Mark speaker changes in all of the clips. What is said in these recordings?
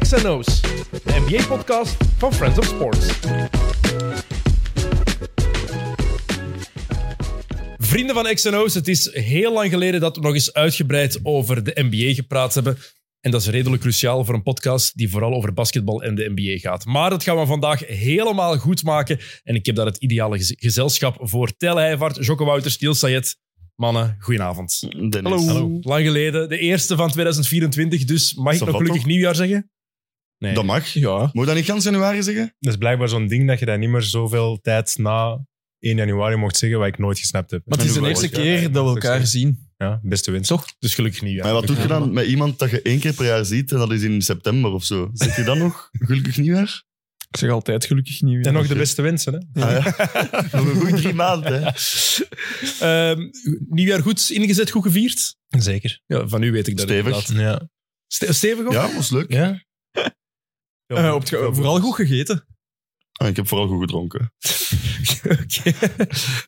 Speaker 1: XNO's, de NBA-podcast van Friends of Sports. Vrienden van XNO's, het is heel lang geleden dat we nog eens uitgebreid over de NBA gepraat hebben. En dat is redelijk cruciaal voor een podcast die vooral over basketbal en de NBA gaat. Maar dat gaan we vandaag helemaal goed maken. En ik heb daar het ideale gez- gezelschap voor. Tel Heijvaart, Jocke Wouters, Niels Sayed. Mannen, goedenavond.
Speaker 2: Dennis.
Speaker 1: Hallo. Lang geleden. De eerste van 2024, dus mag ik
Speaker 2: Is dat
Speaker 1: nog
Speaker 2: wat
Speaker 1: gelukkig nieuwjaar zeggen? Nee.
Speaker 2: Dat mag.
Speaker 1: Ja.
Speaker 2: Moet je dat niet gans januari zeggen?
Speaker 3: Dat is blijkbaar zo'n ding dat je dat niet meer zoveel tijd na 1 januari mocht zeggen, wat ik nooit gesnapt heb.
Speaker 4: Maar het is de
Speaker 2: Ja,
Speaker 4: eerste
Speaker 2: ja,
Speaker 4: keer dat we elkaar zien.
Speaker 3: Ja, beste winst.
Speaker 4: Toch?
Speaker 1: Dus gelukkig nieuwjaar.
Speaker 2: maar wat doet je dan met iemand dat je één keer per jaar ziet en dat is in september of zo? Zeg je dan nog? Gelukkig nieuwjaar?
Speaker 4: Ik zeg altijd gelukkig nieuwjaar.
Speaker 3: En nog de beste wensen, hè?
Speaker 2: Ah, ja. Nog een goed drie maanden. Hè.
Speaker 1: Ehm, nieuwjaar goed ingezet, goed gevierd?
Speaker 3: Zeker.
Speaker 1: Ja, van u weet ik dat
Speaker 2: Stevig.
Speaker 1: inderdaad.
Speaker 3: Ja.
Speaker 1: Ste- stevig ook?
Speaker 2: Ja, was leuk.
Speaker 1: Ja.
Speaker 4: Eh, op het ge- vooral goed gegeten.
Speaker 2: Ah, ik heb vooral goed gedronken.
Speaker 1: Oké.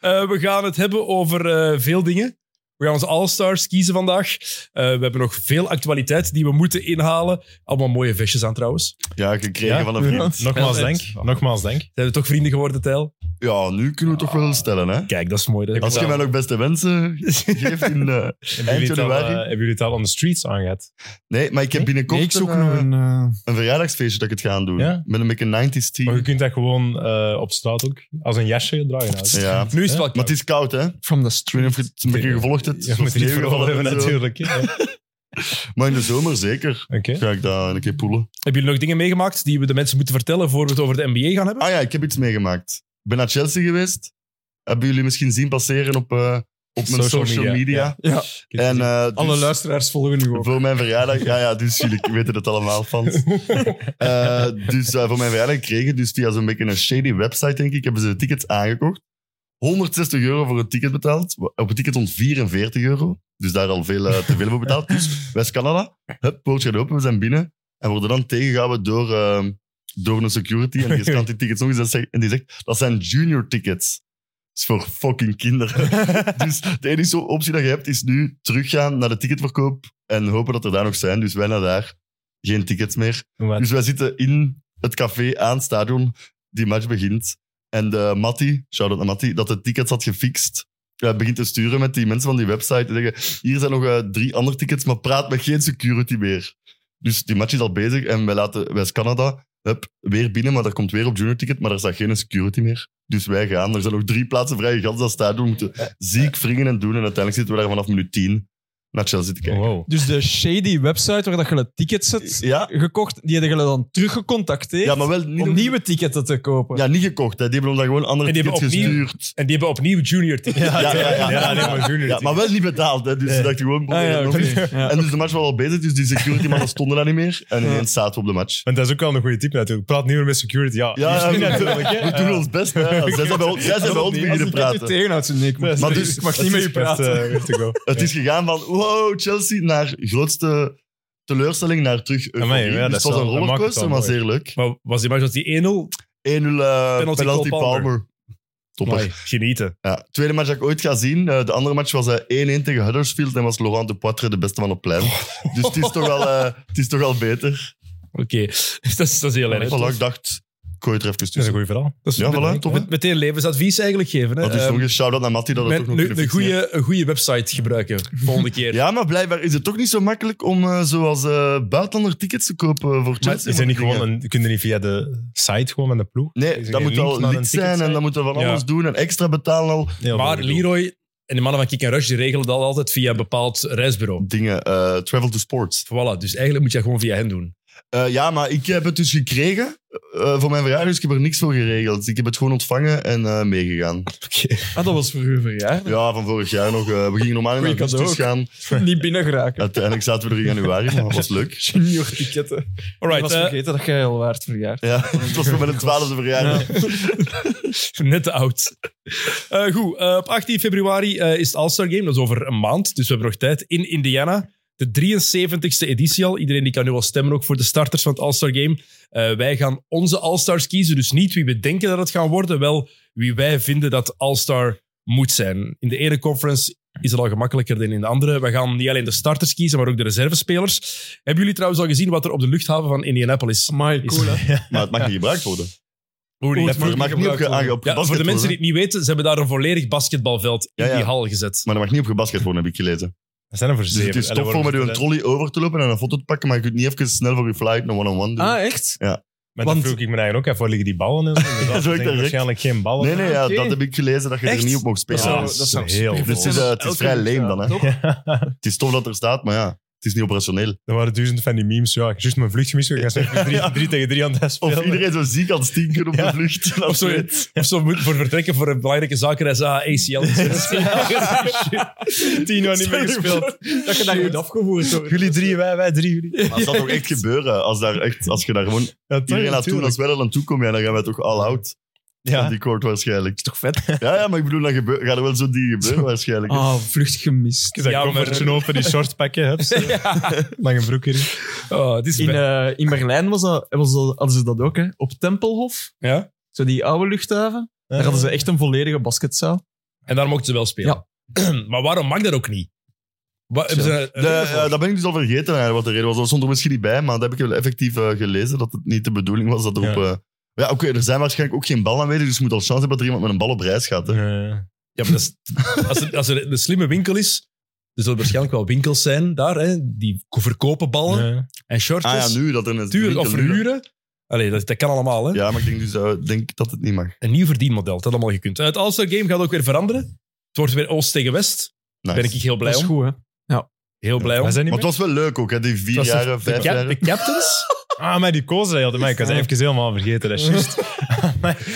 Speaker 1: Eh, we gaan het hebben over eh, veel dingen. We gaan onze All-Stars kiezen vandaag. Eh, we hebben nog veel actualiteit die we moeten inhalen. Allemaal mooie vestjes aan trouwens.
Speaker 2: Ja, gekregen
Speaker 3: Ja?
Speaker 2: van een vriend.
Speaker 3: Nogmaals
Speaker 1: Ja,
Speaker 3: dank.
Speaker 1: het-
Speaker 3: Nogmaals dank.
Speaker 1: Zijn we toch vrienden geworden, Tijl?
Speaker 2: Ja, nu kunnen we het toch wel stellen, hè?
Speaker 1: Kijk, dat is mooi. Dat
Speaker 2: Als je mij nog beste wensen geeft in... eh,
Speaker 3: Hebben jullie, het al, eh,
Speaker 2: januari?
Speaker 3: hebben jullie het al on the streets aangehad?
Speaker 2: Nee, maar ik heb binnenkort
Speaker 4: Nee, ik zoek
Speaker 2: een,
Speaker 4: nog
Speaker 2: eh,
Speaker 4: een... eh,
Speaker 2: een verjaardagsfeestje dat ik het ga doen.
Speaker 3: Ja?
Speaker 2: Met een beetje 90s
Speaker 1: Oh,
Speaker 3: Maar je
Speaker 2: team.
Speaker 3: kunt dat gewoon eh, op straat ook als een jasje dragen. uit.
Speaker 2: Ja.
Speaker 1: Nu is het wel
Speaker 2: Maar het is koud, hè? Ik
Speaker 4: from the
Speaker 2: weet
Speaker 4: street.
Speaker 2: niet of je het een beetje gevolgd hebt.
Speaker 3: Je moet het niet
Speaker 2: Sneeuw gevallen
Speaker 3: vooral hebben,
Speaker 2: en zo.
Speaker 3: natuurlijk. hè. Ja. Oké.
Speaker 2: Maar in de zomer zeker ga ik daar een keer poelen.
Speaker 1: Hebben jullie nog dingen meegemaakt die we de mensen moeten vertellen voor we het over de NBA gaan hebben?
Speaker 2: Ah ja, ik heb iets meegemaakt. Ik ben naar Chelsea geweest. Hebben jullie misschien zien passeren op, eh, op mijn
Speaker 3: Social
Speaker 2: social, media.
Speaker 3: media,
Speaker 4: Ja,
Speaker 2: En, eh, dus
Speaker 4: alle luisteraars volgen nu ook.
Speaker 2: voor mijn verjaardag... Ja, ja, dus jullie weten het allemaal, fans. Eh, dus eh, voor mijn verjaardag gekregen, dus via zo'n beetje een shady website, denk ik, hebben ze de tickets aangekocht. 160 euro voor een ticket betaald. Op een ticket stond 44 euro. Dus daar al veel eh, te veel voor betaald. Dus West-Canada, het poortje gaat open, we zijn binnen. En worden dan tegengehouden door, ehm, door een security. En die scant die tickets nog eens en zegt- en die zegt, dat zijn junior tickets. Dat is voor fucking kinderen. dus de enige optie dat je hebt, is nu teruggaan naar de ticketverkoop. En hopen dat er daar nog zijn. Dus wij naar daar. Geen tickets meer.
Speaker 3: Maar-
Speaker 2: Dus wij zitten in het café aan het stadion. Die match begint. En de Matti, shout-out naar Matti, dat de tickets had gefixt. eh, begint te sturen met die mensen van die website. En zeggen, hier zijn nog eh, drie andere tickets, maar praat met geen security meer. Dus die match is al bezig en wij laten West-Canada hup, weer binnen, maar daar komt weer op junior ticket, maar daar staat geen security meer. Dus wij gaan. Er zijn nog drie plaatsen vrij in gans dat stadion. We moeten ziek wringen en doen. En uiteindelijk zitten we daar vanaf minuut 10 naar Chelsea te kijken.
Speaker 3: Oh, Wow.
Speaker 4: Dus de shady website waar dat je de tickets hebt
Speaker 2: Ja,
Speaker 4: gekocht, die hadden je dan teruggecontacteerd
Speaker 2: ja, maar wel niet
Speaker 4: om nieuwe ticketen te kopen.
Speaker 2: Ja, niet gekocht. Hè. Die hebben ons dan gewoon andere
Speaker 1: En die
Speaker 2: tickets
Speaker 1: hebben opnieuw-
Speaker 2: gestuurd.
Speaker 1: En die hebben opnieuw junior team.
Speaker 2: Ja, ja, ja. ja,
Speaker 3: Ja, nee, maar
Speaker 2: Ja,
Speaker 3: junior team.
Speaker 2: maar wel niet betaald. Hè. Dus ze dachten gewoon...
Speaker 4: Ah,
Speaker 2: proberen
Speaker 4: ja,
Speaker 2: het nog
Speaker 4: oké.
Speaker 2: eens.
Speaker 4: Ja.
Speaker 2: En dus de match was al bezig, dus die security mannen stonden daar niet meer. En ineens zaten we op de match.
Speaker 3: Want dat is ook wel een goede tip natuurlijk. Praat niet meer met security. Ja,
Speaker 2: Ja,
Speaker 3: Hier
Speaker 2: ja,
Speaker 3: natuurlijk. hè.
Speaker 2: we doen ons best. Hè. Zij zijn bij ons- zij zijn bij ons beginnen
Speaker 4: Als
Speaker 2: praten.
Speaker 4: ik tegenhoud, ze nee, ik moet-
Speaker 2: Maar dus-
Speaker 3: eh,
Speaker 4: ik mag niet met je praten.
Speaker 2: Het is gegaan van wow, Chelsea naar grootste teleurstelling naar terug euforie.
Speaker 3: Amai, ja,
Speaker 2: dus het
Speaker 3: dat
Speaker 2: was
Speaker 3: is
Speaker 2: een
Speaker 3: wel- dat maakt het wel
Speaker 2: rollercoaster, maar
Speaker 3: mooi.
Speaker 2: zeer leuk. 1-0
Speaker 1: Maar was die match als die 1-0?
Speaker 2: eh, penalty,
Speaker 1: Cole Palmer.
Speaker 2: Palmer. Topper.
Speaker 1: Amai, Genieten.
Speaker 2: Ja, tweede match dat ik ooit ga zien. Eh, de andere match was eh, 1-1 tegen Huddersfield en was Laurent de Poitre de beste van het plein. Dus het is toch wel, eh, het is toch wel beter.
Speaker 1: Oké, dat, is, dat is heel erg.
Speaker 2: Voilà, ik dacht, ik gooi het er even
Speaker 3: Dat is een
Speaker 2: tussen.
Speaker 3: goed verhaal.
Speaker 1: Dat is
Speaker 2: Ja, voilà, tof.
Speaker 1: met, meteen levensadvies eigenlijk geven. Hè?
Speaker 2: Dat
Speaker 3: Eh,
Speaker 2: is
Speaker 1: Ehm,
Speaker 2: nog een shout-out naar Matty dat we
Speaker 1: met
Speaker 2: toch nog
Speaker 1: een,
Speaker 2: kunnen
Speaker 1: een,
Speaker 2: fixen.
Speaker 1: goede, een goede website gebruiken volgende keer.
Speaker 2: Ja, maar blijkbaar is het toch niet zo makkelijk om eh, zoals eh, buitenlander tickets te kopen voor
Speaker 3: Maar
Speaker 2: Chelsea.
Speaker 3: is er niet
Speaker 2: Dingen.
Speaker 3: gewoon een, kun je niet via de site gewoon van de ploeg? Is
Speaker 2: Nee,
Speaker 3: er
Speaker 2: dat
Speaker 3: geen
Speaker 2: moet
Speaker 3: link
Speaker 2: al
Speaker 3: naar een
Speaker 2: lid zijn en
Speaker 3: ticketsite?
Speaker 2: dat moeten we van
Speaker 1: Ja.
Speaker 2: alles doen en extra betalen al.
Speaker 3: Heel
Speaker 1: maar
Speaker 3: veel bedoel.
Speaker 1: Leroy en de mannen van Kick Rush die regelen dat altijd via een bepaald reisbureau.
Speaker 2: Dingen, eh, travel to sports.
Speaker 1: Voilà, dus eigenlijk moet je dat gewoon via hen doen.
Speaker 2: Eh, ja, maar ik heb het dus gekregen eh, voor mijn verjaardag, dus ik heb er niks voor geregeld. Ik heb het gewoon ontvangen en eh, meegegaan.
Speaker 4: Ah, dat was voor uw verjaardag.
Speaker 2: Ja, van vorig jaar nog. eh, we gingen normaal in
Speaker 4: Goeie
Speaker 2: augustus
Speaker 4: cadeau
Speaker 2: gaan.
Speaker 4: Niet binnen geraken.
Speaker 2: Uiteindelijk zaten we er in januari, maar dat was leuk.
Speaker 4: Junior ticketten. Ik
Speaker 1: Alright,
Speaker 4: was
Speaker 1: eh
Speaker 4: vergeten dat jij al waard verjaard.
Speaker 2: Ja, het was voor mijn twaalfde verjaardag.
Speaker 1: net te oud. Eh, goed, eh, op 18 februari eh, is het All-Star Game. Dat is over een maand, dus we hebben nog tijd. In Indiana, de 73ste editie al. Iedereen die kan nu al stemmen ook voor de starters van het All-Star Game. Eh, wij gaan onze All-Stars kiezen, dus niet wie we denken dat het gaan worden, wel wie wij vinden dat All-Star moet zijn. In de ene conference is het al gemakkelijker dan in de andere. We gaan niet alleen de starters kiezen, maar ook de reservespelers. Hebben jullie trouwens al gezien wat er op de luchthaven van Indianapolis
Speaker 4: Amai,
Speaker 1: is?
Speaker 4: cool hè.
Speaker 2: Maar het mag niet gebruikt worden.
Speaker 1: Hoe niet?
Speaker 4: Oeh,
Speaker 2: Het mag niet op, ge- aange- op
Speaker 1: Ja,
Speaker 2: gebasket
Speaker 1: voor de mensen die
Speaker 2: worden.
Speaker 1: het niet weten, ze hebben daar een volledig basketbalveld in
Speaker 2: Ja, ja.
Speaker 1: die hal gezet.
Speaker 2: Maar dat mag niet op gebasket worden, heb ik gelezen.
Speaker 3: Dat zijn er voor
Speaker 2: Dus
Speaker 3: zeven.
Speaker 2: het is
Speaker 3: Allee,
Speaker 2: tof voor
Speaker 3: waarom
Speaker 2: met een
Speaker 3: vertellen?
Speaker 2: trolley over te lopen en een foto te pakken, maar je kunt niet even snel voor je flight een one-on-one doen.
Speaker 4: Ah, echt?
Speaker 3: Maar dan
Speaker 4: Want-
Speaker 3: vroeg ik me eigenlijk ook af, waar liggen die ballen in?
Speaker 2: is ook
Speaker 3: Dat zijn
Speaker 2: direct.
Speaker 3: waarschijnlijk geen ballen.
Speaker 2: nee, nee, ja,
Speaker 4: oké.
Speaker 2: dat heb ik gelezen, dat je
Speaker 1: Echt?
Speaker 2: er niet op mag spelen.
Speaker 3: Dat zou-
Speaker 2: Ja.
Speaker 3: dat zou heel
Speaker 2: Dus het is, eh, het is vrij leem dan, hè. Het is tof dat er staat, maar ja, het is niet operationeel.
Speaker 3: Er waren duizend van die memes. Ja, ik heb juist mijn vlucht gemist. Ik was even drie, drie tegen drie aan het
Speaker 2: Of
Speaker 3: spelen.
Speaker 2: iedereen zo ziek aan het stinken op de
Speaker 3: Ja.
Speaker 2: vlucht. Dat
Speaker 1: Of zo,
Speaker 2: weet-
Speaker 1: of zo moet voor vertrekken voor een belangrijke zakenreis. Ah, ACL.
Speaker 3: tien jaar niet meer gespeeld.
Speaker 4: Dat je daar goed afgevoerd wordt.
Speaker 3: Jullie drie, wij, wij drie. Jullie.
Speaker 2: Maar dat zal toch echt gebeuren? Als, daar echt, als je daar gewoon
Speaker 3: Ja, toch,
Speaker 2: iedereen naartoe,
Speaker 3: natuurlijk.
Speaker 2: als wij er naartoe komen, ja, dan gaan wij toch all out.
Speaker 3: Ja.
Speaker 2: Ja. Die court waarschijnlijk.
Speaker 4: toch vet?
Speaker 2: Ja, ja, maar ik bedoel, dan gebeur, gaat er wel zo die gebeuren waarschijnlijk.
Speaker 4: Ah, vlucht gemist.
Speaker 3: Ik zei,
Speaker 1: Ja, maar-
Speaker 3: koffertje open, die short pakken. Hups, lange broek erin.
Speaker 1: Oh, het is
Speaker 4: In, eh, in Berlijn was dat, was dat, hadden ze dat ook, hè? op Tempelhof.
Speaker 1: ja?
Speaker 4: Zo die oude luchthaven. Daar hadden ze echt een volledige basketzaal.
Speaker 1: En daar mochten ze wel spelen. maar waarom mag dat ook niet? Wa- hebben ze een- een
Speaker 2: De,
Speaker 1: reden voor?
Speaker 2: eh, dat ben ik dus al vergeten eigenlijk, wat de reden was. Dat stond er misschien niet bij, maar dat heb ik wel effectief eh, gelezen, dat het niet de bedoeling was dat er
Speaker 3: Ja.
Speaker 2: op... eh, ja, oké, er zijn waarschijnlijk ook geen ballen aanwezig, dus je moet al chance hebben dat er iemand met een bal op reis gaat. Hè.
Speaker 3: Ja.
Speaker 1: Ja, maar dat is- als, er, als er een slimme winkel is, er zullen waarschijnlijk wel winkels zijn daar, hè, die verkopen
Speaker 4: Oh,
Speaker 1: ballen
Speaker 3: Ja.
Speaker 1: en shortjes.
Speaker 2: Ah ja, nu, dat er een...
Speaker 1: Tuurlijk,
Speaker 2: winkel
Speaker 1: of
Speaker 2: nu-
Speaker 1: verhuren. Allee, dat, dat kan allemaal. Hè?
Speaker 2: Ja, maar ik denk dus eh, denk dat het niet mag.
Speaker 1: Een nieuw verdienmodel, dat had allemaal gekund. En het All-Star Game gaat ook weer veranderen. Het wordt weer Oost tegen West.
Speaker 2: Nice.
Speaker 1: Daar ben ik heel blij
Speaker 4: dat is
Speaker 1: om.
Speaker 4: goed, hè?
Speaker 1: Heel blij om.
Speaker 3: Maar zijn
Speaker 2: Maar
Speaker 3: niet
Speaker 2: het was wel leuk ook, hè, die vier
Speaker 1: Het was
Speaker 2: jaren,
Speaker 1: de,
Speaker 2: vijf
Speaker 1: cap-
Speaker 2: jaren.
Speaker 1: de captains?
Speaker 3: meer- Ah, maar die kozen die hadden mij. Ik was even helemaal vergeten. Dat is juist.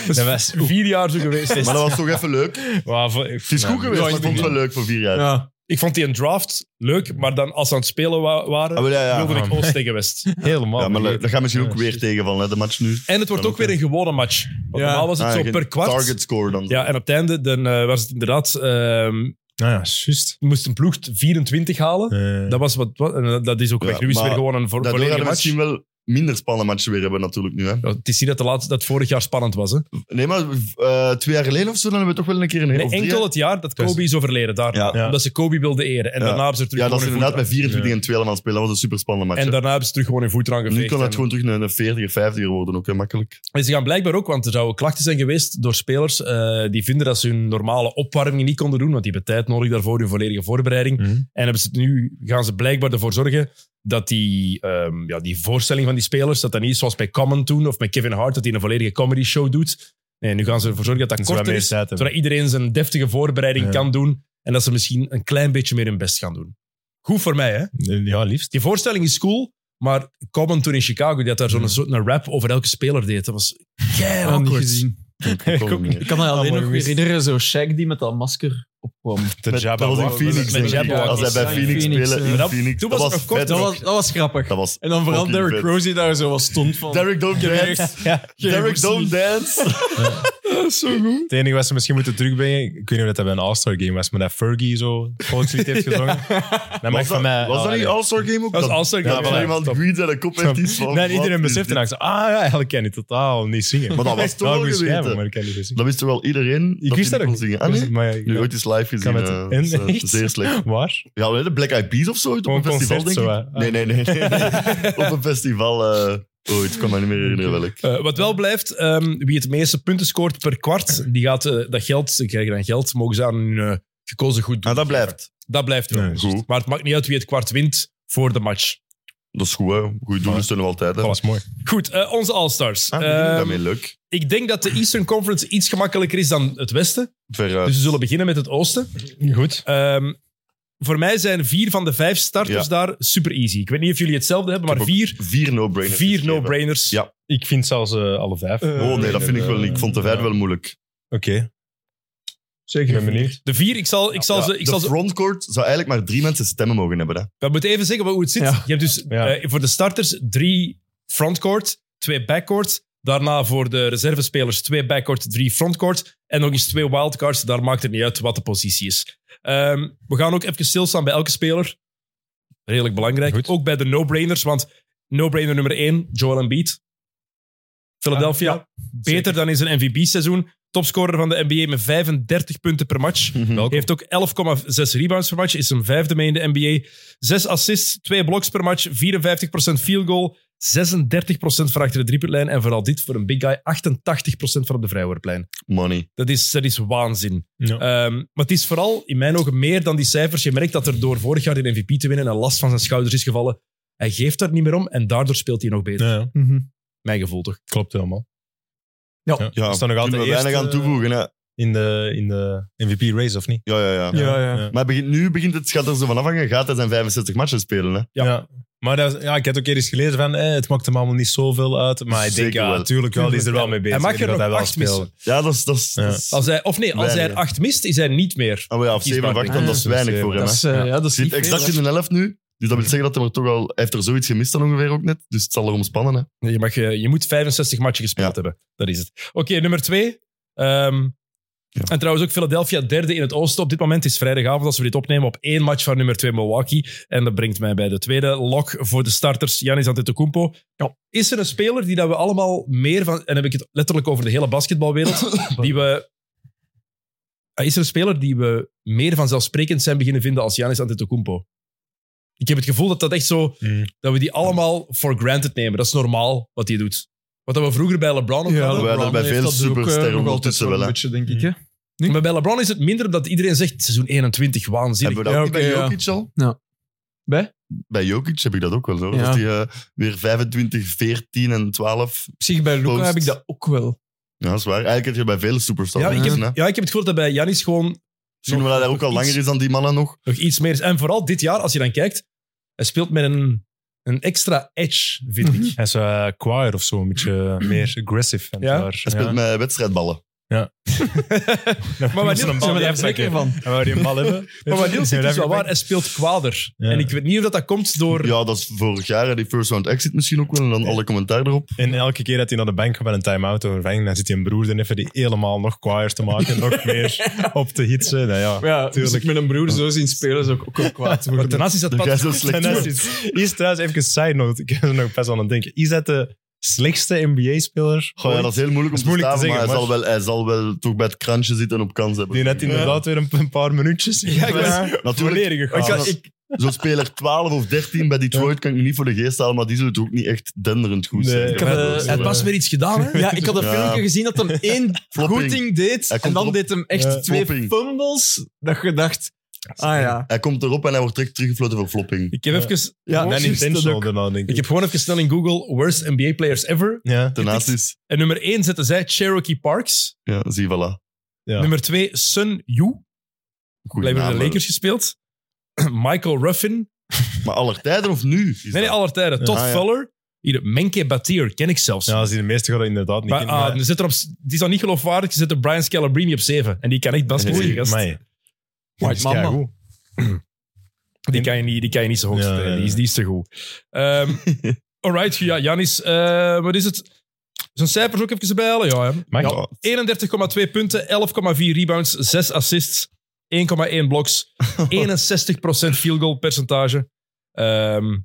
Speaker 3: dat was... oef.
Speaker 1: Vier jaar zo geweest.
Speaker 2: Maar dat was toch even leuk.
Speaker 3: Wauw, voor- ik-
Speaker 2: Het is
Speaker 3: nou,
Speaker 2: goed geweest, maar ik
Speaker 3: ik
Speaker 2: vond het
Speaker 3: niet.
Speaker 2: wel leuk voor vier jaar. Ja.
Speaker 4: Ja.
Speaker 1: Ik vond die een draft leuk, maar dan als ze aan het spelen wa- waren,
Speaker 2: maar Ah, ja, ja.
Speaker 1: wilde ik
Speaker 3: man.
Speaker 1: Oost tegen West.
Speaker 3: Helemaal.
Speaker 2: Ja, maar le-
Speaker 3: vergeten.
Speaker 2: dat gaat misschien ook
Speaker 3: Ja,
Speaker 2: weer
Speaker 3: shit.
Speaker 2: tegenvallen, hè, de match nu.
Speaker 1: En het wordt
Speaker 2: Dat
Speaker 1: ook weer een gewone match. Want
Speaker 4: Ja.
Speaker 1: normaal was het
Speaker 2: Ah,
Speaker 1: zo
Speaker 2: geen
Speaker 1: per kwart.
Speaker 2: Target score dan.
Speaker 1: Ja, en op het einde dan, eh, was het inderdaad... ehm,
Speaker 3: Nou ja, juist.
Speaker 1: moest een ploeg 24 halen.
Speaker 3: Eh,
Speaker 1: Dat, was wat, wat- en eh, dat is ook
Speaker 2: Ja,
Speaker 1: weg. Nu is het weer
Speaker 2: maar
Speaker 1: gewoon een vo-
Speaker 2: Daardoor gaan
Speaker 1: volledige
Speaker 2: we
Speaker 1: match.
Speaker 2: misschien wel minder spannende matchen weer hebben natuurlijk nu. Hè.
Speaker 1: Ja, het is niet dat, de laatste, dat vorig jaar spannend was. Hè?
Speaker 2: Nee, maar eh, twee jaar geleden of zo, dan hebben we toch wel een keer een...
Speaker 1: Nee,
Speaker 2: of drie
Speaker 1: enkel
Speaker 2: jaar-
Speaker 1: het jaar dat Kobe is overleden daar.
Speaker 2: Ja.
Speaker 3: Ja.
Speaker 1: Omdat ze Kobe wilden eren. En
Speaker 2: Ja.
Speaker 1: daarna hebben ze er terug
Speaker 2: Ja, dat is
Speaker 1: gewoon hun
Speaker 2: inderdaad met
Speaker 1: voet
Speaker 2: 24 en 2 allemaal spelen. Dat was een super spannende
Speaker 1: eraan-
Speaker 2: match.
Speaker 1: En
Speaker 2: hè.
Speaker 1: daarna hebben ze terug gewoon hun voet eraan
Speaker 2: nu
Speaker 1: geveegd.
Speaker 2: kan
Speaker 1: En-
Speaker 2: het gewoon terug een een 40er, 50er worden ook, hè, makkelijk.
Speaker 1: En ze gaan blijkbaar ook, want er zouden klachten zijn geweest door spelers eh, die vinden dat ze hun normale opwarming niet konden doen, want die hebben tijd nodig daarvoor, hun volledige voorbereiding.
Speaker 3: Mhm.
Speaker 1: En hebben ze het nu gaan ze blijkbaar ervoor zorgen dat die, ehm, ja, die voorstelling van die spelers, dat dat niet is zoals bij Common toen of met Kevin Hart, dat hij een volledige comedy show doet. Nee, nu gaan ze ervoor zorgen dat dat
Speaker 3: Dat ze wat
Speaker 1: korter
Speaker 3: meer
Speaker 1: is,
Speaker 3: tijd hebben.
Speaker 1: zodat iedereen zijn deftige voorbereiding
Speaker 3: Ja.
Speaker 1: kan doen en dat ze misschien een klein beetje meer hun best gaan doen. Goed voor mij, hè?
Speaker 3: Ja, liefst.
Speaker 1: Die voorstelling is cool, maar Common toen in Chicago, die had daar zo'n
Speaker 3: Ja.
Speaker 1: soort een rap over elke speler deed. Dat was kei
Speaker 4: Ah, niet
Speaker 1: awkward.
Speaker 4: gezien.
Speaker 3: Ik ook
Speaker 2: Kom
Speaker 3: niet.
Speaker 2: niet.
Speaker 4: Ik kan me
Speaker 3: Ah,
Speaker 4: alleen
Speaker 3: mooi
Speaker 4: nog
Speaker 3: gemist.
Speaker 4: herinneren, zo Shaq die met dat masker opkwam.
Speaker 3: De
Speaker 2: Met-
Speaker 3: Jabba
Speaker 2: dat was in
Speaker 3: Wahab.
Speaker 2: Phoenix.
Speaker 1: met
Speaker 2: denk ik.
Speaker 1: Jabba
Speaker 2: Als hij bij
Speaker 4: was-
Speaker 2: Phoenix
Speaker 4: Phoenix,
Speaker 2: spelen
Speaker 4: eh,
Speaker 2: in
Speaker 1: dat-
Speaker 2: Phoenix,
Speaker 1: toen
Speaker 2: dat
Speaker 1: was
Speaker 2: was
Speaker 1: het nog kort,
Speaker 2: vet
Speaker 4: Dat
Speaker 2: ook.
Speaker 4: was, dat was grappig.
Speaker 2: Dat was
Speaker 4: En dan vooral
Speaker 2: fucking
Speaker 4: Derrick
Speaker 2: vet.
Speaker 4: Rose die daar zo wat stond van...
Speaker 2: Derek Don't
Speaker 4: Derrick-
Speaker 2: Dance.
Speaker 3: Ja,
Speaker 2: Derek
Speaker 4: Geen
Speaker 2: Don't Dance.
Speaker 1: zo goed.
Speaker 3: het enige wat ze misschien moeten terugbrengen, ik weet niet of dat bij een All-Star game was, maar dat Fergie zo volkslied heeft gezongen. Dat mag
Speaker 2: Was
Speaker 3: van mij... Ah,
Speaker 2: dat, was dat
Speaker 3: allee.
Speaker 2: niet All-Star Game ook?
Speaker 1: Dat was All-Star Game,
Speaker 2: Ja,
Speaker 1: ja.
Speaker 2: van iemand Green zijn kop heeft iets van...
Speaker 3: Nee,
Speaker 2: wat
Speaker 3: iedereen
Speaker 2: is
Speaker 3: beseft
Speaker 2: dit?
Speaker 3: en dacht, ah ja, eigenlijk kan hij totaal niet zingen.
Speaker 2: Maar dat was toch
Speaker 3: wel
Speaker 2: wel
Speaker 3: goed
Speaker 2: geweten.
Speaker 3: schrijven, maar ik kan niet goed zingen.
Speaker 2: Dat wist toch wel iedereen
Speaker 3: Ik wist
Speaker 2: hij
Speaker 3: dat
Speaker 2: niet kon
Speaker 3: ook.
Speaker 2: zingen. Ah, nee?
Speaker 3: Maar ja, ik-
Speaker 2: Nu ooit eens live gezien.
Speaker 3: met-
Speaker 2: eh,
Speaker 3: en-
Speaker 2: dat is, eh,
Speaker 3: echt?
Speaker 2: zeer slecht.
Speaker 3: Waar?
Speaker 2: Ja, we hebben de Black Eyed Peas of zo ooit op
Speaker 3: Gewoon
Speaker 2: een festival,
Speaker 3: concert
Speaker 2: denk ik.
Speaker 3: zo, hè.
Speaker 2: nee, nee, nee. nee, nee. op een festival eh ooit. Ik kan me niet meer herinneren welk.
Speaker 1: Eh, wat wel blijft, ehm, wie het meeste punten scoort per kwart, die gaat eh, dat geld, ze krijgen dan geld, mogen ze aan hun eh, gekozen goed doen.
Speaker 2: Ah, dat blijft.
Speaker 1: Dat blijft wel.
Speaker 3: Nee,
Speaker 2: Goed.
Speaker 1: Maar het maakt niet uit wie het kwart wint voor de match.
Speaker 2: Dat is goed, hè. Goeie doelen
Speaker 3: Maar-
Speaker 2: zijn nog altijd, hè.
Speaker 3: Dat was mooi.
Speaker 1: Goed, eh, onze All-Stars.
Speaker 2: Ah, beginnen
Speaker 1: Ehm,
Speaker 2: daarmee leuk.
Speaker 1: ik denk dat de Eastern Conference iets gemakkelijker is dan het Westen.
Speaker 2: Veruit.
Speaker 1: Dus we zullen beginnen met het Oosten.
Speaker 3: Goed.
Speaker 1: Ehm, voor mij zijn vier van de vijf starters
Speaker 2: Ja.
Speaker 1: daar super easy. Ik weet niet of jullie hetzelfde hebben, maar
Speaker 2: heb
Speaker 1: vier,
Speaker 2: vier no-brainers.
Speaker 1: vier
Speaker 2: geschreven.
Speaker 1: no-brainers.
Speaker 2: Ja.
Speaker 3: Ik vind zelfs eh, alle vijf.
Speaker 2: Oh
Speaker 3: eh,
Speaker 2: nee, dat vind ik wel niet. Ik vond de vijf wel moeilijk.
Speaker 3: Oké, ik
Speaker 4: Zeker.
Speaker 3: ben benieuwd.
Speaker 1: De vier, ik zal, ik zal
Speaker 2: Ja,
Speaker 1: ze... Ik
Speaker 2: de
Speaker 1: zal ze
Speaker 2: frontcourt zou eigenlijk maar drie mensen stemmen mogen hebben, hè.
Speaker 1: We moeten even zeggen hoe het zit.
Speaker 4: Ja.
Speaker 1: Je hebt dus
Speaker 3: Ja.
Speaker 1: eh, voor de starters drie frontcourt, twee backcourt. Daarna voor de reservespelers twee backcourt, drie frontcourt. En nog eens twee wildcards. Daar maakt het niet uit wat de positie is. Ehm, we gaan ook even stilstaan bij elke speler. Redelijk belangrijk.
Speaker 3: Goed.
Speaker 1: Ook bij de no-brainers, want no-brainer nummer één, Joel Embiid. Philadelphia,
Speaker 3: Ah, Ja, ja.
Speaker 1: beter dan in zijn MVP-seizoen. topscorer van de NBA met 35 punten per match.
Speaker 3: Mhm. Welkom.
Speaker 1: Heeft ook 11,6 rebounds per match. Is een vijfde mee in de NBA. 6 assists, 2 bloks per match. 54% field goal. 36% van achter de driepuntlijn. En vooral dit voor een big guy: 88% van op de vrijworplijn.
Speaker 2: Money.
Speaker 1: Dat is, dat is waanzin.
Speaker 3: Ja.
Speaker 1: Ehm, maar het is vooral in mijn ogen meer dan die cijfers. Je merkt dat er door vorig jaar de MVP te winnen een last van zijn schouders is gevallen. Hij geeft daar niet meer om en daardoor speelt hij nog beter.
Speaker 3: Ja, ja.
Speaker 4: Mhm.
Speaker 1: Mijn gevoel toch?
Speaker 3: klopt helemaal.
Speaker 1: Ja.
Speaker 2: Ja,
Speaker 3: Is dat nog altijd
Speaker 2: kunnen we
Speaker 3: eerst,
Speaker 2: weinig aan
Speaker 3: eh,
Speaker 2: toevoegen. Hè?
Speaker 3: In de, in de MVP-race, of niet?
Speaker 2: Ja, ja, ja.
Speaker 4: Ja, ja.
Speaker 2: Maar begint, nu begint het schat er zo van afhangen. Gaat hij zijn 65 matchen spelen? Hè?
Speaker 1: Ja.
Speaker 3: Ja. Maar dat, ja, ik heb ook eens gelezen van, eh, het maakt hem allemaal niet zoveel uit. Maar ik denk,
Speaker 2: Zeker
Speaker 3: ja,
Speaker 2: wel.
Speaker 3: natuurlijk wel, die is er wel mee bezig.
Speaker 1: Hij mag
Speaker 3: Ik
Speaker 1: er
Speaker 3: denk dat
Speaker 1: nog
Speaker 3: wel
Speaker 1: acht
Speaker 3: speelt.
Speaker 1: missen.
Speaker 2: Ja, dat is... Dat is,
Speaker 3: Ja.
Speaker 2: dat is-
Speaker 1: Als hij, of nee, als hij er
Speaker 2: Weinig.
Speaker 1: acht mist, is hij niet meer.
Speaker 2: Ah, maar ja, op 7 of 8 dan, dat is weinig voor hem.
Speaker 4: Dat
Speaker 2: hè.
Speaker 4: is, eh,
Speaker 3: Ja.
Speaker 4: ja, dat is
Speaker 2: Zit
Speaker 4: niet
Speaker 2: exact
Speaker 4: veel,
Speaker 2: in de 11 nu. Dus dat wil zeggen dat hij er toch al... Hij heeft er zoiets gemist dan ongeveer ook net. Dus het zal erom spannen. Hè.
Speaker 1: Nee, Je, mag, eh, je moet 65 matchen gespeeld
Speaker 2: Ja.
Speaker 1: hebben. Dat is het. Oké, nummer twee. Ehm,
Speaker 2: Ja.
Speaker 1: En trouwens ook Philadelphia derde in het oosten. Op dit moment is vrijdagavond als we dit opnemen op één match van nummer twee Milwaukee. En dat brengt mij bij de tweede lock voor de starters. Giannis Antetokounmpo. Is er een speler die dat we allemaal meer van... En dan heb ik het letterlijk over de hele basketbalwereld. die we... Ah, Is er een speler die we meer vanzelfsprekend zijn beginnen vinden als Giannis Antetokounmpo? Ik heb het gevoel dat dat echt zo
Speaker 3: Mm.
Speaker 1: dat we die allemaal for granted nemen. Dat is normaal wat hij doet. Wat dat we vroeger bij LeBron ook
Speaker 4: hè.
Speaker 1: hadden.
Speaker 2: wij hebben bij
Speaker 4: heeft
Speaker 2: veel
Speaker 4: dat ook, eh, nog
Speaker 2: supersterren
Speaker 4: altijd
Speaker 2: ondertussen
Speaker 4: zo'n
Speaker 2: wel, hè.
Speaker 4: beetje, denk ik, hè.
Speaker 1: Maar bij LeBron is het minder dat iedereen zegt seizoen 21, waanzinnig.
Speaker 2: Hebben we dat
Speaker 4: Ja,
Speaker 2: ook niet bij
Speaker 4: oké, ja.
Speaker 2: Jokic al?
Speaker 4: Ja. Bij?
Speaker 2: Bij Jokic heb ik dat ook wel. Hoor.
Speaker 4: Ja.
Speaker 2: Dat hij eh, weer 25, 14 en 12...
Speaker 4: Op zich, bij Luca
Speaker 2: Post.
Speaker 4: heb ik dat ook wel.
Speaker 2: Ja, dat is waar. Eigenlijk heb je bij veel superstars.
Speaker 1: Ja, ik heb,
Speaker 2: gezien, hè.
Speaker 1: ja, ik heb het gevoel dat bij Janis gewoon
Speaker 2: Misschien omdat hij daar ook al
Speaker 1: Iets-
Speaker 2: langer is dan die mannen nog.
Speaker 1: nog iets meer is. En vooral dit jaar, als je dan kijkt, hij speelt met een, een extra edge, vind ik.
Speaker 3: Hij is eh choir of zo, een beetje eh, meer aggressive. en
Speaker 1: Ja?
Speaker 3: daar.
Speaker 2: Hij speelt met wedstrijdballen.
Speaker 1: maar
Speaker 3: Maar
Speaker 1: wat
Speaker 3: wat
Speaker 1: Niels-
Speaker 3: een
Speaker 1: zijn
Speaker 3: bal
Speaker 1: we daar
Speaker 3: wegpakken.
Speaker 4: Zeker van.
Speaker 3: En waar die een bal hebben.
Speaker 1: Maar wat Niels zegt is wel
Speaker 3: Even
Speaker 1: waar, hij speelt kwader.
Speaker 3: Ja.
Speaker 1: En ik weet niet of dat, dat komt door...
Speaker 2: Ja, dat is vorig jaar, hè, die first round exit misschien ook wel. En dan alle commentaar erop.
Speaker 3: En elke keer dat hij naar de bank gaat met een time-out overvang, dan zit hij een broer er even die helemaal nog kwaaier te maken, nog meer op te hitsen. Nou ja.
Speaker 4: Ja, dus
Speaker 3: Tuurlijk.
Speaker 4: ik met een broer zo zien spelen, zou ik ook wel kwaad
Speaker 1: Maar ten
Speaker 4: worden.
Speaker 1: aanzien is dat
Speaker 2: Dat Dus jij
Speaker 1: pad...
Speaker 2: zo
Speaker 3: En
Speaker 2: slecht
Speaker 3: dat
Speaker 2: wordt.
Speaker 3: is, iets- is trouwens even een side note, ik ben er nog best aan het denken. Is dat de slechtste NBA-speler
Speaker 2: Goh, ja, dat is heel moeilijk om
Speaker 3: Dat
Speaker 2: te
Speaker 3: is moeilijk te
Speaker 2: staven, maar,
Speaker 3: zeggen,
Speaker 2: hij, zal
Speaker 3: maar-
Speaker 2: wel, hij zal wel toch bij het krantje zitten en op kans hebben.
Speaker 3: die net inderdaad weer een, een paar minuutjes ja,
Speaker 1: ik was-
Speaker 2: Natuurlijk,
Speaker 1: Ik
Speaker 3: gegaan.
Speaker 1: kan- ik-
Speaker 2: zo'n speler 12 of 13 bij Detroit kan ik me niet voor de geest halen, maar die zullen toch ook niet echt denderend goed
Speaker 3: Nee.
Speaker 2: zijn.
Speaker 3: Ik
Speaker 4: heb, eh,
Speaker 2: Dat is
Speaker 1: Hij
Speaker 2: wel-
Speaker 1: had pas weer iets gedaan, hè?
Speaker 4: Ja, ik had een
Speaker 2: Ja.
Speaker 4: filmpje gezien dat hem één
Speaker 2: Flopping.
Speaker 4: goed ding deed.
Speaker 2: Hij
Speaker 4: En
Speaker 2: komt
Speaker 4: dan
Speaker 2: erop. Eh,
Speaker 4: deed hem echt
Speaker 3: Ja.
Speaker 4: twee
Speaker 2: Flopping.
Speaker 4: fumbles. Dat je dacht, ah ja.
Speaker 2: Hij komt erop en hij wordt direct teruggefloten voor flopping.
Speaker 1: Ik heb even...
Speaker 4: Ja,
Speaker 3: Net
Speaker 4: juist, dat
Speaker 3: intentional
Speaker 4: ook.
Speaker 3: daarna, denk
Speaker 1: Ik
Speaker 3: ik.
Speaker 1: heb gewoon even snel in Google worst NBA players ever.
Speaker 3: Ja.
Speaker 2: Daarnaast is,
Speaker 1: En nummer 1 zetten zij Cherokee Parks.
Speaker 2: ja, zie voilà.
Speaker 3: Ja.
Speaker 1: Nummer 2 Sun Yu.
Speaker 2: Goeie
Speaker 1: Blijkbaar bij
Speaker 2: naam,
Speaker 1: de Lakers gespeeld. Michael Ruffin.
Speaker 2: Maar aller tijden of nu? Is
Speaker 1: Nee, nee,
Speaker 2: dat?
Speaker 1: aller tijden. Todd
Speaker 2: Ah, ja.
Speaker 1: Fuller. Hier, Menke Batir. Ken ik zelfs.
Speaker 3: Ja, als die de meeste gaat dat inderdaad niet
Speaker 1: Maar,
Speaker 3: kennen,
Speaker 1: ah,
Speaker 3: maar-
Speaker 1: dan zit er op, die is dan niet geloofwaardig. Je zet er Brian Scalabrine op 7. En die kan echt best
Speaker 2: Oei,
Speaker 1: gast.
Speaker 3: Amai.
Speaker 4: White
Speaker 3: is
Speaker 4: Mamba.
Speaker 3: keigoed.
Speaker 1: Die kan je niet, die kan je niet zo hoog
Speaker 3: Ja,
Speaker 1: spelen.
Speaker 3: ja, ja.
Speaker 1: Die, is, die is te goed. Ehm alright, ja, Janis. eh, wat is het? Zijn cijfers ook even bijhalen? Ja, hè.
Speaker 3: Mag ik-
Speaker 1: Ja. 31,2 punten, 11,4 rebounds, 6 assists, 1,1 bloks, 61% field goal percentage. Ehm,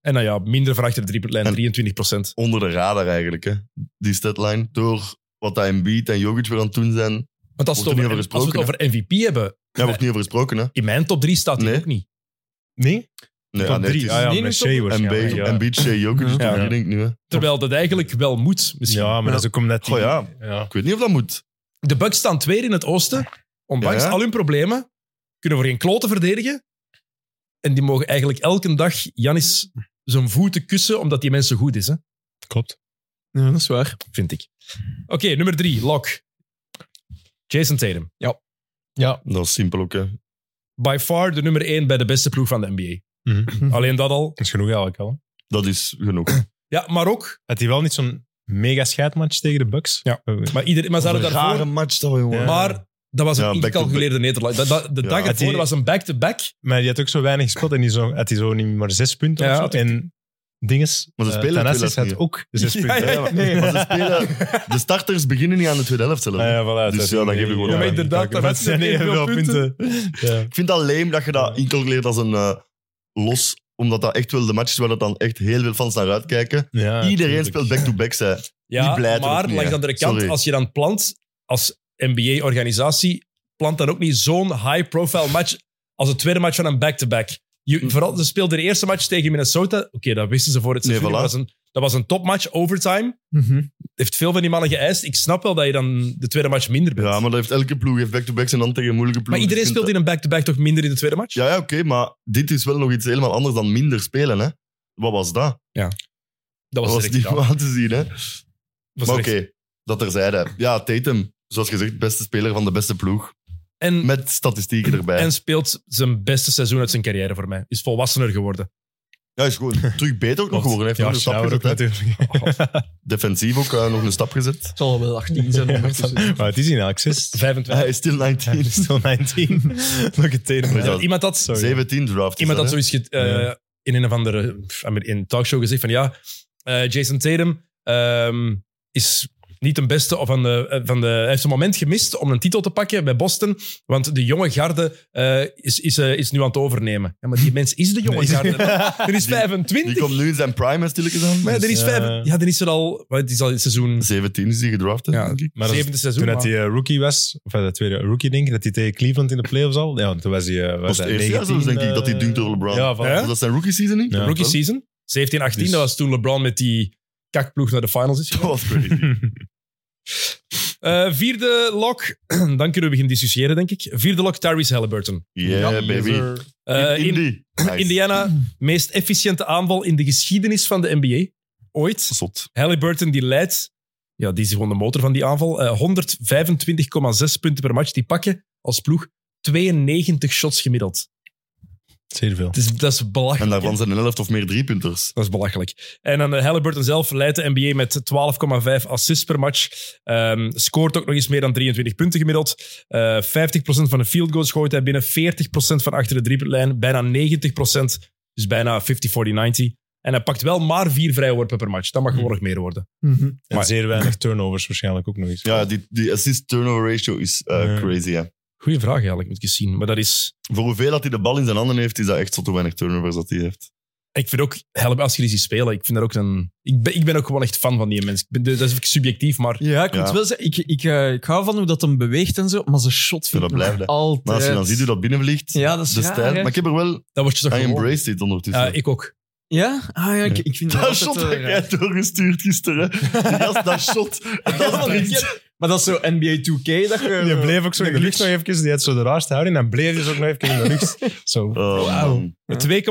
Speaker 1: en nou ja, minder van achter de driepuntlijn,
Speaker 2: En-
Speaker 1: 23%.
Speaker 2: Onder de radar eigenlijk, hè. die deadline. Door wat hij in beat en Jokic weer aan het doen zijn.
Speaker 1: Want als,
Speaker 2: Wordt
Speaker 1: het
Speaker 2: er niet
Speaker 1: over,
Speaker 2: over
Speaker 1: als we het
Speaker 2: gesproken,
Speaker 1: over MVP hebben,
Speaker 2: Daar wordt niet over gesproken, hè?
Speaker 1: in mijn top 3 staat hij
Speaker 2: Nee.
Speaker 1: ook niet.
Speaker 3: Nee?
Speaker 2: Nee,
Speaker 3: Top
Speaker 2: ah, nee, het
Speaker 3: drie.
Speaker 2: is
Speaker 3: Ah ja,
Speaker 4: Nee,
Speaker 3: met
Speaker 4: nu
Speaker 3: Shea
Speaker 2: MB,
Speaker 3: waarschijnlijk, ja.
Speaker 2: Embiid, Shea, Jokic,
Speaker 4: Ja.
Speaker 2: is toch
Speaker 3: Ja.
Speaker 2: die denk ik nu, hè?
Speaker 1: Terwijl dat eigenlijk wel moet, misschien.
Speaker 3: Ja, maar
Speaker 4: Ja.
Speaker 3: dat is ook omdat die...
Speaker 2: Goh, ja.
Speaker 3: ja.
Speaker 2: Ik weet niet of dat moet.
Speaker 1: De Bucks staan tweede in het oosten. Ondanks
Speaker 2: Ja, ja.
Speaker 1: al hun problemen kunnen voor geen kloten verdedigen. En die mogen eigenlijk elke dag Janis zijn voeten kussen, omdat die mensen goed is, hè?
Speaker 3: Klopt.
Speaker 4: Ja, dat is waar.
Speaker 1: vind ik. Oké, nummer drie, Lock. Jason Tatum.
Speaker 2: Dat is simpel ook, hè.
Speaker 1: By far de nummer één bij de beste ploeg van de NBA.
Speaker 3: Mhm.
Speaker 1: Alleen dat al.
Speaker 3: Dat is genoeg eigenlijk al. hè.
Speaker 2: Dat is genoeg.
Speaker 1: Ja, maar ook.
Speaker 3: Had hij wel niet zo'n mega scheidmatch tegen de Bucks? Eh,
Speaker 1: Ja. Maar, iedereen, maar ze hadden daarvoor...
Speaker 2: match dat we,
Speaker 3: Ja.
Speaker 1: Maar dat was een
Speaker 2: Ja, back-to-back.
Speaker 1: ingecalculeerde nederlaag. Dat- dat- de
Speaker 2: Ja.
Speaker 1: dag
Speaker 3: Had
Speaker 1: ervoor
Speaker 3: die-
Speaker 1: was een back-to-back.
Speaker 3: Maar die had ook zo weinig gespeeld en die zo, had hij zo niet maar zes punten
Speaker 1: Ja,
Speaker 3: of zo.
Speaker 1: had
Speaker 3: En dinges,
Speaker 2: Maar ze
Speaker 3: eh,
Speaker 2: spelen
Speaker 3: Thanasis
Speaker 2: twee
Speaker 3: had
Speaker 2: last
Speaker 3: ook zes
Speaker 1: Ja,
Speaker 3: punten.
Speaker 1: ja, ja.
Speaker 3: Ah,
Speaker 2: Nee, maar ze spelen... De starters beginnen niet aan de tweede helft zelf. hè.
Speaker 3: ja, voilà,
Speaker 2: Dus
Speaker 3: dat is
Speaker 2: ja, dan
Speaker 3: niet-
Speaker 2: geef je gewoon
Speaker 1: Ja, maar
Speaker 2: aan.
Speaker 1: inderdaad,
Speaker 3: Maar het
Speaker 1: Thanasis
Speaker 3: zijn
Speaker 1: heeft
Speaker 3: evenveel
Speaker 1: evenveel
Speaker 3: punten. Ja.
Speaker 2: Ik vind dat leem dat je dat
Speaker 3: Ja.
Speaker 2: incalculeert als een eh, los, omdat dat echt wel de match is waar dat dan echt heel veel fans naar uitkijken.
Speaker 3: Ja,
Speaker 2: Iedereen
Speaker 3: tuurlijk.
Speaker 2: speelt back-to-back, zij.
Speaker 1: Ja,
Speaker 2: Die blijft er
Speaker 1: maar
Speaker 2: ook niet,
Speaker 1: langs de
Speaker 2: hè.
Speaker 1: andere kant,
Speaker 2: Sorry.
Speaker 1: als je dan plant, als NBA-organisatie plant dan ook niet zo'n high-profile match als het tweede match van een back-to-back. Je-
Speaker 2: Hm.
Speaker 1: Vooral, ze speelden de eerste match tegen Minnesota. Oké, dat wisten ze voor het
Speaker 2: Nee,
Speaker 1: seizoen.
Speaker 2: voilà.
Speaker 1: dat, was een, dat was een topmatch, overtime.
Speaker 4: Mhm.
Speaker 1: Heeft veel van die mannen geëist. Ik snap wel dat je dan de tweede match minder bent.
Speaker 2: Ja, maar dat heeft elke ploeg heeft back-to-backs en dan tegen moeilijke
Speaker 1: maar
Speaker 2: ploegen.
Speaker 1: iedereen
Speaker 2: Dus je
Speaker 1: speelt
Speaker 2: kunt-
Speaker 1: in een back-to-back toch minder in de tweede match?
Speaker 2: Ja, ja oké, maar dit is wel nog iets helemaal anders dan minder spelen, hè. Wat was dat?
Speaker 1: dat
Speaker 2: Dat
Speaker 1: was,
Speaker 2: was
Speaker 1: direct
Speaker 2: niet
Speaker 1: gedaan.
Speaker 2: om aan te zien, hè.
Speaker 1: Dat was
Speaker 2: Maar
Speaker 1: direct.
Speaker 2: oké, dat terzijde. Ja, Tatum, zoals gezegd, beste speler van de beste ploeg.
Speaker 1: En
Speaker 2: Met statistieken erbij.
Speaker 1: En speelt zijn beste seizoen uit zijn carrière voor mij. Is volwassener geworden.
Speaker 2: Ja, is gewoon terug beter ook nog geworden. Heeft nog
Speaker 3: Ja,
Speaker 2: een stap
Speaker 3: Schnauwer ook
Speaker 2: gezet, hè.
Speaker 3: natuurlijk.
Speaker 2: Defensief ook eh, nog een stap gezet.
Speaker 4: Het zal wel 18 zijn. ondertussen.
Speaker 3: Maar het is in Axis.
Speaker 1: 25.
Speaker 2: Hij is still 19.
Speaker 3: Hij is still 19. Nog een tenen.
Speaker 2: Ja.
Speaker 3: Ja.
Speaker 1: Iemand had,
Speaker 3: Sorry.
Speaker 2: 17 draft. is
Speaker 1: iemand
Speaker 2: dat,
Speaker 1: had
Speaker 2: hè.
Speaker 1: zoiets ge- eh,
Speaker 3: Ja.
Speaker 1: in een of andere pff, in een talkshow gezegd van ja, eh, Jason Tatum ehm, is niet de beste of van de, eh, van de... Hij heeft een moment gemist om een titel te pakken bij Boston, want de jonge garde eh, is, is, eh, is nu aan het overnemen. Ja, maar die mens is de jonge
Speaker 3: Nee.
Speaker 1: garde. Er is
Speaker 2: Die-
Speaker 1: 25.
Speaker 2: Die komt nu in zijn prime, hè, stilletjes aan.
Speaker 1: maar ja, er is
Speaker 3: Dus,
Speaker 1: vijf,
Speaker 3: eh,
Speaker 1: ja, er is er al... wat, Het is al in het seizoen...
Speaker 2: 17 is die gedraft, hè,
Speaker 1: Ja.
Speaker 2: denk ik.
Speaker 3: Maar dat is-
Speaker 1: zevende seizoen.
Speaker 3: Toen dat
Speaker 1: maar-
Speaker 3: hij eh, rookie was, of eh, dat tweede rookie denk ik, dat hij tegen Cleveland in de playoffs al, ja, toen was hij, eh,
Speaker 2: Was
Speaker 3: was
Speaker 2: het
Speaker 3: hij
Speaker 2: eerste jaar
Speaker 3: 19.
Speaker 2: zelfs, denk ik,
Speaker 3: eh,
Speaker 2: dat hij dunkt over LeBron.
Speaker 3: Ja, van,
Speaker 1: Ja?
Speaker 2: Was dat zijn rookie season niet?
Speaker 3: Ja.
Speaker 1: rookie season. 17, 18,
Speaker 3: Dus-
Speaker 1: dat was toen LeBron met die kakploeg naar de finals is.
Speaker 2: Dat was crazy.
Speaker 1: Eh, vierde lock, dan kunnen we beginnen discussiëren, denk ik. Vierde lock, Tyrese Halliburton.
Speaker 2: Yeah, baby.
Speaker 1: Eh,
Speaker 2: in,
Speaker 1: in,
Speaker 2: Indy. Nice.
Speaker 1: Indiana, meest efficiënte aanval in de geschiedenis van de NBA. Ooit.
Speaker 2: Zot.
Speaker 1: Halliburton die leidt, ja, die is gewoon de motor van die aanval. Eh, 125,6 punten per match. Die pakken als ploeg 92 shots gemiddeld.
Speaker 3: Zeer veel.
Speaker 1: Het is, dat is belachelijk.
Speaker 2: En daarvan
Speaker 1: hè.
Speaker 2: zijn een helft of meer driepunters.
Speaker 1: Dat is belachelijk. En dan eh, Halliburton zelf leidt de NBA met 12,5 assists per match. Ehm, scoort ook nog eens meer dan 23 punten gemiddeld. Eh 50% van de field goals gooit hij binnen. 40% van achter de driepuntlijn. Bijna 90%. Dus bijna 50-40-90. En hij pakt wel maar vier vrijworpen per match. Dat mag gewoon nog meer worden.
Speaker 4: Mhm.
Speaker 3: En
Speaker 1: Maar-
Speaker 3: zeer weinig turnovers waarschijnlijk ook nog eens.
Speaker 2: Ja, die, die assist-turnover ratio is eh,
Speaker 3: Ja.
Speaker 2: crazy, hè.
Speaker 1: Goeie vraag eigenlijk, moet ik eens zien. Maar dat is...
Speaker 2: Voor hoeveel dat hij de bal in zijn handen heeft, is dat echt zo te weinig turnovers dat hij heeft.
Speaker 1: Ik vind ook, Halliburton, als je die ziet spelen, ik vind dat ook een... Ik ben, ik ben ook gewoon echt fan van die mens. Ik ben- dat is subjectief, maar...
Speaker 4: Ja, ik moet
Speaker 2: Ja.
Speaker 4: wel zeggen, ik, ik, eh, ik hou van hoe dat hem beweegt en zo, maar zijn shot
Speaker 2: Ja,
Speaker 4: vind
Speaker 2: dat
Speaker 4: ik nog
Speaker 2: blijft, hè.
Speaker 4: altijd...
Speaker 2: Maar als je dan ziet hoe dat binnenvliegt,
Speaker 4: Ja, dat is
Speaker 2: de
Speaker 4: raar,
Speaker 2: stijl.
Speaker 4: hè.
Speaker 2: Maar ik heb er wel...
Speaker 1: Dat wordt je toch
Speaker 2: I
Speaker 1: gewoon...
Speaker 2: embraced dit ondertussen.
Speaker 1: Ja, ik ook.
Speaker 4: Ja? Ah ja, ik, ik vind
Speaker 2: dat
Speaker 4: altijd,
Speaker 2: shot
Speaker 4: eh,
Speaker 2: dat
Speaker 4: raar.
Speaker 2: jij doorgestuurd gisteren. Die gast, dat shot.
Speaker 4: Ja,
Speaker 2: Dat
Speaker 4: maar ik
Speaker 2: brengt...
Speaker 4: heb- Maar dat is zo NBA 2K, dat je...
Speaker 3: Die bleef ook zo in de lucht nog even. Die had zo de raarste houding. En dan bleef hij zo ook nog even in de lucht. Zo.
Speaker 2: Oh, man.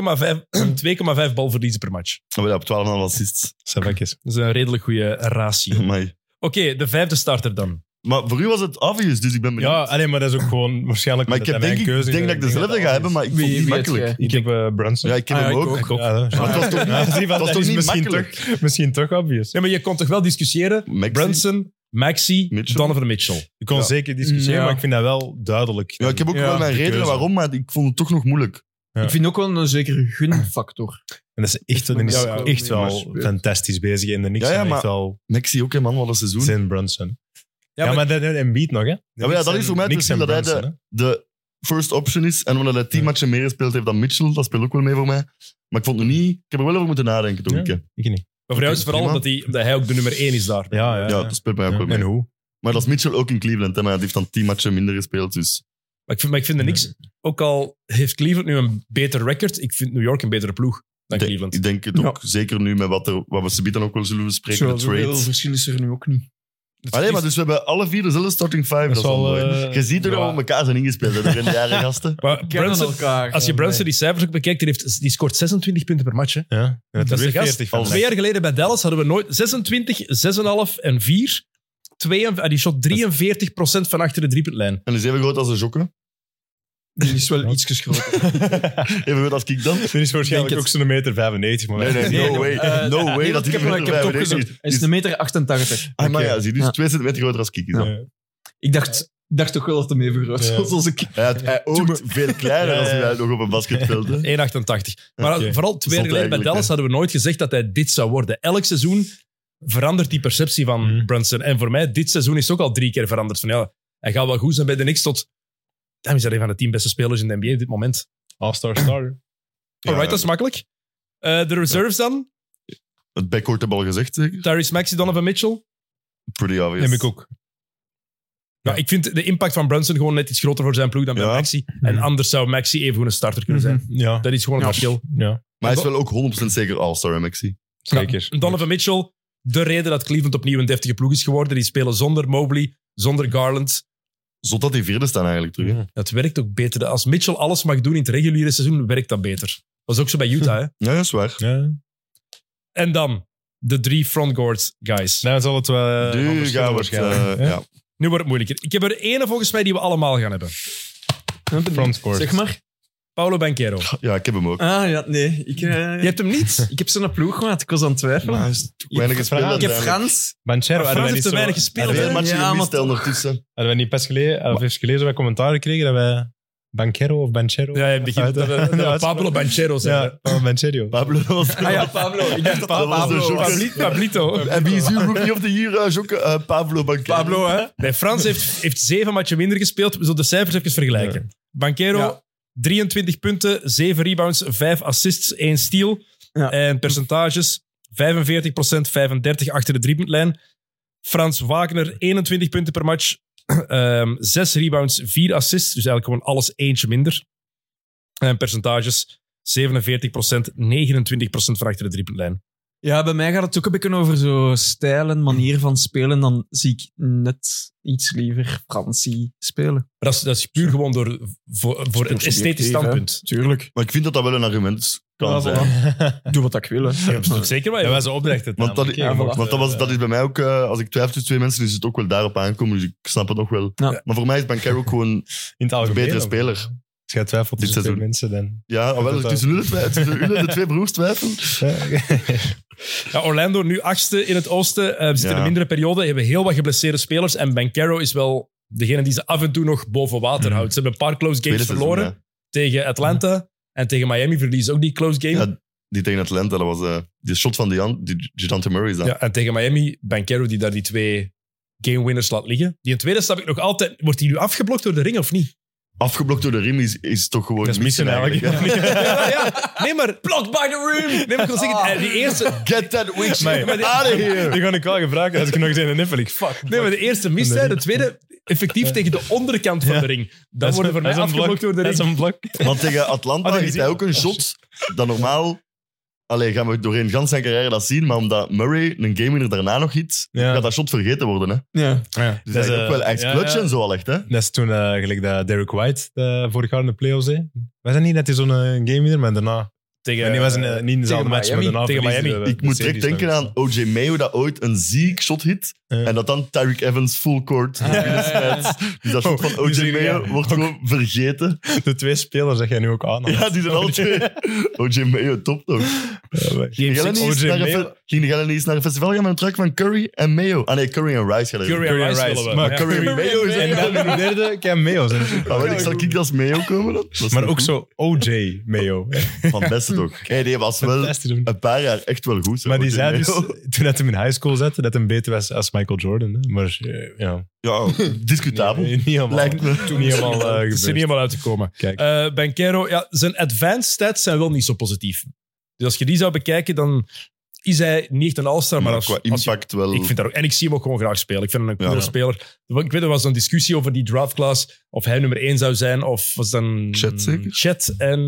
Speaker 1: 2,5 2,5 balverliezen per match.
Speaker 2: Oh, ja, op 12,5 assists.
Speaker 3: Savakjes.
Speaker 1: Dat is een redelijk goede ratio. Oké,
Speaker 2: Amai.
Speaker 1: de vijfde starter dan.
Speaker 2: Maar voor u was het obvious, dus ik ben benieuwd.
Speaker 3: Ja, alleen maar dat is ook gewoon waarschijnlijk.
Speaker 2: maar ik
Speaker 3: dat
Speaker 2: heb,
Speaker 3: dat
Speaker 2: denk,
Speaker 3: mijn
Speaker 2: ik,
Speaker 3: keuze is.
Speaker 2: denk dat ik dezelfde ga hebben, maar ik
Speaker 4: Wie-
Speaker 2: vond die
Speaker 4: wie heb
Speaker 2: makkelijk.
Speaker 3: Ik heb eh, Brunson.
Speaker 2: Ja, ik heb
Speaker 4: Ah,
Speaker 2: hem
Speaker 4: ja, ik
Speaker 2: ook.
Speaker 4: ook.
Speaker 3: Ja, dat is-
Speaker 2: Maar het was toch,
Speaker 3: Ja, zie,
Speaker 2: het was
Speaker 3: dat
Speaker 2: toch
Speaker 3: is
Speaker 2: niet
Speaker 3: misschien
Speaker 2: makkelijk?
Speaker 3: toch, misschien toch obvious.
Speaker 1: Ja, maar je kon toch wel discussiëren?
Speaker 2: Maxi?
Speaker 1: Brunson, Maxi,
Speaker 2: Mitchell.
Speaker 1: Donovan Mitchell.
Speaker 3: Je kon
Speaker 2: Ja.
Speaker 3: zeker discussiëren,
Speaker 4: Ja.
Speaker 3: maar ik vind dat wel duidelijk.
Speaker 2: Ja, ik heb ook
Speaker 4: Ja,
Speaker 2: wel mijn
Speaker 3: de
Speaker 2: redenen
Speaker 3: keuze.
Speaker 2: waarom, maar ik vond het toch nog moeilijk.
Speaker 3: Ja.
Speaker 4: Ik vind ook wel een zekere gunfactor.
Speaker 3: En dat is echt, dat is
Speaker 1: Ja, ja.
Speaker 3: echt
Speaker 4: Maar
Speaker 3: wel
Speaker 4: speelt.
Speaker 3: fantastisch bezig. En de Knicks
Speaker 2: Ja, ja,
Speaker 3: zijn echt
Speaker 2: maar-
Speaker 3: wel
Speaker 2: Maxi ook, hè, man, wat een seizoen.
Speaker 3: Zin Brunson. Ja,
Speaker 1: maar-
Speaker 3: maar, dat dat Embiid nog, hè? De
Speaker 2: ja,
Speaker 3: Knicks
Speaker 2: dat is
Speaker 3: en-
Speaker 2: voor mij het
Speaker 3: Knicks en
Speaker 2: verschil dat hij
Speaker 3: Brunson,
Speaker 2: De first option is, en omdat hij tien
Speaker 3: Ja.
Speaker 2: matchen meer gespeeld heeft dan Mitchell, dat speelt ook wel mee voor mij. Maar ik vond het niet... Ik heb er wel over moeten nadenken, toch?
Speaker 3: Ja.
Speaker 2: een keer.
Speaker 3: hè? Ik niet.
Speaker 1: Maar voor jou is het vooral
Speaker 2: prima.
Speaker 1: omdat hij, omdat hij ook de nummer één is daar.
Speaker 3: Ja, ja.
Speaker 2: Ja,
Speaker 3: ja.
Speaker 2: dat speelt mij ook wel
Speaker 3: Ja.
Speaker 2: mee.
Speaker 3: En hoe?
Speaker 2: Maar dat is Mitchell ook in Cleveland, hè, maar die heeft dan tien matchen minder gespeeld, dus...
Speaker 1: Maar ik vind, maar ik vind er niks... Ook al heeft Cleveland nu een beter record, ik vind New York een betere ploeg dan
Speaker 2: Ik denk-
Speaker 1: Cleveland.
Speaker 2: Ik denk het ook, zeker nu met wat, er, wat we subiet dan ook wel zullen bespreken, de
Speaker 4: zoveel
Speaker 2: trades.
Speaker 4: verschil is er nu ook niet.
Speaker 2: Allee, maar dus we hebben alle vier dezelfde starting five. Dat is wel
Speaker 3: wel,
Speaker 2: mooi.
Speaker 3: eh,
Speaker 2: Je ziet er
Speaker 3: ja.
Speaker 2: wel op elkaar zijn ingespeeld hè, door in de jaren gasten.
Speaker 1: Maar Brunson,
Speaker 4: elkaar.
Speaker 1: als je Brunson die cijfers ook bekijkt, die, heeft, die scoort 26 punten per match. Hè.
Speaker 3: Ja. En
Speaker 1: Dat is de
Speaker 3: weer
Speaker 1: gast.
Speaker 3: 40 van
Speaker 1: Al
Speaker 3: de
Speaker 1: twee jaar geleden bij Dallas hadden we nooit 26, 6,5 en 4. Twee, en- ah, die shot 43% van achter de driepuntlijn.
Speaker 2: En is even groot als een jokken.
Speaker 4: Die is wel iets geschrokken.
Speaker 2: Even groot als ik dan.
Speaker 3: Knicks. Er is waarschijnlijk
Speaker 4: Denk
Speaker 3: ook
Speaker 4: het.
Speaker 3: zo'n meter 95, maar
Speaker 2: Nee, nee,
Speaker 4: Nee,
Speaker 2: no
Speaker 4: joh.
Speaker 2: way.
Speaker 4: Eh,
Speaker 2: no way dat
Speaker 4: nee, want
Speaker 2: die
Speaker 4: ik heb hem- ik heb hem opgezocht. Hij is een meter 88.
Speaker 2: Ah, maar ja, zie, dus
Speaker 4: Ja.
Speaker 2: twee centimeter groter als Kiki.
Speaker 3: Ja.
Speaker 2: dan.
Speaker 4: Ik dacht, ik dacht toch wel dat hem even groot
Speaker 3: Ja.
Speaker 4: was als ik.
Speaker 2: Hij, had- hij oogt veel kleiner als hij
Speaker 3: Ja, ja.
Speaker 2: nog op een basketveld. hè.
Speaker 1: 1,88. Maar
Speaker 3: Oké.
Speaker 1: vooral twee jaar geleden
Speaker 2: Zot
Speaker 1: bij
Speaker 2: eigenlijk,
Speaker 1: Dallas
Speaker 2: hè.
Speaker 1: hadden we nooit gezegd dat hij dit zou worden. Elk seizoen verandert die perceptie van
Speaker 3: Mhm.
Speaker 1: Brunson. En voor mij, dit seizoen is het ook al drie keer veranderd. Van, ja, hij gaat wel goed zijn bij de Knicks tot... Damn, is dat een van de tien beste spelers in de NBA op dit moment.
Speaker 3: All-star star.
Speaker 2: Ja,
Speaker 1: Alright, dat is makkelijk. Eh, de reserves dan.
Speaker 2: Het backcourt hebben we al gezegd, zeker?
Speaker 1: Tyrese Maxey, Donovan Mitchell.
Speaker 2: Pretty obvious.
Speaker 3: Neem ik ook.
Speaker 1: Nou, ik vind de impact van Brunson gewoon net iets groter voor zijn ploeg dan bij
Speaker 2: Ja.
Speaker 1: Maxi. En anders zou Maxi even gewoon een starter kunnen zijn.
Speaker 3: Ja,
Speaker 1: Dat is gewoon een
Speaker 4: Ja.
Speaker 1: verschil.
Speaker 3: ja,
Speaker 2: Maar hij is wel ook 100% zeker All-Star, hè, Maxi.
Speaker 3: zeker.
Speaker 1: Ja, Donovan Mitchell, de reden dat Cleveland opnieuw een deftige ploeg is geworden. Die spelen zonder Mobley, zonder Garland.
Speaker 2: Zot dat die vierde staan eigenlijk terug. hè.
Speaker 1: Dat werkt ook beter. Als Mitchell alles mag doen in het reguliere seizoen, werkt dat beter. Was ook zo bij Utah, hè?
Speaker 2: Ja, dat is waar.
Speaker 3: Ja.
Speaker 1: En dan de drie frontcourt guys.
Speaker 3: Nou, zal het wel... eh,
Speaker 2: Nu
Speaker 3: anders
Speaker 2: gaan we het...
Speaker 3: waarschijnlijk,
Speaker 2: eh,
Speaker 3: hè?
Speaker 2: ja.
Speaker 1: Nu wordt het moeilijker. Ik heb er ene volgens mij die we allemaal gaan hebben.
Speaker 3: Frontcourt.
Speaker 4: Zeg maar.
Speaker 1: Paolo Banquero.
Speaker 2: ja, ik heb hem ook.
Speaker 4: Ah ja, nee. Ik, eh,
Speaker 1: Je hebt hem niet.
Speaker 4: ik heb zo'n ploeg, maat. Ik was aan het twijfelen.
Speaker 2: Maar hij is toch
Speaker 4: Ik-
Speaker 2: weinig gespeeld.
Speaker 4: ik heb
Speaker 2: uiteindelijk.
Speaker 4: Frans.
Speaker 3: Banchero,
Speaker 1: Maar
Speaker 3: hadden
Speaker 1: Frans
Speaker 3: wij niet
Speaker 1: heeft te
Speaker 3: zo-
Speaker 1: weinig gespeeld,
Speaker 3: hadden wij-
Speaker 2: Twee matchen
Speaker 4: Ja, maar-
Speaker 2: gemist, tel ertussen.
Speaker 3: Hadden we niet pas geleden, eh, of even geleden, zo wat commentaar gekregen dat wij Banchero of Banchero...
Speaker 1: Ja, je begint dat we- dat we Pablo Banchero zijn.
Speaker 3: Ja, oh, Banchero.
Speaker 2: Pablo was...
Speaker 4: Ah ja, Pablo. Ik dacht dat
Speaker 2: Dat was de
Speaker 4: Pablo
Speaker 2: joker.
Speaker 4: was.
Speaker 1: Pabli- Pablito.
Speaker 2: En wie is uw rookie of the year, eh, Jokke? Eh, Pablo Banquero.
Speaker 4: Pablo, hè?
Speaker 1: Nee, Frans heeft, heeft zeven matchen minder gespeeld. We zullen de cijfers even vergelijken. Banquero,
Speaker 4: Ja.
Speaker 1: 23 punten, 7 rebounds, 5 assists, 1 steal.
Speaker 4: Ja.
Speaker 1: En percentages, 45 35 achter de driepuntlijn. Frans Wagner, 21 punten per match, ehm 6 rebounds, 4 assists. Dus eigenlijk gewoon alles eentje minder. En percentages, 47 29 van achter de driepuntlijn.
Speaker 4: Ja, bij mij gaat het ook een beetje over zo stijl en manier van spelen. Dan zie ik net iets liever Fransie spelen.
Speaker 1: Maar dat is, dat is puur gewoon door, voor, voor het esthetisch
Speaker 4: subjectief, hè.
Speaker 1: standpunt.
Speaker 4: Tuurlijk.
Speaker 2: Maar ik vind dat dat wel een argument kan
Speaker 4: Ja, voilà.
Speaker 2: zijn.
Speaker 4: Doe wat ik wil. hè.
Speaker 1: Dat is toch zeker waar.
Speaker 3: Dat
Speaker 1: joh?
Speaker 3: was de opdracht. het
Speaker 2: Want dat,
Speaker 3: namelijk,
Speaker 4: ja,
Speaker 3: hè. Je
Speaker 4: voilà.
Speaker 3: mocht,
Speaker 2: Want dat, was,
Speaker 3: eh,
Speaker 2: dat is bij mij ook, eh, als ik twijfel tussen twee mensen, is het ook wel daarop aankomen. Dus ik snap het nog wel.
Speaker 4: Ja.
Speaker 2: Maar voor mij is Banquero ook gewoon
Speaker 3: in het
Speaker 2: een
Speaker 3: algemeen.
Speaker 2: betere
Speaker 3: of-
Speaker 2: speler.
Speaker 3: Als jij twijfelt
Speaker 2: Dit
Speaker 3: tussen twee
Speaker 2: seizoen.
Speaker 3: mensen, dan...
Speaker 2: Ja, al wel,
Speaker 3: Dat- eh,
Speaker 2: tussen jullie twee- tussen jullie, de twee broers twijfel.
Speaker 1: Ja, Orlando nu achtste in het oosten. Eh, we zitten in
Speaker 2: Ja.
Speaker 1: een mindere periode. Hebben heel wat geblesseerde spelers. En Bankero is wel degene die ze af en toe nog boven water houdt. Ze hebben een paar close games
Speaker 2: Tweede seizoen,
Speaker 1: verloren.
Speaker 2: ja.
Speaker 1: Tegen Atlanta en tegen Miami verliezen ze ook die close game. Ja.
Speaker 2: Ja, die tegen Atlanta, dat was eh, die shot van Jan, die Gigante Murray. is dat.
Speaker 1: en tegen Miami, Bankero die daar die twee game winners laat liggen. Die in tweede snap ik nog altijd. Wordt die nu afgeblokt door de ring of niet?
Speaker 2: Afgeblokt door de rim is, is toch gewoon
Speaker 3: Dat is
Speaker 2: missen
Speaker 3: missen
Speaker 2: eigenlijk.
Speaker 3: eigenlijk.
Speaker 2: ja.
Speaker 1: ja, ja. Nee, maar.
Speaker 4: Blocked by the room!
Speaker 1: Nee, maar ik wil zeggen,
Speaker 4: Ah.
Speaker 1: eh, die eerste,
Speaker 2: Get that witch
Speaker 3: Nee.
Speaker 2: out of here!
Speaker 3: Die ga ik wel gevraagd als ik nog eens in de niffel. Ik fuck.
Speaker 1: nee, maar de eerste mist hij, de tweede effectief tegen de onderkant van
Speaker 3: Ja.
Speaker 1: de ring. Dan worden voor mij afgeblokt door de
Speaker 3: Dat
Speaker 1: ring.
Speaker 3: is een blok.
Speaker 2: Want tegen Atlanta
Speaker 3: Ah, dat
Speaker 2: heeft hij
Speaker 3: gezien.
Speaker 2: ook een shot dat normaal... Allee, gaan we doorheen gans zijn carrière dat zien, maar omdat Murray een game winner daarna nog hit,
Speaker 3: Ja.
Speaker 2: gaat dat shot vergeten worden. Hè.
Speaker 4: Ja.
Speaker 3: Ja.
Speaker 2: Dus dat is ook wel echt
Speaker 3: eh, ja,
Speaker 2: clutch
Speaker 3: ja.
Speaker 2: en zo al echt. Hè.
Speaker 3: Dat is toen eh, gelijk dat Derek White eh, vorig jaar in de playoffs deed. Was dat niet net zo'n eh, game winner, maar daarna...
Speaker 1: Tegen,
Speaker 3: en die was in, eh, niet in dezelfde
Speaker 4: tegen
Speaker 3: match,
Speaker 4: Miami.
Speaker 3: maar daarna
Speaker 1: Tegen
Speaker 3: verliezen
Speaker 1: Miami.
Speaker 3: de-
Speaker 2: Ik
Speaker 3: de
Speaker 2: moet
Speaker 3: series
Speaker 2: direct denken
Speaker 3: nog.
Speaker 2: aan OJ Mayo dat ooit een ziek shot hit
Speaker 3: Ja. Ah,
Speaker 2: en dat dan Tyreek Evans full court binnensmijt. Dus dat shot
Speaker 3: Oh,
Speaker 2: van
Speaker 3: die
Speaker 2: OJ
Speaker 3: zien we, ja.
Speaker 2: Mayo wordt gewoon vergeten.
Speaker 3: De twee spelers dat jij nu ook aan
Speaker 2: Ja, die zijn alle twee. OJ Mayo, oh, top toch? Ging jij niet eens
Speaker 3: OJ
Speaker 2: naar een
Speaker 3: Mayo.
Speaker 2: fe- ging jij niet eens naar een festival gaan met een truck van Curry en Mayo? Ah nee, Curry en Rice. gaan er-
Speaker 1: Curry en
Speaker 3: Curry
Speaker 1: Rice
Speaker 3: Rice.
Speaker 1: willen we.
Speaker 3: Maar
Speaker 1: Ja.
Speaker 2: Curry en Mayo is
Speaker 3: En
Speaker 2: echt-
Speaker 3: dan de derde, Cam Mayo. zijn-
Speaker 2: Ah, weet ik, zal ik als Mayo komen dan? Dat is
Speaker 3: Maar
Speaker 2: toch
Speaker 3: ook
Speaker 2: goed?
Speaker 3: zo OJ Mayo.
Speaker 2: Van beste toch? Hey, die was wel
Speaker 3: Fantastisch. om-
Speaker 2: een paar jaar echt wel goed. hè,
Speaker 3: Maar die
Speaker 2: O.J.
Speaker 3: zei dus,
Speaker 2: Mayo.
Speaker 3: toen dat hem in high school zette, dat hem beter was als Michael Jordan. hè. Maar eh, ja,
Speaker 2: Ja, discutabel.
Speaker 3: niet helemaal.
Speaker 2: Lijkt me.
Speaker 3: Toen niet helemaal eh,
Speaker 1: Het is er niet
Speaker 3: gebeurd.
Speaker 1: helemaal uit te komen.
Speaker 3: Kijk.
Speaker 1: Eh Banquero, ja, zijn advanced stats zijn wel niet zo positief. Dus als je die zou bekijken, dan is hij niet echt een all-star. Maar,
Speaker 2: Maar
Speaker 1: als,
Speaker 2: qua
Speaker 1: als je-
Speaker 2: impact wel...
Speaker 1: ik vind dat ook, en ik zie hem ook gewoon graag spelen. Ik vind hem een coole
Speaker 2: Ja.
Speaker 1: speler. Ik weet, er was een discussie over die draftclass. Of hij nummer één zou zijn, of was dan...
Speaker 2: Chet zeker?
Speaker 1: Chet en...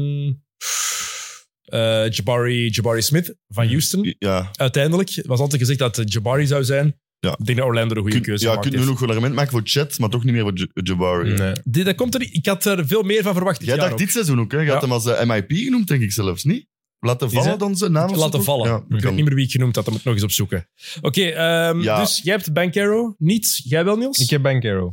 Speaker 1: eh, Jabari, Jabari Smith van Houston.
Speaker 2: Ja,
Speaker 1: Uiteindelijk was altijd gezegd dat eh, Jabari zou zijn.
Speaker 2: Ja.
Speaker 1: Ik denk dat Orlando een goede
Speaker 2: Kun-
Speaker 1: keuze
Speaker 2: ja,
Speaker 1: gemaakt
Speaker 2: kun je
Speaker 1: heeft.
Speaker 2: nog een argument maken voor Chet, maar toch niet meer voor J- Jabari.
Speaker 3: Nee.
Speaker 1: Dit- dat komt er, niet- ik had er veel meer van verwacht. dit
Speaker 2: Jij
Speaker 1: jaar
Speaker 2: dacht
Speaker 1: ook.
Speaker 2: dit seizoen ook, hè? Je had
Speaker 1: Ja.
Speaker 2: hem als eh, MIP genoemd, denk ik zelfs, niet? Laten
Speaker 3: Is
Speaker 2: vallen
Speaker 3: het?
Speaker 2: dan zijn naam? of zo
Speaker 1: laten
Speaker 2: toch?
Speaker 1: vallen.
Speaker 2: Ja,
Speaker 1: ik weet
Speaker 2: kan.
Speaker 1: niet meer wie ik genoemd had, dat moet ik nog eens opzoeken. Oké, ehm,
Speaker 2: Ja.
Speaker 1: dus jij hebt Bankero niet, jij wel Niels?
Speaker 3: Ik heb Bankero.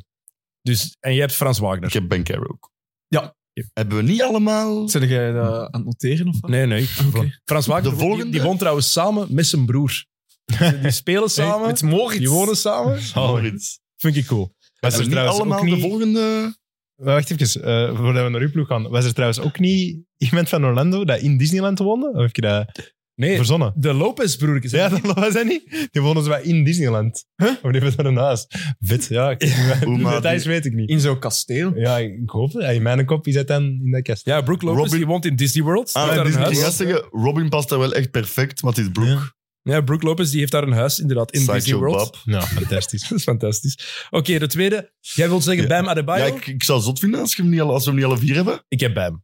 Speaker 1: dus, en jij hebt Frans Wagner.
Speaker 2: Ik heb Ben Carey ook.
Speaker 4: Ja.
Speaker 2: Hebben we niet allemaal...
Speaker 4: Zijn jij dat Eh, aan het noteren of wat?
Speaker 1: Nee, nee. ik-
Speaker 4: Oké.
Speaker 1: Frans Wagner,
Speaker 2: De
Speaker 1: die-
Speaker 2: volgende-
Speaker 1: die, woont trouwens samen met zijn broer. Die die spelen samen,
Speaker 3: Hey, Moritz.
Speaker 1: die Oh. wonen samen.
Speaker 2: Moritz.
Speaker 1: Vind ik cool.
Speaker 3: Was
Speaker 2: Hebben
Speaker 3: er
Speaker 2: we niet
Speaker 3: trouwens
Speaker 2: allemaal
Speaker 3: ook niet...
Speaker 2: de volgende...
Speaker 3: Wacht even, eh, voordat we naar uw ploeg gaan. Was er trouwens ook niet iemand van Orlando dat in Disneyland woonde? Of heb je dat
Speaker 1: Nee,
Speaker 3: verzonnen?
Speaker 1: de Lopez-broertjes.
Speaker 3: Ja, dat was dat niet. Die wonen ze wel in Disneyland. Of die hebben daar een huis. Vet, ja. Ik,
Speaker 2: Hoe
Speaker 3: de
Speaker 2: maar
Speaker 3: details
Speaker 2: die-
Speaker 3: weet ik niet.
Speaker 4: In zo'n kasteel.
Speaker 3: Ja, ik hoop het. Ja, In mijn kop is dat dan in dat kast.
Speaker 1: Ja, Brooke Lopez,
Speaker 2: Robin-
Speaker 1: die woont in Disney World.
Speaker 2: Ah,
Speaker 1: Heeft daar
Speaker 2: dus
Speaker 1: een
Speaker 2: ik
Speaker 1: huis.
Speaker 2: ga zeggen, Robin past daar wel echt perfect, want die is broek.
Speaker 1: Ja, Brooke Lopez die heeft daar een huis, inderdaad, in Disney
Speaker 2: Sideshow
Speaker 1: World.
Speaker 2: Bob.
Speaker 3: Nou, fantastisch.
Speaker 1: Dat is fantastisch. Oké, de tweede. Jij wilt zeggen
Speaker 2: Ja.
Speaker 1: Bam Adebayo?
Speaker 2: Ja, ik, ik zou het zot vinden als, je hem niet al, als we hem niet alle vier hebben.
Speaker 1: ik heb Bam.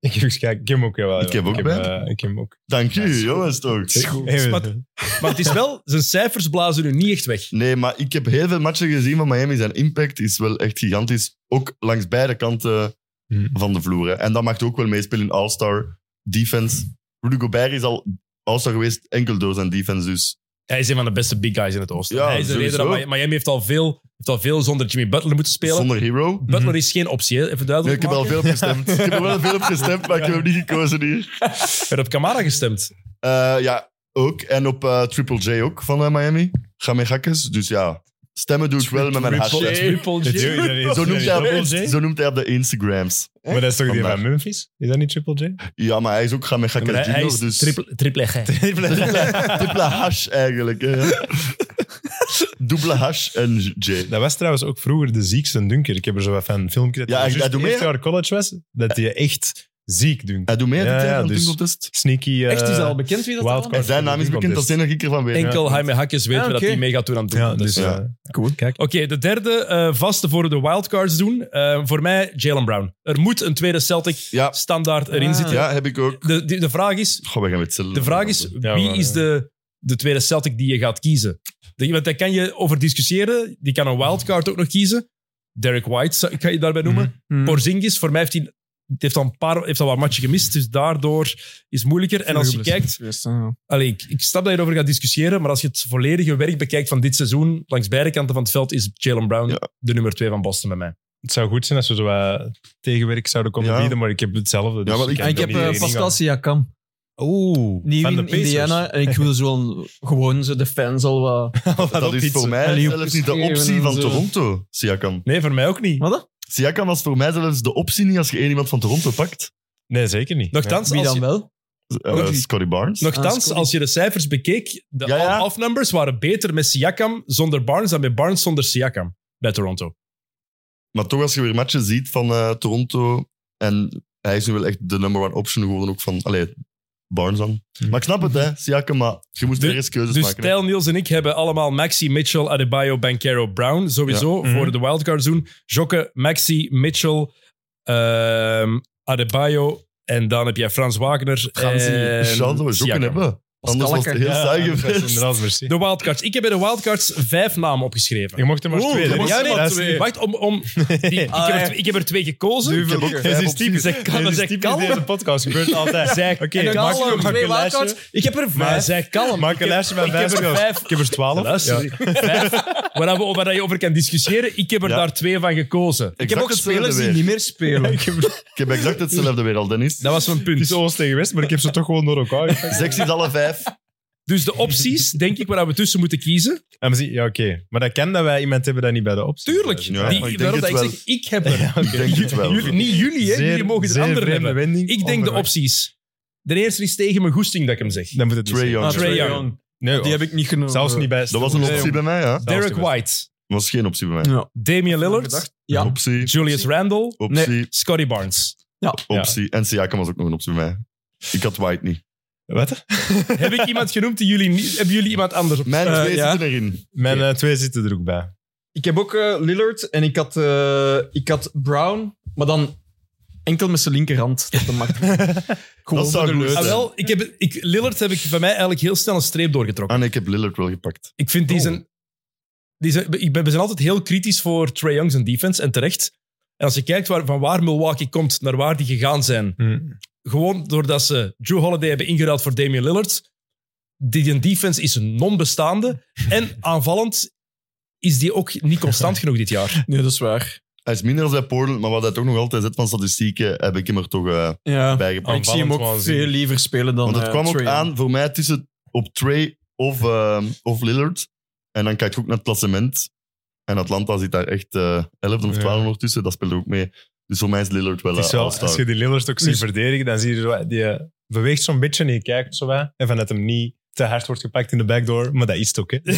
Speaker 3: Ik heb, ja, ik heb hem ook wel.
Speaker 2: Ik heb ook
Speaker 3: ik
Speaker 2: bij.
Speaker 3: eh, ik heb hem ook.
Speaker 2: Dank
Speaker 3: Ja, is
Speaker 2: je,
Speaker 3: goed.
Speaker 2: jongens, toch.
Speaker 3: Even-
Speaker 1: Wat? Maar het is wel, zijn cijfers blazen nu niet echt weg.
Speaker 2: Nee, maar ik heb heel veel matchen gezien van Miami. Zijn impact is wel echt gigantisch. Ook langs beide kanten
Speaker 3: Hmm.
Speaker 2: van de vloer. hè. En dat mag ook wel meespelen in All-Star defense. Rudy Gobert is al All-Star geweest enkel door zijn defense. Dus
Speaker 1: Hij is een van de beste big guys in het oosten.
Speaker 2: Ja,
Speaker 1: hij is de reden dat
Speaker 2: sowieso.
Speaker 1: Mi- Miami heeft al, veel, heeft al veel zonder Jimmy Butler moeten spelen.
Speaker 2: zonder hero.
Speaker 1: Butler is geen optie, hè? even
Speaker 2: Mhm. Nee,
Speaker 1: duidelijk
Speaker 2: ik heb er
Speaker 1: maken.
Speaker 2: al veel op gestemd. ik heb er wel veel op gestemd, maar ik heb hem niet gekozen hier.
Speaker 1: Je hebt op Kamara gestemd.
Speaker 2: Eh, ja, ook. En op eh, Triple J ook van eh, Miami. Ga mee gakkes. Dus ja, stemmen doe ik wel met mijn
Speaker 1: Triple
Speaker 2: hartje.
Speaker 1: Triple
Speaker 3: Dit- dit-
Speaker 1: J.
Speaker 3: dit- dit-
Speaker 2: Zo noemt, hij op,
Speaker 3: dit-
Speaker 1: J?
Speaker 2: ons- zo noemt hij op de Instagrams.
Speaker 3: Maar dat is toch die
Speaker 2: Vandaar.
Speaker 3: van Memphis? Is dat niet Triple J?
Speaker 2: Ja, maar hij is ook gaan met
Speaker 1: Maar hij,
Speaker 2: gakkes
Speaker 1: hij is
Speaker 2: junior, dus...
Speaker 1: triple, triple G.
Speaker 2: Dubbele, dubbele hash eigenlijk. hè. Dubbele hash en J.
Speaker 3: Dat was trouwens ook vroeger de ziekste dunker. Ik heb er zo wat van filmpje dat
Speaker 2: Ja,
Speaker 3: hij
Speaker 2: hij-
Speaker 3: juist
Speaker 2: hij doet
Speaker 3: het eerste
Speaker 2: mee,
Speaker 3: jaar college was, dat hij echt ziek dunkt.
Speaker 2: Hij doet mee aan
Speaker 3: Ja,
Speaker 2: dit
Speaker 3: ja,
Speaker 2: jaar aan
Speaker 3: dus-
Speaker 2: dunkeltest.
Speaker 3: Sneaky. eh,
Speaker 1: Echt, is dat al bekend wie dat
Speaker 3: Wild
Speaker 2: En
Speaker 1: allemaal
Speaker 3: card.
Speaker 2: zijn naam is bekend, dat is het enige ik ervan weet.
Speaker 1: Enkel Jaime Hakjes weet
Speaker 4: Ah,
Speaker 1: we dat
Speaker 4: oké.
Speaker 1: hij mee gaat doen aan het doen.
Speaker 3: Ja,
Speaker 1: Dat
Speaker 3: dus
Speaker 1: is-
Speaker 2: Ja.
Speaker 3: eh,
Speaker 4: Cool. Kijk.
Speaker 1: Oké, de derde eh, vaste voor de wildcards doen. Eh, voor mij Jalen Brown. Er moet een tweede Celtic
Speaker 2: Ja.
Speaker 1: standaard erin
Speaker 4: Ah.
Speaker 1: zitten.
Speaker 2: Ja, heb ik ook.
Speaker 1: De, de, de vraag is,
Speaker 2: Goh, we gaan met z'n-
Speaker 1: de vraag is
Speaker 3: Ja,
Speaker 1: wie
Speaker 3: maar,
Speaker 1: is
Speaker 3: ja.
Speaker 1: de, de tweede Celtic die je gaat kiezen? De- Want daar kan je over discussiëren. Die kan een wildcard ook nog kiezen. Derek White zou- kan je daarbij noemen.
Speaker 4: Mm-hmm.
Speaker 3: Hmm.
Speaker 1: Porzingis, voor mij heeft hij heeft al een paar heeft al wat matchen gemist, dus daardoor is het moeilijker. En als je kijkt,
Speaker 4: Ah,
Speaker 1: allee, ik, ik snap dat je erover gaat discussiëren, maar als je het volledige werk bekijkt van dit seizoen, langs beide kanten van het veld, is Jalen Brown
Speaker 2: Ja.
Speaker 1: de nummer twee van Boston bij mij.
Speaker 3: het zou goed zijn als we zo wat tegenwerk zouden konden
Speaker 2: Ja.
Speaker 3: bieden, maar ik heb hetzelfde. Dus
Speaker 2: Ja, maar ik-
Speaker 4: En ik
Speaker 3: kan
Speaker 4: heb
Speaker 3: er niet
Speaker 4: eh,
Speaker 3: tegen
Speaker 4: Pascal
Speaker 3: ingaan.
Speaker 4: Siakam.
Speaker 3: Oeh,
Speaker 4: Die
Speaker 3: van
Speaker 4: in
Speaker 3: de Pacers.
Speaker 4: Indiana. En ik wil zo een- gewoon zo de fans al wat...
Speaker 2: Dat is voor
Speaker 4: En
Speaker 2: mij
Speaker 4: die
Speaker 2: zelfs niet de
Speaker 4: opgeschreven
Speaker 2: optie
Speaker 4: en
Speaker 2: van
Speaker 4: zo.
Speaker 2: Toronto, Siakam.
Speaker 1: Nee, voor mij ook niet.
Speaker 4: Wat?
Speaker 2: Siakam was voor mij zelfs de optie niet als je één iemand van Toronto pakt.
Speaker 3: Nee, zeker niet.
Speaker 1: Nochtans,
Speaker 4: Wie
Speaker 1: als
Speaker 4: dan
Speaker 1: je,
Speaker 4: wel?
Speaker 2: Eh,
Speaker 1: Nog niet.
Speaker 2: Scotty Barnes.
Speaker 1: nochtans,
Speaker 4: Ah, Scotty.
Speaker 1: als je de cijfers bekeek, de
Speaker 2: Ja, ja.
Speaker 1: off numbers waren beter met Siakam zonder Barnes dan met Barnes zonder Siakam bij Toronto.
Speaker 2: Maar toch, als je weer matchen ziet van eh, Toronto. En hij is nu wel echt de number one option geworden ook van. Allee, Barnes dan. Maar ik snap het, hè, Siakam. Maar je moest
Speaker 1: Dus-
Speaker 2: weer eens keuzes
Speaker 1: Hm. Dus
Speaker 2: maken. hè.
Speaker 1: Tijl, Niels en ik hebben allemaal Maxi, Mitchell, Adebayo, Bankero, Brown. Sowieso
Speaker 3: Ja.
Speaker 1: voor
Speaker 3: Mhm.
Speaker 1: de wildcard doen. Jokke, Maxi, Mitchell, ehm, Adebayo. En dan heb jij Frans Wagner.
Speaker 4: Fransie.
Speaker 1: en
Speaker 2: Schande we
Speaker 1: Siakam.
Speaker 2: zoeken hebben. Anders was het
Speaker 4: Kalker.
Speaker 2: heel saai geweest.
Speaker 3: Inderdaad, merci.
Speaker 1: De wildcards. Ik heb bij de wildcards vijf namen opgeschreven.
Speaker 3: Je mocht er maar
Speaker 2: Oeh,
Speaker 3: twee.
Speaker 2: je
Speaker 3: hè?
Speaker 2: mocht er
Speaker 3: Ja, nee,
Speaker 1: maar
Speaker 3: dat is-
Speaker 1: twee. Wacht, om, om, die- ik, heb er,
Speaker 4: Ah,
Speaker 1: twee- ik heb er twee gekozen.
Speaker 2: Ik heb ook
Speaker 3: Dat
Speaker 2: vijf
Speaker 3: is
Speaker 2: opties.
Speaker 3: typisch.
Speaker 1: Zij kan-
Speaker 3: dat is
Speaker 1: zij
Speaker 3: typisch
Speaker 1: kan.
Speaker 3: deze podcast. gebeurt altijd.
Speaker 1: Zij-
Speaker 3: Oké,
Speaker 1: en dan
Speaker 3: maak
Speaker 1: kalm,
Speaker 3: een- maak
Speaker 1: twee
Speaker 3: een lijstje.
Speaker 1: wildcards.
Speaker 4: Ik heb er
Speaker 1: Maar
Speaker 4: vijf.
Speaker 1: zij kalm.
Speaker 3: Maak een lijstje van
Speaker 1: ik heb
Speaker 3: vijf
Speaker 1: er
Speaker 3: spelers.
Speaker 1: vijf.
Speaker 3: Ik heb er twaalf.
Speaker 1: Luister, vijf, waar, we, waar je over kan discussiëren. Ik heb er
Speaker 2: Ja.
Speaker 1: daar twee van gekozen.
Speaker 4: Ik heb ook
Speaker 2: Exact hetzelfde
Speaker 4: spelers die
Speaker 2: weer.
Speaker 4: niet meer spelen.
Speaker 2: Ik heb exact hetzelfde weer al, Dennis.
Speaker 1: Dat was mijn
Speaker 3: Het is
Speaker 1: punt.
Speaker 3: ons tegen West, maar ik heb ze toch gewoon door elkaar gepakt.
Speaker 2: Seks is alle vijf.
Speaker 1: Dus de opties, denk ik, waar we tussen moeten kiezen.
Speaker 3: En we zien, ja, oké. Maar dat kan dat wij iemand hebben dat niet bij de optie.
Speaker 1: Tuurlijk.
Speaker 2: Ja,
Speaker 1: die,
Speaker 2: maar ik denk
Speaker 1: daarom dat
Speaker 2: het
Speaker 1: ik
Speaker 2: wel.
Speaker 1: zeg, ik heb er.
Speaker 2: Ik denk het wel.
Speaker 1: Jullie- niet jullie, hè. jullie mogen het andere hebben.
Speaker 3: wending.
Speaker 1: Ik denk de
Speaker 3: Onverwacht.
Speaker 1: opties. De eerste is tegen mijn goesting dat ik hem zeg.
Speaker 3: Dan moet het niet
Speaker 2: Trae
Speaker 3: zijn.
Speaker 2: Young.
Speaker 4: Ah, Trae
Speaker 1: Trae
Speaker 4: Young.
Speaker 1: Young.
Speaker 3: Nee,
Speaker 4: Die
Speaker 3: hoor.
Speaker 4: heb ik niet genomen.
Speaker 3: Zelfs niet bij
Speaker 2: Dat was een optie
Speaker 3: Stone.
Speaker 2: bij mij, ja. Dat
Speaker 1: Derek White,
Speaker 2: was geen optie bij mij.
Speaker 4: Ja.
Speaker 1: Damian Lillard,
Speaker 4: Gedacht. Ja.
Speaker 2: Optie,
Speaker 1: Julius Randle,
Speaker 2: optie,
Speaker 1: Scotty Barnes.
Speaker 3: Ja.
Speaker 2: optie. En Siakam was ook nog een optie bij mij. Ik had White niet.
Speaker 3: Wat?
Speaker 1: Heb ik iemand genoemd die jullie niet... Hebben jullie iemand anders op?
Speaker 2: Mijn
Speaker 4: Eh,
Speaker 2: twee
Speaker 4: ja.
Speaker 2: zitten erin.
Speaker 3: Mijn eh, twee zitten er ook bij.
Speaker 4: Ik heb ook eh, Lillard en ik had, eh, ik had Brown, maar dan enkel met zijn linkerhand. Dat, de macht. Gewoon
Speaker 2: Dat zou
Speaker 4: voor de
Speaker 2: goed
Speaker 4: leuk
Speaker 1: Ah,
Speaker 2: zijn.
Speaker 4: zijn.
Speaker 1: wel, ik heb, ik, Lillard heb ik bij mij eigenlijk heel snel een streep doorgetrokken.
Speaker 2: Ah nee, ik heb Lillard wel gepakt.
Speaker 1: Ik vind die
Speaker 3: Oh.
Speaker 1: zijn... Die zijn ik ben, we zijn altijd heel kritisch voor Trae Young's en defense, en terecht. En als je kijkt waar, van waar Milwaukee komt, naar waar die gegaan zijn,
Speaker 3: Hmm.
Speaker 1: gewoon doordat ze Drew Holiday hebben ingeruild voor Damian Lillard. Die die defense is non-bestaande. En aanvallend is die ook niet constant genoeg dit jaar.
Speaker 4: Nee, dat is waar.
Speaker 2: Hij is minder als bij Portland, maar wat hij toch nog altijd zet van statistieken, heb ik hem er toch eh,
Speaker 4: Ja.
Speaker 2: bij gepakt.
Speaker 4: Maar ik zie hem ook
Speaker 3: waanzin.
Speaker 4: veel liever spelen dan
Speaker 2: Want het
Speaker 4: eh,
Speaker 2: kwam ook
Speaker 4: Trae Young.
Speaker 2: aan voor mij tussen op Trey of, ehm, of Lillard. En dan kijk ik ook naar het klassement. En Atlanta zit daar echt eh 11 of
Speaker 3: Ja.
Speaker 2: 12 nog tussen. Dat speelt er ook mee. Dus voor mij is Lillard wel
Speaker 3: Het
Speaker 2: eh,
Speaker 3: is wel,
Speaker 2: all-star.
Speaker 3: als je die Lillard ook ziet
Speaker 4: Dus-
Speaker 3: verdedigen, dan zie je zo- die eh, beweegt zo'n beetje en je kijkt zo bij. En van dat hem niet te hard wordt gepakt in de backdoor, maar dat is het ook, hè.
Speaker 2: Ja,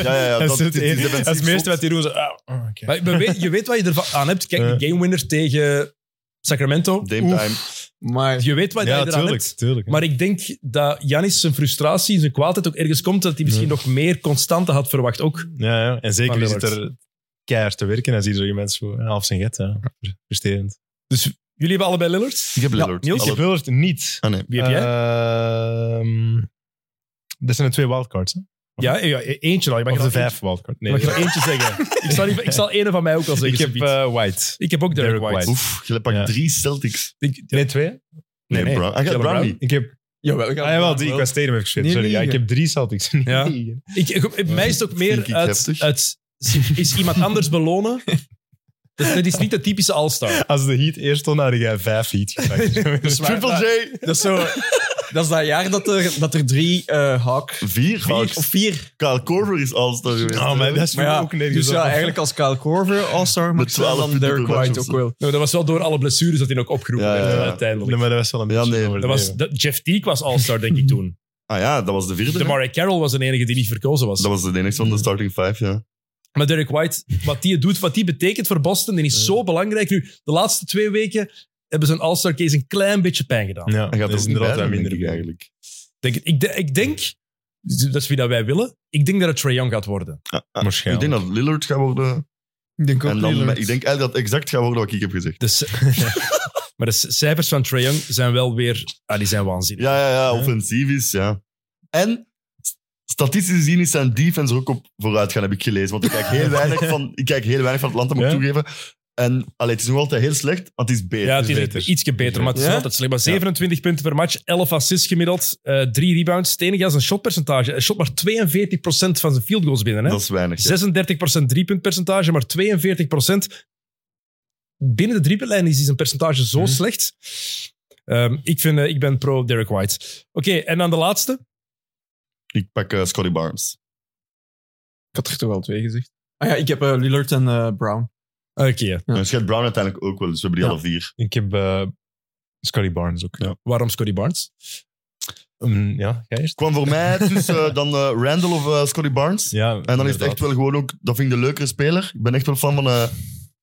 Speaker 2: ja, ja.
Speaker 3: Dat,
Speaker 2: Dat,
Speaker 3: is het,
Speaker 2: dit is
Speaker 3: enige-
Speaker 2: defensief
Speaker 3: dat is het meeste
Speaker 2: zot.
Speaker 3: wat die doen. Zo, ah, oh, oké.
Speaker 1: Maar je weet, je weet wat je ervan aan hebt. Kijk, de
Speaker 3: Ja.
Speaker 1: gamewinner tegen Sacramento.
Speaker 2: Dame time.
Speaker 4: Maar
Speaker 1: Je weet wat je
Speaker 3: ja,
Speaker 1: eraan
Speaker 3: tuurlijk.
Speaker 1: hebt.
Speaker 3: tuurlijk
Speaker 1: Maar ik denk dat Janis zijn frustratie, zijn kwaadheid ook ergens komt dat hij misschien nog meer constante had verwacht. Ook
Speaker 3: ja, ja. En zeker,
Speaker 1: Maar
Speaker 3: je zit
Speaker 1: Lillard.
Speaker 3: er keihard te werken en zie je zo'n mensen voor ja, half zijn get. Ja. Frustrerend.
Speaker 1: jullie hebben allebei Lillard.
Speaker 2: Ik heb
Speaker 1: Ja,
Speaker 2: Lillard.
Speaker 1: Niels?
Speaker 3: Ik heb Lillard niet.
Speaker 2: Ah, nee.
Speaker 1: Wie heb jij?
Speaker 3: Ehm, dat zijn de twee wildcards. Hè?
Speaker 1: ja, ja, e- eentje al. Je mag
Speaker 3: Of
Speaker 1: er
Speaker 3: de
Speaker 1: nog
Speaker 3: vijf wildcards.
Speaker 1: eentje-
Speaker 3: Nee,
Speaker 1: mag je er nog eentje zeggen. ik, zal, die- ik zal ene van mij ook al zeggen.
Speaker 3: ik heb
Speaker 1: Sabiet.
Speaker 3: eh, White.
Speaker 1: ik heb ook Derek,
Speaker 3: Derek
Speaker 1: White.
Speaker 3: White.
Speaker 2: Oef, je pakt
Speaker 3: Ja.
Speaker 2: drie Celtics.
Speaker 1: Ik-
Speaker 3: Nee, twee?
Speaker 2: Nee,
Speaker 1: nee.
Speaker 2: Brown. Ah, je hebt
Speaker 1: Jalen
Speaker 2: Brown
Speaker 1: Brown.
Speaker 2: niet.
Speaker 3: Ik heb
Speaker 4: jawel, ik had-
Speaker 3: Ah, jawel, die, ik was Tatum even geschreven.
Speaker 4: Nee,
Speaker 3: Sorry, ja,
Speaker 4: nee,
Speaker 3: ik
Speaker 4: ja.
Speaker 3: heb drie Celtics. Nee.
Speaker 1: Ja. Ik, ik- mij is het ook
Speaker 2: Vind
Speaker 1: meer
Speaker 2: ik
Speaker 1: uit,
Speaker 2: heftig.
Speaker 1: uit- Is iemand anders belonen? Dat, dat is niet de typische all-star.
Speaker 3: Als de Heat eerst stond, had jij vijf Heat gepakt.
Speaker 4: waar.
Speaker 2: Triple J.
Speaker 4: Dat is, zo, dat is dat jaar dat er, dat er drie eh Hawk... Vier
Speaker 2: Vier. Hawks.
Speaker 4: of vier.
Speaker 2: Kyle Korver is all-star geweest.
Speaker 3: Oh, maar dat is
Speaker 4: Maar
Speaker 3: voor
Speaker 4: ja,
Speaker 3: ook nergens
Speaker 4: dus ja,
Speaker 3: op.
Speaker 4: eigenlijk als Kyle Korver All-Star, maar
Speaker 2: Met
Speaker 4: ik zou
Speaker 2: 12
Speaker 4: dan
Speaker 2: punten
Speaker 4: Derek
Speaker 2: per match
Speaker 4: White
Speaker 2: of
Speaker 4: ook
Speaker 2: zo.
Speaker 4: wel.
Speaker 1: Nou, dat was wel door alle blessures dat hij ook opgeroepen
Speaker 2: Ja, ja,
Speaker 1: werd
Speaker 2: ja.
Speaker 1: eh, uiteindelijk.
Speaker 3: Nee, maar dat was wel een
Speaker 2: Ja,
Speaker 3: beetje
Speaker 2: nee.
Speaker 3: overdreven.
Speaker 1: dat was, dat- Jeff Teague was all-star, denk ik, toen.
Speaker 2: Ah ja, dat was de vierde. hè?
Speaker 1: Demary Carroll was de enige die niet verkozen was.
Speaker 2: Dat was de enige van de starting five, ja.
Speaker 1: Maar Derek White, wat die doet, wat die betekent voor Boston, die is zo belangrijk. Nu, de laatste twee weken hebben ze een all-star case een klein beetje pijn gedaan.
Speaker 3: Ja,
Speaker 2: Hij gaat
Speaker 3: dat
Speaker 2: er
Speaker 3: is
Speaker 2: ook niet
Speaker 3: inderdaad
Speaker 2: bij,
Speaker 3: wel
Speaker 2: denk
Speaker 3: minder.
Speaker 2: ik eigenlijk.
Speaker 1: Denk, ik, de- ik denk, dat is wie dat wij willen, ik denk dat het Trae Young gaat worden.
Speaker 2: Ik
Speaker 3: Waarschijnlijk.
Speaker 2: denk dat Lillard gaat worden.
Speaker 4: Ik denk ook
Speaker 2: En dan,
Speaker 4: Lillard.
Speaker 2: ik denk eigenlijk dat het exact gaat worden wat ik heb gezegd.
Speaker 1: De c- maar de c- cijfers van Trae Young zijn wel weer... Ah, die zijn waanzinnig.
Speaker 2: Ja, ja, ja. Offensief is, ja. En st- statistisch gezien is zijn defense er ook op vooruit gaan, heb ik gelezen. Want ik kijk heel weinig van, ik kijk heel weinig van Atlanta, moet ik
Speaker 3: Ja.
Speaker 2: toegeven. En allee, het is nog altijd heel slecht, want het is beter.
Speaker 1: Ja, het is
Speaker 3: is
Speaker 1: beter.
Speaker 3: beter.
Speaker 1: ietsje beter, maar het is
Speaker 4: Ja?
Speaker 1: altijd slecht. Maar 27 punten per match, 11 assists gemiddeld, eh 3 rebounds. Het enige is een shotpercentage. Hij shot maar 42% van zijn field goals binnen. Hè?
Speaker 2: Dat is weinig. ja.
Speaker 1: 36% driepuntpercentage, maar 42%. Binnen de driepuntlijn is zijn percentage zo
Speaker 3: Mhm.
Speaker 1: slecht. Ehm, ik, vind, eh, ik ben pro Derek White. Oké, en dan de laatste.
Speaker 2: Ik pak eh, Scotty Barnes.
Speaker 4: Ik had er toch wel twee gezegd. Ah ja, ik heb eh, Lillard en eh, Brown.
Speaker 1: Oké,
Speaker 4: Ja.
Speaker 2: En Scott Brown uiteindelijk ook wel, dus we hebben die alle vier.
Speaker 3: Ah, Ik heb eh, Scotty Barnes ook.
Speaker 2: Ja.
Speaker 1: waarom Scotty Barnes?
Speaker 3: Mm, ja, jij eerst?
Speaker 2: kwam voor mij tussen eh, dan eh, Randall of eh, Scotty Barnes.
Speaker 3: Ja,
Speaker 2: En dan is het echt wel gewoon ook, dat vind ik de leukere speler. Ik ben echt wel fan van eh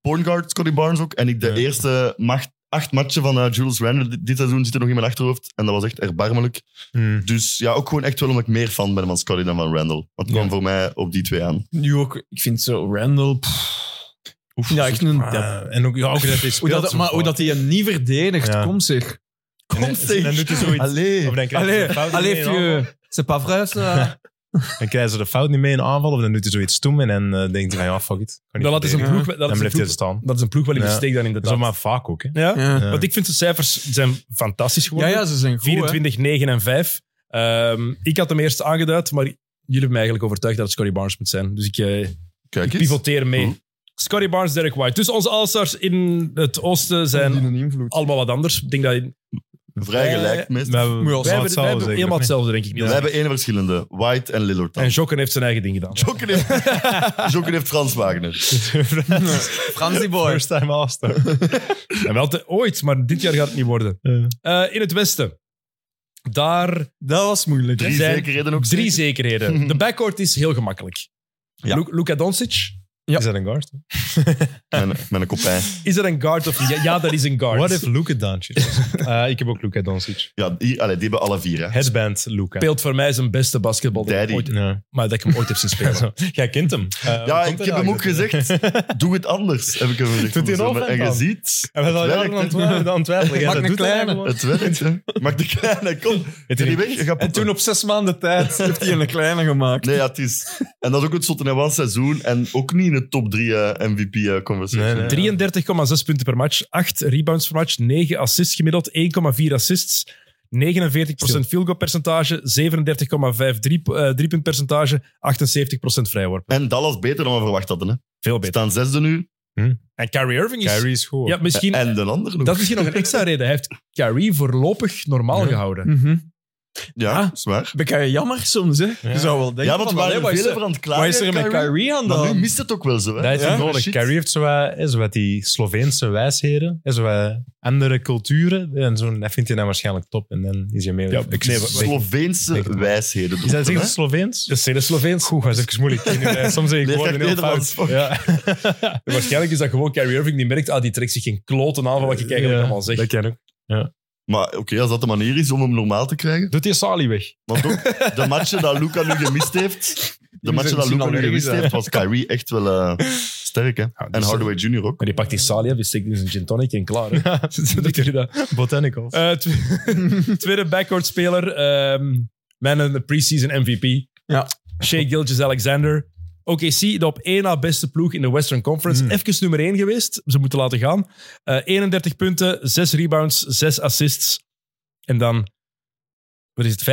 Speaker 2: point guard Scotty Barnes ook. En ik de
Speaker 3: Ja.
Speaker 2: eerste macht, acht matchen van eh, Jules Randle dit, dit seizoen zit er nog in mijn achterhoofd. En dat was echt erbarmelijk.
Speaker 3: Hmm.
Speaker 2: Dus ja, ook gewoon echt wel omdat ik meer fan ben van Scotty dan van Randall. Want het kwam
Speaker 3: Ja.
Speaker 2: voor mij op die twee aan.
Speaker 4: Nu ook, ik vind zo Randall... pff. ja, ik vind een dep.
Speaker 3: Eh, En ook, ja, ook dat hij
Speaker 4: Hoe
Speaker 3: speelt
Speaker 4: dat,
Speaker 3: zo
Speaker 4: maar hoe
Speaker 3: vaak.
Speaker 4: dat hij hem niet verdedigt,
Speaker 3: Ja.
Speaker 4: kom zeg.
Speaker 3: En dan-
Speaker 2: Constig.
Speaker 3: Dan doet hij zoiets.
Speaker 2: Allee.
Speaker 3: Of dan krijgt
Speaker 4: Allee,
Speaker 3: hij de fout
Speaker 4: allee,
Speaker 3: niet mee in aanval.
Speaker 4: je... eh, C'est pas vrai, ça?
Speaker 3: Dan krijgen ze de fout niet mee in aanval. Of dan doet hij zoiets stom. En dan eh, denkt hij van ja, fuck it. Kan niet
Speaker 1: Nou, Dat is, een
Speaker 3: verdedigen.
Speaker 1: ploeg, dat,
Speaker 3: Dan
Speaker 1: is een
Speaker 3: blijft hij er
Speaker 1: ploeg,
Speaker 3: staan.
Speaker 1: dat is een ploeg wel in de
Speaker 3: Ja.
Speaker 1: steek dan
Speaker 3: Dat is ook
Speaker 1: inderdaad.
Speaker 3: maar vaak ook. Hè.
Speaker 1: Ja?
Speaker 4: Ja.
Speaker 1: Want ik vind zijn cijfers zijn fantastisch
Speaker 4: ja,
Speaker 1: geworden.
Speaker 4: ja, ze zijn goed. hè.
Speaker 1: 24, 9 en 5. Ehm, ik had hem eerst aangeduid, maar jullie hebben me eigenlijk overtuigd dat het Scotty Barnes moet zijn. Dus ik, eh,
Speaker 2: Kijk eens.
Speaker 1: pivoteer mee.
Speaker 2: Mhm.
Speaker 1: Scotty Barnes, Derek White. Dus onze All-Stars in het oosten zijn
Speaker 4: een invloed.
Speaker 1: allemaal wat anders. Ik denk dat wij
Speaker 2: Vrij gelijk,
Speaker 1: Wij-
Speaker 2: meestal.
Speaker 3: Maar we,
Speaker 4: Moet je al
Speaker 3: we
Speaker 1: hebben,
Speaker 3: hebben
Speaker 1: wij hebben helemaal hetzelfde, denk ik.
Speaker 2: We
Speaker 1: Niels.
Speaker 2: hebben één verschillende. White en Lillard dan.
Speaker 1: En Jokken heeft zijn eigen ding gedaan.
Speaker 2: Jokken heeft, Jokken heeft Frans Wagner.
Speaker 4: Frans die boy.
Speaker 3: First time all-star.
Speaker 1: En wel te- ooit, maar dit jaar gaat het niet worden. Eh, in het westen. Daar
Speaker 4: Dat was moeilijk.
Speaker 2: Drie
Speaker 1: zijn
Speaker 2: zekerheden ook
Speaker 1: drie
Speaker 2: zeker?
Speaker 1: zekerheden. De backcourt is heel gemakkelijk.
Speaker 2: Ja.
Speaker 1: Lu- Luka Doncic.
Speaker 3: Is dat een guard?
Speaker 2: Mijn- Mijn kopijn.
Speaker 1: Is dat een guard of niet? Ja, ja, dat is een guard.
Speaker 3: What if Luka Doncic? Eh, ik heb ook Luka Doncic.
Speaker 2: Ja, die, allee, die hebben alle vier. Hè.
Speaker 3: Headband Luka.
Speaker 1: Speelt voor mij zijn beste basketbal. dat ik
Speaker 2: Daddy.
Speaker 1: ooit-
Speaker 3: Ja.
Speaker 1: maar dat ik hem ooit heb zien spelen.
Speaker 3: Zo. Jij kent hem. Eh, hoe
Speaker 2: Ja,
Speaker 3: komt
Speaker 2: ik
Speaker 3: dat
Speaker 2: heb hem ook
Speaker 3: eigenlijk?
Speaker 2: gezegd. Doe het anders, heb ik hem gezegd.
Speaker 3: Doet hij een
Speaker 2: Van de zomer.
Speaker 3: offhand
Speaker 2: En je
Speaker 3: dan?
Speaker 2: ziet,
Speaker 3: En we
Speaker 2: Het
Speaker 3: zijn jaren
Speaker 2: werkt,
Speaker 3: aan het wa- aan het twijfelen. Ja,
Speaker 4: Maak
Speaker 3: dat
Speaker 4: een
Speaker 3: doet hij
Speaker 4: kleine.
Speaker 3: gewoon.
Speaker 2: het werkt. hè. Maak de kleine, kom.
Speaker 3: Heeft
Speaker 2: Ga
Speaker 3: hij
Speaker 2: die
Speaker 3: niet-
Speaker 2: weg, je gaat
Speaker 4: En toen op zes maanden tijd heeft hij een kleine gemaakt.
Speaker 2: Nee, ja, het is... En dat is ook het zotte. Hij was seizoen en ook niet in de top drie eh, MVP-conversation.
Speaker 3: Nee, nee.
Speaker 1: 33,6 punten per match, 8 rebounds per match, 9 assists gemiddeld, 1,4 assists, 49% field goal percentage, 37,5 drie, eh, driepuntpercentage, 78% vrijworp.
Speaker 2: En Dallas beter dan we verwacht hadden. Hè.
Speaker 1: Veel
Speaker 2: We
Speaker 1: beter.
Speaker 2: staan zesde nu.
Speaker 1: En Kyrie Irving is...
Speaker 3: Kyrie is goed.
Speaker 1: ja, misschien,
Speaker 2: En de ander nog.
Speaker 1: dat is misschien nog een extra reden. Hij heeft Kyrie voorlopig normaal
Speaker 3: Ja.
Speaker 1: gehouden.
Speaker 4: Mhm.
Speaker 2: Ja,
Speaker 4: Ah.
Speaker 2: is waar.
Speaker 4: Ben je jammer soms, hè? Je zou wel denken
Speaker 2: Ja, want we
Speaker 4: van,
Speaker 2: waren
Speaker 4: allee, wat
Speaker 2: er
Speaker 4: is
Speaker 2: veel
Speaker 4: er-
Speaker 2: over aan het klagen.
Speaker 4: Wat is er met Kyrie aan
Speaker 2: Maar nu
Speaker 4: dan?
Speaker 2: mist het ook wel zo. Hè.
Speaker 3: Dat is
Speaker 4: Ja?
Speaker 3: ja? nodig.
Speaker 2: Shit.
Speaker 3: Kyrie heeft zo wat, hè, zo wat die Sloveense wijsheren, hè, zo wat andere culturen. En zo, dat vindt hij dan waarschijnlijk top. En dan is hij mee.
Speaker 1: Ja, ik- nee, wat-
Speaker 2: Sloveense
Speaker 3: Denk het wel.
Speaker 2: wijsheden.
Speaker 3: is dat
Speaker 2: hè.
Speaker 3: zeker Sloveens?
Speaker 1: Dat zijn de Sloveens.
Speaker 3: Oeh, dat is even moeilijk. Ik
Speaker 1: Eh,
Speaker 3: weet niet, Soms zeg ik
Speaker 2: Leer
Speaker 3: woorden
Speaker 2: echt
Speaker 3: heel fout.
Speaker 2: Nederlands, fuck.
Speaker 3: Ja.
Speaker 1: Waarschijnlijk is dat gewoon Kyrie Irving die merkt, ah, die trekt zich geen kloten aan van wat ik eigenlijk allemaal zeg.
Speaker 3: Dat kan ook.
Speaker 2: Maar oké, als dat de manier is om hem normaal te krijgen.
Speaker 3: Doet die Sali weg?
Speaker 2: Want ook de matchen dat Luca nu gemist heeft, de
Speaker 3: Die
Speaker 2: matchen dat
Speaker 3: zijn
Speaker 2: Luca nu
Speaker 3: allergisch,
Speaker 2: gemist
Speaker 3: hè.
Speaker 2: heeft, was Kyrie echt wel eh, sterk. Hè?
Speaker 3: Ja, dus
Speaker 2: En Hardaway Jr. ook.
Speaker 1: Maar die pakt die Salia, die steekt in zijn gin tonic en klaar. hè. Doet hij dat.
Speaker 3: Botanicals.
Speaker 1: Eh, tw- tweede backcourt speler. ehm man in de preseason MVP.
Speaker 4: Ja.
Speaker 1: Shea Gilgis Alexander. OKC, de op één na beste ploeg in de Western Conference.
Speaker 3: Mm.
Speaker 1: Even nummer 1 geweest. Ze moeten laten gaan. Eh, 31 punten, 6 rebounds, 6 assists. En dan, wat is het, 55%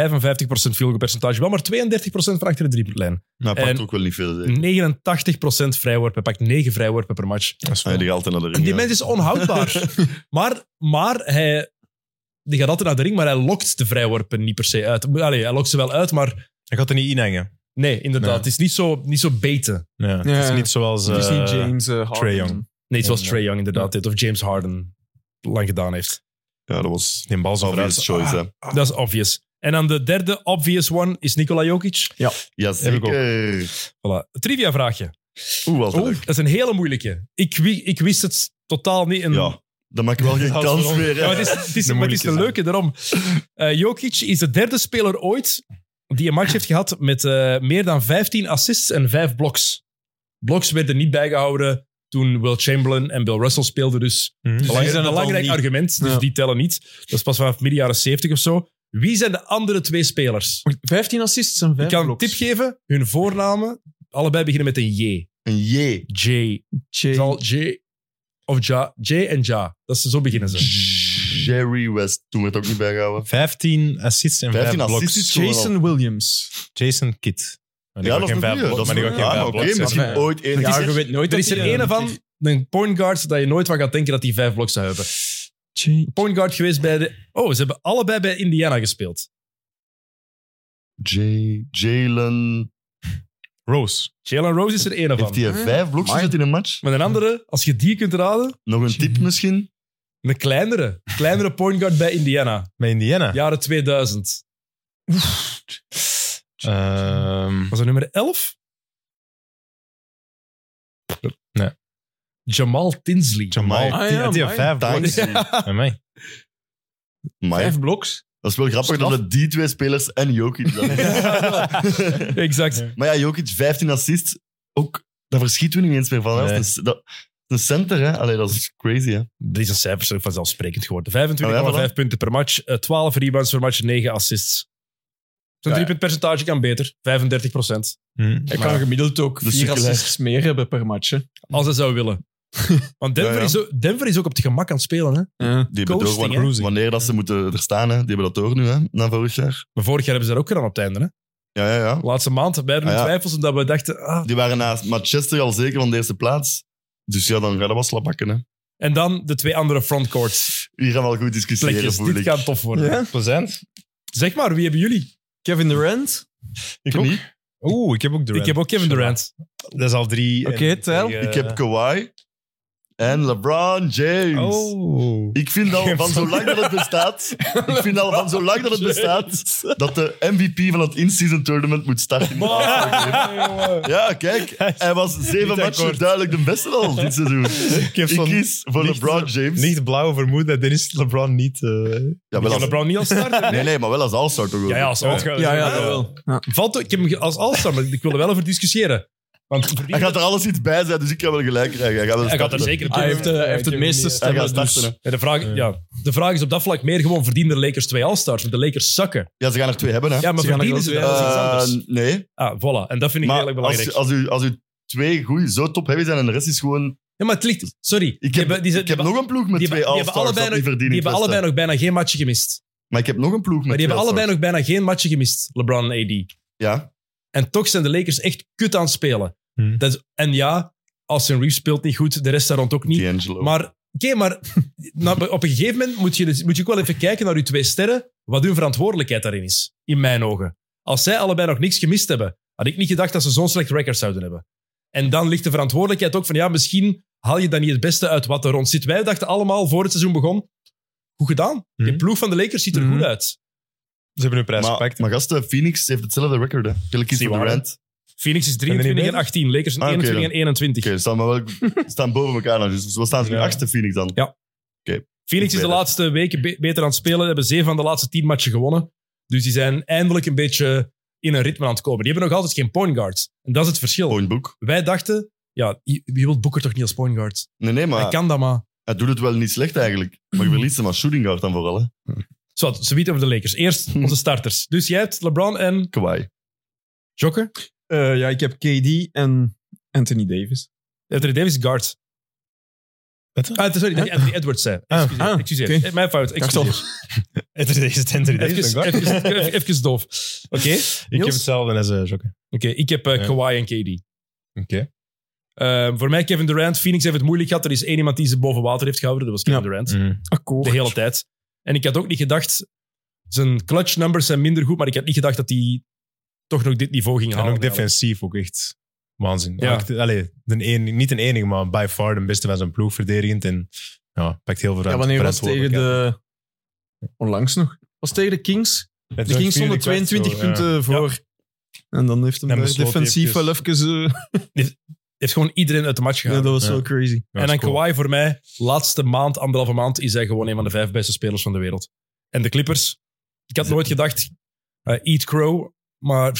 Speaker 1: field goal percentage. Wel maar 32% van achter de driepuntlijn.
Speaker 2: Maar hij pakt
Speaker 1: En-
Speaker 2: ook wel niet veel. Zeg.
Speaker 3: Hmm.
Speaker 1: 89% vrijworpen. Hij pakt 9 vrijworpen per match.
Speaker 3: Dat is wel-
Speaker 2: Hij die gaat altijd naar de
Speaker 1: En
Speaker 2: ring.
Speaker 1: die
Speaker 2: hè.
Speaker 1: mens is onhoudbaar. maar, maar hij... Die gaat altijd naar de ring, maar hij lokt de vrijworpen niet per se uit. Allee, hij lokt ze wel uit, maar...
Speaker 3: Hij gaat er niet inhengen.
Speaker 1: Nee, inderdaad.
Speaker 3: Nee.
Speaker 1: Het is niet zo, niet zo beten.
Speaker 3: Ja,
Speaker 4: Ja.
Speaker 3: Het is niet zoals...
Speaker 4: Het is
Speaker 3: eh,
Speaker 4: niet James eh, Harden.
Speaker 3: Trae Young.
Speaker 1: Nee, zoals
Speaker 3: Ja.
Speaker 1: Trey Young inderdaad deed. Of James Harden lang gedaan heeft.
Speaker 2: Ja, dat was
Speaker 3: Die bal zal
Speaker 2: obvious
Speaker 3: vooruit.
Speaker 2: choice. hè.
Speaker 1: Dat is obvious. En dan de derde obvious one is Nikola Jokic.
Speaker 2: Jazeker.
Speaker 1: Voilà. Trivia vraagje.
Speaker 2: Oeh, wat leuk.
Speaker 1: dat is een hele moeilijke. Ik, wi- ik wist het totaal niet. En
Speaker 2: Ja, dan maak ik wel geen
Speaker 3: Als
Speaker 2: kans
Speaker 3: we-
Speaker 2: meer.
Speaker 1: Ja,
Speaker 2: hè.
Speaker 1: maar het is, het is,
Speaker 3: De
Speaker 1: maar het is de leuke
Speaker 3: moeilijke
Speaker 1: daarom. Eh, Jokic is de derde speler ooit die een match heeft gehad met eh, meer dan 15 assists en 5 bloks. Bloks werden niet bijgehouden toen Will Chamberlain en Bill Russell speelden. Dus
Speaker 3: Mhm.
Speaker 4: die
Speaker 1: belangrijk,
Speaker 4: zijn het al
Speaker 1: belangrijk
Speaker 4: niet.
Speaker 1: argument. Dus
Speaker 4: Ja.
Speaker 1: die tellen niet. Dat is pas vanaf midden jaren 70 of zo. Wie zijn de andere twee spelers?
Speaker 4: 15 assists en 5
Speaker 1: Ik kan een
Speaker 4: bloks.
Speaker 1: tip geven. Hun voornamen, allebei beginnen met een J.
Speaker 2: Een J.
Speaker 1: J.
Speaker 4: Jay-
Speaker 1: Zal J. Of Ja. J en Ja. Dat is, zo beginnen ze.
Speaker 2: Jerry West. Toen werd ook niet bijgehouden.
Speaker 3: 15 assists en 5
Speaker 2: 15
Speaker 3: bloks.
Speaker 2: assists.
Speaker 4: Jason Williams.
Speaker 3: Jason Kidd. Maar die
Speaker 2: Ja,
Speaker 3: gaat
Speaker 2: dat is
Speaker 3: geen
Speaker 2: een
Speaker 3: vijf
Speaker 2: goeie.
Speaker 3: blok-
Speaker 2: Dat is
Speaker 3: maar die
Speaker 2: een
Speaker 3: gaat geen
Speaker 2: goeie.
Speaker 3: vijf
Speaker 2: Ah,
Speaker 3: bloks
Speaker 2: Oké,
Speaker 3: hebben.
Speaker 2: misschien
Speaker 4: Ja.
Speaker 2: ooit één
Speaker 4: Het is
Speaker 2: jaar.
Speaker 4: er-
Speaker 2: ge-
Speaker 4: nooit
Speaker 1: Er is er een van, een point guard, dat je nooit van gaat denken dat hij vijf bloks zou hebben. Point guard geweest bij de... Oh, ze hebben allebei bij Indiana gespeeld.
Speaker 2: J- Jalen.
Speaker 3: Rose.
Speaker 1: Jalen Rose is er één
Speaker 2: Heeft
Speaker 1: van.
Speaker 2: hij vijf blokjes gezet in een match?
Speaker 1: Maar een andere, als je die kunt raden,
Speaker 2: Nog een tip misschien?
Speaker 1: een kleinere. Kleinere point guard bij Indiana.
Speaker 3: Met Indiana.
Speaker 1: Jaren 2000.
Speaker 3: Ehm,
Speaker 1: Was dat nummer 11?
Speaker 3: Nee.
Speaker 1: Jamal Tinsley.
Speaker 3: Jamal.
Speaker 4: Ah, ja,
Speaker 3: Die had die
Speaker 4: amai.
Speaker 3: vijf bloks.
Speaker 2: Thanks.
Speaker 3: Bij mij.
Speaker 2: Amai.
Speaker 4: Vijf bloks.
Speaker 2: Dat is wel grappig
Speaker 4: Straf.
Speaker 2: dat het die twee spelers en Jokic dan is.
Speaker 1: exact.
Speaker 2: maar ja, Jokic, 15 assists. Ook, daar verschieten we niet eens meer van. hè.
Speaker 3: Nee.
Speaker 2: Dat is een- dat, een center, hè. Allee, dat is crazy, hè.
Speaker 1: Deze cijfers zijn vanzelfsprekend geworden. 25,5
Speaker 2: Oh ja, voilà.
Speaker 1: punten per match, eh, 12 rebounds per match, 9 assists. Zijn
Speaker 4: Ja.
Speaker 1: driepuntpercentage kan beter, 35
Speaker 3: Hm.
Speaker 4: Hij
Speaker 1: Maar-
Speaker 4: kan gemiddeld ook
Speaker 2: De
Speaker 4: vier
Speaker 2: circulair.
Speaker 4: assists meer hebben per match. hè.
Speaker 1: Als hij zou willen. Want Denver,
Speaker 2: Ja, ja.
Speaker 1: Is ook, Denver is ook op het gemak aan het spelen. Hè?
Speaker 2: Die hebben
Speaker 1: Coasting,
Speaker 2: door
Speaker 1: hè.
Speaker 2: wanneer,
Speaker 3: Cruising.
Speaker 2: wanneer dat ze moeten er staan, hè. Die hebben dat door nu, hè, na vorig jaar.
Speaker 1: Maar vorig jaar hebben ze dat ook gedaan op het einde. Hè?
Speaker 2: Ja, ja, ja.
Speaker 1: De laatste maand werden we
Speaker 2: Ah, ja.
Speaker 1: twijfels omdat we dachten... Ah.
Speaker 2: Die waren na Manchester al zeker van de eerste plaats. Dus ja, dan gaan we wel slap bakken, hè.
Speaker 1: En dan de twee andere frontcourt
Speaker 2: Hier gaan we wel goed discussiëren,
Speaker 1: plekjes.
Speaker 2: voel
Speaker 1: Dit
Speaker 2: ik.
Speaker 1: kan tof worden.
Speaker 3: Plezant.
Speaker 1: Zeg maar, wie hebben jullie?
Speaker 4: Kevin Durant.
Speaker 3: Ik
Speaker 2: Ik
Speaker 3: ook.
Speaker 2: niet.
Speaker 3: Oeh, ik heb ook Durant.
Speaker 1: Ik heb ook Kevin Durant.
Speaker 3: Dat is al drie.
Speaker 4: Oké,
Speaker 3: en-
Speaker 4: tel.
Speaker 3: eh,
Speaker 2: Ik heb Kawhi en LeBron James.
Speaker 3: Oh.
Speaker 2: Ik vind al van zolang dat het bestaat, ik vind al van zolang dat het bestaat, dat de MVP van het in-season tournament moet starten.
Speaker 1: Ah.
Speaker 2: Ja, kijk, hij was
Speaker 3: Niet
Speaker 2: zeven matchen
Speaker 3: akkoord.
Speaker 2: duidelijk de beste al dit seizoen.
Speaker 3: Ik heb
Speaker 2: Ik
Speaker 3: zo'n
Speaker 2: kies voor
Speaker 3: niet-
Speaker 2: LeBron James.
Speaker 3: niet blauw vermoed dat Dennis LeBron niet... eh,
Speaker 2: ja, wel
Speaker 1: Kan
Speaker 2: als,
Speaker 1: LeBron niet al starten?
Speaker 2: nee, nee, maar wel als All-Star toch wel.
Speaker 1: Ja, ja, als all
Speaker 4: Ja, ja, dat wel. Ja.
Speaker 1: Valt, ook- ik heb hem ge- als all maar ik wil er wel over discussiëren. Want verdient-
Speaker 2: Hij gaat er alles iets bij zijn, dus ik kan wel gelijk krijgen. Hij gaat, wel
Speaker 1: hij gaat er
Speaker 2: starten.
Speaker 1: zeker
Speaker 4: Hij heeft, eh, hij
Speaker 3: Ja,
Speaker 4: heeft
Speaker 3: ik
Speaker 4: het
Speaker 3: heb hem
Speaker 4: meeste
Speaker 3: niet,
Speaker 2: Hij
Speaker 4: stemmen.
Speaker 2: gaat
Speaker 4: dus-
Speaker 2: starten. hè.
Speaker 1: Ja, de, vraag,
Speaker 3: Ja.
Speaker 1: ja, de vraag is op dat vlak meer gewoon, verdienen de Lakers twee all-stars? Want de Lakers zakken.
Speaker 2: Ja, ze gaan er twee hebben, hè.
Speaker 1: Ja, maar
Speaker 4: Ze gaan er
Speaker 1: verdienen
Speaker 4: wel
Speaker 1: ze
Speaker 4: twee
Speaker 1: dat? Dat is iets
Speaker 2: Eh,
Speaker 1: anders.
Speaker 2: nee,
Speaker 1: Ah, voilà. En dat vind ik
Speaker 2: maar
Speaker 1: eigenlijk
Speaker 2: als,
Speaker 1: belangrijk.
Speaker 2: u- als, u, als u twee goeie zo top heavy zijn en de rest is gewoon...
Speaker 1: ja, maar het ligt... Sorry.
Speaker 2: Ik heb,
Speaker 1: hebben- die zijn-
Speaker 2: ik heb
Speaker 1: die hebben-
Speaker 2: nog een ploeg met
Speaker 1: die
Speaker 2: twee
Speaker 1: hebben- die hebben
Speaker 2: All-Stars
Speaker 1: allebei
Speaker 2: dat niet
Speaker 1: nog-
Speaker 2: verdienen.
Speaker 1: die hebben
Speaker 2: het
Speaker 1: allebei nog
Speaker 2: beste.
Speaker 1: bijna geen matchen gemist.
Speaker 2: Maar ik heb nog een ploeg met
Speaker 1: Maar die
Speaker 2: twee
Speaker 1: hebben allebei
Speaker 2: All-Stars.
Speaker 1: nog bijna geen matchen gemist, LeBron en AD.
Speaker 2: Ja.
Speaker 1: En toch zijn de Lakers echt kut aan het spelen.
Speaker 3: Hmm.
Speaker 1: Dat is- en ja, Austin Reeves speelt niet goed, de rest daar rond ook niet.
Speaker 2: D'Angelo.
Speaker 1: Maar, oké, maar nou, op een gegeven moment moet je, dus- moet je ook wel even kijken naar uw twee sterren, wat hun verantwoordelijkheid daarin is, in mijn ogen. Als zij allebei nog niks gemist hebben, had ik niet gedacht dat ze zo'n slecht record zouden hebben. En dan ligt de verantwoordelijkheid ook van, ja, misschien haal je dan niet het beste uit wat er rond zit. Wij dachten allemaal voor het seizoen begon, goed gedaan. De
Speaker 3: Mhm.
Speaker 1: ploeg van de Lakers ziet er
Speaker 4: Mhm.
Speaker 1: goed uit.
Speaker 3: Ze hebben hun prijs
Speaker 2: maar,
Speaker 3: gepakt.
Speaker 2: maar gasten, Phoenix heeft hetzelfde record. hè. Jullie kiezen
Speaker 1: Zie
Speaker 2: voor
Speaker 1: waar, hè.
Speaker 2: Durant.
Speaker 1: Phoenix is
Speaker 3: die
Speaker 1: 23 en
Speaker 3: beter?
Speaker 1: 18, Lakers
Speaker 2: Ah, oké
Speaker 1: 21
Speaker 2: dan.
Speaker 1: en 21.
Speaker 2: Oké, ze staan, maar wel- ze staan boven elkaar. dan, Dus we staan ze nu
Speaker 3: Ja.
Speaker 2: achtste Phoenix dan.
Speaker 1: Ja.
Speaker 2: Oké.
Speaker 1: Phoenix
Speaker 2: Ik
Speaker 1: is de
Speaker 2: weet het.
Speaker 1: laatste weken be- beter aan het spelen. Hebben zeven van de laatste tien matchen gewonnen. Dus die zijn eindelijk een beetje in een ritme aan het komen. Die hebben nog altijd geen point guards. En dat is het verschil.
Speaker 2: Point book.
Speaker 1: Wij dachten, ja, je je wilt Booker toch niet als point guard?
Speaker 2: Nee, nee, maar
Speaker 1: Hij kan dat maar.
Speaker 2: hij doet het wel niet slecht eigenlijk. Maar je verliest hem als shooting guard dan vooral, hè.
Speaker 1: Zo, ze weten over de Lakers. Eerst onze starters. Dus jij hebt LeBron en
Speaker 2: Kawhi.
Speaker 1: Joker.
Speaker 4: Eh, ja, ik heb KD en Anthony Davis.
Speaker 1: Anthony Davis guard.
Speaker 3: Wat?
Speaker 1: Ah, sorry, dat je Anthony Edwards zei.
Speaker 3: Ah,
Speaker 1: Excuseer,
Speaker 4: ah,
Speaker 1: excuseer.
Speaker 4: oké.
Speaker 1: Mijn fout.
Speaker 4: dacht al.
Speaker 1: Excuseer.
Speaker 3: Het is deze Anthony Davis.
Speaker 1: Even,
Speaker 3: denk ik.
Speaker 1: even, even, even doof. Oké,
Speaker 3: Ik heb
Speaker 1: Niels?
Speaker 3: hetzelfde als eh Jokke.
Speaker 1: Oké, ik heb eh,
Speaker 3: Ja.
Speaker 1: Kawhi en KD.
Speaker 3: Oké.
Speaker 1: Eh, voor mij Kevin Durant. Phoenix heeft het moeilijk gehad. Er is één iemand die ze boven water heeft gehouden. Dat was Kevin
Speaker 4: Ja.
Speaker 1: Durant.
Speaker 4: Akkoord.
Speaker 1: De hele tijd. En ik had ook niet gedacht... Zijn clutch numbers zijn minder goed, maar ik had niet gedacht dat hij toch nog dit niveau ging
Speaker 3: En
Speaker 1: halen.
Speaker 3: ook defensief ook echt waanzin.
Speaker 1: Ja.
Speaker 3: Act- Allee, de een, niet een enige, maar by far de beste van zijn ploeg verdedigend. En ja, pakt heel veel
Speaker 4: Ja,
Speaker 3: ruimte-
Speaker 4: wanneer was het tegen
Speaker 3: verantwoordelijkheid.
Speaker 4: de... Onlangs nog. Was het tegen de Kings.
Speaker 3: Het
Speaker 4: De
Speaker 3: was
Speaker 4: Kings stonden
Speaker 3: vierde kwart,
Speaker 4: 22
Speaker 3: zo, ja.
Speaker 4: punten voor. En dan heeft hem
Speaker 3: En
Speaker 4: daar
Speaker 3: besloot
Speaker 4: defensief
Speaker 3: hij
Speaker 4: wel even... eh,
Speaker 1: Heeft gewoon iedereen uit de match
Speaker 4: ja,
Speaker 1: gehaald.
Speaker 4: dat was
Speaker 3: Ja.
Speaker 4: wel crazy.
Speaker 3: Ja,
Speaker 1: en
Speaker 3: dat
Speaker 1: dan
Speaker 3: is cool.
Speaker 1: Kawhi voor mij, laatste maand, anderhalve maand, is hij gewoon een van de vijf beste spelers van de wereld. En de Clippers, ik had nooit gedacht, eh, eat crow, maar,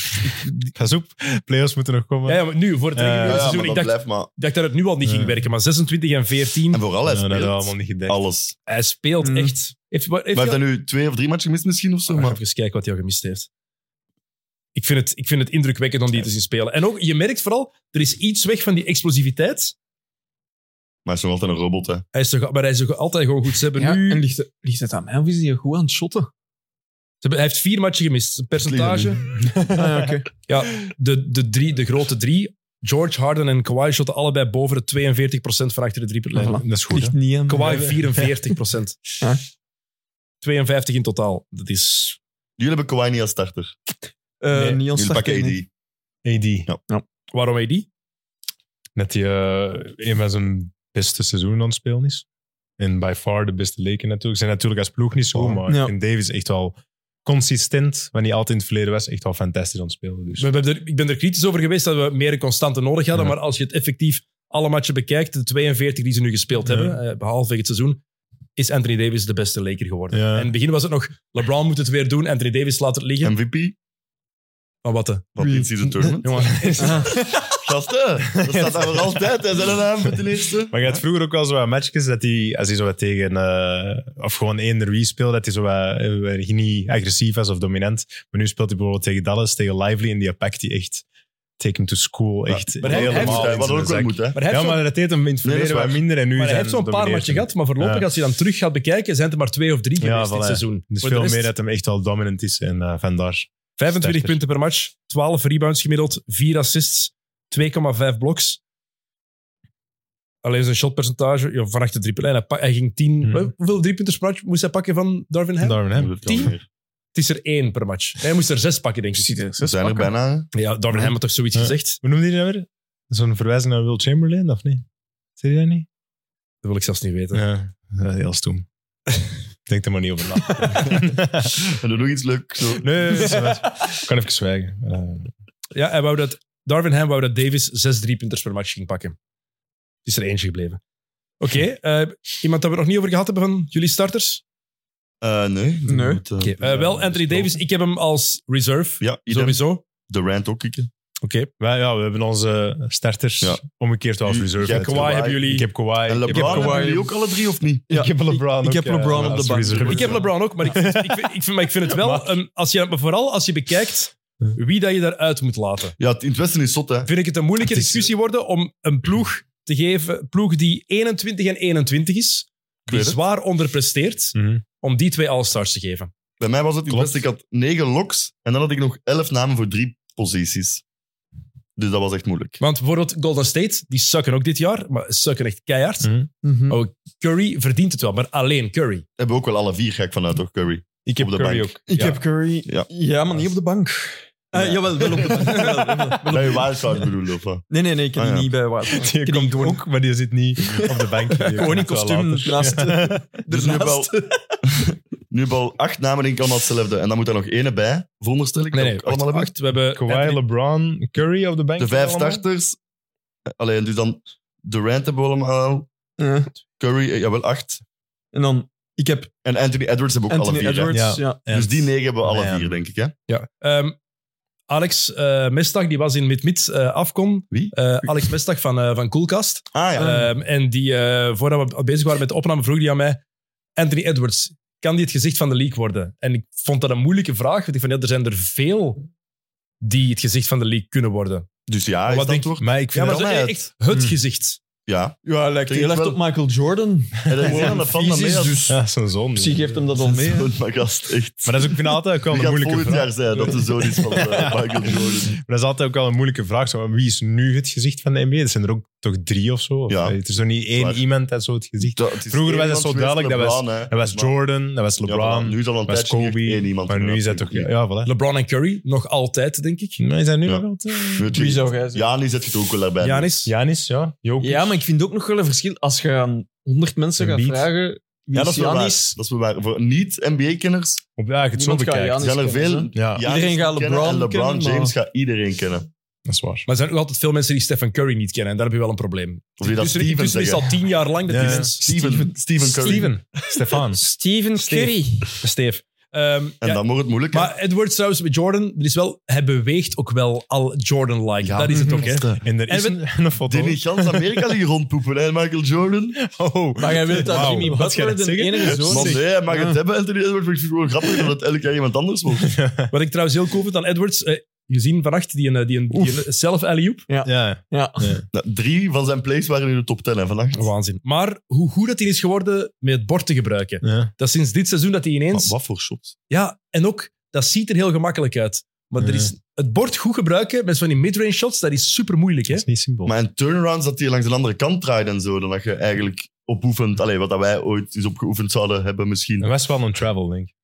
Speaker 3: Ga zoep. Playoffs moeten nog komen.
Speaker 1: ja, ja, maar nu, voor het
Speaker 3: Eh,
Speaker 1: reguliere
Speaker 2: Ja, ja, maar
Speaker 1: seizoen, ik
Speaker 2: dat
Speaker 1: dacht,
Speaker 2: blijft maar...
Speaker 1: dacht dat het nu al niet ging
Speaker 3: Ja.
Speaker 1: werken, maar 26 en 14,
Speaker 2: En vooral, hij
Speaker 3: Ja, dat
Speaker 2: speelt
Speaker 3: hadden we allemaal niet gedacht.
Speaker 2: alles.
Speaker 1: hij speelt
Speaker 4: Mm.
Speaker 1: echt... Heeft, wat- heeft
Speaker 2: Maar heeft
Speaker 1: hij
Speaker 2: hij nu twee of drie matchen gemist misschien of zo?
Speaker 1: al-
Speaker 2: Maar...
Speaker 1: Even kijken wat hij al gemist heeft. Ik vind, het, ik vind het indrukwekkend om die te zien spelen. En ook, je merkt vooral, er is iets weg van die explosiviteit.
Speaker 2: Maar hij is nog altijd een robot, hè.
Speaker 1: Hij is toch, maar hij is toch altijd gewoon goed. Ze hebben
Speaker 4: Ja,
Speaker 1: nu...
Speaker 4: en ligt, het- ligt het aan mij of is hij goed aan het shotten?
Speaker 1: Ze hebben- hij heeft vier matchen gemist. Een percentage.
Speaker 4: Ah, ja, oké.
Speaker 1: Ja, de, de, drie, de grote drie, George Harden en Kawhi, shotten allebei boven de 42% van achter de driepuntlijn.
Speaker 4: Voilà.
Speaker 3: Dat is goed.
Speaker 4: Ligt niet aan mij.
Speaker 1: Kawhi 44%.
Speaker 4: Huh?
Speaker 1: 52 in totaal. Dat is...
Speaker 2: Jullie hebben Kawhi niet als starter.
Speaker 4: Eh,
Speaker 1: Nee,
Speaker 4: niet aan
Speaker 2: Jullie
Speaker 4: start,
Speaker 2: pakken AD.
Speaker 4: nee.
Speaker 3: hè. AD.
Speaker 1: Waarom hij die?
Speaker 3: Net die eh, een van zijn beste seizoenen aan het spelen is. En by far de beste leken natuurlijk. Ze zijn natuurlijk als ploeg niet zo,
Speaker 1: Oh,
Speaker 3: goed, maar
Speaker 4: Ja.
Speaker 3: ik vind Davis echt wel consistent, wanneer hij altijd in het verleden was, echt wel fantastisch aan het spelen. Dus.
Speaker 1: We hebben er- Ik ben er kritisch over geweest dat we meer een constante nodig hadden,
Speaker 3: Ja.
Speaker 1: maar als je het effectief alle matchen bekijkt, de 42 die ze nu gespeeld
Speaker 3: Ja.
Speaker 1: hebben, eh, behalve het seizoen, is Anthony Davis de beste Laker geworden.
Speaker 3: Ja.
Speaker 1: En in het begin was het nog, LeBron moet het weer doen, Anthony Davis laat het liggen.
Speaker 2: MVP
Speaker 1: Maar wat de...
Speaker 2: van dit season tournament. Gasten, dat staat daar voor altijd. Hij is een naam met de eerste.
Speaker 3: Maar je had vroeger ook wel zo wat matchjes dat hij, als hij zo wat tegen, eh, of gewoon één derby speelde, dat hij zo wat, eh, niet agressief was of dominant. Maar nu speelt hij bijvoorbeeld tegen Dallas, tegen Lively, en die pakt hij echt, take him to school, echt
Speaker 1: maar hij- hij heeft-
Speaker 3: helemaal
Speaker 1: hij-
Speaker 3: in
Speaker 2: Wat
Speaker 3: zijn
Speaker 2: ook wel
Speaker 3: zak.
Speaker 2: moet, hè.
Speaker 1: Maar hij
Speaker 3: Ja,
Speaker 1: heeft zo'n-
Speaker 3: maar dat deed hem in het
Speaker 2: Nee, dat is
Speaker 3: verleden wat
Speaker 2: waar.
Speaker 3: minder en nu
Speaker 1: Maar hij
Speaker 3: zijn
Speaker 1: heeft zo'n paar
Speaker 3: domineert
Speaker 1: matchen
Speaker 3: hem.
Speaker 1: gehad, maar voorlopig,
Speaker 3: Ja.
Speaker 1: als je dan terug gaat bekijken, zijn het er maar twee of drie
Speaker 3: Ja,
Speaker 1: geweest dit
Speaker 3: voilà.
Speaker 1: seizoen.
Speaker 3: Dus
Speaker 1: Voor de
Speaker 3: veel
Speaker 1: rest,
Speaker 3: meer dat hem echt wel dominant is en eh, vandaar.
Speaker 1: 25
Speaker 3: sterker.
Speaker 1: punten per match, 12 rebounds gemiddeld, 4 assists, 2,5 bloks. Alleen zijn shotpercentage ja, van achter de driepuntlijn. Hij, pak- hij ging 10.
Speaker 3: Mhm.
Speaker 1: Wel, Hoeveel driepunters per match moest hij pakken van Darwin Ham?
Speaker 3: Darwin Ham.
Speaker 2: Dat kan
Speaker 1: Tien?
Speaker 2: weer.
Speaker 1: Het is er één per match. Hij moest er zes pakken, denk
Speaker 4: Ik zie
Speaker 1: ik.
Speaker 4: er
Speaker 2: We
Speaker 4: zes
Speaker 2: zijn er
Speaker 4: pakken.
Speaker 2: bijna. hè.
Speaker 1: Ja, Darwin Ham had toch zoiets
Speaker 3: Ja.
Speaker 1: gezegd?
Speaker 3: Hoe noemde hij dat weer? Zo'n verwijzing naar Will Chamberlain, of niet? Zie je dat niet?
Speaker 1: Dat wil ik zelfs niet weten.
Speaker 3: Ja, ja heel stoem. Denk er maar niet over na.
Speaker 2: En doe nog iets leuks. zo.
Speaker 3: nee, dat is wat. Ik kan even zwijgen. Eh,
Speaker 1: Ja, hij wou dat, Darwin Ham wou dat Davis zes driepunters per match ging pakken. Is er eentje gebleven. Oké, eh, iemand dat we nog niet over gehad hebben van jullie starters?
Speaker 2: Eh, nee.
Speaker 4: Nee.
Speaker 2: We moeten-
Speaker 1: Oké, eh, wel Anthony Davis, ik heb hem als reserve.
Speaker 2: Ja, idem.
Speaker 1: sowieso. Oké.
Speaker 2: Durant ook kicken.
Speaker 3: wij, ja, we hebben onze starters
Speaker 2: Ja.
Speaker 3: omgekeerd als
Speaker 2: U-
Speaker 3: reserve.
Speaker 2: jij hebt
Speaker 1: Kawhi
Speaker 2: Kawhi.
Speaker 1: hebben jullie.
Speaker 3: Ik heb
Speaker 2: En
Speaker 3: Kawhi. ik heb
Speaker 2: LeBron
Speaker 3: Kawhi.
Speaker 2: hebben jullie ook alle drie, of niet?
Speaker 3: ik heb LeBron
Speaker 4: ik
Speaker 3: ook,
Speaker 4: heb
Speaker 3: eh,
Speaker 4: LeBron op
Speaker 3: als
Speaker 4: de bank.
Speaker 3: reserve.
Speaker 1: Ik heb LeBron ook, maar ik vind, ik vind, ik vind, maar ik vind het wel...
Speaker 3: Mag.
Speaker 1: een- als je, maar vooral als je bekijkt wie dat je daaruit moet laten.
Speaker 2: Ja, het- in het Westen is zot, hè.
Speaker 1: Vind ik het een moeilijke
Speaker 3: Het is-
Speaker 1: discussie worden om een ploeg te geven... Ploeg die 21 en 21 is, die
Speaker 2: weet het.
Speaker 1: zwaar onderpresteert,
Speaker 3: Mhm.
Speaker 1: om die twee all-stars te geven.
Speaker 2: Bij mij was het in het
Speaker 3: Klopt.
Speaker 2: Westen. Ik had negen locks en dan had ik nog elf namen voor drie posities. Dus dat was echt moeilijk.
Speaker 1: Want bijvoorbeeld Golden State, die sukken ook dit jaar, maar sukken echt keihard.
Speaker 3: Mhm.
Speaker 4: Mhm.
Speaker 1: Oh, Curry verdient het wel, maar alleen Curry.
Speaker 2: Hebben we ook wel alle vier, ga ik vanuit, toch, Curry?
Speaker 3: Ik heb
Speaker 2: Op de
Speaker 3: Curry
Speaker 2: bank.
Speaker 3: ook.
Speaker 4: Ik
Speaker 1: Ja.
Speaker 4: heb Curry.
Speaker 2: Ja.
Speaker 4: Ja. maar niet op de bank. Eh,
Speaker 2: Ja.
Speaker 4: Jawel, wel op de bank. Jawel, jawel.
Speaker 2: Bij je wildcard bedoel je, of wat?
Speaker 4: Nee, nee, nee, ik heb
Speaker 2: Ah,
Speaker 4: die
Speaker 2: ja.
Speaker 4: niet bij Wild.
Speaker 3: Die komt ook, maar die zit niet op de bank. Die
Speaker 4: Gewoon in
Speaker 3: komt wel
Speaker 4: kostuum
Speaker 3: later.
Speaker 4: naast.
Speaker 2: Dus nu wel-
Speaker 4: Daarnaast.
Speaker 2: Nu hebben we al acht namen, denk ik, allemaal hetzelfde. En dan moet er nog ene bij, veronderstel ik.
Speaker 1: Nee,
Speaker 2: dat
Speaker 1: nee,
Speaker 2: we allemaal
Speaker 1: wacht,
Speaker 2: hebben.
Speaker 1: wacht, we hebben
Speaker 3: Kawhi,
Speaker 1: Anthony-
Speaker 3: LeBron, Curry op de bank.
Speaker 2: De vijf
Speaker 3: allemaal.
Speaker 2: starters. Eh, Alleen, dus dan Durant hebben we allemaal.
Speaker 4: Ja.
Speaker 2: Curry, eh, jawel, acht.
Speaker 4: En dan Ik heb
Speaker 2: En Anthony Edwards hebben ook
Speaker 4: Anthony
Speaker 2: alle vier. hè?
Speaker 4: Edwards.
Speaker 3: Ja.
Speaker 4: Ja.
Speaker 2: Dus die negen hebben we alle
Speaker 3: Ja.
Speaker 2: vier, denk ik. Hè?
Speaker 1: Ja. Ehm, Alex eh Mestag, die was in Mid-Mid eh afkom.
Speaker 2: Wie?
Speaker 1: Eh, Alex Mestag van, eh, van Coolcast.
Speaker 2: Ah ja.
Speaker 1: Ehm, en die, eh, voordat we bezig waren met de opname, vroeg die aan mij: Anthony Edwards, kan die het gezicht van de league worden? En ik vond dat een moeilijke vraag, want ik van ja, er zijn er veel die het gezicht van de league kunnen worden.
Speaker 2: dus ja,
Speaker 1: wat
Speaker 2: is dat
Speaker 1: denk-
Speaker 2: toch?
Speaker 3: Maar
Speaker 1: Ja,
Speaker 3: ik vind
Speaker 1: maar zo,
Speaker 2: wel mij
Speaker 1: eh,
Speaker 2: het.
Speaker 1: echt het
Speaker 3: Hmm.
Speaker 1: gezicht.
Speaker 2: Ja.
Speaker 4: Ja, lijkt
Speaker 2: Denk heel ik
Speaker 4: heel erg
Speaker 2: erg wel.
Speaker 4: op
Speaker 2: op
Speaker 4: Michael Jordan.
Speaker 2: En dat is heel aan de fan van
Speaker 4: Fysisch
Speaker 2: mij als
Speaker 4: dus.
Speaker 3: Ja, zo'n zon.
Speaker 4: Psy geeft hem dat al mee. hè.
Speaker 2: zo'n gast. Echt.
Speaker 3: Maar dat is ook, ik vind dat altijd ook wel
Speaker 2: Die
Speaker 3: een
Speaker 2: gaat
Speaker 3: moeilijke
Speaker 2: volgend
Speaker 3: vraag.
Speaker 2: jaar zijn dat de zoon is van eh, Michael Jordan.
Speaker 3: Maar dat is altijd ook wel een moeilijke vraag. Zo, wie is nu het gezicht van de NBA? Er zijn er ook toch drie of zo? Of,
Speaker 2: Ja.
Speaker 3: eh, Er is toch niet één
Speaker 2: Waar.
Speaker 3: iemand dat zo het gezicht...
Speaker 2: Dat- het is
Speaker 3: Vroeger
Speaker 2: één
Speaker 3: was het zo
Speaker 2: iemand geweest,
Speaker 3: duidelijk, dat was-
Speaker 2: LeBron, hè.
Speaker 3: Dat was
Speaker 2: Maar-
Speaker 3: Jordan, dat was
Speaker 2: Ja,
Speaker 3: LeBron,
Speaker 2: voilà,
Speaker 3: dat
Speaker 2: nu is al een
Speaker 3: was
Speaker 2: tijdje niet
Speaker 3: Kobe.
Speaker 2: één iemand.
Speaker 3: maar nu is dat toch...
Speaker 2: natuurlijk.
Speaker 3: Ja, voilà.
Speaker 1: LeBron en Curry, nog altijd, denk ik.
Speaker 3: Maar is dat nu
Speaker 2: Ja.
Speaker 3: nog altijd... eh,
Speaker 2: Weet je,
Speaker 4: Wie zou jij zijn?
Speaker 2: Janis zet je het ook wel erbij.
Speaker 1: Janis.
Speaker 3: Janis, ja. Jokic.
Speaker 4: Ja, maar ik vind ook nog wel een verschil. Als je aan 100 mensen gaat
Speaker 3: Embiid.
Speaker 4: vragen wie
Speaker 2: Ja, dat
Speaker 4: is
Speaker 2: is wel waar.
Speaker 4: Giannis,
Speaker 2: Dat is wel waar. Voor niet-NBA-kenners
Speaker 3: Op, ja, als je het zo
Speaker 4: Niemand gaat
Speaker 3: bekijkt.
Speaker 4: Giannis
Speaker 2: zijn er
Speaker 4: kennen,
Speaker 2: veel.
Speaker 4: hè.
Speaker 3: Ja,
Speaker 2: Giannis
Speaker 4: Iedereen gaat
Speaker 2: kennen
Speaker 4: LeBron
Speaker 2: en LeBron
Speaker 4: kennen,
Speaker 2: James
Speaker 4: maar-
Speaker 2: gaat iedereen kennen.
Speaker 3: dat is waar.
Speaker 1: Maar er zijn ook altijd veel mensen die Stephen Curry niet kennen. En daar heb je wel een probleem.
Speaker 2: Of die dat
Speaker 1: Tussen-
Speaker 2: Steven
Speaker 1: intussen is
Speaker 2: zeggen.
Speaker 1: het al tien jaar lang dat
Speaker 3: Ja,
Speaker 1: die
Speaker 3: ja.
Speaker 1: mensen-
Speaker 2: Steven, Steven Curry.
Speaker 3: Steven. Stefan.
Speaker 4: Steven
Speaker 1: Steve.
Speaker 4: Curry.
Speaker 1: Steve. Ehm,
Speaker 2: En
Speaker 1: ja,
Speaker 2: dan wordt het moeilijk. hè.
Speaker 1: maar Edwards trouwens met Jordan, er is wel, hij beweegt ook wel al Jordan-like.
Speaker 2: Ja.
Speaker 1: Dat is het ook, hè?
Speaker 3: En er is
Speaker 1: En
Speaker 3: een, een foto.
Speaker 2: Die in gans Amerika die rondpoepen, hè, Michael Jordan.
Speaker 3: Oh.
Speaker 4: Maar jij wilt dat
Speaker 3: Wauw,
Speaker 4: Jimmy
Speaker 3: wat ga je
Speaker 4: Butler
Speaker 3: dat
Speaker 4: de
Speaker 3: zeggen?
Speaker 4: enige zoon
Speaker 2: Maar
Speaker 4: is?
Speaker 2: nee, hij mag
Speaker 4: Ja.
Speaker 2: het hebben, Anthony Edwards. Maar ik vind het gewoon grappig dat het elk jaar iemand anders wordt.
Speaker 1: Wat ik trouwens heel cool vind aan Edwards, eh, gezien vannacht, die een, eh, die een, die een zelf alley-oop.
Speaker 3: Ja.
Speaker 4: Ja.
Speaker 2: Nou, drie van zijn plays waren in de top 10 hè, vannacht.
Speaker 1: Waanzin. Maar hoe goed dat hij is geworden met het bord te gebruiken.
Speaker 3: ja.
Speaker 1: Dat is sinds dit seizoen dat hij
Speaker 2: Maar
Speaker 1: ineens...
Speaker 2: wat voor shots?
Speaker 1: Ja, en ook, dat ziet er heel gemakkelijk uit. Maar er
Speaker 3: Ja.
Speaker 1: is, het bord goed gebruiken met van die mid-range shots, dat is super moeilijk, hè?
Speaker 3: Dat is niet simpel.
Speaker 2: Maar en turnarounds dat hij langs de andere kant draait en zo, dan dat je eigenlijk opoefent, allee, wat dat wij ooit eens opgeoefend zouden hebben misschien.
Speaker 3: Dat was wel een travel, denk ik.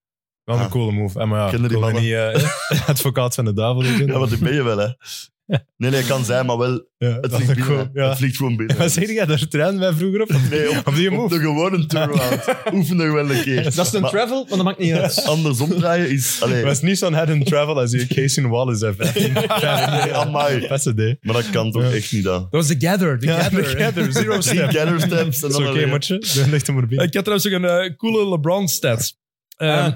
Speaker 3: Wel een
Speaker 2: Ah.
Speaker 3: coole move. Eh, Maar ja,
Speaker 2: Kennen die
Speaker 3: ik wil
Speaker 2: mannen?
Speaker 3: niet eh, advocaat van de duivel. doen.
Speaker 2: Ja, want dat ben je wel, hè. Nee, nee, kan zijn, maar wel,
Speaker 3: Ja,
Speaker 2: het
Speaker 3: dat is
Speaker 2: vliegt binnen.
Speaker 3: cool.
Speaker 2: hè.
Speaker 3: Ja.
Speaker 2: Het vliegt gewoon binnen.
Speaker 3: Wat zeg jij, daar trainen wij vroeger op?
Speaker 2: Nee, op,
Speaker 3: Op die
Speaker 2: op
Speaker 3: move?
Speaker 2: de gewone turnaround. Oefen nog wel een keer.
Speaker 4: Dat is een
Speaker 2: Maar
Speaker 4: travel, maar dat maakt niet uit.
Speaker 2: Anders omdraaien is... Allee,
Speaker 3: Het was niet zo'n head and travel als je Casey Wallace hebt.
Speaker 2: nee, amai.
Speaker 3: Dat is het, hè.
Speaker 2: Maar dat kan toch
Speaker 3: Ja.
Speaker 2: echt niet, aan.
Speaker 1: Dat was de gather. The
Speaker 3: Ja,
Speaker 1: gather.
Speaker 3: The Gather, zero
Speaker 2: Drie
Speaker 3: step.
Speaker 2: gather steps en
Speaker 3: Dat is
Speaker 2: dan
Speaker 3: oké,
Speaker 2: weer-
Speaker 3: matje. Dan ligt hem erbij.
Speaker 1: Ik had trouwens ook een eh, coole LeBron-stat. Ehm,
Speaker 4: Ah.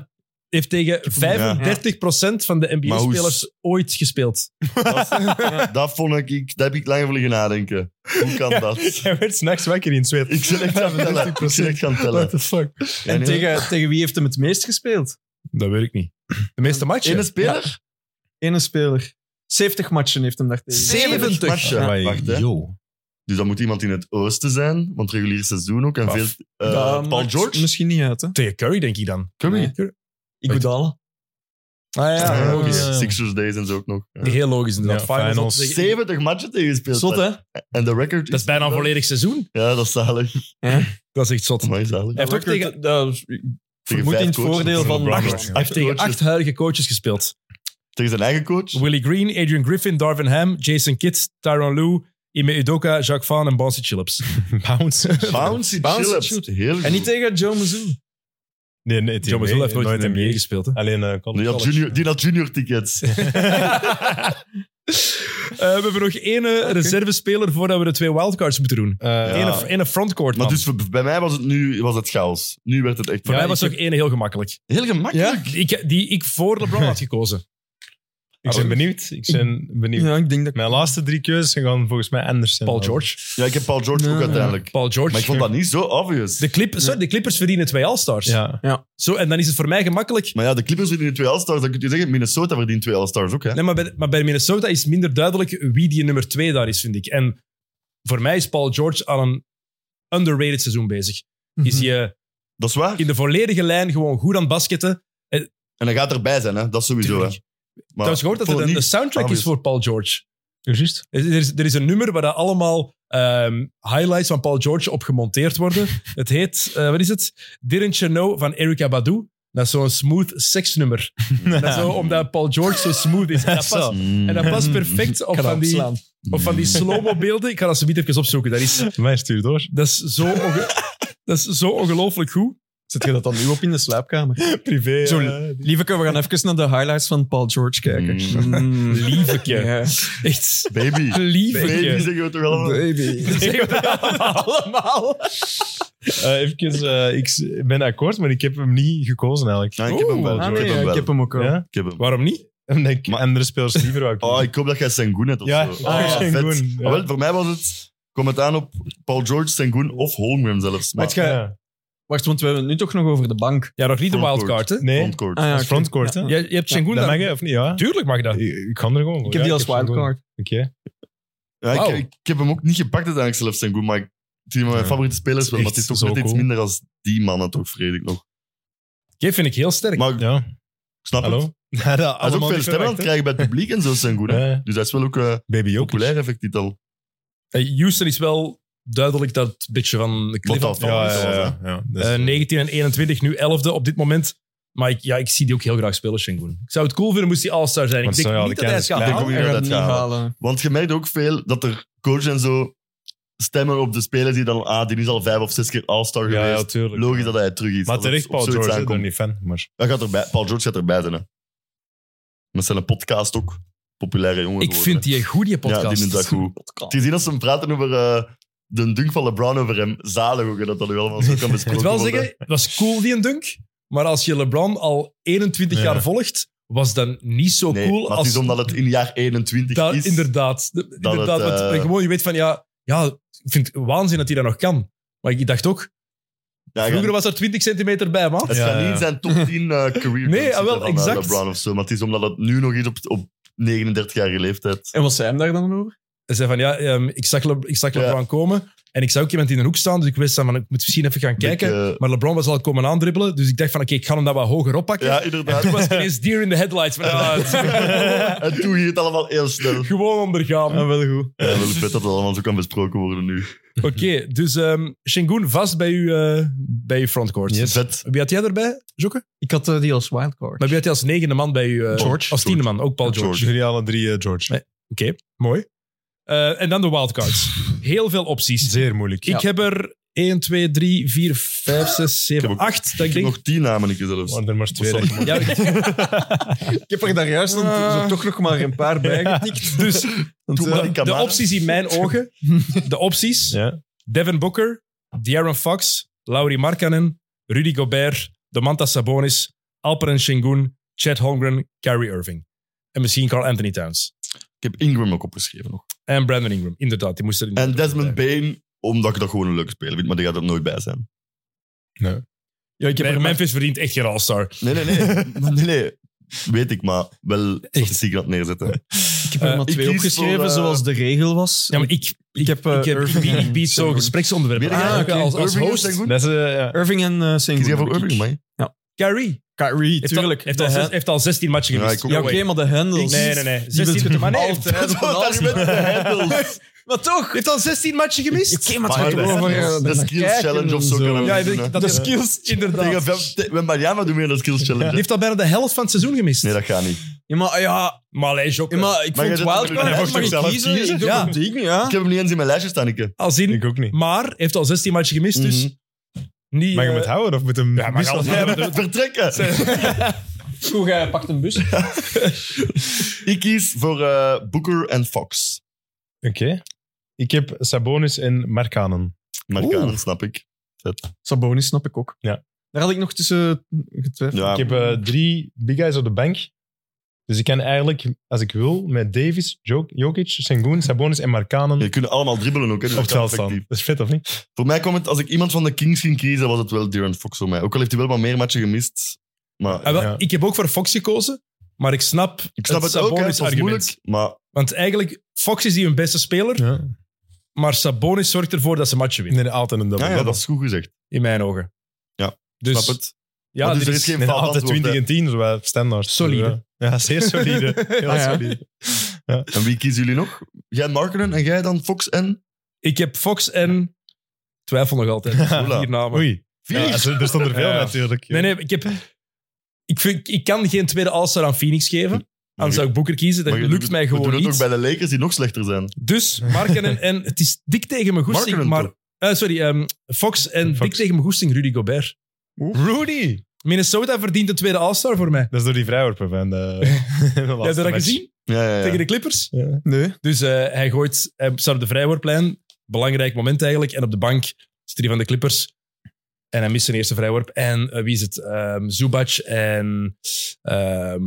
Speaker 1: Heeft tegen 35% van de
Speaker 2: Maar hoe-
Speaker 1: NBA-spelers ooit gespeeld.
Speaker 2: Dat, dat vond ik, ik... Daar heb ik lang voor liggen nadenken. Hoe kan dat?
Speaker 3: Jij werd s'nachts wakker in het zweet.
Speaker 2: Ik zal echt gaan tellen. Ik zal echt gaan tellen.
Speaker 3: What the fuck?
Speaker 4: En tegen, tegen wie heeft hem het meest gespeeld?
Speaker 1: Dat weet ik niet. De meeste matchen.
Speaker 2: Ene speler?
Speaker 4: Ene speler. 70 matchen heeft hem daar tegen.
Speaker 1: 70.
Speaker 2: matchen.
Speaker 3: Maar,
Speaker 2: Wacht, hè.
Speaker 3: yo.
Speaker 2: Dus dat moet iemand in het oosten zijn, want regulier seizoen ook. En
Speaker 1: Paf.
Speaker 2: veel, eh,
Speaker 4: Dat
Speaker 2: Paul
Speaker 4: maakt
Speaker 2: George?
Speaker 4: Misschien niet uit, hè?
Speaker 1: Tegen Curry, denk ik dan.
Speaker 4: Curry?
Speaker 1: Curry.
Speaker 4: Iguodala.
Speaker 1: Ah
Speaker 2: Ja,
Speaker 1: ja,
Speaker 2: logisch.
Speaker 1: logisch.
Speaker 2: Sixers days en zo ook nog. Ja.
Speaker 1: Heel logisch inderdaad.
Speaker 3: Ja,
Speaker 1: finals.
Speaker 3: finals.
Speaker 1: tegen-
Speaker 2: 70 matchen tegen
Speaker 4: Zot, hè?
Speaker 2: En de record
Speaker 1: Dat is bijna een volledig seizoen.
Speaker 2: Ja, dat is zalig.
Speaker 1: Dat is echt zot. Hij
Speaker 2: Amai, zalig.
Speaker 1: heeft ook
Speaker 4: Record,
Speaker 1: tegen,
Speaker 4: dat is- vermoed
Speaker 2: vijf
Speaker 4: in het
Speaker 2: coaches.
Speaker 4: voordeel van
Speaker 3: LeBron.
Speaker 4: Acht.
Speaker 3: Acht.
Speaker 1: hij heeft tegen
Speaker 2: coaches.
Speaker 1: acht huidige coaches gespeeld.
Speaker 2: Tegen zijn eigen coach.
Speaker 1: Willie Green, Adrian Griffin, Darvin Ham, Jason Kidd, Tyron Lou, Ime Udoka, Jacques Van en Bonsi Chillips.
Speaker 3: Bounce.
Speaker 2: Bouncy
Speaker 4: Bouncy
Speaker 2: Chillips.
Speaker 4: shoot.
Speaker 2: Heel goed.
Speaker 4: En niet tegen Joe Mazzulla.
Speaker 3: Nee, nee,
Speaker 1: John Mazzulla heeft nooit in de NBA gespeeld. Hè?
Speaker 3: Alleen eh college.
Speaker 2: die had, junior, die had junior tickets.
Speaker 1: Eh, we hebben nog één eh, reservespeler voordat we de twee wildcards moeten doen.
Speaker 3: Eh,
Speaker 2: Ja.
Speaker 1: Eén- Eén een frontcourt.
Speaker 2: maar
Speaker 1: man.
Speaker 2: dus voor- bij mij was het nu was het chaos. Nu werd het echt...
Speaker 1: Voor
Speaker 3: Ja,
Speaker 1: mij was
Speaker 3: ik
Speaker 1: ook één heel gemakkelijk.
Speaker 2: Heel gemakkelijk.
Speaker 1: Ik, die ik voor LeBron had gekozen.
Speaker 3: Ik ben benieuwd. Ik ben benieuwd.
Speaker 4: Ja, ik denk dat...
Speaker 3: Mijn laatste drie keuzes gaan volgens mij anders zijn.
Speaker 1: Paul
Speaker 3: dan-
Speaker 1: George.
Speaker 2: Ja, ik heb Paul George
Speaker 4: Ja.
Speaker 2: ook uiteindelijk.
Speaker 1: Paul George.
Speaker 2: Maar ik vond dat niet zo obvious.
Speaker 1: de, Clip, sorry, de Clippers verdienen twee All-Stars.
Speaker 3: Ja.
Speaker 1: Zo, en dan is het voor mij gemakkelijk.
Speaker 2: Maar ja, de Clippers verdienen twee All-Stars. Dan kun je zeggen, Minnesota verdient twee All-Stars ook, hè?
Speaker 1: Nee, maar, bij, maar bij Minnesota is minder duidelijk wie die nummer twee daar is, vind ik. En voor mij is Paul George al een underrated seizoen bezig. Is hij eh,
Speaker 2: Dat is waar.
Speaker 1: in de volledige lijn gewoon goed aan het basketten.
Speaker 2: En hij gaat erbij zijn, hè? Dat sowieso, hè?
Speaker 1: Tuurlijk. Trouwens, gehoord dat
Speaker 2: ik
Speaker 1: er
Speaker 2: vond
Speaker 1: een, een
Speaker 2: niet-
Speaker 1: soundtrack is
Speaker 2: obvious.
Speaker 1: voor Paul George.
Speaker 3: Juist.
Speaker 1: Er er Ah, is, er is een nummer waar dat allemaal ehm, highlights van Paul George op gemonteerd worden. het heet, eh, wat is het? Didn't You Know van Erika Badu. Dat is zo'n smooth seksnummer. Dat is zo, omdat Paul George zo Mm. smooth is. En dat past, en
Speaker 2: Mm.
Speaker 1: dat past perfect op
Speaker 4: Kan
Speaker 1: van die,
Speaker 4: opslaan.
Speaker 1: op van die slow-mo beelden. Ik ga dat zo niet even opzoeken. Dat is,
Speaker 3: Mij stuur door.
Speaker 1: dat is zo, onge- dat is zo ongelooflijk goed.
Speaker 4: Zet je dat dan nu op in de slaapkamer?
Speaker 3: Privé.
Speaker 4: Zo,
Speaker 3: eh,
Speaker 4: Lieveke, we gaan even naar de highlights van Paul George kijken. Mm.
Speaker 1: Lieveke.
Speaker 4: Ja.
Speaker 1: Echt.
Speaker 2: Baby. Baby
Speaker 1: Lieveke.
Speaker 2: zeggen we toch allemaal?
Speaker 4: Baby.
Speaker 1: Allemaal.
Speaker 3: eh, even, eh, ik s- ben akkoord, maar ik heb hem niet gekozen eigenlijk.
Speaker 2: Ja, Nou, ik heb hem wel.
Speaker 1: Oeh,
Speaker 4: Ah,
Speaker 2: ik
Speaker 4: nee,
Speaker 2: heb hem
Speaker 4: ja,
Speaker 2: wel.
Speaker 4: ik heb hem ook al.
Speaker 3: Ja?
Speaker 2: Ik heb hem.
Speaker 1: Waarom niet?
Speaker 3: Omdat ik andere spelers liever wou
Speaker 2: Oh,
Speaker 3: kiezen.
Speaker 2: ik hoop dat jij Sengun hebt of
Speaker 3: Ja,
Speaker 2: zo.
Speaker 3: ah,
Speaker 2: Oh,
Speaker 3: ja.
Speaker 2: vet.
Speaker 3: Sengun, ja.
Speaker 2: Ah, wel, voor mij was het... Kom het aan op Paul George, Sengun of Holmgren zelfs. Maar
Speaker 4: Maar het gaat-
Speaker 3: Ja.
Speaker 4: Wacht, want we hebben het nu toch nog over de bank.
Speaker 1: Ja, nog niet de
Speaker 2: Frontcourt.
Speaker 1: wildcard, hè?
Speaker 3: Nee,
Speaker 2: frontcourt.
Speaker 4: Ah, ja,
Speaker 3: dat
Speaker 4: oké.
Speaker 3: is frontcourt, hè?
Speaker 1: Je, je hebt Sengun
Speaker 3: Dat
Speaker 1: daar.
Speaker 3: mag je, of niet? Ja.
Speaker 1: Tuurlijk mag dat.
Speaker 3: Ik ik kan er gewoon voor.
Speaker 4: Ik heb die
Speaker 3: Ja,
Speaker 4: als
Speaker 3: Sengun.
Speaker 4: wildcard.
Speaker 3: Oké.
Speaker 2: Ja, ik,
Speaker 1: Wauw.
Speaker 2: ik, ik heb hem ook niet gepakt uiteindelijk zelf, Sengun, maar ik het is een van mijn
Speaker 3: Ja.
Speaker 2: favoriete spelers wel, maar
Speaker 3: Echt
Speaker 2: het is toch
Speaker 3: zo
Speaker 2: net iets
Speaker 3: cool.
Speaker 2: minder als die mannen, toch, vrees ik nog.
Speaker 1: Die vind ik heel sterk.
Speaker 2: Maar ik
Speaker 3: Ja,
Speaker 2: snap het.
Speaker 3: hallo. Ja, dat
Speaker 2: Hij is
Speaker 3: allemaal
Speaker 2: ook veel stemmen
Speaker 3: niet
Speaker 2: aan het
Speaker 3: verwacht,
Speaker 2: krijgen bij het publiek en zo, Sengun. hè.
Speaker 3: hè? Ja,
Speaker 2: Dus hij is wel ook eh,
Speaker 3: Baby Jokic.
Speaker 2: populair, effectief al.
Speaker 1: Eh, Houston is wel duidelijk dat het beetje van de cliff
Speaker 2: Wat
Speaker 1: af.
Speaker 2: dat van
Speaker 3: Ja,
Speaker 2: is,
Speaker 3: ja,
Speaker 2: hè.
Speaker 3: ja, ja. Dat is-
Speaker 1: Eh, 19 en 21, nu 11e op dit moment. Maar ik, ja, ik zie die ook heel graag spelen, Sengun. Ik zou het cool vinden moest hij All-Star zijn. Ik
Speaker 3: Want
Speaker 1: denk
Speaker 3: zo, ja,
Speaker 1: niet
Speaker 3: de
Speaker 1: dat hij het
Speaker 3: kans is
Speaker 1: gaat
Speaker 3: klein.
Speaker 1: halen.
Speaker 2: Ik
Speaker 4: Hij
Speaker 2: denk
Speaker 4: gaat
Speaker 2: ook niet
Speaker 4: het
Speaker 2: dat het gaat.
Speaker 4: niet halen.
Speaker 2: Want je merkt ook veel dat er coach en zo stemmen op de spelers die dan, ah, die is al vijf of zes keer All-Star
Speaker 3: ja, ja,
Speaker 2: geweest.
Speaker 3: tuurlijk.
Speaker 2: Logisch dat hij terug is.
Speaker 3: Maar
Speaker 2: als het
Speaker 3: terecht,
Speaker 2: op
Speaker 3: Paul
Speaker 2: zoiets
Speaker 3: George, hè, ik ben
Speaker 2: aankomt.
Speaker 3: er niet fan. Maar
Speaker 2: Hij gaat erbij, Paul George gaat erbij zijn. Hè. Met zijn podcast ook. Populaire jongen.
Speaker 1: Ik
Speaker 2: geworden,
Speaker 1: vind
Speaker 2: hè.
Speaker 1: die een goede podcast.
Speaker 2: Ja, die vindt dat goed. Het gezien als ze hem praten over eh, de dunk van LeBron over hem. Zalig ook, hè, dat dat nu allemaal zo kan
Speaker 1: Ik
Speaker 2: besproken
Speaker 1: moet wel
Speaker 2: worden.
Speaker 1: zeggen, het was cool die een dunk. Maar als je LeBron al 21
Speaker 3: Ja.
Speaker 1: jaar volgt, was dat niet zo
Speaker 2: Nee,
Speaker 1: cool.
Speaker 2: maar het
Speaker 1: als
Speaker 2: is omdat het in jaar 21
Speaker 1: daar,
Speaker 2: is.
Speaker 1: Inderdaad. De- inderdaad
Speaker 2: het,
Speaker 1: want
Speaker 2: eh,
Speaker 1: gewoon, je weet van, ja, ja, ik vind het waanzin dat hij dat nog kan. Maar ik dacht ook,
Speaker 2: Ja, ja.
Speaker 1: vroeger was er 20 centimeter bij, man.
Speaker 2: Het
Speaker 3: Ja,
Speaker 2: gaat niet
Speaker 3: ja.
Speaker 2: in zijn top 10 eh, career
Speaker 1: Nee, ah, wel,
Speaker 2: zitten van, eh,
Speaker 1: exact.
Speaker 2: LeBron of zo. Maar het is omdat het nu nog is op, op 39-jarige leeftijd.
Speaker 4: En wat zei hem daar dan over?
Speaker 1: Hij zei van, ja, ehm, ik zag, Le- ik zag
Speaker 2: Ja.
Speaker 1: LeBron komen en ik zag ook iemand in een hoek staan, dus ik wist dan van, ik moet misschien even gaan kijken.
Speaker 2: Ik, eh,
Speaker 1: maar LeBron was al komen aandribbelen, dus ik dacht van, oké, ik ga hem dat wat hoger oppakken.
Speaker 2: ja,
Speaker 1: En
Speaker 2: inderdaad.
Speaker 1: toen was het ineens deer in the headlights. Maar, ah, het-
Speaker 2: en toen ging het allemaal heel snel.
Speaker 1: gewoon ondergaan.
Speaker 4: wel goed.
Speaker 2: Ja, wel vet dat dat allemaal zo kan besproken worden nu.
Speaker 1: Oké, dus ehm Shingun vast bij uw, eh, bij uw frontcourt.
Speaker 2: Vet.
Speaker 1: Wie had jij erbij, Jokke?
Speaker 4: Ik had eh, die als wildcard.
Speaker 1: Maar wie had jij als negende man bij uw... eh,
Speaker 2: George.
Speaker 1: Als tiende man, ook Paul George.
Speaker 2: George.
Speaker 3: jullie alle drie eh, George.
Speaker 1: Nee. Oké, mooi. Eh, en dan de wildcards. Heel veel opties.
Speaker 3: Zeer moeilijk.
Speaker 1: Ik heb eh, er 1, 2, 3, 4, 5, 6,
Speaker 2: Ik
Speaker 1: 7,
Speaker 2: heb ook-
Speaker 1: 8. Dat ik
Speaker 2: Ik heb
Speaker 1: denk...
Speaker 2: nog tien namen, ik zelfs.
Speaker 3: Want er maar twee.
Speaker 2: Sorry.
Speaker 3: dat-
Speaker 1: Ja, ik-
Speaker 4: Ik heb er daar juist dan
Speaker 1: Ah.
Speaker 4: zo toch nog maar een paar bij getikt. Dus
Speaker 2: Doe maar
Speaker 1: de,
Speaker 2: een
Speaker 1: de
Speaker 2: Kamara.
Speaker 1: opties in mijn ogen. De opties.
Speaker 3: Ja.
Speaker 1: Devin Booker, De'Aaron Fox, Lauri Markkanen, Rudy Gobert, Domantas Sabonis, Alperen Şengün, Chad Holmgren, Kyrie Irving. En misschien Carl Anthony Towns.
Speaker 2: Ik heb Ingram ook opgeschreven nog.
Speaker 1: En Brandon Ingram, inderdaad. Die moest er
Speaker 2: En Desmond
Speaker 1: bij.
Speaker 2: Bain, omdat ik dat gewoon een leuke speler vind, maar die gaat er nooit bij zijn.
Speaker 1: Ja, ik heb
Speaker 4: Nee,
Speaker 1: er-
Speaker 4: maar-
Speaker 1: Memphis verdient echt geen all-star.
Speaker 2: Nee, nee, nee. Maar nee, nee. Weet ik, maar wel statistiek aan het neerzetten.
Speaker 4: ik heb er maar
Speaker 2: ik
Speaker 4: twee
Speaker 2: kies
Speaker 4: opgeschreven,
Speaker 2: voor, eh,
Speaker 4: zoals de regel was.
Speaker 1: Ja, maar ik,
Speaker 4: ik heb, eh,
Speaker 1: ik, heb, ik,
Speaker 4: Irving en
Speaker 1: ik bied zo'n
Speaker 4: Şengün.
Speaker 1: gespreksonderwerp.
Speaker 2: Weet jij
Speaker 1: aan. Ah,
Speaker 2: oké.
Speaker 1: als, als
Speaker 2: Irving en
Speaker 1: host.
Speaker 2: Şengün?
Speaker 3: Dat is, eh, ja.
Speaker 4: Irving en eh Sengun.
Speaker 2: Kies jij voor
Speaker 4: denk ik.
Speaker 2: Irving, man?
Speaker 1: Kyrie.
Speaker 4: Kyrie,
Speaker 1: Heeft
Speaker 4: tuurlijk.
Speaker 1: Al, heeft,
Speaker 4: De
Speaker 1: al
Speaker 4: ha-
Speaker 1: zes- heeft al 16 matchen
Speaker 2: Ja,
Speaker 1: gemist.
Speaker 2: ik ook.
Speaker 4: ja,
Speaker 1: No
Speaker 4: oké,
Speaker 1: way.
Speaker 4: maar de handles.
Speaker 1: Nee, nee, nee.
Speaker 4: Die
Speaker 1: 16
Speaker 4: wil-
Speaker 1: maar nee, heeft-
Speaker 4: Altijd
Speaker 1: dat
Speaker 4: op een
Speaker 2: Dat is
Speaker 4: halve-
Speaker 2: met de handles.
Speaker 4: Maar toch!
Speaker 1: heeft al 16 matchen gemist.
Speaker 4: Oké, maar
Speaker 2: Maar
Speaker 4: het gaat
Speaker 2: de-
Speaker 4: over, eh,
Speaker 2: de
Speaker 4: naar
Speaker 2: skills
Speaker 4: kijken
Speaker 2: challenge
Speaker 4: en
Speaker 2: of zo
Speaker 4: zo.
Speaker 2: kunnen we
Speaker 1: Ja, ik
Speaker 2: doen,
Speaker 1: denk
Speaker 2: hè.
Speaker 1: dat
Speaker 4: De
Speaker 1: hij-
Speaker 4: skills, inderdaad.
Speaker 2: Tegen Fem- te- Met Mariana doen we dat skills challenge.
Speaker 1: Die heeft al bijna de helft van het seizoen gemist.
Speaker 2: Nee, dat gaat niet.
Speaker 4: Ja, maar, ja,
Speaker 1: Maar allee, Jokke.
Speaker 4: ja, maar ik
Speaker 2: Maar jij zet
Speaker 4: vond
Speaker 2: hem
Speaker 4: wildcard,
Speaker 2: er nu
Speaker 4: hè,
Speaker 2: in.
Speaker 4: mag ik
Speaker 2: Zelf
Speaker 4: kiezen?
Speaker 2: kiezen?
Speaker 4: Ik doe
Speaker 1: Ja.
Speaker 4: mijn ding, ja.
Speaker 2: Ik heb hem niet eens in mijn lijstje staan, ik.
Speaker 1: Als in,
Speaker 3: Ik ook niet.
Speaker 1: maar heeft al 16 matchen gemist, dus
Speaker 2: Mhm.
Speaker 1: niet...
Speaker 3: Mag je
Speaker 1: eh,
Speaker 3: hem het houden of moet hem
Speaker 1: Ja, mag
Speaker 3: missen?
Speaker 1: altijd.
Speaker 2: Vertrekken!
Speaker 4: Goed, jij pakt een bus.
Speaker 1: Ah,
Speaker 2: Ik kies voor eh, Booker en Fox.
Speaker 3: Oké. Ik heb Sabonis en Markanen.
Speaker 2: Marokkanen, snap ik. Vet.
Speaker 4: Sabonis snap ik ook.
Speaker 3: Ja.
Speaker 4: Daar had ik nog tussen getwijfeld.
Speaker 2: Ja.
Speaker 3: Ik heb eh, drie big guys op de bank. Dus ik kan eigenlijk, als ik wil, met Davis, Jo- Jokic, Sengun, Sabonis en Markanen
Speaker 2: Je kunt allemaal dribbelen ook. Hè, dus
Speaker 3: op het
Speaker 2: dat kan
Speaker 3: veld staan.
Speaker 2: effectief.
Speaker 3: Dat is vet, of niet?
Speaker 2: Voor mij kwam het, als ik iemand van de Kings ging kiezen, was het wel Darren Fox voor mij. Ook al heeft hij wel wat meer matchen gemist. Maar
Speaker 1: Ah, wel,
Speaker 3: Ja.
Speaker 1: Ik heb ook voor Fox gekozen, maar ik snap,
Speaker 2: ik snap het, ook, hè, het
Speaker 1: Sabonis
Speaker 2: was
Speaker 1: argument.
Speaker 2: moeilijk. Maar
Speaker 1: Want eigenlijk, Fox is die hun beste speler,
Speaker 3: Ja.
Speaker 1: maar Sabonis zorgt ervoor dat ze matchen winnen,
Speaker 3: Nee, altijd een double.
Speaker 2: ja, ja, dat is goed gezegd.
Speaker 1: in mijn ogen.
Speaker 2: Ja,
Speaker 1: dus,
Speaker 2: snap het?
Speaker 1: Ja,
Speaker 2: Maar dus
Speaker 1: dit
Speaker 2: er is
Speaker 1: is-
Speaker 2: geen
Speaker 3: Nee,
Speaker 2: fout
Speaker 3: altijd
Speaker 2: antwoord,
Speaker 3: 20 en 10, zo eh, standaard.
Speaker 1: Solide.
Speaker 3: Ja, zeer solide. Heel
Speaker 4: Ah, ja.
Speaker 3: solide.
Speaker 2: hè. En wie kiezen jullie nog? Jij Markenen en jij dan Fox en...
Speaker 1: Ik heb Fox en... Twijfel nog altijd.
Speaker 2: Oula.
Speaker 1: Vier namen.
Speaker 3: Oei.
Speaker 2: Vier?
Speaker 3: Ja, ze- er stonden er veel
Speaker 1: Ja.
Speaker 3: natuurlijk.
Speaker 1: Nee, nee, ik heb... Ik, vind, ik kan geen tweede All-Star aan Phoenix geven. Anders zou ik Boeker kiezen. Dat
Speaker 2: Maar je
Speaker 1: lukt
Speaker 2: doet-
Speaker 1: mij
Speaker 2: We
Speaker 1: gewoon
Speaker 2: doen het ook
Speaker 1: niet.
Speaker 2: bij de Lakers die nog slechter zijn.
Speaker 1: Dus Markkanen en... Het is dik tegen mijn goesting, maar...
Speaker 2: Markkanen toch?
Speaker 1: eh, sorry, ehm, Fox en
Speaker 3: Fox.
Speaker 1: dik tegen mijn goesting Rudy Gobert. Rudy! Minnesota verdient een tweede All-Star voor mij.
Speaker 3: Dat is door die vrijworpen van de, de
Speaker 1: Heb je
Speaker 3: laatste
Speaker 1: dat
Speaker 3: match.
Speaker 1: gezien?
Speaker 2: Ja, ja, ja.
Speaker 1: Tegen de Clippers?
Speaker 3: Nee.
Speaker 1: Dus eh, hij gooit, hij staat op de vrijworplijn. Belangrijk moment eigenlijk. En op de bank zit hij van de Clippers. En hij mist zijn eerste vrijworp. En eh, wie is het? Ehm Zubac en ehm,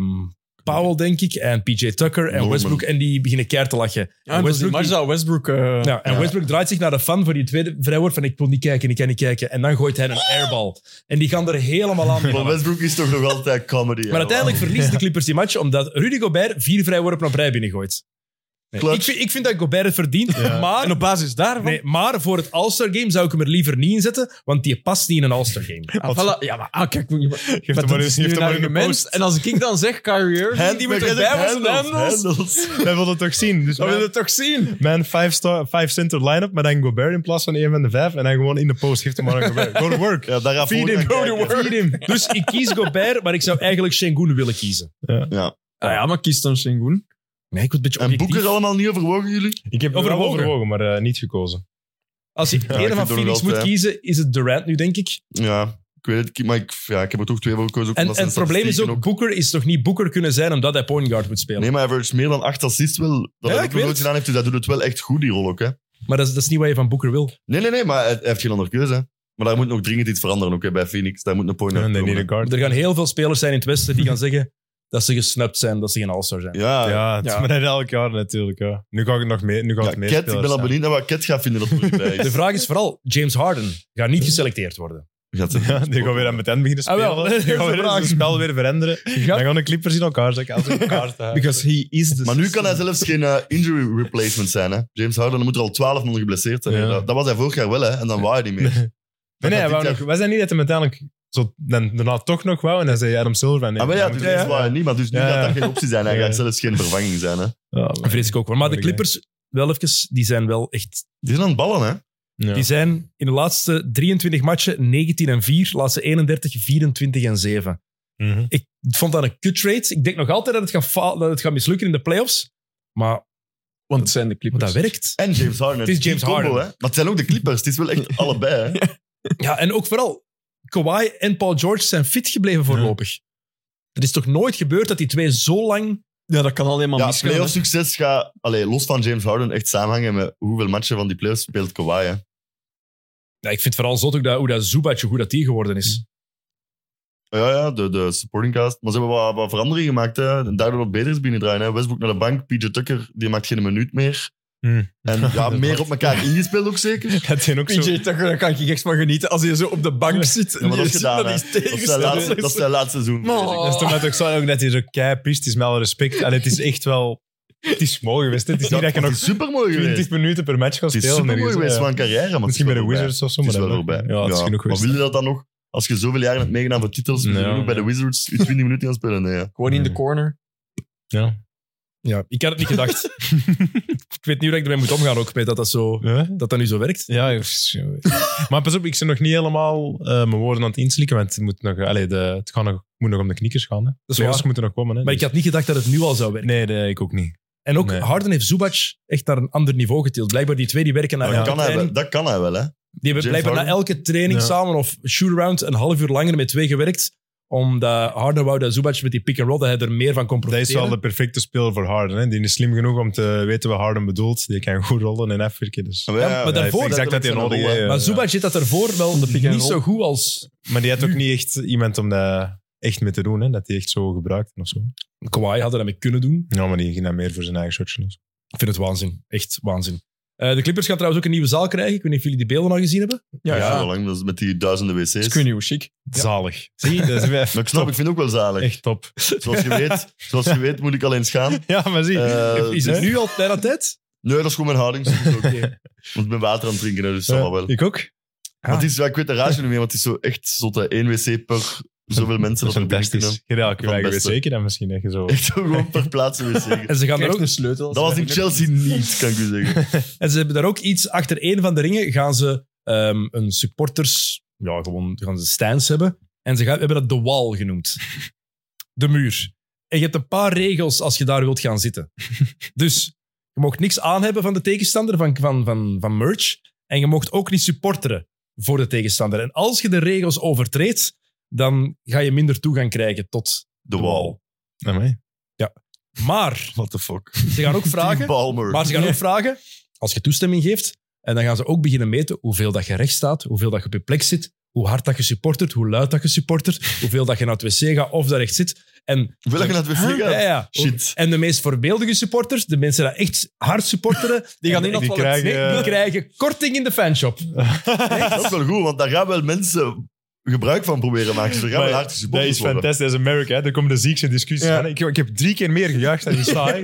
Speaker 1: Powell, denk ik. En PJ Tucker en
Speaker 2: Norman.
Speaker 1: Westbrook. En die beginnen keer te lachen. En Westbrook, die-
Speaker 4: Westbrook... eh,
Speaker 1: ja, en
Speaker 2: Ja.
Speaker 1: Westbrook draait zich naar de fan voor die tweede vrijworp. Van ik wil niet kijken, ik kan niet kijken. En dan gooit hij een airbal. En die gaan er helemaal aan.
Speaker 2: Maar
Speaker 1: beginnen.
Speaker 2: Westbrook is toch nog altijd comedy.
Speaker 1: Maar uiteindelijk verliezen de Clippers die match omdat Rudy Gobert vier vrijworpen op rij binnengooit.
Speaker 2: Clutch.
Speaker 1: Ik, vind, ik vind dat Gobert het verdient, maar,
Speaker 4: En op basis daarvan...
Speaker 1: nee, maar voor het All-Star Game zou ik hem er liever niet in zetten, want die past niet in een All-Star Game.
Speaker 4: Ah, voilà. Ja, maar ah, kijk, moet je maar,
Speaker 3: Geef
Speaker 4: maar
Speaker 3: hem
Speaker 4: dat
Speaker 3: maar eens-
Speaker 4: is nu
Speaker 3: geef hem
Speaker 4: een
Speaker 3: maar in de
Speaker 4: argument.
Speaker 3: post.
Speaker 4: En als ik dan zeg Kyrie Irving, die moet erbij voor zijn handles,
Speaker 3: Wij wilden het toch zien. Dus
Speaker 4: dan wil je
Speaker 3: mijn,
Speaker 4: het toch zien.
Speaker 3: mijn five, star, five center line-up, maar dan Gobert in plaats van één van de vijf. En dan gewoon in de post. Geeft hem maar aan Gobert. Go to work.
Speaker 2: Ja, daar
Speaker 3: Feed him, go to work. Feed him.
Speaker 1: Dus ik kies Gobert, maar ik zou eigenlijk Sengun willen kiezen.
Speaker 4: Ah ja, maar kies dan Shingun.
Speaker 1: Nee, ik word een beetje
Speaker 2: En
Speaker 1: objectief.
Speaker 2: Boeker allemaal niet overwogen, jullie?
Speaker 3: Ik heb overwogen,
Speaker 1: Overwogen.
Speaker 3: overwogen maar eh, niet gekozen.
Speaker 1: Als ik
Speaker 2: Ja, ik
Speaker 1: één van
Speaker 2: vind het ook
Speaker 1: Phoenix
Speaker 2: wel,
Speaker 1: moet
Speaker 2: hè.
Speaker 1: kiezen, is het Durant nu, denk ik.
Speaker 2: Ja, ik weet het. Maar ik, ja, ik heb er toch twee voor gekozen. ook
Speaker 1: En,
Speaker 2: omdat
Speaker 1: en het
Speaker 2: zijn
Speaker 1: probleem is ook,
Speaker 2: statistieken
Speaker 1: Booker is toch niet Booker kunnen zijn omdat hij point guard moet spelen.
Speaker 2: Nee, maar hij heeft meer dan acht assists wel. Dat hij
Speaker 1: ik
Speaker 2: ook
Speaker 1: weet
Speaker 2: nog nooit
Speaker 1: het.
Speaker 2: gedaan heeft, dus hij doet het wel echt goed, die rol ook. Hè.
Speaker 1: Maar dat is, dat is niet wat je van Booker wil.
Speaker 2: Nee, nee, nee, maar hij hij heeft geen andere keuze. Hè. Maar daar moet nog dringend iets veranderen ook hè, bij Phoenix. Daar moet een point
Speaker 3: Nee,
Speaker 2: uit
Speaker 3: nee,
Speaker 2: komen,
Speaker 3: niet
Speaker 2: hè.
Speaker 3: een guard.
Speaker 1: Er gaan heel veel spelers zijn in het Westen die gaan zeggen dat ze gesnapt zijn, dat ze geen All-Star zijn.
Speaker 2: Ja, ja.
Speaker 3: Ja, het is
Speaker 1: Ja.
Speaker 3: maar net elk jaar natuurlijk. Ja. Nu ga ik nog mee. Nu ga ik
Speaker 2: Cat,
Speaker 3: het meer
Speaker 2: ik ben al benieuwd naar wat Cat gaat vinden dat er bij
Speaker 1: De
Speaker 2: is.
Speaker 1: vraag is vooral, James Harden gaat niet geselecteerd worden.
Speaker 2: Gaat ze-
Speaker 3: Ja, die gaan weer aan het eind beginnen
Speaker 1: Ah,
Speaker 3: spelen.
Speaker 1: wel, dat is
Speaker 3: die gaan
Speaker 1: de
Speaker 3: weer
Speaker 1: vraag.
Speaker 3: het spel weer veranderen. Dan gaan de Clippers in elkaar zakken. Als in elkaar staan.
Speaker 4: Because he is the
Speaker 2: Maar nu kan hij zelfs geen eh, injury replacement zijn. Hè. James Harden dan moet er al 12 man geblesseerd zijn.
Speaker 3: Ja.
Speaker 2: Dat, dat was hij vorig jaar wel, hè, en dan wou hij niet meer.
Speaker 3: Nee, nee, hij
Speaker 2: dit
Speaker 3: wou
Speaker 2: jaar-
Speaker 3: nog, was dat niet dat hij uiteindelijk zo, dan, daarna toch nog wou? En dan zei Adam Silver van... nee,
Speaker 2: Ah, maar ja,
Speaker 3: dan
Speaker 2: toen
Speaker 3: moet-
Speaker 2: was hij niet, maar dus nu
Speaker 3: Ja, ja.
Speaker 2: gaat dat geen optie zijn. Hij
Speaker 3: Ja.
Speaker 2: gaat zelfs geen vervanging zijn. Hè.
Speaker 3: Ja, maar-
Speaker 1: Vrees ik ook wel. Maar de
Speaker 3: Oké.
Speaker 1: Clippers, wel even, die zijn wel echt...
Speaker 2: Die zijn aan het ballen, hè?
Speaker 3: Ja.
Speaker 1: Die zijn in de laatste 23 matchen 19 en 4, laatste 31, 24 en 7.
Speaker 3: Mhm.
Speaker 1: Ik vond dat een kut trade. Ik denk nog altijd dat het gaat, fa- dat het gaat mislukken in de playoffs. Maar,
Speaker 4: Want het zijn de
Speaker 1: maar
Speaker 4: Clippers.
Speaker 1: dat werkt.
Speaker 2: En James Harden.
Speaker 1: Het is
Speaker 2: Die
Speaker 1: James
Speaker 2: combo,
Speaker 1: Harden.
Speaker 2: Hè? Maar het zijn ook de Clippers. Het is wel echt allebei. Hè?
Speaker 1: Ja, en ook vooral, Kawhi en Paul George zijn fit gebleven voorlopig. Er is toch nooit gebeurd dat die twee zo lang...
Speaker 4: Ja, dat kan alleen maar
Speaker 2: Ja,
Speaker 4: misgaan.
Speaker 2: playoff
Speaker 4: hè.
Speaker 2: succes gaat allee, los van James Harden echt samenhangen met hoeveel matchen van die playoffs speelt Kawhi. Hè?
Speaker 1: Ja, ik vind vooral zot ook dat, hoe dat Zubac, hoe goed dat die geworden is.
Speaker 2: Ja, ja, de, de supporting cast. Maar ze hebben wat, wat veranderingen gemaakt. Hè? En Daardoor wat beter is binnendraaien. Hè? Westbrook naar de bank, PJ Tucker, die maakt geen minuut meer.
Speaker 3: Hmm.
Speaker 2: En ja, meer op elkaar ingespeeld ook zeker.
Speaker 3: Dat zijn ook zo...
Speaker 4: PJ Tucker, daar kan ik echt van genieten. Als hij zo op de bank zit en
Speaker 2: maar dat
Speaker 4: je
Speaker 2: is
Speaker 4: ziet
Speaker 2: gedaan,
Speaker 4: dat
Speaker 2: Dat
Speaker 4: hij
Speaker 2: is zijn laatste, dat is
Speaker 4: tegenstander
Speaker 2: zijn laatste seizoen.
Speaker 4: Man.
Speaker 3: Dat is toch net ook zo ook dat hij zo kei pist is, met alle respect. Allee, het is echt wel... Het is mooi geweest. hè. Het is niet dat je nog
Speaker 2: super mooi geweest.
Speaker 3: 20 minuten per match gaat
Speaker 2: Het is
Speaker 3: spelen.
Speaker 2: super mooi geweest
Speaker 3: ergens, ja.
Speaker 2: van een carrière. Maar het
Speaker 3: Misschien
Speaker 2: is
Speaker 3: bij de
Speaker 2: wel
Speaker 3: Wizards of zo,
Speaker 2: voorbij. Het is wel
Speaker 3: maar dan-
Speaker 2: voorbij.
Speaker 3: Ja, het is genoeg
Speaker 2: maar
Speaker 3: geweest.
Speaker 2: wil je dat dan nog? Als je zoveel jaren hebt meegedaan voor titels, wil je
Speaker 3: Ja. Nou
Speaker 2: nog bij de Wizards je 20 minuten gaan spelen? Nee, ja.
Speaker 4: Gewoon in de corner.
Speaker 3: Ja.
Speaker 1: Ja, ik had het niet gedacht. ik weet niet hoe ik ermee moet omgaan ook, met dat dat, zo,
Speaker 3: Huh?
Speaker 1: dat dat nu zo werkt.
Speaker 3: Ja, ik- maar pas op, ik ben nog niet helemaal eh, mijn woorden aan het inslikken, want het, moet nog, allee, de, het gaat nog, het moet nog om de knikkers gaan. Hè.
Speaker 1: is
Speaker 3: De playoffs
Speaker 1: waar.
Speaker 3: moeten nog komen. Hè,
Speaker 1: Maar ik
Speaker 3: dus-
Speaker 1: had niet gedacht dat het nu al zou werken.
Speaker 3: Nee, nee, ik ook niet.
Speaker 1: En ook
Speaker 3: Nee.
Speaker 1: Harden heeft Zubac echt naar een ander niveau getild. Blijkbaar die twee die werken naar
Speaker 2: Dat,
Speaker 1: elke
Speaker 2: kan hij wel,
Speaker 1: training.
Speaker 2: dat kan hij wel, hè?
Speaker 1: Die hebben
Speaker 2: James
Speaker 1: blijkbaar na
Speaker 2: Harden.
Speaker 1: elke training
Speaker 3: Ja.
Speaker 1: samen of shoot-around een half uur langer met twee gewerkt. Omdat Harden wou dat Zubac met die pick-and-roll, dat hij er meer van kon
Speaker 3: Dat is
Speaker 1: profiteren.
Speaker 3: wel de perfecte speler voor Harden. Hè. Die is slim genoeg om te weten wat Harden bedoelt. Die kan goed rollen en afwerken. Dus.
Speaker 2: Ja, ja,
Speaker 1: maar
Speaker 2: ja.
Speaker 1: daarvoor-
Speaker 3: dat is exact dat hij
Speaker 2: dat
Speaker 3: nodig
Speaker 2: is een
Speaker 3: heeft.
Speaker 2: rol, hè.
Speaker 1: maar
Speaker 3: ja.
Speaker 1: Zubac zit dat ervoor wel
Speaker 4: pick-and-roll.
Speaker 1: niet zo goed als
Speaker 3: Maar die had ook niet echt iemand om dat echt mee te doen. Hè. Dat hij echt zo gebruikt of zo.
Speaker 1: Kawhi hadden dat mee kunnen doen.
Speaker 3: Ja, maar die ging dan meer voor zijn eigen shotje. dus. of zo.
Speaker 1: Ik vind het waanzin. Echt waanzin. Eh, de Clippers gaan trouwens ook een nieuwe zaal krijgen. Ik weet niet of jullie die beelden al gezien hebben.
Speaker 4: Ja,
Speaker 2: Ja,
Speaker 4: ja.
Speaker 2: zo lang, dat is met die duizenden wc's.
Speaker 4: Dat is kun je hoe chic.
Speaker 3: Zalig. Zie, dat is weer
Speaker 2: Maar ik snap, ik vind het ook wel zalig.
Speaker 3: echt top.
Speaker 2: Zoals, je weet, zoals je weet moet ik alleen gaan.
Speaker 3: Ja, maar zie.
Speaker 2: Eh,
Speaker 1: Is
Speaker 2: dus-
Speaker 1: het nu al tijd aan tijd?
Speaker 2: Nee, dat is gewoon mijn houding. soms ook. Want ik ben water aan het drinken, hè, dus dat
Speaker 3: Ja,
Speaker 2: zal wel.
Speaker 3: Eh, Ik ook. Ah.
Speaker 2: Maar het is, ja, ik weet de ratio niet meer, want het is zo echt zot. hè. Eén wc per zoveel mensen.
Speaker 3: Dat is
Speaker 2: Dat we binnen kunnen.
Speaker 3: fantastisch. Ja, ik
Speaker 2: Van
Speaker 3: weet
Speaker 2: beste.
Speaker 3: zeker dan misschien dat je zo...
Speaker 2: Echt zo gewoon per plaats een wc.
Speaker 1: En ze, gaan er
Speaker 4: Krijgt
Speaker 1: ook,
Speaker 4: een sleutel.
Speaker 2: Dat was in Chelsea niet, kan ik u zeggen.
Speaker 1: en ze hebben daar ook iets achter een van de ringen. Gaan ze ehm, een supporters, ja, gewoon gaan ze stands hebben. En ze gaan, hebben dat de wall genoemd. De muur. En je hebt een paar regels als je daar wilt gaan zitten. Dus je mocht niks aan hebben van de tegenstander, van, van, van, van merch. En je mocht ook niet supporteren voor de tegenstander. En als je de regels overtreedt, dan ga je minder toegang krijgen tot
Speaker 2: De wall.
Speaker 3: Amai.
Speaker 1: Maar
Speaker 2: What the fuck?
Speaker 1: ze gaan ook
Speaker 2: Steve
Speaker 1: vragen,
Speaker 2: Ballmer.
Speaker 1: maar ze gaan ook vragen, als je toestemming geeft, en dan gaan ze ook beginnen meten hoeveel dat je recht staat, hoeveel dat je op je plek zit, hoe hard dat je supportert, hoe luid dat je supportert, hoeveel dat je naar het wc gaat of daar echt zit. En,
Speaker 2: Wil je naar het wc
Speaker 3: Ah.
Speaker 1: Huh?
Speaker 2: gaan?
Speaker 1: Ja,
Speaker 3: Eh,
Speaker 1: ja.
Speaker 3: oh,
Speaker 2: Shit.
Speaker 1: En de meest voorbeeldige supporters, de mensen die echt hard supporteren, die, gaan
Speaker 3: die
Speaker 1: niet
Speaker 3: krijgen- eh,
Speaker 1: die krijgen korting in de fanshop.
Speaker 2: Dat is wel goed, want daar gaan wel mensen gebruik van proberen maken. Ze gaan wel
Speaker 3: Maar
Speaker 2: hard
Speaker 3: Dat
Speaker 2: supporters
Speaker 3: is
Speaker 2: worden.
Speaker 3: fantastisch. Dat is Amerika. hè. Daar komen de ziekste discussies
Speaker 4: Ja.
Speaker 3: van. Ik, ik heb drie keer meer gejuicht dan je saai.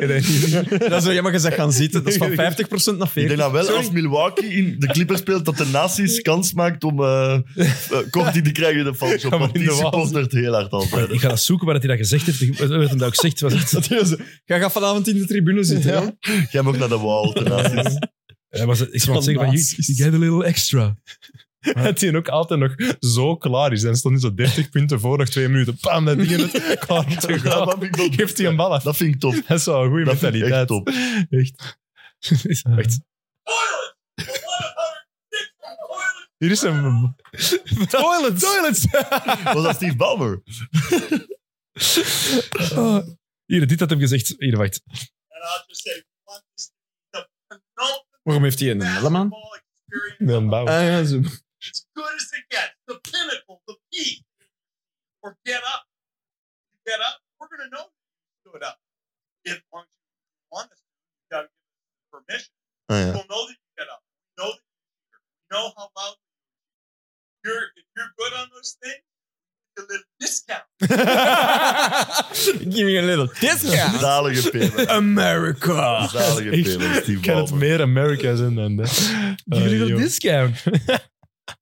Speaker 4: Dat is, ja, maar je zegt gaan zitten. Dat is van 50% naar 40%.
Speaker 2: Ik denk dat wel,
Speaker 4: Sorry.
Speaker 2: als Milwaukee in de Clippers speelt, dat de nazi's kans maakt om eh eh, korting te krijgen in de fanshop.
Speaker 3: Ja, maar
Speaker 2: Want die
Speaker 3: in de wall.
Speaker 2: supportert heel hard altijd.
Speaker 1: Eh, Ik ga dat zoeken waar dat hij dat gezegd heeft. Wat hij dat ook zegt, was het,
Speaker 4: Dat is- Jij gaat vanavond in de tribune zitten. hè?
Speaker 2: Jij mag ook naar de wall, de nazi's.
Speaker 1: hij was het, ik zou het zeggen van, you, you get a little extra.
Speaker 3: Dat hij ook altijd nog zo klaar is. Dan stond hij zo 30 punten voor, nog twee minuten. Pam, dat ding in het klaar te
Speaker 2: Ja,
Speaker 3: gaan.
Speaker 2: dat vind ik wel-
Speaker 3: Geeft hij een bal af.
Speaker 2: Dat vind ik top.
Speaker 3: Dat is wel een goede
Speaker 2: Dat vind ik echt
Speaker 3: mentaliteit.
Speaker 2: top.
Speaker 3: Echt. Echt. Hier is een... Toilets! Toilets!
Speaker 2: Was dat Steve Ballmer?
Speaker 1: Ah, Hier, dit had hem gezegd. Hier, wacht.
Speaker 4: Waarom heeft hij een helm
Speaker 5: Oh.
Speaker 4: aan?
Speaker 3: Dan
Speaker 2: Eh,
Speaker 3: bouwen.
Speaker 4: Ah, ja, zo.
Speaker 5: It's good as it gets. The pinnacle, the peak. Or get up. You get up. We're gonna know you stood up. If once you want this, you gotta give permission.
Speaker 2: Ah, ja.
Speaker 5: We'll know that you get up. Know that you know how loud you're if you're good on those things, you get a little discount.
Speaker 4: Give me a little discount.
Speaker 2: Zalige pimmer.
Speaker 4: America.
Speaker 2: Zalige
Speaker 3: Echt.
Speaker 2: pimmer, Steve
Speaker 3: Kan het
Speaker 2: Ballmer.
Speaker 3: meer Amerika zijn dan dat?
Speaker 1: Give a
Speaker 3: Ah,
Speaker 1: little
Speaker 3: joh.
Speaker 1: discount.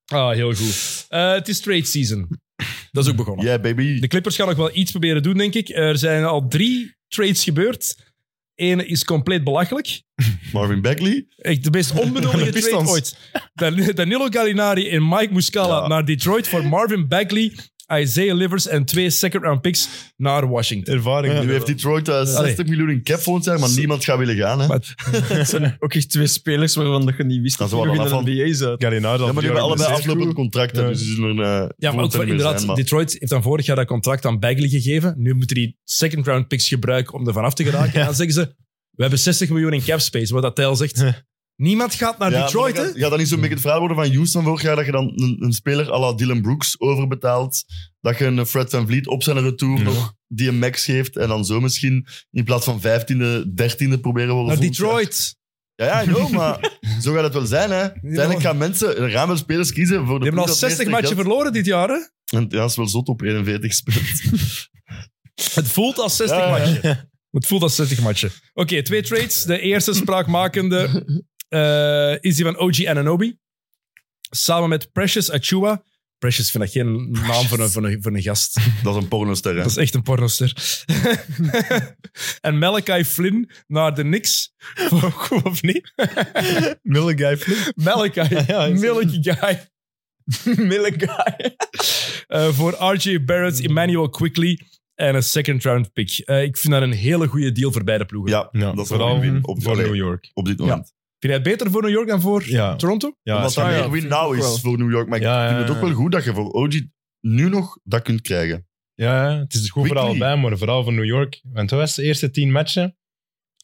Speaker 1: Ah, heel goed. Eh, Het is trade season. Dat is ook begonnen.
Speaker 2: Yeah, baby.
Speaker 1: De Clippers gaan nog wel iets proberen doen, denk ik. Er zijn al drie trades gebeurd. Eén is compleet belachelijk.
Speaker 2: Marvin Bagley.
Speaker 1: Echt de meest onbenodige
Speaker 3: De Pistons.
Speaker 1: trade ooit. Dan- Danilo Gallinari en Mike Muscala
Speaker 2: Ja.
Speaker 1: naar Detroit voor Marvin Bagley, Isaiah Livers en twee second-round picks naar Washington.
Speaker 3: Ervaring.
Speaker 2: Nu heeft Detroit eh, 60 miljoen in cap volgend jaar, maar niemand gaat willen gaan. Hè.
Speaker 1: Maar-
Speaker 4: Het zijn ook echt twee spelers waarvan dat je niet wist
Speaker 2: Dat
Speaker 4: dat
Speaker 2: is
Speaker 4: ze nog
Speaker 2: wel
Speaker 4: in de
Speaker 2: vanaf
Speaker 4: NBA zaten.
Speaker 3: Gallinari dan
Speaker 2: Ja, maar die hebben allebei
Speaker 3: geblesseerd.
Speaker 2: aflopend contracten,
Speaker 3: Ja.
Speaker 2: dus die zullen er... eh,
Speaker 1: Ja, maar ook voor
Speaker 2: volgend jaar niet meer
Speaker 1: inderdaad,
Speaker 2: zijn, maar-
Speaker 1: Detroit heeft dan vorig jaar dat contract aan Bagley gegeven. Nu moeten die second round picks gebruiken om er vanaf te geraken. En dan zeggen ze, we hebben 60 miljoen in cap space. Wat dat tel zegt, niemand gaat naar
Speaker 2: Ja, maar
Speaker 1: Ah, Detroit,
Speaker 2: dan
Speaker 1: hè?
Speaker 2: Gaat, gaat dat niet zo'n beetje het verhaal worden van Houston vorig jaar, dat je dan een, een speler à la Dylan Brooks overbetaalt, dat je een Fred Van Vliet op zijn retour
Speaker 3: Ja.
Speaker 2: nog die een max geeft en dan zo misschien in plaats van 15e, 13e proberen worden
Speaker 1: Naar
Speaker 2: volgend jaar.
Speaker 1: Detroit.
Speaker 2: Ja, ja, ik know, maar zo gaat het wel zijn, hè. Uiteindelijk gaan mensen, er gaan wel spelers kiezen voor de
Speaker 1: Die hebben
Speaker 2: ploeg
Speaker 1: al
Speaker 2: dat
Speaker 1: 60
Speaker 2: het meeste
Speaker 1: matchen
Speaker 2: geld-
Speaker 1: verloren dit jaar, hè?
Speaker 2: En Ja, dat is wel zot op 41 speelt.
Speaker 1: Het voelt als 60
Speaker 2: Ja, ja.
Speaker 1: matchen. Het voelt als 60 matchen. Oké, twee trades. De eerste spraakmakende eh, is die van OG Ananobi. Samen met Precious Achua. Precious vind ik geen naam voor een, voor een, voor een gast.
Speaker 2: dat is een pornoster, hè.
Speaker 1: Dat is echt een pornoster. en Malachi Flynn naar de Knicks. of niet?
Speaker 3: Mille guy flip.
Speaker 1: Malachi.
Speaker 3: Ja, is-
Speaker 1: Milk guy. Milk guy. Eh, voor RJ Barrett, Emmanuel Quickly en een second round pick. Eh, ik vind dat een hele goede deal voor beide ploegen.
Speaker 2: Ja,
Speaker 3: Ja,
Speaker 2: dat is
Speaker 3: vooral
Speaker 2: wel een win op,
Speaker 3: voor
Speaker 2: allee,
Speaker 3: New York.
Speaker 2: op dit moment.
Speaker 1: Vind jij het beter voor New York dan voor
Speaker 3: Ja.
Speaker 1: Toronto?
Speaker 3: Ja,
Speaker 2: Omdat
Speaker 3: dat
Speaker 2: dat
Speaker 3: is-
Speaker 2: meer win-now
Speaker 4: ik ook
Speaker 2: is
Speaker 4: wel.
Speaker 2: voor New York. Maar
Speaker 3: Ja,
Speaker 2: ik
Speaker 3: ja,
Speaker 2: vind het ook wel goed dat je voor OG nu nog dat kunt krijgen.
Speaker 3: ja, ja, het is goed voor
Speaker 2: Quickly.
Speaker 3: allebei, maar vooral voor New York. Want hij was de eerste tien matchen.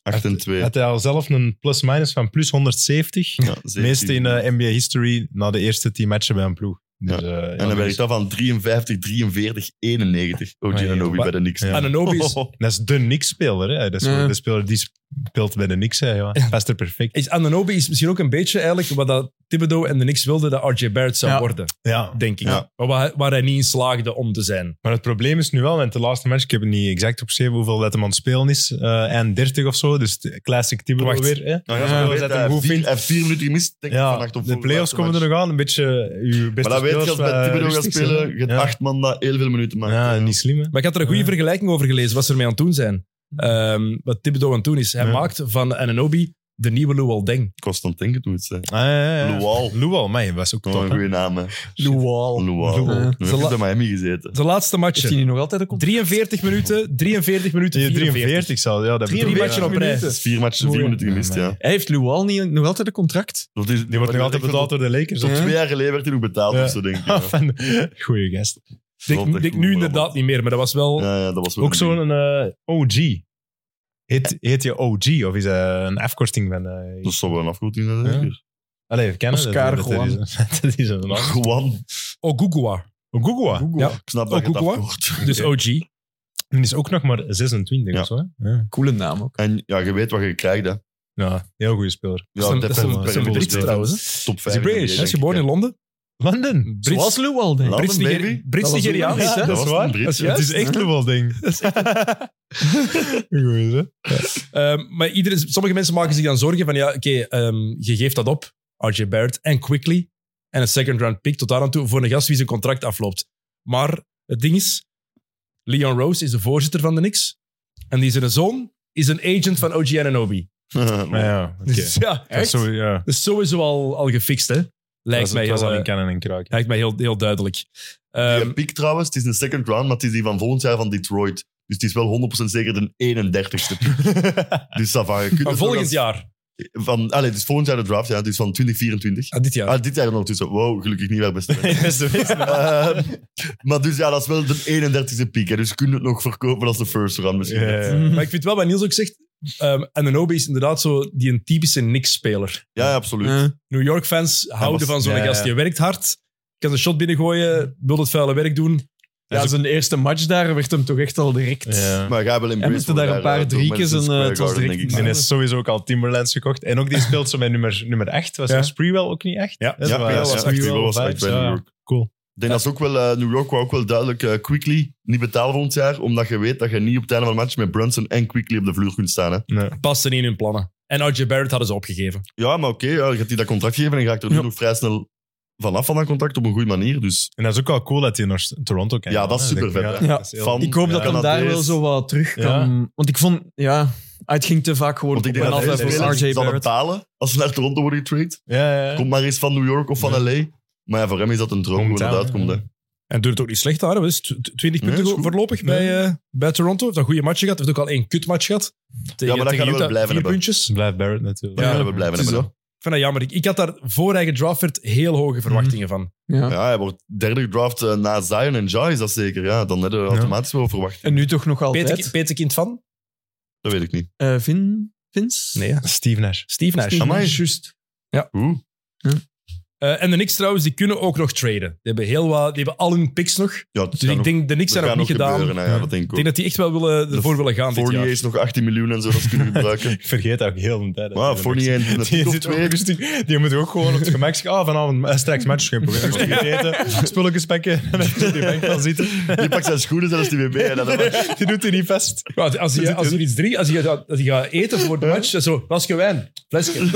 Speaker 2: 8 en 2.
Speaker 3: Had hij al zelf een plus-minus van plus 170.
Speaker 2: Ja,
Speaker 3: De
Speaker 2: 17.
Speaker 3: meeste in eh, NBA history na de eerste tien matchen bij een ploeg. Dus, eh, ja,
Speaker 2: En dan
Speaker 3: dat
Speaker 2: werkt
Speaker 3: is-
Speaker 2: dat van 53, 43, 91. OG
Speaker 3: Ah, ja.
Speaker 2: Ananobi bij de Knicks. Nou
Speaker 3: Ja.
Speaker 1: Ananobi is,
Speaker 3: dat is de Knicks-speler. hè. Dat is
Speaker 4: Ja.
Speaker 3: de speler die speelt bij de Knicks. Hè, ja. Past er perfect.
Speaker 1: is, Ananobi is misschien ook een beetje eigenlijk wat dat Thibodeau en de Knicks wilden dat RJ Barrett zou
Speaker 4: Ja.
Speaker 1: worden,
Speaker 3: Ja.
Speaker 1: denk ik.
Speaker 2: Ja.
Speaker 1: Maar waar, waar hij niet in slaagde om te zijn.
Speaker 3: Maar het probleem is nu wel, want de laatste match, ik heb het niet exact opgeschreven hoeveel dat hem aan het spelen is. eh en 30 of zo, dus de classic Thibodeau
Speaker 1: Wacht.
Speaker 3: weer. Hè.
Speaker 2: Nou
Speaker 4: Ja,
Speaker 2: ja,
Speaker 3: we
Speaker 2: we
Speaker 3: zetten
Speaker 2: zetten
Speaker 3: hem goed
Speaker 2: vier,
Speaker 3: vindt.
Speaker 2: hij heeft vier minuten gemist. Denk ik,
Speaker 3: Ja,
Speaker 2: vannacht op
Speaker 3: de playoffs komen er nog aan. Een beetje eh, uw beste
Speaker 2: Maar dat weet je als
Speaker 3: spelers
Speaker 2: je met
Speaker 3: wat
Speaker 2: Thibodeau gaat
Speaker 3: rustig zijn,
Speaker 2: spelen.
Speaker 3: hè.
Speaker 2: Je hebt
Speaker 3: eh, ja.
Speaker 2: acht man dat heel veel minuten maakt.
Speaker 3: Ja, niet slim, hè.
Speaker 1: Maar ik had er een goede
Speaker 3: Ja.
Speaker 1: vergelijking over gelezen, wat ze ermee aan het doen zijn. Ehm, wat Thibodeau aan het doen is. Hij
Speaker 3: Ja.
Speaker 1: maakt van Ananobi de nieuwe Luol Deng.
Speaker 2: Constant denken doet ze.
Speaker 3: Ah, ja, ja, ja.
Speaker 2: Luau.
Speaker 3: Luau, man, was ook
Speaker 2: Toch Oh, een
Speaker 3: top. hè.
Speaker 2: goede naam, hè.
Speaker 4: Lual.
Speaker 2: Luau.
Speaker 4: Ja.
Speaker 2: Nu heeft
Speaker 1: Zal-
Speaker 2: hij bij Miami gezeten.
Speaker 1: De laatste
Speaker 4: Heeft hij
Speaker 1: match.
Speaker 4: nu nog altijd een contract?
Speaker 1: 43 minuten, 43 minuten,
Speaker 3: Die
Speaker 1: 43.
Speaker 3: 43 zal, ja. Dat
Speaker 1: Drie
Speaker 3: bedoel ik,
Speaker 1: matchen
Speaker 3: ja.
Speaker 1: op rij.
Speaker 2: Dat is vier matchen, vier
Speaker 3: Mooi.
Speaker 2: minuten gemist,
Speaker 3: Ja,
Speaker 2: ja.
Speaker 3: maar-
Speaker 4: Hij heeft Lual niet, nog altijd een contract?
Speaker 2: Dat is-
Speaker 3: Die wordt nog altijd betaald door de Lakers.
Speaker 2: Tot
Speaker 3: of
Speaker 2: twee jaar geleden werd hij nog betaald,
Speaker 3: Ja.
Speaker 2: of zo, denk ik.
Speaker 3: zo.
Speaker 2: ja.
Speaker 3: Van- Goeie gast.
Speaker 1: Denk,
Speaker 2: Vond
Speaker 1: denk
Speaker 2: ik
Speaker 1: nu
Speaker 2: goed,
Speaker 1: inderdaad
Speaker 2: maar-
Speaker 1: niet meer, maar dat was wel...
Speaker 2: Ja, ja, dat was wel
Speaker 3: Ook
Speaker 2: een
Speaker 3: zo'n eh, OG. Heet, heet je OG of is dat een afkorting van... eh
Speaker 2: ding. Dat zou wel een afkorting zijn, zeker.
Speaker 3: Allee, even kennen.
Speaker 4: Oscar
Speaker 3: dat, dat, dat, is, dat is een naam.
Speaker 2: Gewoon.
Speaker 1: Ogugua.
Speaker 3: Googua.
Speaker 2: Google.
Speaker 1: Ja.
Speaker 2: Ik snap dat
Speaker 1: Ook
Speaker 2: je het
Speaker 1: Oh, Google,
Speaker 2: afkort.
Speaker 1: Dus OG.
Speaker 3: Die is ook nog maar 26
Speaker 2: Ja.
Speaker 3: of zo. hè? Ja.
Speaker 4: Coole naam ook.
Speaker 2: En ja, je weet wat je krijgt, hè.
Speaker 3: ja, heel goede speler.
Speaker 2: Ja,
Speaker 1: Dat is een- dat is een-
Speaker 2: Deppen-
Speaker 1: dat is
Speaker 3: een
Speaker 2: Deppen-
Speaker 3: Brits
Speaker 2: Deppen-
Speaker 1: trouwens, hè?
Speaker 2: Top 5.
Speaker 3: British,
Speaker 2: NBA,
Speaker 3: hè?
Speaker 1: Hij
Speaker 2: denk
Speaker 1: is
Speaker 2: ik,
Speaker 1: geboren
Speaker 2: ja.
Speaker 1: in Londen.
Speaker 3: London.
Speaker 1: Brits-
Speaker 4: Zoals Lou Walden.
Speaker 2: Landen,
Speaker 1: Brits, Niger-
Speaker 2: baby.
Speaker 1: Brits
Speaker 4: Dat was
Speaker 1: Nigeriaan.
Speaker 4: Louis, hè?
Speaker 1: Ja,
Speaker 2: Dat
Speaker 1: dat is
Speaker 2: was
Speaker 1: waar.
Speaker 2: een Brit,
Speaker 1: Dat is
Speaker 2: ja.
Speaker 3: Het
Speaker 1: juist.
Speaker 3: is echt wel ding. Goed, hè?
Speaker 1: Ehm, maar iedereen, sommige mensen maken zich dan zorgen van, ja, oké, ehm, je geeft dat op, RJ Barrett, en Quickly, en een second round pick tot daar aan toe voor een gast wie zijn contract afloopt. Maar het ding is, Leon Rose is de voorzitter van de Knicks, en die zijn zoon is een agent van OG Ananobi.
Speaker 3: Maar ja, oké.
Speaker 1: Dus ja,
Speaker 3: Dat is
Speaker 1: echt?
Speaker 3: zo- ja.
Speaker 1: Dat is sowieso al, al gefixt, hè?
Speaker 3: Dat
Speaker 1: Lijkt
Speaker 3: is
Speaker 1: mij
Speaker 3: het was
Speaker 1: heel,
Speaker 3: al
Speaker 1: eh,
Speaker 3: in kannen en kraken.
Speaker 1: lijkt mij heel, heel duidelijk. Ehm,
Speaker 2: Die pick trouwens, het is een second round, maar het is die van volgend jaar van Detroit. Dus het is wel 100% zeker de 31ste pick. dus dat van, je kunt het
Speaker 1: maar
Speaker 2: nog
Speaker 1: volgend
Speaker 2: als-
Speaker 1: jaar,
Speaker 2: Van, allez, het is volgend jaar de draft, ja, dus van 2024.
Speaker 1: Ah, dit jaar,
Speaker 2: Ah, dit jaar dan ondertussen. Wow, gelukkig niet waar beste.
Speaker 3: Ja, zo is het.
Speaker 2: Ehm, maar dus ja, dat is wel de 31ste pick. Hè, dus je kunt het nog verkopen als de first round misschien.
Speaker 3: Ja, ja, ja.
Speaker 1: Maar ik vind wel wat Niels ook zegt. ehm Ananobi is inderdaad zo die een typische Knicks-speler.
Speaker 2: Ja, ja, absoluut.
Speaker 4: Eh,
Speaker 1: New York-fans houden
Speaker 2: was-
Speaker 1: van zo'n
Speaker 3: ja, ja.
Speaker 1: gast. Die werkt hard, kan zijn shot binnengooien, wil het vuile werk doen.
Speaker 4: ja, zijn eerste match daar werd hem toch echt al direct...
Speaker 3: Ja.
Speaker 2: Maar ga wel in
Speaker 4: Hij moest er daar een paar driekjes en, eh, het was direct
Speaker 3: Die
Speaker 4: Ja.
Speaker 3: is sowieso ook al Timberlands gekocht. En ook die speelt zo met nummer, nummer 8. Was
Speaker 1: Ja.
Speaker 3: dat Spreewell ook niet echt?
Speaker 1: Ja,
Speaker 3: Hè,
Speaker 2: ja,
Speaker 3: zo, eh,
Speaker 2: ja, was echt
Speaker 3: Sprewell,
Speaker 2: Spreewell was echt
Speaker 3: vibes,
Speaker 2: bij New
Speaker 3: ja.
Speaker 2: York.
Speaker 3: Cool.
Speaker 2: Ik denk dat is ook wel, eh, New York wou ook wel duidelijk eh, quickly niet betalen volgend jaar, omdat je weet dat je niet op het einde van een match met Brunson en quickly op de vloer kunt staan. Hè.
Speaker 1: Past er niet in hun plannen. En RJ Barrett hadden ze opgegeven.
Speaker 2: Ja, maar oké, ja, je gaat die dat contract geven en ga ik er nu
Speaker 1: Ja.
Speaker 2: nog vrij snel vanaf van dat contract op een goede manier. Dus
Speaker 3: En dat is ook wel cool dat hij naar Toronto kan.
Speaker 2: Ja,
Speaker 3: gaan,
Speaker 2: dat is
Speaker 3: hè.
Speaker 2: supervet,
Speaker 3: ja,
Speaker 2: hè.
Speaker 4: Ja.
Speaker 3: dat is heel-
Speaker 2: Van-
Speaker 4: Ik hoop
Speaker 2: Ja,
Speaker 4: dat hem daar
Speaker 2: Canadees.
Speaker 4: wel zo wat terug
Speaker 3: Ja.
Speaker 4: kan... Want ik vond... Ja, het ging te vaak gewoon
Speaker 2: want
Speaker 4: op
Speaker 2: ik
Speaker 4: en
Speaker 2: denk dat
Speaker 4: af
Speaker 2: veel
Speaker 4: hè,
Speaker 2: spelers
Speaker 4: voor RJ
Speaker 2: zal
Speaker 4: Barrett.
Speaker 2: betalen als ze naar Toronto worden getraind.
Speaker 3: Ja, ja, ja.
Speaker 2: Kom maar eens van New York of van
Speaker 3: Ja.
Speaker 2: LA. Maar ja, voor hem is dat een droom hoe
Speaker 3: Hometown,
Speaker 2: dat uitkomt. hè.
Speaker 3: ja.
Speaker 1: En het doet het ook niet slecht daar. hè. Wat is het? Tw- 20
Speaker 2: Nee,
Speaker 1: punten
Speaker 2: is goed.
Speaker 1: voorlopig bij, eh, bij Toronto. Heeft een goede match gehad. Heeft ook al één kutmatch gehad. Tegen,
Speaker 2: Ja, maar dat
Speaker 1: tegen
Speaker 2: gaan we
Speaker 1: Utah.
Speaker 2: blijven
Speaker 1: Vier
Speaker 2: hebben.
Speaker 1: puntjes. Ik
Speaker 3: Blijft Barrett natuurlijk.
Speaker 2: Ja,
Speaker 1: Ja,
Speaker 2: we blijven
Speaker 1: het is
Speaker 2: hebben. hè.
Speaker 1: vind dat jammer. Ik, ik had daar voor hij gedraft werd heel hoge verwachtingen van.
Speaker 4: Ja.
Speaker 2: Ja, hij wordt derde gedraft eh, na Zion en Jai, is dat zeker. Ja, dan hadden we automatisch wel verwacht.
Speaker 4: En nu toch nog
Speaker 1: Peter,
Speaker 4: altijd.
Speaker 1: Peter Kind van?
Speaker 2: Dat weet ik niet.
Speaker 4: eh Vin... Vince?
Speaker 1: Nee, hè.
Speaker 3: Steve Nash.
Speaker 1: Steve Nash.
Speaker 4: Steve
Speaker 2: Amai.
Speaker 4: Nash, juist.
Speaker 2: Oeh.
Speaker 1: Eh, en de Knicks trouwens, die kunnen ook nog traden. Die hebben, heel wat, die hebben al hun picks nog.
Speaker 2: Ja, dat
Speaker 1: Dus ik denk, de Knicks zijn nog niet gedaan.
Speaker 2: nou ja, dat denk ik
Speaker 1: Ik
Speaker 2: ook.
Speaker 1: denk dat die echt wel willen, ervoor willen gaan dit
Speaker 2: Fournier
Speaker 1: jaar.
Speaker 2: is nog 18 miljoen en zo, dat ze kunnen gebruiken.
Speaker 3: Ik vergeet dat ook heel de tijd.
Speaker 2: Maar ja, Fournier en een
Speaker 3: Die,
Speaker 2: pick of
Speaker 3: zit ook
Speaker 2: twee.
Speaker 3: rustig- die moet ook gewoon op het gemak zeggen, ah, vanavond eh, straks match, geen probleem. Rustig eten, spulletjes pakken. En dan zit die bank al zitten.
Speaker 2: Die pakt zijn schoenen zelfs niet meer mee. En dan
Speaker 3: Die doet hij niet vast.
Speaker 1: Ja, als- als je als je iets drie, als je gaat, als je gaat eten voor de match, dat is zo, flesje wijn, flesje.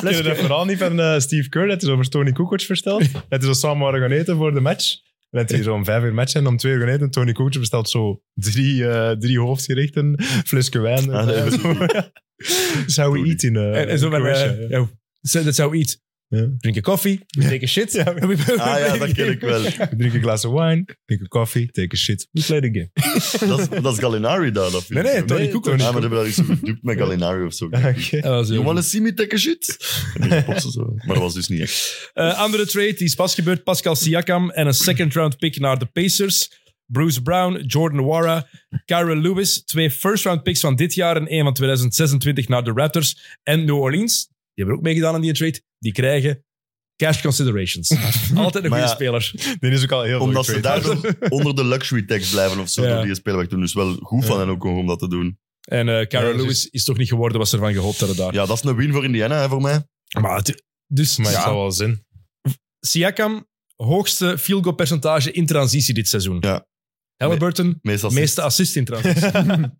Speaker 3: Ken je dat verhaal niet van eh, Steve Kerr, dat hij zo over Tony Kukoc verstelt? Dat hij zo samen waren gaan eten voor de match. En dat hij zo om vijf uur match en om twee uur gaan eten. En Tony Kukoc bestelt zo drie, eh, drie hoofdgerechten, flesje wijn.
Speaker 2: Ah, nee, dat is
Speaker 3: Zou we eat in eh,
Speaker 1: En, en zo van,
Speaker 3: Croatia,
Speaker 1: eh, ja, zo- dat zou iets.
Speaker 3: Ja.
Speaker 1: Drinken koffie, take a shit.
Speaker 3: Ja.
Speaker 2: Ah ja, dat ken ik wel.
Speaker 3: ja. Drink een glas wine, drink een koffie, take a shit. We play the game.
Speaker 2: Dat is, dat is Gallinari daar, dat
Speaker 1: Nee, nee, Tony
Speaker 3: Nee,
Speaker 1: Kukoc.
Speaker 2: Ja,
Speaker 3: Tony
Speaker 2: Ah, maar die hebben dat iets zo gedupt met Gallinari of zo.
Speaker 3: Oké.
Speaker 1: Dat was heel
Speaker 2: You
Speaker 1: goed.
Speaker 2: wanna see me take a shit? En die boksen zo. Maar dat was dus niet echt.
Speaker 1: Eh, andere trade, die is pas gebeurd. Pascal Siakam en een second round pick naar de Pacers. Bruce Brown, Jordan Wara, Kyra Lewis. Twee first round picks van dit jaar en één van 2026 naar de Raptors. En New Orleans, die hebben ook meegedaan aan die trade. Die krijgen cash considerations. Altijd een
Speaker 2: Maar
Speaker 1: goede
Speaker 2: ja,
Speaker 1: speler.
Speaker 3: Dit is ook al heel veel
Speaker 2: Omdat ze
Speaker 3: getraind.
Speaker 2: daardoor onder de luxury tax blijven of zo,
Speaker 1: Ja.
Speaker 2: door die spelwerk doen. Dus wel goed van hen ook om dat te doen.
Speaker 1: En eh Kyra
Speaker 3: Ja, dus-
Speaker 1: Lewis is toch niet geworden wat ze ervan gehoopt hadden daar.
Speaker 2: Ja, dat is een win voor Indiana, hè, voor mij.
Speaker 1: Maar het- dus
Speaker 3: Maar het
Speaker 1: ja,
Speaker 3: zou wel zin.
Speaker 1: Siakam, hoogste field goal percentage in transitie dit seizoen.
Speaker 2: Ja.
Speaker 1: Halliburton,
Speaker 2: Meestal
Speaker 1: meeste assist in transitie.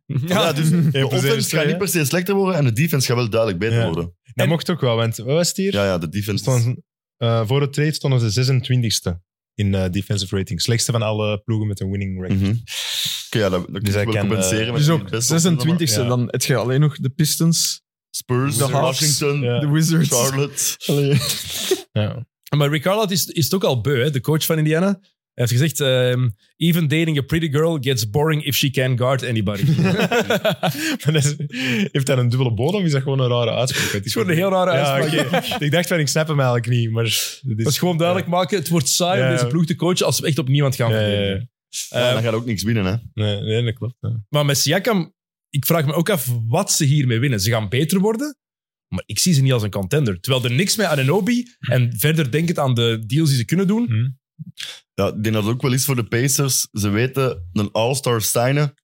Speaker 2: Ja, dus de
Speaker 3: Eén plus één is
Speaker 2: offense
Speaker 3: twee,
Speaker 2: gaat niet
Speaker 3: hè?
Speaker 2: per se slechter worden en de defense gaat wel duidelijk beter
Speaker 3: Ja.
Speaker 2: worden.
Speaker 3: Dat
Speaker 1: En-
Speaker 3: mocht ook wel, want wat was het hier?
Speaker 2: Ja, ja, de defense.
Speaker 3: Stonden- eh, voor de trade stonden ze 26e in eh, defensive rating. Slechtste van alle ploegen met een winning record.
Speaker 2: Mhm. Oké, ja, dat, dat
Speaker 3: Dus
Speaker 2: kun je
Speaker 3: hij
Speaker 2: wel
Speaker 3: kan,
Speaker 2: compenseren.
Speaker 3: eh,
Speaker 2: met
Speaker 4: Dus
Speaker 2: die
Speaker 4: ook
Speaker 2: beste opstellen,
Speaker 4: 26e.
Speaker 3: Ja.
Speaker 4: Dan heb je alleen nog de Pistons,
Speaker 2: maar Spurs,
Speaker 4: de Hawks,
Speaker 2: Washington,
Speaker 3: Ja.
Speaker 4: de Wizards.
Speaker 2: Charlotte.
Speaker 3: Ja.
Speaker 1: Maar Rick Carlisle is, is het ook al beu, hè? de coach van Indiana. Hij heeft gezegd, ehm, even dating a pretty girl gets boring if she can guard anybody.
Speaker 3: Maar dat is- heeft dat een dubbele bodem? Is dat gewoon een rare uitspraak? Het
Speaker 1: is gewoon een heel rare uitspraak.
Speaker 3: oké. ik dacht van, ik snap hem eigenlijk niet, maar... dit
Speaker 1: Dat is gewoon duidelijk maken, het wordt saai om
Speaker 3: Ja.
Speaker 1: deze ploeg te coachen als we echt op niemand gaan
Speaker 3: Ja, ja,
Speaker 1: verdedigen.
Speaker 3: ja.
Speaker 2: Ja, dan gaat ook niks winnen, hè.
Speaker 3: Nee, nee, dat klopt. ja.
Speaker 1: Maar met Siakam, ik vraag me ook af wat ze hiermee winnen. Ze gaan beter worden, maar ik zie ze niet als een contender. Terwijl er niks met Ananobi en verder denkend aan de deals die ze kunnen
Speaker 3: Hm.
Speaker 1: doen.
Speaker 2: Ja, ik denk dat het ook wel is voor de Pacers. Ze weten, een all-star signen,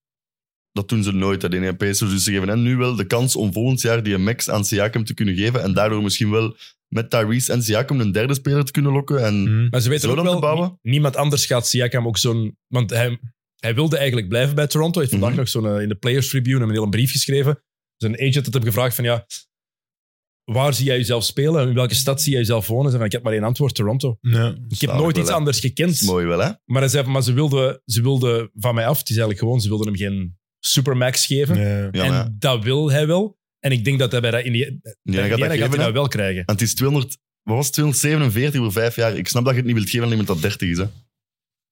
Speaker 2: dat doen ze nooit, hè, de Pacers. Dus ze geven hen nu wel de kans om volgend jaar die max aan Siakam te kunnen geven en daardoor misschien wel met Tyrese en Siakam een derde speler te kunnen lokken. En
Speaker 3: Mhm.
Speaker 1: Maar Hmm. ze weten
Speaker 2: Zo
Speaker 1: ook
Speaker 2: dan te
Speaker 1: wel,
Speaker 2: bouwen?
Speaker 1: nie- niemand anders gaat Siakam ook zo'n... Want hij, hij wilde eigenlijk blijven bij Toronto. Hij heeft vandaag
Speaker 2: Mhm.
Speaker 1: nog zo'n, eh, in de Players Tribune hem een hele brief geschreven. Zijn agent had hem gevraagd van, ja, waar zie jij jezelf spelen? En in welke stad zie jij jezelf wonen? Ze zei van, ik heb maar één antwoord, Toronto.
Speaker 3: Ja.
Speaker 1: Ik heb
Speaker 2: Zalig
Speaker 1: nooit
Speaker 2: wel,
Speaker 1: iets
Speaker 2: hè.
Speaker 1: anders
Speaker 2: dat is
Speaker 1: gekend.
Speaker 2: mooi wel, hè?
Speaker 1: Maar hij zei van, maar ze wilde, ze wilde van mij af. Het is eigenlijk gewoon, ze wilden hem geen supermax geven.
Speaker 3: Ja.
Speaker 2: Ja,
Speaker 1: en
Speaker 2: maar ja.
Speaker 1: dat wil hij wel. En ik denk dat hij bij dat Indi- bij
Speaker 2: Ja,
Speaker 1: Indiana
Speaker 2: dan gaat dat
Speaker 1: gaat
Speaker 2: geven,
Speaker 1: hij
Speaker 2: hè.
Speaker 1: dat wel krijgen.
Speaker 2: En het is 200, wat was het, 247 voor vijf jaar. Ik snap dat je het niet wilt geven aan iemand dat 30 is, hè.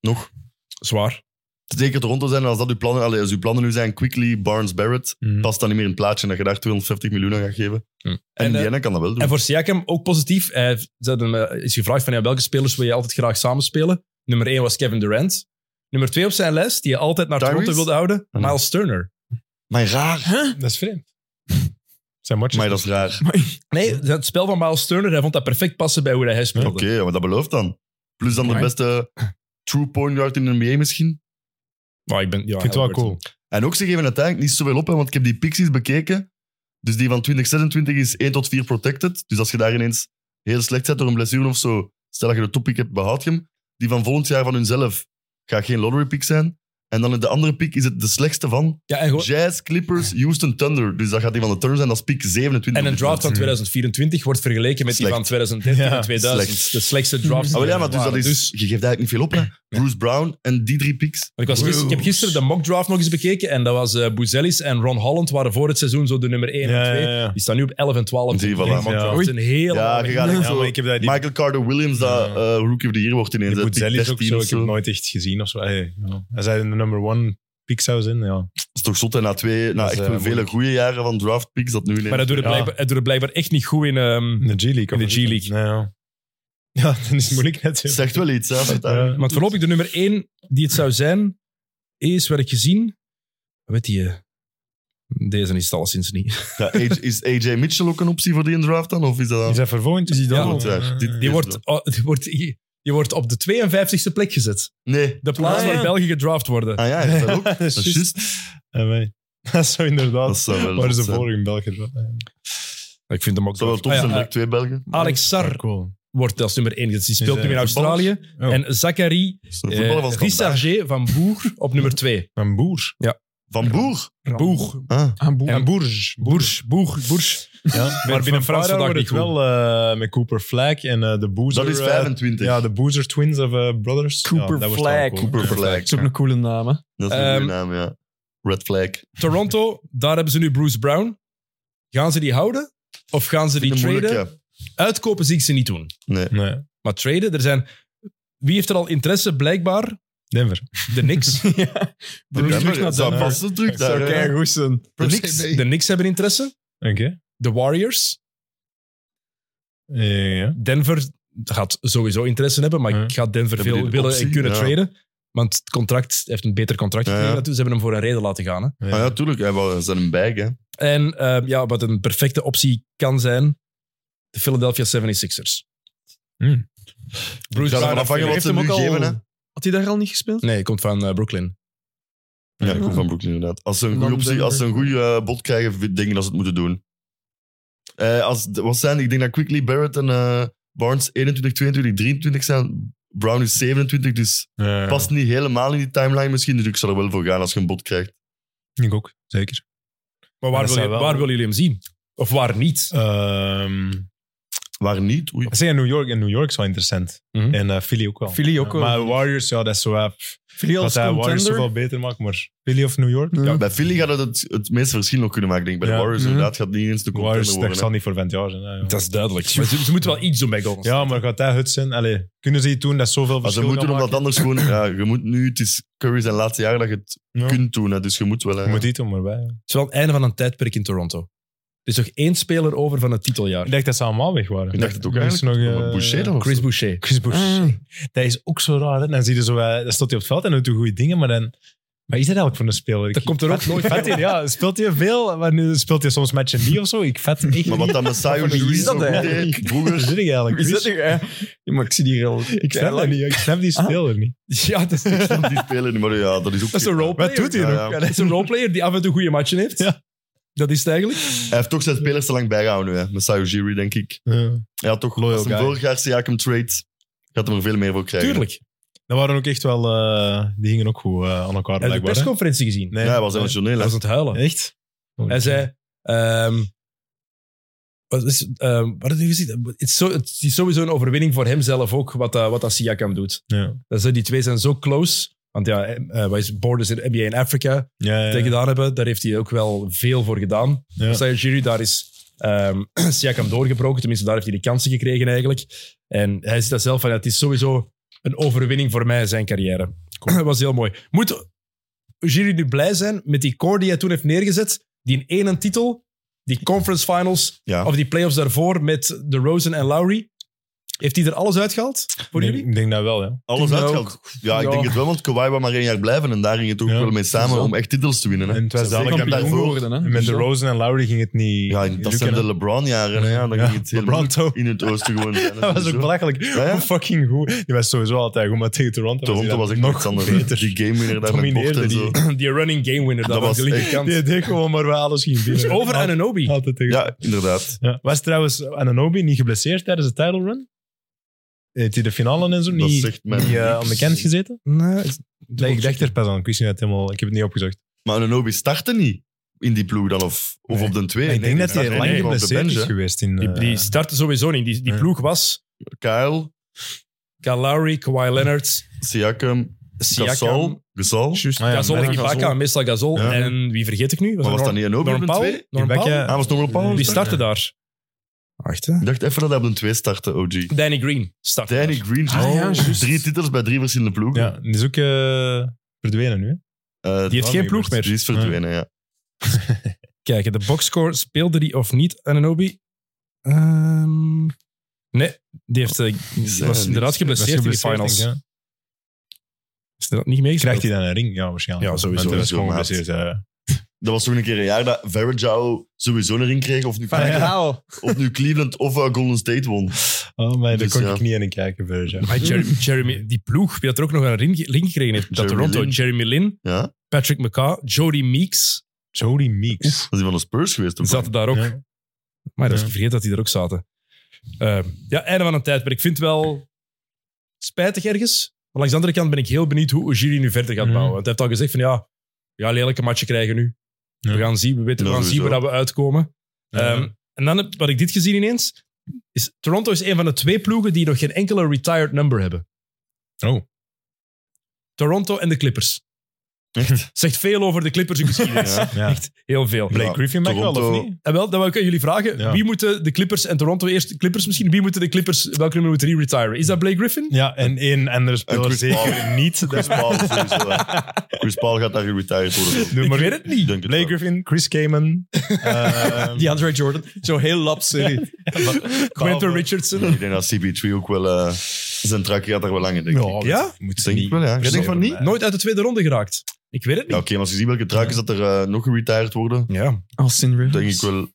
Speaker 2: Nog.
Speaker 1: Zwaar.
Speaker 2: Zeker Toronto zijn, als dat uw plannen, allee, als uw plannen nu zijn, Quickly, Barnes, Barrett,
Speaker 1: Hmm.
Speaker 3: Mhm.
Speaker 2: past dat niet meer in het plaatje dat je daar 250 miljoen aan gaat geven.
Speaker 1: Hm.
Speaker 2: En,
Speaker 1: En, eh,
Speaker 2: Indiana kan dat wel doen.
Speaker 1: En voor Siakam ook positief. Hij heeft- ze hadden hem, eh, is gevraagd van ja, welke spelers wil je altijd graag samenspelen. Nummer 1 was Kevin Durant. Nummer 2 op zijn lijst, die je altijd naar
Speaker 2: Tyrese?
Speaker 1: Toronto wilde houden,
Speaker 3: Mhm.
Speaker 2: Ah, nee.
Speaker 1: Miles Turner.
Speaker 2: Maar raar.
Speaker 3: Dat is vreemd. Zijn matches.
Speaker 2: Maar dat
Speaker 1: dus.
Speaker 2: is raar.
Speaker 1: Nee, het spel van Miles Turner, hij vond dat perfect passen bij hoe hij speelde.
Speaker 2: Oké, ja, maar dat belooft dan. Plus dan de
Speaker 1: Amai.
Speaker 2: beste true point guard in de NBA misschien.
Speaker 1: Maar ik, ben, ja,
Speaker 3: Ik vind het wel
Speaker 1: Halliburton.
Speaker 3: cool.
Speaker 2: En ook, ze geven uiteindelijk niet zoveel op, hè, want ik heb die Pixies bekeken. Dus die van 2026 is 1 tot 4 protected. Dus als je daar ineens heel slecht zet door een blessure of zo, stel dat je de toppick hebt, behoud je hem. Die van volgend jaar van hunzelf gaat geen lottery pick zijn. En dan de andere pick is het de slechtste van
Speaker 1: Ja, en, gewoon-
Speaker 2: Jazz, Clippers, Houston Thunder. Dus dat gaat die van de Thunder zijn, dat is pick Ah, 27.
Speaker 1: en een draft van 2024 wordt vergeleken met die
Speaker 2: Slecht.
Speaker 1: van 2013 en
Speaker 3: Ja,
Speaker 1: 2000.
Speaker 2: slecht.
Speaker 1: De slechtste draft.
Speaker 2: Ah, wel ja, maar dus
Speaker 1: Ja,
Speaker 2: dat is, je geeft eigenlijk niet veel op, hè. Bruce Brown en die drie picks.
Speaker 1: Want ik, was gisteren- ik heb gisteren de mock draft nog eens bekeken en dat was eh Boezelis en Ron Holland waren voor het seizoen zo de nummer 1 en 2. Die staan nu op 11 en 12.
Speaker 2: Zie je, voilà.
Speaker 1: in de mock
Speaker 3: Ja.
Speaker 1: draft.
Speaker 3: Oei.
Speaker 1: Een hele
Speaker 2: Ja,
Speaker 1: lage-
Speaker 2: je gaat
Speaker 3: Ja, maar ik heb dat die,
Speaker 2: Michael Carter Williams, dat eh, Rookie of the Year wordt ineens.
Speaker 3: die
Speaker 2: hè, pick
Speaker 3: Boezelli is ook
Speaker 2: 13
Speaker 3: zo.
Speaker 2: of
Speaker 3: Ik heb
Speaker 2: zo.
Speaker 3: het nooit echt gezien of zo. Hey, ja. Als hij de number one pick zou zijn, ja.
Speaker 2: Dat is toch zot, hè? Na, twee, na
Speaker 3: Dat
Speaker 2: echt
Speaker 3: is, eh,
Speaker 2: vele
Speaker 3: moeilijk.
Speaker 2: goede jaren van draft picks, dat nu ineens...
Speaker 1: Maar dat doet het,
Speaker 3: Ja.
Speaker 1: blijkbaar, het doet het blijkbaar echt niet goed in... ehm,
Speaker 3: Hm. In de G-League.
Speaker 1: In de
Speaker 3: of zo.
Speaker 1: G-League.
Speaker 3: Ja, ja. ja, dan is het moeilijk natuurlijk.
Speaker 2: Zegt wel iets, hè? als het daar-
Speaker 3: Ja.
Speaker 1: want voorlopig de nummer 1 die het zou zijn, is, werd ik gezien... Weet je... Deze is het alleszins niet.
Speaker 2: Ja, A- is AJ Mitchell ook een optie voor die in draft dan? Of is dat...
Speaker 3: Is dat voor volgend
Speaker 1: Is die dan
Speaker 3: Ja,
Speaker 1: goed,
Speaker 2: hè? Dit-
Speaker 1: Die wordt, oh, die wordt, die wordt op de 52e plek gezet.
Speaker 2: Nee.
Speaker 1: De plaats
Speaker 3: Ah, ja.
Speaker 1: waar België gedraft worden.
Speaker 2: Ah ja, is dat ook?
Speaker 3: dat is
Speaker 2: Dat is
Speaker 3: juist.
Speaker 2: juist.
Speaker 3: Ah, wij. Dat zou inderdaad.
Speaker 2: Dat zou wel
Speaker 3: Waar is de
Speaker 2: zot zijn.
Speaker 3: vorige in België? Dat
Speaker 1: Ik vind hem ook...
Speaker 2: Dat zou wel top
Speaker 1: Ah, ja,
Speaker 2: zijn,
Speaker 1: eh,
Speaker 2: direct twee Belgen.
Speaker 1: Alex Sar
Speaker 3: cool.
Speaker 1: wordt als nummer 1 gezet. Die speelt
Speaker 3: Is,
Speaker 1: nu
Speaker 3: eh,
Speaker 1: in Australië.
Speaker 3: Oh. En
Speaker 1: En Zachary
Speaker 2: Dat is een voetballer van Standaard.
Speaker 1: Rissargé van Boer op nummer 2.
Speaker 3: een boer.
Speaker 2: Van Boer?
Speaker 1: Boer.
Speaker 2: Ah.
Speaker 4: Aan boer.
Speaker 1: En Bourges. Bourges. Bourges. Bourges.
Speaker 3: Ja,
Speaker 1: binnen
Speaker 3: van
Speaker 1: Frans vandaag
Speaker 3: wordt
Speaker 1: niet
Speaker 3: het wel eh, met Cooper Flag en eh, de Boozer.
Speaker 2: Dat is
Speaker 3: eh,
Speaker 2: 25.
Speaker 3: ja, de Boozer Twins of eh, Brothers.
Speaker 4: Cooper
Speaker 3: ja, dat wordt
Speaker 4: Flag.
Speaker 3: wel cool.
Speaker 2: Cooper Flag.
Speaker 4: Dat is ook een coole naam, hè.
Speaker 2: Dat is een goede
Speaker 1: Ehm,
Speaker 2: naam, ja. Red Flag.
Speaker 1: Toronto, daar hebben ze nu Bruce Brown. Gaan ze die houden? Of gaan ze die
Speaker 2: Vind ik
Speaker 1: traden?
Speaker 2: moeilijk,
Speaker 1: Uitkopen zie ik ze niet doen.
Speaker 2: ja. Nee.
Speaker 3: Nee,
Speaker 1: Maar traden, er zijn... Wie heeft er al interesse? Blijkbaar
Speaker 3: Denver.
Speaker 1: de Knicks.
Speaker 4: ja.
Speaker 2: De
Speaker 4: terug
Speaker 2: Denver,
Speaker 4: naar
Speaker 2: zou
Speaker 4: Denver.
Speaker 2: vast een truc daar, hè.
Speaker 4: goed zijn.
Speaker 1: De Knicks, de Knicks hebben interesse.
Speaker 3: Oké.
Speaker 1: De Warriors.
Speaker 3: Ja, ja, ja.
Speaker 1: Denver gaat sowieso interesse hebben, maar
Speaker 3: Ja.
Speaker 1: ik ga Denver
Speaker 2: Hebben
Speaker 1: veel
Speaker 2: die de
Speaker 1: willen
Speaker 2: optie?
Speaker 1: en kunnen
Speaker 2: Ja.
Speaker 1: traden. Want het contract hij heeft een beter contract
Speaker 2: Ja, ja.
Speaker 1: gekregen. natuurlijk. Ze hebben hem voor een reden laten gaan. Hè.
Speaker 2: Ah ja, tuurlijk. Hij wou- zijn een bag, hè.
Speaker 1: En eh, ja, wat een perfecte optie kan zijn, de Philadelphia 76ers.
Speaker 3: Hmm.
Speaker 2: Ik
Speaker 1: Bruce
Speaker 2: zou ervan
Speaker 1: Brown
Speaker 2: afhangen wat
Speaker 1: heeft
Speaker 2: ze
Speaker 1: hem
Speaker 2: nu
Speaker 1: ook al...
Speaker 2: geven, hè.
Speaker 4: Had hij daar al niet gespeeld?
Speaker 1: Nee, hij komt van eh, Brooklyn.
Speaker 2: Ja,
Speaker 3: Ja.
Speaker 2: ik hoef van Brooklyn inderdaad. Als ze een
Speaker 4: Dan
Speaker 2: goede optie,
Speaker 4: Denver.
Speaker 2: als ze een goede eh, bod krijgen, vind- denk ik dat ze het moeten doen. Eh, als, wat zijn, ik denk dat Quickly, Barrett en eh, Barnes 21, 22, 23 zijn. Brown is 27, dus
Speaker 3: Ja, ja.
Speaker 2: past niet helemaal in die timeline misschien. Dus ik zal er wel voor gaan als je een bod krijgt.
Speaker 3: Ik ook, zeker.
Speaker 1: Maar
Speaker 3: Maar
Speaker 1: waar,
Speaker 3: dat
Speaker 1: wil je,
Speaker 3: zou wel-
Speaker 1: waar willen jullie hem zien? Of waar niet?
Speaker 3: Ehm,
Speaker 2: Waar niet? Oei.
Speaker 3: Ik zeg in New York, in New York is wel interessant.
Speaker 1: Mhm.
Speaker 3: En eh Philly ook wel.
Speaker 4: Philly ook
Speaker 3: Ja,
Speaker 4: wel.
Speaker 3: Maar Warriors, ja, dat is zo... eh, pff,
Speaker 4: Philly
Speaker 3: dat
Speaker 4: als
Speaker 3: hij Warriors
Speaker 4: contender.
Speaker 3: zoveel beter maakt, maar Philly of New York?
Speaker 2: Ja, bij Philly gaat het het het meeste verschil nog kunnen maken, denk ik. Bij de
Speaker 3: Ja.
Speaker 2: Warriors
Speaker 4: Mhm.
Speaker 2: inderdaad gaat niet eens de contender
Speaker 3: Warriors, dat
Speaker 2: worden.
Speaker 3: zal
Speaker 2: hè.
Speaker 3: niet voor 20 jaar zijn. hè, ja.
Speaker 1: Dat is duidelijk. Maar ze, ze moeten wel iets doen bij Golden State.
Speaker 3: Ja, maar gaat dat het zijn? Allee, kunnen ze iets doen dat zoveel
Speaker 2: Maar ze
Speaker 3: verschil
Speaker 2: moeten
Speaker 3: kan
Speaker 2: omdat
Speaker 3: maken?
Speaker 2: anders gewoon... Ja, je moet nu... Het is Curry zijn laatste jaar dat je het
Speaker 3: Ja.
Speaker 2: kunt doen, hè, dus je moet wel... hè.
Speaker 3: Je moet iets doen, maar wij. ja.
Speaker 1: Het is wel het einde van een tijdperk in Toronto. Er is nog één speler over van het titeljaar.
Speaker 3: Ik dacht dat ze allemaal weg waren.
Speaker 2: Ik dacht het ook
Speaker 3: Er is
Speaker 2: eigenlijk.
Speaker 3: nog, eh,
Speaker 2: Maar Boucher dan? of
Speaker 1: Chris
Speaker 2: zo?
Speaker 1: Boucher.
Speaker 3: Chris Boucher.
Speaker 4: Ah.
Speaker 3: Dat is ook zo raar. Hè? Dan, zie je zo, eh, dan stond hij op het veld en doet hij goede dingen, maar dan... Wat is dat eigenlijk voor een speler?
Speaker 1: Dat komt er ook nooit
Speaker 3: vet in. Ja, speelt hij veel, maar nu speelt hij soms matchen niet of zo. Ik vet hem echt
Speaker 2: Maar
Speaker 3: niet.
Speaker 2: wat dat Messiah
Speaker 4: Wie is
Speaker 2: Louis
Speaker 4: dat
Speaker 2: zo goed
Speaker 4: eigenlijk?
Speaker 2: deed, vroeger,
Speaker 3: Waar zit ik eigenlijk?
Speaker 4: Wie is dat
Speaker 3: Chris?
Speaker 4: nu? hè? Ja, maar ik zie die al.
Speaker 3: Ik snap dat niet. Ik snap die
Speaker 4: Ah.
Speaker 3: speler niet.
Speaker 1: Ja, dat is, dat
Speaker 2: dat die spelen niet, maar ja, dat is ook...
Speaker 1: is een roleplayer.
Speaker 3: Wat doet hij
Speaker 2: Ja,
Speaker 3: nog?
Speaker 2: ja.
Speaker 3: Ja,
Speaker 1: Dat
Speaker 3: dat-
Speaker 1: is een roleplayer die af en toe goede matchen heeft.
Speaker 3: Ja.
Speaker 1: Dat is het eigenlijk.
Speaker 2: Hij heeft toch zijn spelers te lang bijgehouden nu, hè. Messiah Ujiri, denk ik. Ja, toch.
Speaker 3: Loyal
Speaker 2: als hem
Speaker 3: guy.
Speaker 2: vorig jaar Siakam trade, gaat hem er veel meer voor krijgen.
Speaker 1: Tuurlijk.
Speaker 3: Dat waren ook echt wel... eh, die hingen ook goed eh,
Speaker 1: Hij
Speaker 3: aan elkaar,
Speaker 1: heeft de
Speaker 3: blijkbaar. hè?
Speaker 1: persconferentie gezien.
Speaker 3: Nee,
Speaker 2: Ja, hij was
Speaker 3: nee.
Speaker 2: emotioneel.
Speaker 1: Hij
Speaker 2: hè.
Speaker 1: was aan het huilen.
Speaker 3: Echt?
Speaker 1: Hij zei... ehm, wat is, ehm, wat had hij gezien? Het is, zo, het is sowieso een overwinning voor hemzelf ook, wat, dat wat dat Siakam doet.
Speaker 3: Ja.
Speaker 1: Dat ze, die twee zijn zo close. Want ja, eh, wij zijn Borders in NBA in Afrika
Speaker 3: Ja, ja,
Speaker 1: tegen gedaan hebben. Daar heeft hij ook wel veel voor gedaan.
Speaker 3: Eh. Ja.
Speaker 1: Dus hij- Jury, daar is ehm Siakam doorgebroken. Tenminste, daar heeft hij de kansen gekregen eigenlijk. En hij ziet dat zelf van, ja, het is sowieso een overwinning voor mij, zijn carrière. Dat was heel mooi. Moet Jury nu blij zijn met die core die hij toen heeft neergezet? Die in één een titel, die conference finals,
Speaker 2: Ja.
Speaker 1: of die playoffs daarvoor met de Rosen en Lowry. Heeft hij er alles uitgehaald voor
Speaker 3: Ik denk-
Speaker 1: jullie?
Speaker 3: Ik denk dat wel, ja.
Speaker 2: Alles
Speaker 4: Ja,
Speaker 2: uitgehaald. Ja, ik
Speaker 4: Ja.
Speaker 2: denk het wel, want Kawhi wou maar één jaar blijven en daar ging het ook
Speaker 3: Ja.
Speaker 2: wel mee samen
Speaker 4: Zo.
Speaker 2: om echt titels te winnen. Hè.
Speaker 3: En het was
Speaker 2: Zeker
Speaker 3: dadelijk
Speaker 2: dat
Speaker 3: kampioen
Speaker 2: daarvoor-
Speaker 4: geworden, hè?
Speaker 3: En Met
Speaker 4: Dus
Speaker 3: de
Speaker 4: ja.
Speaker 3: Rosen en Lowry ging het niet.
Speaker 2: Ja,
Speaker 3: niet
Speaker 2: dat
Speaker 3: lukken,
Speaker 2: zijn de
Speaker 3: hè.
Speaker 2: LeBron-jaren. hè. Ja, dan
Speaker 3: Ja,
Speaker 2: ging het helemaal
Speaker 3: LeBron ook.
Speaker 2: in het oosten gewoon zijn. hè.
Speaker 3: Dat was
Speaker 2: Sowieso.
Speaker 3: ook belachelijk.
Speaker 2: ja.
Speaker 3: Hoe Fucking goed. Die was sowieso altijd goed, maar tegen Toronto,
Speaker 2: Toronto was
Speaker 3: hij
Speaker 2: echt
Speaker 3: dan
Speaker 2: nog anders. hè. Die game winner daar met
Speaker 3: Domineerde
Speaker 2: bocht en
Speaker 3: die.
Speaker 2: zo.
Speaker 1: Die running game winner, dat,
Speaker 2: Dat
Speaker 1: was de
Speaker 2: was echt-
Speaker 1: linkerkant.
Speaker 3: Die deed gewoon maar waar alles ging binnen.
Speaker 1: Over
Speaker 3: Altijd-
Speaker 1: Ananobi.
Speaker 3: Altijd tegen.
Speaker 2: Ja, inderdaad.
Speaker 3: Ja. Was trouwens Ananobi niet geblesseerd tijdens de title run? Heeft hij de finale en zo
Speaker 2: Dat
Speaker 3: niet,
Speaker 2: zegt mij
Speaker 3: niet eh,
Speaker 2: niks.
Speaker 3: onbekend gezeten?
Speaker 1: Nee,
Speaker 3: Nee, ik dacht er pas aan. Ik wist niet dat het helemaal... Ik heb het niet opgezocht.
Speaker 2: Maar Ananobi startte niet in die ploeg dan, of, of
Speaker 3: Nee.
Speaker 2: op de twee.
Speaker 3: ik denk dat hij
Speaker 2: die
Speaker 3: lang
Speaker 2: startte gewoon op de
Speaker 3: geblesseerd
Speaker 2: bench,
Speaker 3: is
Speaker 2: hè.
Speaker 3: geweest. In,
Speaker 1: Die,
Speaker 3: eh,
Speaker 1: die startte sowieso niet. Die, die
Speaker 3: Ja.
Speaker 1: ploeg was
Speaker 2: Kyle,
Speaker 1: Kyle Lowry, Kawhi Leonard,
Speaker 2: Siakam,
Speaker 1: Siakam,
Speaker 2: Gasol. Gasol.
Speaker 1: Just,
Speaker 3: Ah ja,
Speaker 1: Gasol en
Speaker 3: Marc
Speaker 1: Ibaka,
Speaker 2: Gasol.
Speaker 1: meestal Gasol.
Speaker 2: Ja.
Speaker 1: En wie vergeet ik nu?
Speaker 2: Maar was
Speaker 1: het
Speaker 2: dat niet Ananobi op
Speaker 1: Norm
Speaker 2: de
Speaker 1: Powell?
Speaker 2: twee?
Speaker 1: Norm
Speaker 3: Ibaka-
Speaker 1: Powell?
Speaker 2: Ah, was het nog wel Powell?
Speaker 1: Die
Speaker 3: Ibaka-
Speaker 1: startte
Speaker 3: Ja.
Speaker 1: daar. Wacht, hè?
Speaker 2: Ik dacht even dat hij op de twee startte, OG.
Speaker 1: Danny Green startte
Speaker 2: Danny
Speaker 1: daar.
Speaker 2: Green,
Speaker 4: Ah, ja, juist.
Speaker 2: drie titels bij drie verschillende ploegen.
Speaker 3: Ja, die is ook eh, verdwenen nu. hè?
Speaker 2: Eh,
Speaker 1: Die heeft geen ploeg
Speaker 2: die
Speaker 1: meer.
Speaker 2: is verdwenen, ja.
Speaker 1: Kijk, de boxscore speelde die of niet, Ananobi? Ehm, nee, die, heeft, eh, die
Speaker 2: Ja,
Speaker 1: was
Speaker 2: die
Speaker 1: inderdaad
Speaker 2: was
Speaker 1: geblesseerd in de
Speaker 3: Geblesseerd,
Speaker 1: finals.
Speaker 3: denk ik,
Speaker 1: Is
Speaker 3: ja.
Speaker 1: dat niet meegespeeld?
Speaker 3: Krijgt hij dan een ring? Ja, waarschijnlijk.
Speaker 1: Ja, sowieso,
Speaker 3: Want dat is
Speaker 2: sowieso,
Speaker 3: gewoon
Speaker 2: maat.
Speaker 3: geblesseerd. eh.
Speaker 2: Dat was toen een keer een jaar dat Verajao sowieso een ring kreeg. Of nu,
Speaker 4: Van
Speaker 2: Cleveland-
Speaker 4: Gaal.
Speaker 2: of nu Cleveland of eh, Golden State won.
Speaker 3: Oh, maar daar
Speaker 2: Dus
Speaker 3: kon
Speaker 2: ja.
Speaker 3: ik niet aan kijken. Voor, ja.
Speaker 1: Maar Jer- Jeremy, die ploeg, wie had er ook nog een ring, ring gekregen heeft? Dat
Speaker 2: Jeremy
Speaker 1: Toronto,
Speaker 2: Lin.
Speaker 1: Jeremy Lin,
Speaker 2: Ja? Dat
Speaker 1: Patrick McCaw, Jody Meeks
Speaker 3: Jody Meeks.
Speaker 2: is die van de Spurs geweest. toch?
Speaker 1: zaten daar ook.
Speaker 3: Ja.
Speaker 1: Maar dat is
Speaker 3: Ja.
Speaker 1: vergeten dat die er ook zaten. Eh, ja, einde van een tijdperk. Ik vind het wel spijtig ergens. Maar langs de andere kant ben ik heel benieuwd hoe Ujiri nu verder gaat
Speaker 3: Mhm.
Speaker 1: bouwen. Want hij heeft al gezegd van ja, we gaan lelijke matchen krijgen nu.
Speaker 3: Ja.
Speaker 1: We gaan zien, we weten, we
Speaker 2: Ja,
Speaker 1: gaan zien waar
Speaker 2: sowieso.
Speaker 1: dat we uitkomen.
Speaker 3: Ja.
Speaker 1: Ehm, en dan heb wat ik dit gezien ineens. Is, Toronto is een van de twee ploegen die nog geen enkele retired number hebben.
Speaker 3: Oh.
Speaker 1: Toronto en de Clippers. Zegt veel over de Clippers hun geschiedenis.
Speaker 2: Ja.
Speaker 3: Ja.
Speaker 1: Echt heel veel.
Speaker 3: Blake
Speaker 2: Ja,
Speaker 3: Griffin mag wel,
Speaker 2: Toronto-
Speaker 3: of niet?
Speaker 1: En wel, dan wil ik aan jullie vragen.
Speaker 3: Ja.
Speaker 1: Wie moeten de Clippers en Toronto eerst... Clippers misschien. Wie moeten de Clippers... Welke nummer moeten die retiren? Is dat Blake Griffin?
Speaker 3: Ja, en één andere speler
Speaker 2: Chris
Speaker 3: zeker
Speaker 2: Paul.
Speaker 3: niet.
Speaker 2: Chris Paul sowieso. hè. Chris Paul gaat daar geretired worden.
Speaker 3: Doe
Speaker 1: Ik
Speaker 3: maar-
Speaker 1: weet het niet.
Speaker 2: Ik denk het
Speaker 3: Blake
Speaker 2: wel.
Speaker 3: Griffin, Chris Kamen. eh,
Speaker 4: Die Andre Jordan. Zo heel lapse.
Speaker 1: Ehm, Quentin
Speaker 3: Behalve-
Speaker 1: Richardson.
Speaker 2: Ik denk dat CB3 ook wel... eh, zijn trakje gaat daar wel lang in, denk ik.
Speaker 3: dat
Speaker 1: Ja?
Speaker 3: Moet
Speaker 2: Denk ik wel, ja. Jij denkt van niet?
Speaker 1: Nooit uit de tweede ronde geraakt. Ik weet het
Speaker 2: Ja,
Speaker 1: niet.
Speaker 2: Oké, maar als je ziet welke truikens dat er eh, nog geretired worden,
Speaker 1: Ja.
Speaker 4: Austin Rivers.
Speaker 2: denk ik wel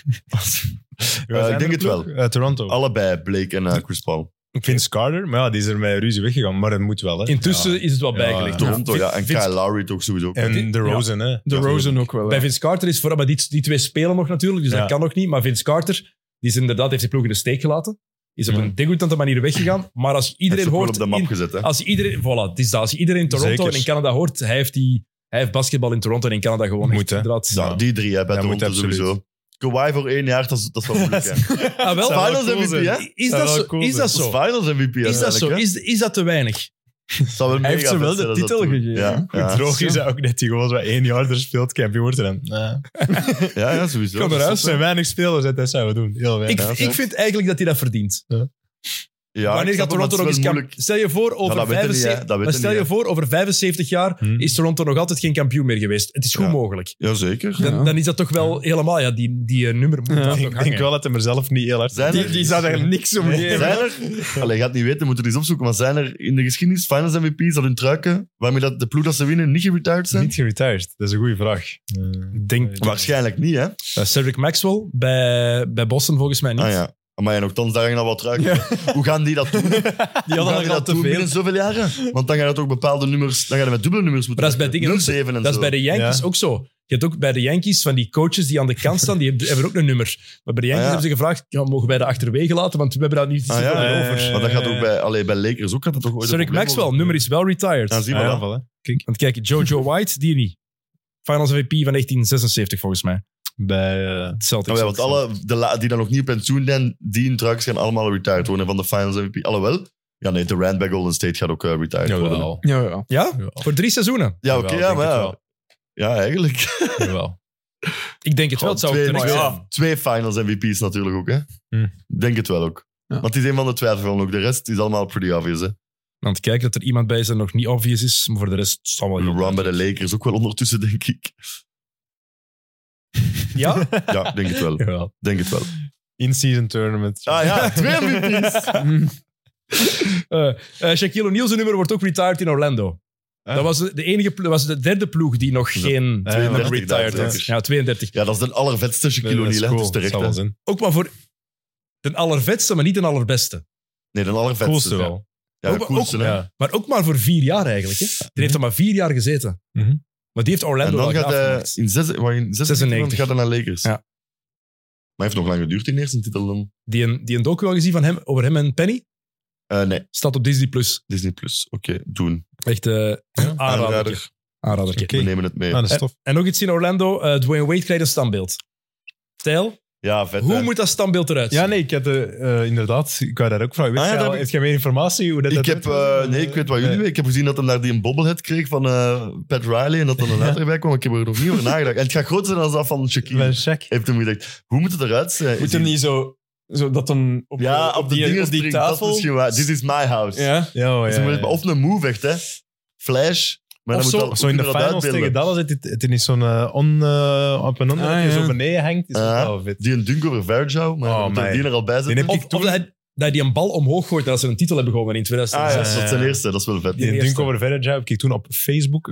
Speaker 3: Wie was
Speaker 2: Eh,
Speaker 3: de
Speaker 2: ik denk
Speaker 3: andere
Speaker 2: het
Speaker 3: ploeg? Eh, Toronto.
Speaker 2: allebei Blake en eh, Chris Paul.
Speaker 3: Vince Carter, maar ja, die is er met ruzie weggegaan. Maar dat moet wel, hè.
Speaker 1: Intussen
Speaker 3: Ja.
Speaker 1: is het wel
Speaker 3: Ja,
Speaker 1: bijgelegd.
Speaker 3: ja.
Speaker 2: Toronto, ja. En
Speaker 1: Vince-
Speaker 2: Kyle Lowry toch sowieso.
Speaker 3: En de Rosen, hè.
Speaker 4: De Rosen ook wel.
Speaker 1: Bij
Speaker 4: hè.
Speaker 1: Vince Carter is vooral... Maar die, die twee spelen nog natuurlijk, dus
Speaker 3: Ja.
Speaker 1: dat kan nog niet. Maar Vince Carter die is inderdaad, heeft die ploeg in de steek gelaten. Is op
Speaker 3: Ja.
Speaker 1: een degoutante manier weggegaan. Maar als je iedereen
Speaker 2: Heeft ze ook wel
Speaker 1: hoort...
Speaker 2: op de map
Speaker 1: in- Ah,
Speaker 2: gezet, hè.
Speaker 1: Als je iedereen, voilà, het is dat. Als je iedereen in Toronto
Speaker 3: Zeker.
Speaker 1: en in Canada hoort, hij heeft, die, hij heeft basketbal in Toronto en in Canada gewoon
Speaker 3: Moet,
Speaker 1: echt
Speaker 3: hè.
Speaker 1: inderdaad.
Speaker 2: Ja, die drie hè, bij
Speaker 3: Dat moet
Speaker 2: Toronto
Speaker 3: absoluut.
Speaker 2: sowieso. Kawhi voor één jaar, dat is, dat is wel moeilijk. hè.
Speaker 1: Ah, wel?
Speaker 3: Zou
Speaker 2: Finals
Speaker 3: wel cool
Speaker 2: MVP,
Speaker 3: zijn.
Speaker 2: hè?
Speaker 1: Is
Speaker 3: Zou
Speaker 1: dat
Speaker 3: wel
Speaker 1: zo?
Speaker 3: cool
Speaker 1: Is
Speaker 3: zijn.
Speaker 1: dat
Speaker 2: Dat
Speaker 1: zo?
Speaker 2: is Finals MVP
Speaker 1: Is dat zo?
Speaker 2: uiteindelijk, hè.
Speaker 1: Is, is dat te weinig?
Speaker 2: Zou wel
Speaker 4: Hij heeft
Speaker 2: mega
Speaker 4: ze wel
Speaker 2: vet
Speaker 4: de
Speaker 2: zijn als dat
Speaker 4: titel
Speaker 2: doen.
Speaker 4: gegeven.
Speaker 2: Ja, ja.
Speaker 3: Droog is dat ook net die gewoon zo één jaar er speelt, kampioen wordt. En dan, eh,
Speaker 2: ja, ja, sowieso.
Speaker 1: Kom eruit.
Speaker 3: er zijn weinig spelers, hè, dat zouden we doen. Heel weinig.
Speaker 1: Ik,
Speaker 2: Ja,
Speaker 1: ik vind eigenlijk dat hij dat verdient.
Speaker 2: Ja,
Speaker 1: Wanneer
Speaker 2: ik
Speaker 1: gaat
Speaker 2: snap het,
Speaker 1: Toronto nog
Speaker 2: maar
Speaker 1: eens
Speaker 2: het is
Speaker 1: kampioen?
Speaker 2: wel moeilijk.
Speaker 1: Stel je voor, over
Speaker 2: dat weten we niet, hè.
Speaker 1: 75
Speaker 2: Dat weten we
Speaker 1: stel je
Speaker 2: niet,
Speaker 1: voor, over 75 jaar
Speaker 3: Hmm.
Speaker 1: is Toronto nog altijd geen kampioen meer geweest. Het is goed
Speaker 2: Ja.
Speaker 1: mogelijk.
Speaker 2: Jazeker.
Speaker 1: Dan,
Speaker 4: Ja.
Speaker 1: dan is dat toch wel helemaal... Ja, die, die eh, nummer moet
Speaker 4: Ja.
Speaker 1: daar
Speaker 3: Ik
Speaker 1: toch
Speaker 3: denk
Speaker 1: hangen.
Speaker 3: wel dat hij er zelf niet heel hard
Speaker 2: Zijn er-
Speaker 4: Die, die zou daar niks om geven.
Speaker 2: Zijn er, allee, je gaat het niet weten, we moeten het eens opzoeken, maar zijn er in de geschiedenis Finals MVP's dat hun truiken, waarmee dat de ploeg dat ze winnen, niet geretired zijn?
Speaker 3: Niet geretired, dat is een goede vraag.
Speaker 1: Ik denk...
Speaker 2: Waarschijnlijk niet, hè?
Speaker 1: Eh, Cedric Maxwell bij, bij Boston volgens mij niet.
Speaker 2: Ah ja. Maar ja, nogthans, daar gaan al wat truiken. Hoe gaan die dat doen? Hoe
Speaker 1: Die
Speaker 2: gaan
Speaker 1: hadden
Speaker 2: die
Speaker 1: er al
Speaker 2: dat
Speaker 1: te
Speaker 2: doen
Speaker 1: veel.
Speaker 2: binnen zoveel jaren? Want dan gaan er toch bepaalde nummers, dan gaan er met dubbele nummers moeten
Speaker 1: Maar dat is bij dingen ook zo.
Speaker 2: 07 en
Speaker 1: Dat is
Speaker 2: zo.
Speaker 1: bij de Yankees ook zo. Je hebt ook bij de Yankees van die coaches die aan de kant staan, die hebben- hebben ook een nummer. Maar bij de Yankees
Speaker 2: Ah, ja.
Speaker 1: hebben ze gevraagd, ja, mogen wij dat achterwege laten? Want we hebben daar niet
Speaker 2: Ah, ja,
Speaker 1: zoveel
Speaker 3: ja,
Speaker 1: over.
Speaker 3: ja, ja.
Speaker 2: Maar dat gaat ook bij, allee, bij Lakers ook gaat dat toch ooit een
Speaker 1: Cedric
Speaker 2: probleem
Speaker 1: Eh. Maxwell,
Speaker 2: worden?
Speaker 1: nummer Ah, is wel retired.
Speaker 2: Ja, zie maar wel.
Speaker 1: Want kijk, Jojo White, die niet. Finals MVP van 1976 volgens mij.
Speaker 3: Bij, eh,
Speaker 1: Celtics.
Speaker 2: Nou ja, want alle de la- die dan nog niet op pensioen zijn, die in trucks gaan allemaal retired worden van de Finals MVP. Alhoewel, ja nee, de Rand bij Golden State gaat ook eh, retired worden.
Speaker 3: jawel.
Speaker 4: Ja, ja.
Speaker 1: Ja?
Speaker 3: Jawel.
Speaker 1: Voor drie seizoenen?
Speaker 2: Ja, oké, ja,
Speaker 3: Jawel,
Speaker 2: maar
Speaker 3: denk
Speaker 2: ja. Ja, eigenlijk.
Speaker 3: ik wel. Jawel.
Speaker 1: Ik denk het wel. Het zou
Speaker 2: twee,
Speaker 1: kunnen
Speaker 2: twee,
Speaker 1: zijn.
Speaker 2: twee finals MVP's natuurlijk ook, hè?
Speaker 3: Hm.
Speaker 2: Denk het wel ook.
Speaker 4: Ja.
Speaker 2: Want het is een van de twijfelen ook. De rest is allemaal pretty obvious,
Speaker 3: Oh,
Speaker 2: hè?
Speaker 1: Want kijk, dat er iemand bij is dat nog niet obvious is, maar voor de rest is het allemaal heel
Speaker 2: LeBron bij de Lakers ook wel ondertussen, denk ik.
Speaker 1: Ja?
Speaker 2: Ja, denk het wel.
Speaker 3: Jawel.
Speaker 2: Denk het wel.
Speaker 3: In-season tournament.
Speaker 2: Ah ja, twee MVP's.
Speaker 1: Eh, eh, Shaquille O'Neal's nummer wordt ook retired in Orlando.
Speaker 3: Ah.
Speaker 1: Dat was de, de enige, plo- dat was de derde ploeg die nog geen
Speaker 2: Ah,
Speaker 3: Eh, 32
Speaker 1: nummer retired
Speaker 2: daar,
Speaker 1: had.
Speaker 2: zeker.
Speaker 1: Ja, 32.
Speaker 2: Ja, dat is de allervetste
Speaker 3: Nee,
Speaker 2: Shaquille
Speaker 3: dat is
Speaker 2: O'Neal, hè,
Speaker 3: cool.
Speaker 2: dus terecht.
Speaker 3: Zal wel
Speaker 2: hè.
Speaker 3: zijn.
Speaker 1: Ook maar voor de allervetste, maar niet de allerbeste.
Speaker 2: Nee, de allervetste.
Speaker 3: Coolste
Speaker 2: ja.
Speaker 3: wel.
Speaker 2: Ja,
Speaker 1: Ook-
Speaker 2: de coolste, hè.
Speaker 3: Ja.
Speaker 1: Maar ook maar voor vier jaar eigenlijk. Hè. Die heeft er maar vier jaar gezeten.
Speaker 3: Mhm.
Speaker 1: Maar die heeft
Speaker 2: En
Speaker 1: Orlando
Speaker 2: dan
Speaker 1: wel
Speaker 2: gaat eh, hij
Speaker 1: graafgemaakt.
Speaker 2: in, zes, waar in 96
Speaker 1: 96.
Speaker 2: gaat hij naar Lakers.
Speaker 1: Ja.
Speaker 2: Maar hij heeft nog lang geduurd in de eerste titel dan.
Speaker 1: Die een, die een docu al gezien van hem, over hem en Penny?
Speaker 2: Eh, nee,
Speaker 1: Staat op Disney+. Plus.
Speaker 2: Disney Plus. Oké, doen.
Speaker 1: Echt eh aanrader.
Speaker 2: Aanrader.
Speaker 1: Aanrader.
Speaker 3: Oké.
Speaker 2: We nemen het mee.
Speaker 3: Ah, dat is tof.
Speaker 1: En nog iets in Orlando. eh, Dwayne Wade krijgt een standbeeld. Stijl,
Speaker 2: Ja, vet.
Speaker 1: hoe
Speaker 2: hè.
Speaker 1: moet dat standbeeld eruit zien?
Speaker 3: Ja, nee, ik had eh, eh, inderdaad, ik wou daar ook vragen. Weet
Speaker 2: Ah, ja,
Speaker 3: jij
Speaker 2: dat
Speaker 3: al-
Speaker 2: heb ik-
Speaker 3: Heb jij meer informatie? Hoe dat
Speaker 2: Ik
Speaker 3: dat
Speaker 2: heb,
Speaker 3: werkt?
Speaker 2: eh, nee, ik weet wat jullie weten. Ik heb gezien dat hij daar die een bobblehead kreeg van eh, Pat Riley en dat er een later bij kwam. Ik heb er nog niet over nagedacht. En het gaat groter zijn dan dat van Shaquille.
Speaker 3: Van Shaq.
Speaker 2: Heeft hem gedacht, hoe moet het eruit zijn?
Speaker 4: Moet hem niet zo, zo dat hem op,
Speaker 2: ja, op, de
Speaker 4: die,
Speaker 2: dingen
Speaker 4: op die
Speaker 2: springt, Dat is
Speaker 4: tafel...
Speaker 2: misschien waar. This is my house.
Speaker 4: Ja.
Speaker 3: Ja, oh,
Speaker 2: Dus
Speaker 3: ja,
Speaker 2: dan moet het-
Speaker 3: ja, ja.
Speaker 2: Of een move echt, hè. Flash. Maar
Speaker 1: Of
Speaker 2: dan
Speaker 1: zo-
Speaker 2: moet dat,
Speaker 3: Of zo in de
Speaker 2: hoe kun je dat
Speaker 3: finals tegen
Speaker 2: uitbeelden?
Speaker 3: Dallas, het, het, het is zo'n eh, on, eh, op en onder,
Speaker 4: Ah,
Speaker 3: dat je
Speaker 4: ja.
Speaker 3: zo beneden hangt. Is
Speaker 2: Ah.
Speaker 3: ook wel vet.
Speaker 2: Die een dunk over Verjao, maar
Speaker 3: Oh,
Speaker 2: dan moet er
Speaker 3: man.
Speaker 2: die er al bij
Speaker 3: Die
Speaker 2: zitten.
Speaker 3: heb
Speaker 1: Of,
Speaker 3: ik
Speaker 1: of
Speaker 3: toen...
Speaker 1: dat, hij, dat hij die een bal omhoog gooit als ze een titel hebben gewonnen in
Speaker 2: Ah, ja,
Speaker 1: 2006.
Speaker 2: dat oh, is zijn eerste, dat is wel vet.
Speaker 1: Die-
Speaker 3: Die dunk
Speaker 1: eerste.
Speaker 3: over verder heb ik toen op Facebook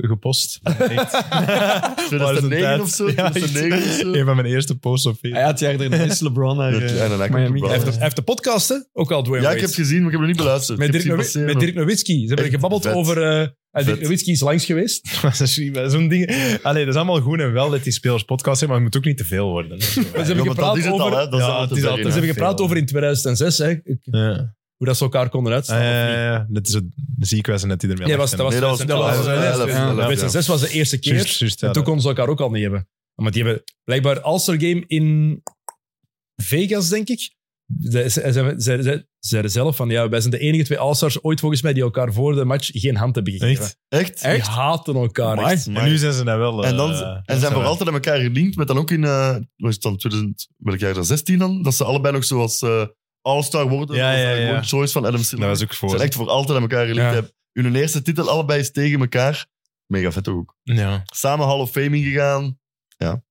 Speaker 3: gepost. Echt. Maar dat is een
Speaker 2: 2009
Speaker 3: tijd.
Speaker 2: of zo,
Speaker 3: Ja,
Speaker 2: 2009 of
Speaker 3: echt.
Speaker 2: zo.
Speaker 3: Een van mijn eerste posts op
Speaker 4: Hij
Speaker 3: Facebook.
Speaker 4: had jaar daarna is LeBron naar...
Speaker 2: Dat-
Speaker 4: eh,
Speaker 2: en daarna komt
Speaker 4: Miami.
Speaker 2: de
Speaker 1: Hij
Speaker 2: Brown.
Speaker 1: heeft, de, hij heeft de podcast, hè? ook al Dwayne
Speaker 2: Ja,
Speaker 1: Wade.
Speaker 2: ik heb gezien, maar ik heb hem niet beluisterd.
Speaker 1: met,
Speaker 2: Ik heb
Speaker 1: Dirk
Speaker 2: het zien
Speaker 1: Nowi-
Speaker 2: passeren.
Speaker 1: met Dirk Nowitzki. Ze hebben
Speaker 2: Echt
Speaker 1: gebabbeld
Speaker 2: vet.
Speaker 1: over... eh, ah, Dirk
Speaker 2: Vet.
Speaker 1: Nowitzki is langs geweest.
Speaker 3: Zo'n ding. Allee, dat is allemaal goed en wel dat die spelers podcast hebben, maar het moet ook niet te veel worden. Dat is zo.
Speaker 1: Maar ze hebben
Speaker 2: Ja, want dat is
Speaker 1: gepraat
Speaker 2: het al,
Speaker 1: over...
Speaker 2: hè. Dat is
Speaker 3: Ja,
Speaker 2: al
Speaker 3: het
Speaker 2: te
Speaker 3: is al-
Speaker 2: zeggen,
Speaker 1: Ze
Speaker 2: hè.
Speaker 1: hebben gepraat
Speaker 3: veel.
Speaker 1: over in 2006, hè, ik-
Speaker 3: Ja.
Speaker 1: hoe dat ze elkaar konden uitstaan.
Speaker 3: Ah,
Speaker 1: of
Speaker 3: Eh, ja,
Speaker 1: niet.
Speaker 3: ja, ja. Dat is het ziekwijze net die ermee
Speaker 1: Nee, was, dat was,
Speaker 2: Nee, dat was-
Speaker 1: 2011.
Speaker 2: dat was-
Speaker 1: Ja,
Speaker 2: elf,
Speaker 1: ja,
Speaker 2: elf,
Speaker 1: ja.
Speaker 2: ja.
Speaker 1: 2006 was de eerste keer.
Speaker 3: Juist, juist, ja,
Speaker 1: en toen
Speaker 3: dat-
Speaker 1: konden ze elkaar ook al niet hebben. Want die hebben blijkbaar All-Star Game in Vegas, denk ik. Ze- ze- ze- ze- ze- Zeiden zelf van, ja, wij zijn de enige twee All-Stars ooit volgens mij die elkaar voor de match geen hand hebben gegeven.
Speaker 2: Echt?
Speaker 3: Echt?
Speaker 1: Die haten elkaar.
Speaker 2: Amai.
Speaker 1: echt.
Speaker 3: En nu zijn ze dat wel.
Speaker 2: En, dan,
Speaker 3: eh,
Speaker 2: en zijn
Speaker 3: wel-
Speaker 2: voor altijd aan elkaar gelinkt met dan ook in, eh wat is het dan, 2000, welk jaar is dat, 16 dan? Dat ze allebei nog zoals eh All-Star worden.
Speaker 3: Ja,
Speaker 2: Dat was
Speaker 3: ja,
Speaker 2: eigenlijk
Speaker 3: ja.
Speaker 2: gewoon choice van Adam Silver.
Speaker 3: Dat was ook
Speaker 2: Ze
Speaker 3: voor.
Speaker 2: zijn echt voor altijd aan elkaar gelinkt.
Speaker 1: Ja.
Speaker 2: hebben. Hun eerste titel allebei is tegen elkaar. Mega vet ook.
Speaker 3: Ja.
Speaker 2: Samen Hall of Fame ingegaan.
Speaker 3: Heb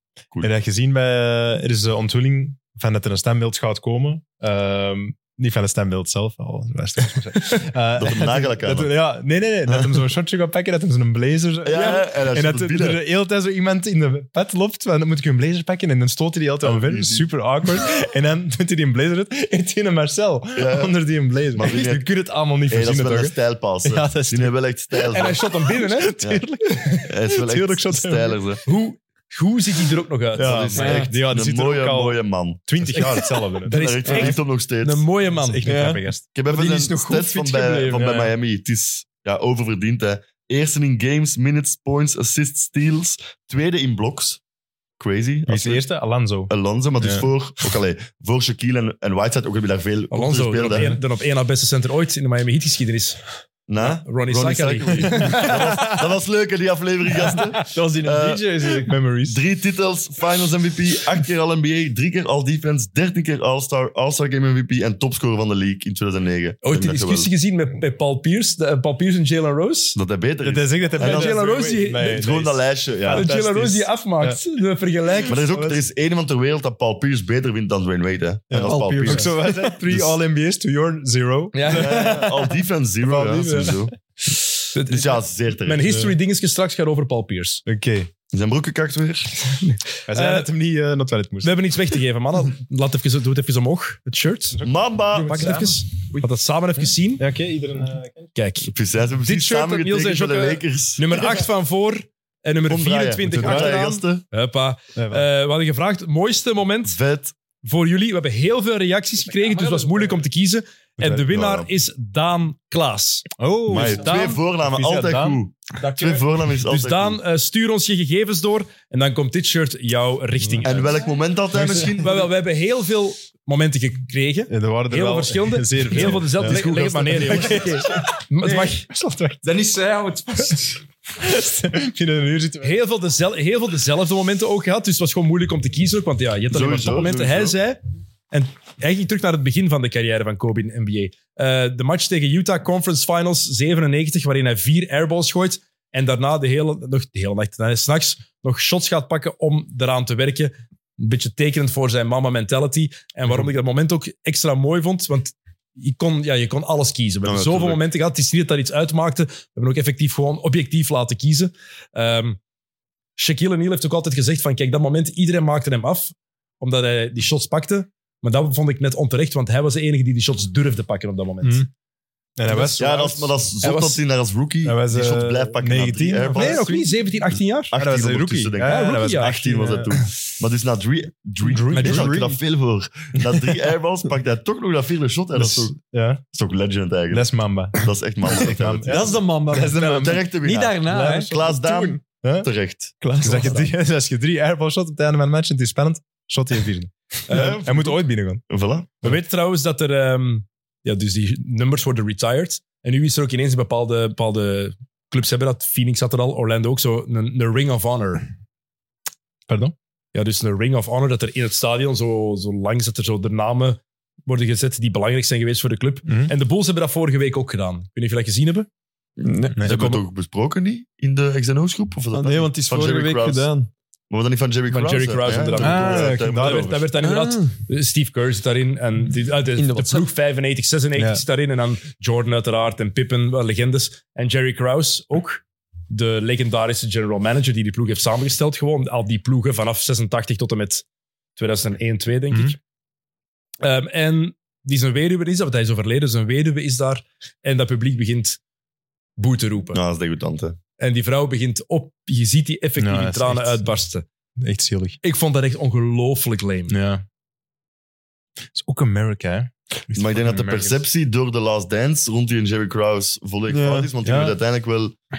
Speaker 3: je dat gezien bij... eh, Er is de onthulling van dat er een standbeeld gaat komen. Ehm, niet van het standbeeld zelf, al. dat is toch- Eh,
Speaker 2: Dat hem nagelijk aan
Speaker 3: dat- Ja, nee, nee, nee. Dat hem zo'n shortje gaat pakken, dat hem zo'n blazer... zo-
Speaker 2: Ja, en dat,
Speaker 3: En dat er
Speaker 2: binnen.
Speaker 3: de hele tijd zo iemand in de pet loopt, van, dan moet ik een blazer pakken. En dan stoot hij die altijd
Speaker 2: Oh,
Speaker 3: omver,
Speaker 2: easy.
Speaker 3: super awkward. en dan doet hij die een blazer uit, heeft hij een Marcel
Speaker 2: Ja.
Speaker 3: onder die een blazer.
Speaker 2: Eh, Maar
Speaker 3: Maar
Speaker 2: die-
Speaker 3: je kunt het allemaal niet
Speaker 2: Hey, dat is
Speaker 3: verzinnen,
Speaker 2: wel een
Speaker 3: toch?
Speaker 2: stijlpas. hè.
Speaker 3: Ja, dat is-
Speaker 2: Die hebben wel echt stijl.
Speaker 1: En hij shot hem binnen, hè?
Speaker 2: Ja.
Speaker 3: Tuurlijk.
Speaker 2: Hij is wel
Speaker 3: Tuurlijk
Speaker 2: echt
Speaker 3: shot hem.
Speaker 2: stijler. hè.
Speaker 1: Hoe, hoe ziet hij er ook nog uit?
Speaker 3: Ja,
Speaker 2: Dat is
Speaker 3: maar
Speaker 4: ja.
Speaker 3: echt. Ja, die
Speaker 2: Een
Speaker 3: ziet er ook
Speaker 2: mooie,
Speaker 3: al
Speaker 2: mooie man.
Speaker 3: 20 jaar hetzelfde.
Speaker 1: Dat
Speaker 2: Daar
Speaker 1: is
Speaker 2: is
Speaker 1: echt
Speaker 2: echt op nog steeds.
Speaker 1: Een mooie man.
Speaker 3: Dat is echt een
Speaker 4: Ja.
Speaker 3: grappige gast.
Speaker 2: Ik heb
Speaker 1: Maar die
Speaker 2: even
Speaker 1: is
Speaker 2: zijn
Speaker 1: nog goed
Speaker 2: stats van
Speaker 1: fit
Speaker 2: bij,
Speaker 1: gebleven,
Speaker 2: van bij
Speaker 3: ja.
Speaker 2: Miami. Het is ja, oververdiend. Hè. Eerste in games, minutes, points, assists, steals. Tweede in blocks. crazy.
Speaker 3: Wie is de
Speaker 2: Als-
Speaker 3: eerste? Alonso.
Speaker 2: Alonso, maar dus
Speaker 3: Ja.
Speaker 2: voor, ook allee, voor Shaquille en, en Whiteside ook heb je daar veel
Speaker 1: Alonso,
Speaker 2: kortere
Speaker 1: dan op,
Speaker 2: speelden.
Speaker 1: één, dan op één na beste center ooit in de Miami Heat geschiedenis.
Speaker 2: Na?
Speaker 1: Ronnie,
Speaker 2: Ronnie
Speaker 1: Sakari.
Speaker 2: Sakari. dat, was, dat was leuk, hè, die aflevering, gasten.
Speaker 4: Dat was in
Speaker 2: Eh,
Speaker 4: een DJ.
Speaker 3: Memories.
Speaker 2: Drie titels, Finals MVP, acht keer All-NBA, drie keer All-Defense, dertien keer All-Star, All-Star Game MVP en topscorer van de league in 2009.
Speaker 1: Ooit die
Speaker 2: Ik denk dat je wel-
Speaker 1: discussie gezien met, met Paul Pierce, de- Paul Pierce en Jalen Rose.
Speaker 2: Dat hij beter is.
Speaker 3: Dat is echt dat
Speaker 2: En
Speaker 3: hij
Speaker 2: dan-
Speaker 1: Jalen Rose die-
Speaker 3: Nee,
Speaker 2: Het is gewoon dat
Speaker 3: is-
Speaker 2: lijstje, ja.
Speaker 1: dat Jalen Rose die afmaakt. De vergelijking.
Speaker 2: Maar er is ook er is één iemand ter wereld dat Paul Pierce beter wint dan Dwayne Wade. Hè. En dat is
Speaker 3: Paul
Speaker 2: Paul
Speaker 3: Pierce.
Speaker 2: Pierce.
Speaker 3: Ook zo, was dat? Three
Speaker 2: Dus-
Speaker 3: All-NBA's to your zero.
Speaker 1: Ja.
Speaker 2: Ja, ja, ja. All-Defense zero,
Speaker 3: Paul
Speaker 2: ja,
Speaker 3: Pierce.
Speaker 2: sowieso. Dus ja, zeer terecht.
Speaker 1: Mijn history dingetje straks gaat over Paul Pierce.
Speaker 3: Oké.
Speaker 2: Zijn broeken kakt weer.
Speaker 3: Hij zei
Speaker 1: Eh,
Speaker 3: dat hem niet eh, naar het toilet
Speaker 1: We
Speaker 3: moest.
Speaker 1: hebben iets weg te geven, mannen. Laat even, doe het even omhoog, het shirt.
Speaker 2: Mamba!
Speaker 1: Pak het even. Laat dat samen even zien.
Speaker 3: Ja, oké. iedereen eh,
Speaker 1: Kijk,
Speaker 2: Precies, ze hebben precies
Speaker 1: shirt dat Niels en
Speaker 2: samengetekend met
Speaker 1: Jocke-
Speaker 2: de Lakers.
Speaker 1: nummer 8 van voor en nummer 24
Speaker 2: Omdraaien,
Speaker 1: achteraan.
Speaker 2: gasten.
Speaker 1: Huppa. Eh, we hadden gevraagd, het mooiste moment
Speaker 2: Vet.
Speaker 1: voor jullie. We hebben heel veel reacties gekregen, dus het was moeilijk om te kiezen. En de winnaar is Daan Klaas. dus
Speaker 3: Oh,
Speaker 2: Maar
Speaker 1: Daan-
Speaker 2: twee voornamen,
Speaker 3: Is dat
Speaker 2: altijd
Speaker 3: Daan?
Speaker 2: goed. Twee voornamen is
Speaker 1: Dus
Speaker 2: altijd
Speaker 1: Daan,
Speaker 2: goed.
Speaker 1: eh, stuur ons je gegevens door en dan komt dit shirt jouw richting uit. eh,
Speaker 2: En welk moment dat hij misschien?
Speaker 1: Wel, wel, we hebben heel veel momenten gekregen.
Speaker 3: Ja, er waren er
Speaker 1: Heel veel
Speaker 3: wel
Speaker 1: verschillende.
Speaker 3: Zeer
Speaker 1: Heel veel dezelfde.
Speaker 3: Ja.
Speaker 1: Leg, leg het maar neer, jongens. Maar Het mag
Speaker 4: Dat is zij, hou het vast.
Speaker 3: Binnen een uur zitten we-
Speaker 1: heel veel, dezel, heel veel dezelfde momenten ook gehad. Dus het was gewoon moeilijk om te kiezen. Ook, want ja, je hebt alleen maar
Speaker 2: Sowieso,
Speaker 1: topmomenten. Hij
Speaker 2: sowieso.
Speaker 1: zei... En hij ging terug naar het begin van de carrière van Kobe in de NBA. Eh, de match tegen Utah Conference Finals 97, waarin hij vier airballs gooit. En daarna de hele, nog de hele nacht, eh, nee, 's nachts nog shots gaat pakken om eraan te werken. Een beetje tekenend voor zijn mama mentality. En waarom ik dat moment ook extra mooi vond, want je kon, ja, je kon alles kiezen. We
Speaker 2: Ja,
Speaker 1: hebben zoveel
Speaker 2: natuurlijk.
Speaker 1: momenten gehad. Het is niet dat dat iets uitmaakte. We hebben ook effectief gewoon objectief laten kiezen. Ehm Shaquille O'Neal heeft ook altijd gezegd van, kijk, dat moment, iedereen maakte hem af, omdat hij die shots pakte. Maar dat vond ik net onterecht, want hij was de enige die die shots durfde pakken op dat moment.
Speaker 3: Mm. En hij was...
Speaker 2: Ja, dat is, maar dat is
Speaker 1: Hij
Speaker 2: zot
Speaker 1: was-
Speaker 2: dat hij daar als rookie
Speaker 3: Hij was,
Speaker 2: die
Speaker 3: eh,
Speaker 2: shots blijft pakken. na drie
Speaker 3: 19 of
Speaker 2: airballs.
Speaker 1: Nee, nog Ah, niet. 17, 18 jaar.
Speaker 2: 18
Speaker 3: was een
Speaker 2: ondertussen,
Speaker 3: rookie.
Speaker 2: denk ik.
Speaker 3: Ja,
Speaker 1: ja,
Speaker 3: dat was
Speaker 1: rookie, ja.
Speaker 2: 18 was dat toen. Maar dus na drie... Drie?
Speaker 3: Drie.
Speaker 2: Drie.
Speaker 3: Drie.
Speaker 2: ik dat veel voor. Na drie airballs pakt hij toch nog dat vierde shot. En dat is
Speaker 3: Dus-
Speaker 2: toch,
Speaker 3: Ja,
Speaker 2: dat is toch legend
Speaker 3: dat
Speaker 2: eigenlijk.
Speaker 3: is Mamba.
Speaker 2: Dat is echt man. Dat is echt man.
Speaker 3: Ja.
Speaker 4: Dat is de man. Dat is de man.
Speaker 2: Terecht de
Speaker 4: Niet
Speaker 2: winnaar.
Speaker 4: daarna, hè.
Speaker 2: Klaas Daan,
Speaker 3: Huh?
Speaker 2: terecht.
Speaker 3: Dus als je drie, dus als je drie airball shot op het einde van de match en het is spannend, shot je een vierde. Eh, hij moet ooit binnengaan.
Speaker 2: Voilà.
Speaker 1: We weten trouwens dat er... ehm, ja, dus die nummers worden retired. En nu is er ook ineens een bepaalde, bepaalde clubs hebben dat. Phoenix had er al, Orlando ook zo. Een, een ring of honor.
Speaker 3: Pardon?
Speaker 1: Ja, dus een ring of honor dat er in het stadion zo, zo langs dat er zo de namen worden gezet die belangrijk zijn geweest voor de club.
Speaker 3: Mhm.
Speaker 1: En de Bulls hebben dat vorige week ook gedaan. Ik weet niet of je dat gezien hebben.
Speaker 4: Nee, Ah,
Speaker 2: Dat hebben we toch besproken niet? In de XNO's-groep? Of was dat
Speaker 4: want
Speaker 2: niet?
Speaker 4: het is
Speaker 2: Van
Speaker 4: vorige
Speaker 2: Jerry
Speaker 4: week
Speaker 2: Krause.
Speaker 4: gedaan.
Speaker 2: Maar was dat niet van Jerry
Speaker 1: Van
Speaker 2: Krause?
Speaker 1: Jerry Krause,
Speaker 2: Ja,
Speaker 1: inderdaad.
Speaker 2: ja,
Speaker 3: Ah,
Speaker 2: ja,
Speaker 3: kijk,
Speaker 2: ja,
Speaker 3: daar
Speaker 1: Dat
Speaker 2: ja.
Speaker 1: werd, dat werd dan inderdaad
Speaker 4: Ah.
Speaker 1: Steve Kerr zit daarin. En die, ah, de,
Speaker 4: In de
Speaker 1: de
Speaker 4: WhatsApp.
Speaker 1: ploeg 95, 96
Speaker 3: Ja.
Speaker 1: zit daarin. En dan Jordan uiteraard en Pippen, wel legendes. En Jerry Krause ook. De legendarische general manager die die ploeg heeft samengesteld. Gewoon al die ploegen vanaf 86 tot en met 2001, 2 denk
Speaker 3: Mhm.
Speaker 1: ik. Ehm, en die zijn weduwe is, want hij is overleden, zijn weduwe is daar. En dat publiek begint boe te roepen.
Speaker 2: Nou, dat is degoutant, hè.
Speaker 1: En die vrouw begint op, je ziet die effectief
Speaker 3: Ja,
Speaker 1: in
Speaker 3: dat is
Speaker 1: tranen
Speaker 3: echt-
Speaker 1: uitbarsten.
Speaker 3: Echt zielig.
Speaker 1: Ik vond dat echt ongelooflijk lame.
Speaker 3: Ja. is ook America, hè?
Speaker 2: Maar ik denk dat de perceptie door The Last Dance rond die en Jerry Krause volledig
Speaker 3: Ja.
Speaker 2: fout is. Want die
Speaker 3: Ja.
Speaker 2: hebben het uiteindelijk wel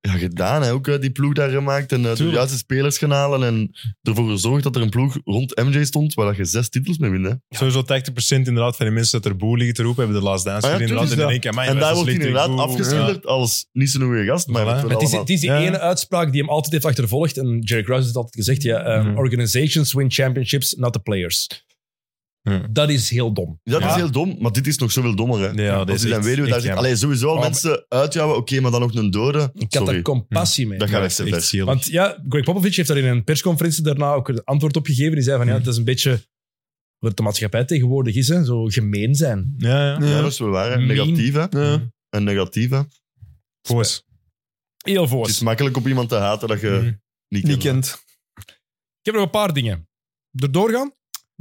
Speaker 2: ja, gedaan. Hè. Ook eh, die ploeg daar gemaakt en eh, de
Speaker 3: Tuurlijk.
Speaker 2: juiste spelers gaan halen. En ervoor gezorgd dat er een ploeg rond MJ stond waar dat je zes titels mee wint. Hè.
Speaker 3: Sowieso 80% inderdaad van de mensen dat er boel liggen te roepen hebben de Last Dance
Speaker 2: Ah ja,
Speaker 3: gezien. inderdaad, en
Speaker 2: tuurlijk,
Speaker 3: dan
Speaker 2: ja.
Speaker 3: denk je, amai,
Speaker 2: En
Speaker 3: wij
Speaker 2: daar
Speaker 3: zijn
Speaker 2: wordt hij
Speaker 3: slecht
Speaker 2: inderdaad
Speaker 3: tegen Boel.
Speaker 2: afgeschilderd als niet zo'n goede gast. Maar
Speaker 3: Voilà.
Speaker 2: het wordt
Speaker 1: Maar het, is,
Speaker 2: allemaal-
Speaker 1: het is die
Speaker 3: Ja.
Speaker 1: ene uitspraak die hem altijd heeft achtervolgd. En Jerry Krause heeft altijd gezegd: ja, ehm,
Speaker 3: Mhm.
Speaker 1: organizations win championships, not the players.
Speaker 2: Mhm.
Speaker 3: Ja.
Speaker 1: Dat is heel dom.
Speaker 2: dat
Speaker 3: Ja.
Speaker 2: is heel dom, maar dit is nog zoveel dommer. Hè.
Speaker 3: Ja, ja, dit
Speaker 2: Als
Speaker 3: is
Speaker 2: je dan
Speaker 3: echt-
Speaker 2: weduwe daar
Speaker 3: echt
Speaker 2: zit.
Speaker 3: jammer.
Speaker 2: Allee, sowieso al
Speaker 1: Oh, maar-
Speaker 2: mensen uitjouwen. Oké, maar dan ook een dode.
Speaker 1: Ik had daar
Speaker 2: Sorry. Mhm.
Speaker 1: compassie mee.
Speaker 2: Dat gaat
Speaker 3: Ja,
Speaker 2: echt te
Speaker 3: echt
Speaker 2: ver.
Speaker 3: zielig.
Speaker 1: Want ja, Greg Popovich heeft daar in een persconferentie daarna ook een antwoord op gegeven. Die zei van ja,
Speaker 3: Mhm.
Speaker 1: het is een beetje wat de maatschappij tegenwoordig is: hè, zo gemeen zijn.
Speaker 3: Ja, ja.
Speaker 2: Ja, dat is wel waar. hè.
Speaker 1: Mean.
Speaker 2: Negatief, hè.
Speaker 3: Ja.
Speaker 2: Een negatief, hè.
Speaker 3: Voos.
Speaker 1: Heel voor.
Speaker 2: Het is makkelijk op iemand te haten dat je
Speaker 3: Mhm.
Speaker 2: niet
Speaker 4: Niet
Speaker 2: kent.
Speaker 4: kent.
Speaker 1: Ik heb nog een paar dingen. Erdoor gaan?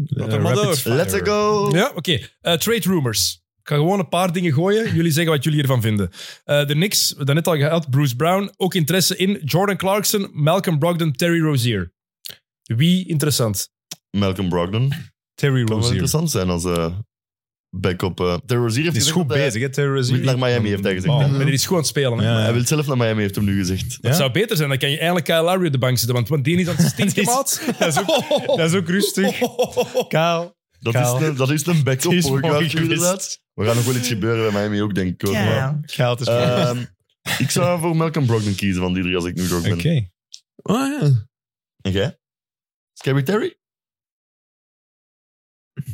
Speaker 3: Eh,
Speaker 4: er maar
Speaker 3: rapid
Speaker 4: door.
Speaker 3: fire.
Speaker 2: Let's go!
Speaker 1: Ja, oké. Eh, trade rumors. Ik ga gewoon een paar dingen gooien. Jullie zeggen wat jullie ervan vinden. Eh de Knicks, we hebben dat net al gehad. Bruce Brown, ook interesse in. Jordan Clarkson, Malcolm Brogdon, Terry Rozier. Wie interessant?
Speaker 2: Malcolm Brogdon.
Speaker 3: Terry
Speaker 2: Kan wel
Speaker 3: Rozier.
Speaker 2: interessant zijn als eh back op. eh Terrorizier heeft
Speaker 3: Het
Speaker 2: gezegd
Speaker 3: is goed
Speaker 2: dat hij-
Speaker 3: bezig, hè, Terrorism.
Speaker 2: Naar Miami heeft hij gezegd,
Speaker 3: Oh.
Speaker 2: hè.
Speaker 1: Maar die is goed aan het spelen. hè.
Speaker 3: Ja.
Speaker 2: Hij wil zelf naar Miami, heeft hem nu gezegd.
Speaker 1: Het
Speaker 3: Ja.
Speaker 1: zou beter zijn, dan kan je eigenlijk Kyle Lowry op de bank zitten, want, want die is aan het stinken,
Speaker 3: is-
Speaker 1: maat.
Speaker 3: Dat is ook, dat is ook rustig. Kaal.
Speaker 2: Dat
Speaker 3: Kaal.
Speaker 2: is een, dat is een back-up
Speaker 3: Die is
Speaker 2: voor
Speaker 3: mooi
Speaker 2: Goud,
Speaker 3: geweest. Eh,
Speaker 2: inderdaad. We gaan nog wel iets gebeuren bij Miami ook, denk ik. hoor. Maar,
Speaker 6: Ja.
Speaker 3: Kaal, is
Speaker 2: ehm, ik zou voor Malcolm Brogdon kiezen van die drie als ik nu York ben.
Speaker 3: Oké.
Speaker 4: Oh ja,
Speaker 2: En jij? Scary Terry?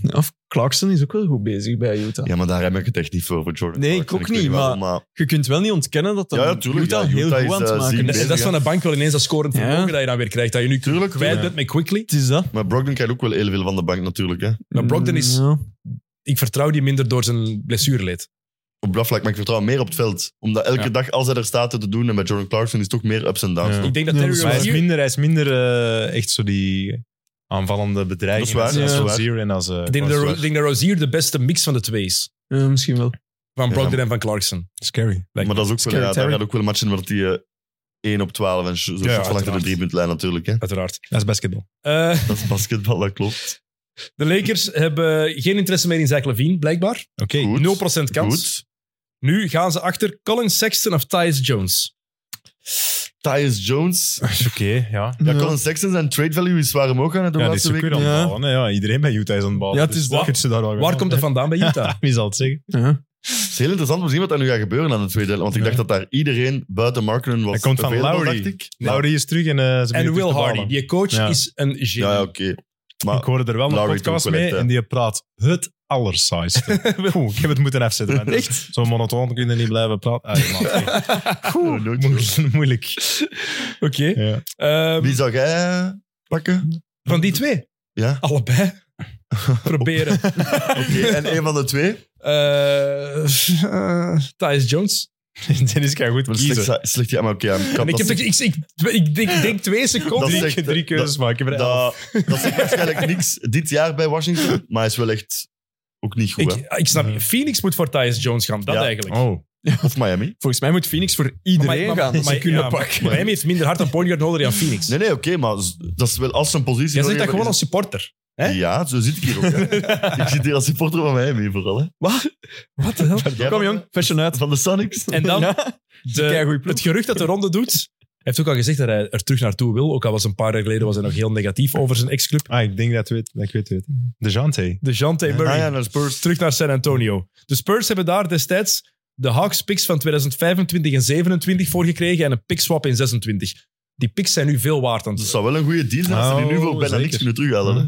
Speaker 4: of Clarkson is ook wel goed bezig bij Utah.
Speaker 2: Ja, maar daar heb ik het echt niet voor, voor Jordan.
Speaker 4: Nee, ik
Speaker 2: Clarkson.
Speaker 4: ook
Speaker 2: weet
Speaker 4: niet,
Speaker 2: waarom,
Speaker 4: Je kunt wel niet ontkennen dat dat
Speaker 2: Ja, ja, tuurlijk,
Speaker 4: Utah,
Speaker 2: ja, Utah
Speaker 4: heel
Speaker 2: is,
Speaker 4: goed aan
Speaker 2: eh,
Speaker 4: het maken
Speaker 2: ziek
Speaker 1: En
Speaker 4: is.
Speaker 2: bezig.
Speaker 1: dat is van de bank wel ineens dat scorend
Speaker 4: Ja.
Speaker 1: vermogen dat je dan weer krijgt. Dat je nu
Speaker 2: Tuurlijk,
Speaker 1: kwijt
Speaker 2: ja.
Speaker 1: bent met Quickly.
Speaker 4: Het is dat.
Speaker 2: Maar Brogdon krijgt ook wel heel veel van de bank natuurlijk. Hè.
Speaker 1: Maar Brogdon is...
Speaker 4: Ja.
Speaker 1: Ik vertrouw die minder door zijn blessureleed.
Speaker 2: Op dat vlak, maar ik vertrouw hem meer op het veld. Omdat elke
Speaker 1: Ja.
Speaker 2: dag, als hij er staat het te doen, en bij Jordan Clarkson is het toch meer ups en downs.
Speaker 3: Ja.
Speaker 1: Ik denk dat
Speaker 4: Ja,
Speaker 1: Terry
Speaker 4: dat
Speaker 3: Maar hij is
Speaker 1: Rozier-
Speaker 3: minder, hij is minder eh, echt zo die aanvallende bedreiging.
Speaker 2: Dat is waar,
Speaker 3: als
Speaker 4: dat is
Speaker 3: als
Speaker 2: waar.
Speaker 3: Rozier en als... eh,
Speaker 1: ik denk dat
Speaker 3: Clarkson.
Speaker 1: Ro- ik denk dat Rozier de beste mix van de twee is.
Speaker 4: Ja, misschien wel.
Speaker 1: Van
Speaker 2: Ja.
Speaker 1: Brogdon en van Clarkson.
Speaker 3: Scary.
Speaker 2: Maar dat is ook wel,
Speaker 3: Scary
Speaker 2: ja, daar
Speaker 3: Terry.
Speaker 2: gaat ook wel matchen waar hij eh 1 op 12 en zo
Speaker 1: Ja,
Speaker 2: ja, van achter de
Speaker 1: uiteraard.
Speaker 2: driepuntlijn natuurlijk. Hè.
Speaker 1: Uiteraard.
Speaker 3: Dat is basketbal.
Speaker 1: Eh,
Speaker 2: Dat is basketbal, dat klopt.
Speaker 1: de Lakers hebben geen interesse meer in Zach Levine, blijkbaar.
Speaker 3: Oké.
Speaker 2: Goed.
Speaker 1: 0% kans.
Speaker 2: Goed.
Speaker 1: Nu gaan ze achter Colin Sexton of Tyus Jones.
Speaker 2: Tyus Jones.
Speaker 3: Oké, ja.
Speaker 2: Ja,
Speaker 4: Ja.
Speaker 2: Colin Sexton, zijn trade value is zwaar omhoog gaan de
Speaker 3: Ja, die is
Speaker 2: laatste
Speaker 3: ook weer
Speaker 2: week.
Speaker 3: aan het
Speaker 4: Ja.
Speaker 3: ballen, hè. Ja, iedereen bij Utah is aan het ballen.
Speaker 4: Ja, het is
Speaker 3: Dus
Speaker 4: dat.
Speaker 3: kun je ze daar wel
Speaker 1: Waar komt dat vandaan bij Utah?
Speaker 3: Wie zal het zeggen?
Speaker 4: Ja.
Speaker 2: Het is heel interessant om te zien wat er nu gaat gebeuren aan de tweede helft. Want ik
Speaker 3: Ja.
Speaker 2: dacht dat daar iedereen buiten Markkinen was.
Speaker 3: Hij komt van
Speaker 2: available,
Speaker 3: Lowry.
Speaker 2: dacht ik.
Speaker 3: Lowry is terug en eh, ze
Speaker 1: en
Speaker 3: beginnen terug
Speaker 1: Will
Speaker 3: te
Speaker 1: Hardy.
Speaker 3: ballen.
Speaker 1: Die coach
Speaker 3: Ja.
Speaker 1: is een genie.
Speaker 2: Ja, oké. Maar
Speaker 3: ik hoorde er wel een
Speaker 2: Lowry doet
Speaker 3: podcast
Speaker 2: wel
Speaker 3: mee
Speaker 2: echt, hè.
Speaker 3: en die praat het allersaaiste. Oeh, ik heb het moeten afzetten. want
Speaker 1: Echt?
Speaker 3: Zo monotoon kunnen niet blijven praten. Ah, maar,
Speaker 2: Oeh, nooit
Speaker 3: mo-
Speaker 2: gehoord.
Speaker 3: moeilijk.
Speaker 1: Oké.
Speaker 3: Ja.
Speaker 1: Ehm,
Speaker 2: Wie zou jij pakken?
Speaker 1: van die twee?
Speaker 2: Ja.
Speaker 1: Allebei. Proberen.
Speaker 2: Oké, en een van de twee?
Speaker 1: Eh eh, Tyus Jones.
Speaker 3: Dennis kan goed
Speaker 2: Maar Slecht,
Speaker 3: kiezen.
Speaker 2: slecht, ja, maar oké. ja, ik had
Speaker 1: En ik,
Speaker 2: dat
Speaker 1: heb,
Speaker 2: zin-
Speaker 1: ik, ik, ik denk, ik denk twee seconden.
Speaker 2: Dat
Speaker 3: Drie,
Speaker 2: zegt-
Speaker 3: drie keuzes maar Ik heb er elf.
Speaker 2: dat, dat zegt waarschijnlijk niks dit jaar bij Washington, maar hij is wel echt ook niet goed. hè.
Speaker 1: Ik, ik snap niet. Phoenix moet voor Tyus Jones gaan. Dat
Speaker 2: Ja.
Speaker 1: eigenlijk.
Speaker 3: Oh,
Speaker 2: Of Miami.
Speaker 4: Volgens mij moet Phoenix voor iedereen
Speaker 1: Maar- maar-
Speaker 4: gaan.
Speaker 1: maar-
Speaker 4: ze kunnen
Speaker 1: ja,
Speaker 4: pakken.
Speaker 1: Miami heeft minder hard een point guard nodig dan Phoenix.
Speaker 2: Nee, nee, oké, maar z- dat is wel als zijn positie.
Speaker 1: Jij zegt dat
Speaker 2: nodig hebben,
Speaker 1: gewoon
Speaker 2: is-
Speaker 1: als supporter. hè?
Speaker 2: Ja, zo zit ik hier ook. hè. ik zit hier als supporter van Miami vooral. Hè.
Speaker 1: Wat de hel?
Speaker 2: Jij
Speaker 4: Kom
Speaker 2: van-
Speaker 4: jong, fashion uit.
Speaker 2: Van de Sonics.
Speaker 1: En dan de-
Speaker 4: keigoeie ploeg.
Speaker 1: het gerucht dat de ronde doet. Hij heeft ook al gezegd dat hij er terug naartoe wil. Ook al was een paar jaar geleden was hij nog heel negatief over zijn ex-club.
Speaker 3: ah, ik denk dat, weet, dat ik weet het. De Jante.
Speaker 1: De Jante Murray.
Speaker 2: Ah ja, naar Spurs.
Speaker 1: Terug naar San Antonio. De Spurs hebben daar destijds de Hawks picks van 2025 en 27 voor gekregen en een pickswap in 26. Die picks zijn nu veel waard. aan
Speaker 2: Dus
Speaker 1: het-
Speaker 2: het zou wel een goede deal zijn als ze die nu voor
Speaker 3: Oh,
Speaker 2: bijna
Speaker 3: zeker.
Speaker 2: niks kunnen terughalen. hè.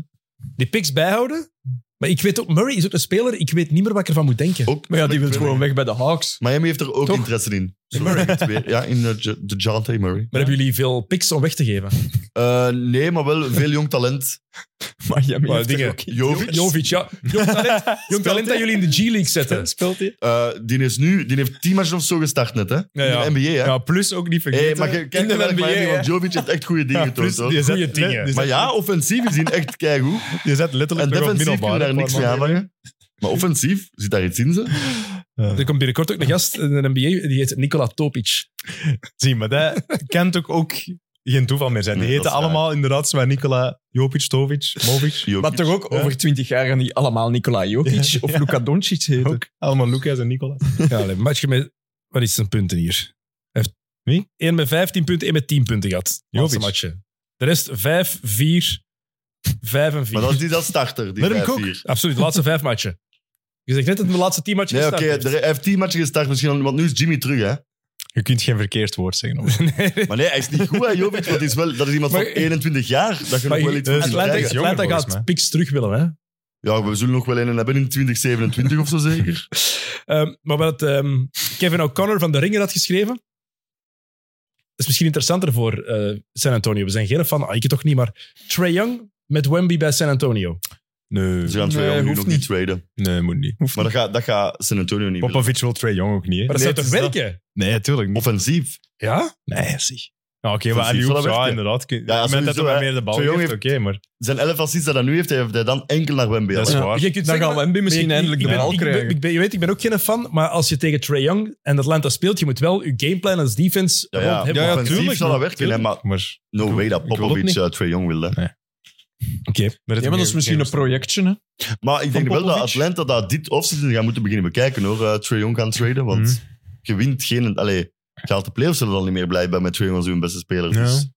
Speaker 1: Die picks bijhouden. Maar ik weet ook, Murray is ook een speler, ik weet niet meer wat ik ervan moet denken.
Speaker 2: Ook,
Speaker 4: Maar ja, die wil
Speaker 2: Miami.
Speaker 4: gewoon weg bij de Hawks.
Speaker 2: Miami heeft er ook
Speaker 4: Toch?
Speaker 2: interesse in. Murray heeft weer- Ja, in de, J- de Jante Murray.
Speaker 1: Maar hebben jullie veel picks om weg te geven?
Speaker 2: Eh, nee, maar wel veel jong talent.
Speaker 4: Miami
Speaker 1: Maar
Speaker 4: heeft
Speaker 1: dingen.
Speaker 4: er ook in.
Speaker 2: Jovic.
Speaker 1: Jovic, ja. Jong talent, jong talent dat jullie in de G-League zetten.
Speaker 4: Speelt hij?
Speaker 2: Eh, die, is nu, die heeft 10 matchen of zo gestart net, hè?
Speaker 1: ja.
Speaker 2: In de NBA, hè?
Speaker 3: Ja, plus ook niet vergeten.
Speaker 2: hey, maar je kijkt
Speaker 3: de
Speaker 2: naar
Speaker 3: NBA,
Speaker 2: Miami, want
Speaker 3: hè.
Speaker 2: Jovic heeft echt goede dingen
Speaker 3: Ja,
Speaker 2: getoond.
Speaker 3: plus
Speaker 2: hoor.
Speaker 3: die zet-
Speaker 1: Goeie dingen.
Speaker 3: die zet-
Speaker 2: Maar ja, offensief gezien echt keigoed.
Speaker 3: Je zet
Speaker 2: En
Speaker 3: letterlijk nog op
Speaker 2: defensief kun je
Speaker 3: middelbaar.
Speaker 2: daar niks mee aanvangen. Maar offensief, zit daar iets in, ze?
Speaker 1: Er komt binnenkort ook een gast in de NBA, die heet Nikola Topic.
Speaker 3: Zie, maar dat kan toch ook geen toeval meer zijn. Die
Speaker 2: Nee,
Speaker 3: heten
Speaker 2: dat is waar.
Speaker 3: allemaal inderdaad zwaar Nikola Jopic, Tovic, Movic.
Speaker 2: Jokic.
Speaker 4: Maar toch ook
Speaker 3: Ja.
Speaker 4: over twintig jaar gaan die allemaal Nikola Jokic
Speaker 3: Ja.
Speaker 4: of Luka Doncic heten.
Speaker 3: Ook allemaal Lucas en Nicola.
Speaker 1: Ja, allee, matchje met... Wat is zijn punten hier? Hij heeft
Speaker 3: Wie?
Speaker 1: Eén met 15 punten, één met 10 punten gehad. Laatste
Speaker 3: Jovic.
Speaker 1: matchje. De rest 5, 4, 5 en 4.
Speaker 2: Maar dat is niet als starter, die
Speaker 3: Let hem
Speaker 2: vijf
Speaker 3: cook.
Speaker 2: hier.
Speaker 1: Absoluut, de laatste vijf matchen. Je zegt net dat het mijn laatste 10 matchen
Speaker 2: Nee, oké,
Speaker 1: gestart
Speaker 2: er- hij heeft 10 matchen gestart misschien, want nu is Jimmy terug, hè?
Speaker 3: Je kunt geen verkeerd woord zeggen. hoor.
Speaker 1: heeft. Nee.
Speaker 2: Maar nee, hij is niet goed, hè, Jovic? Want hij is wel, dat is iemand van
Speaker 1: Maar-
Speaker 2: 21 jaar. Dat je
Speaker 1: Maar
Speaker 2: nog wel iets
Speaker 3: eh,
Speaker 2: van kunt
Speaker 1: Atlanta,
Speaker 3: Atlanta-
Speaker 2: krijgen.
Speaker 3: jonger
Speaker 1: Atlanta
Speaker 3: volgens
Speaker 1: gaat
Speaker 3: mij.
Speaker 1: picks terug willen, hè?
Speaker 2: Ja, we zullen nog wel een hebben in 2027 of zo zeker.
Speaker 1: Ehm, maar wat ehm, Kevin O'Connor van de Ringer had geschreven. is misschien interessanter voor eh, San Antonio. We zijn geen fan, ah, ik het toch niet, maar Trey Young met Wemby bij San Antonio.
Speaker 3: Nee,
Speaker 2: Ze Dus gaan twee
Speaker 4: Nee,
Speaker 2: jongen nu
Speaker 4: hoeft
Speaker 2: nog niet
Speaker 4: niet.
Speaker 2: traden.
Speaker 3: nee, moet niet.
Speaker 2: Maar dat gaat, dat gaat San Antonio niet willen.
Speaker 3: Popovic wil Trae Jong ook niet. hè?
Speaker 1: Maar dat
Speaker 2: Nee,
Speaker 1: zou toch
Speaker 2: het is
Speaker 1: werken?
Speaker 3: Nee, tuurlijk niet.
Speaker 2: Offensief.
Speaker 1: Ja?
Speaker 3: Nee, zie. Ja, oké, maar
Speaker 2: Offensief
Speaker 3: Alioub,
Speaker 2: zal dat
Speaker 3: ja,
Speaker 2: werken.
Speaker 3: inderdaad. Kun,
Speaker 2: Ja,
Speaker 3: ja, moment dat
Speaker 2: sowieso,
Speaker 3: hij maar
Speaker 2: hè.
Speaker 3: meer de bal
Speaker 2: Trae Young
Speaker 3: geeft, oké, maar...
Speaker 2: Zijn 11 assists dat hij nu heeft, heeft hij dan enkel naar Wemby.
Speaker 3: Dat is
Speaker 2: hè?
Speaker 3: waar.
Speaker 1: Je kunt
Speaker 4: Dan
Speaker 1: zeggen,
Speaker 4: gaan Wemby misschien
Speaker 1: maar ik-
Speaker 4: eindelijk
Speaker 1: ik
Speaker 4: de
Speaker 1: ben-
Speaker 4: bal
Speaker 1: ik ben-
Speaker 4: krijgen.
Speaker 1: ik ben- je weet, ik ben ook geen fan, maar als je tegen Trey Young en Atlanta speelt, je moet wel je gameplan als defense
Speaker 2: Ja,
Speaker 1: rond
Speaker 2: ja.
Speaker 1: hebben.
Speaker 2: offensief
Speaker 3: tuurlijk,
Speaker 2: zal dat
Speaker 3: maar-
Speaker 2: werken, hè, maar
Speaker 3: maar
Speaker 2: no way dat
Speaker 3: ik wil ook
Speaker 2: Popovic
Speaker 3: niet.
Speaker 2: eh, Trae Young wil. hè.
Speaker 3: Maar
Speaker 4: Ja, maar dat is misschien een projectje, hè.
Speaker 2: Maar ik denk wel dat
Speaker 4: Popovic?
Speaker 2: Atlanta dat dit offseason gaan moeten beginnen bekijken hoor. eh Trae Young gaan traden, want
Speaker 3: Mhm.
Speaker 2: je wint geen... Allee, je haalt de playoffs er al niet meer blijkbaar met Trae Young als hun beste speler.
Speaker 3: Ja.
Speaker 2: Dus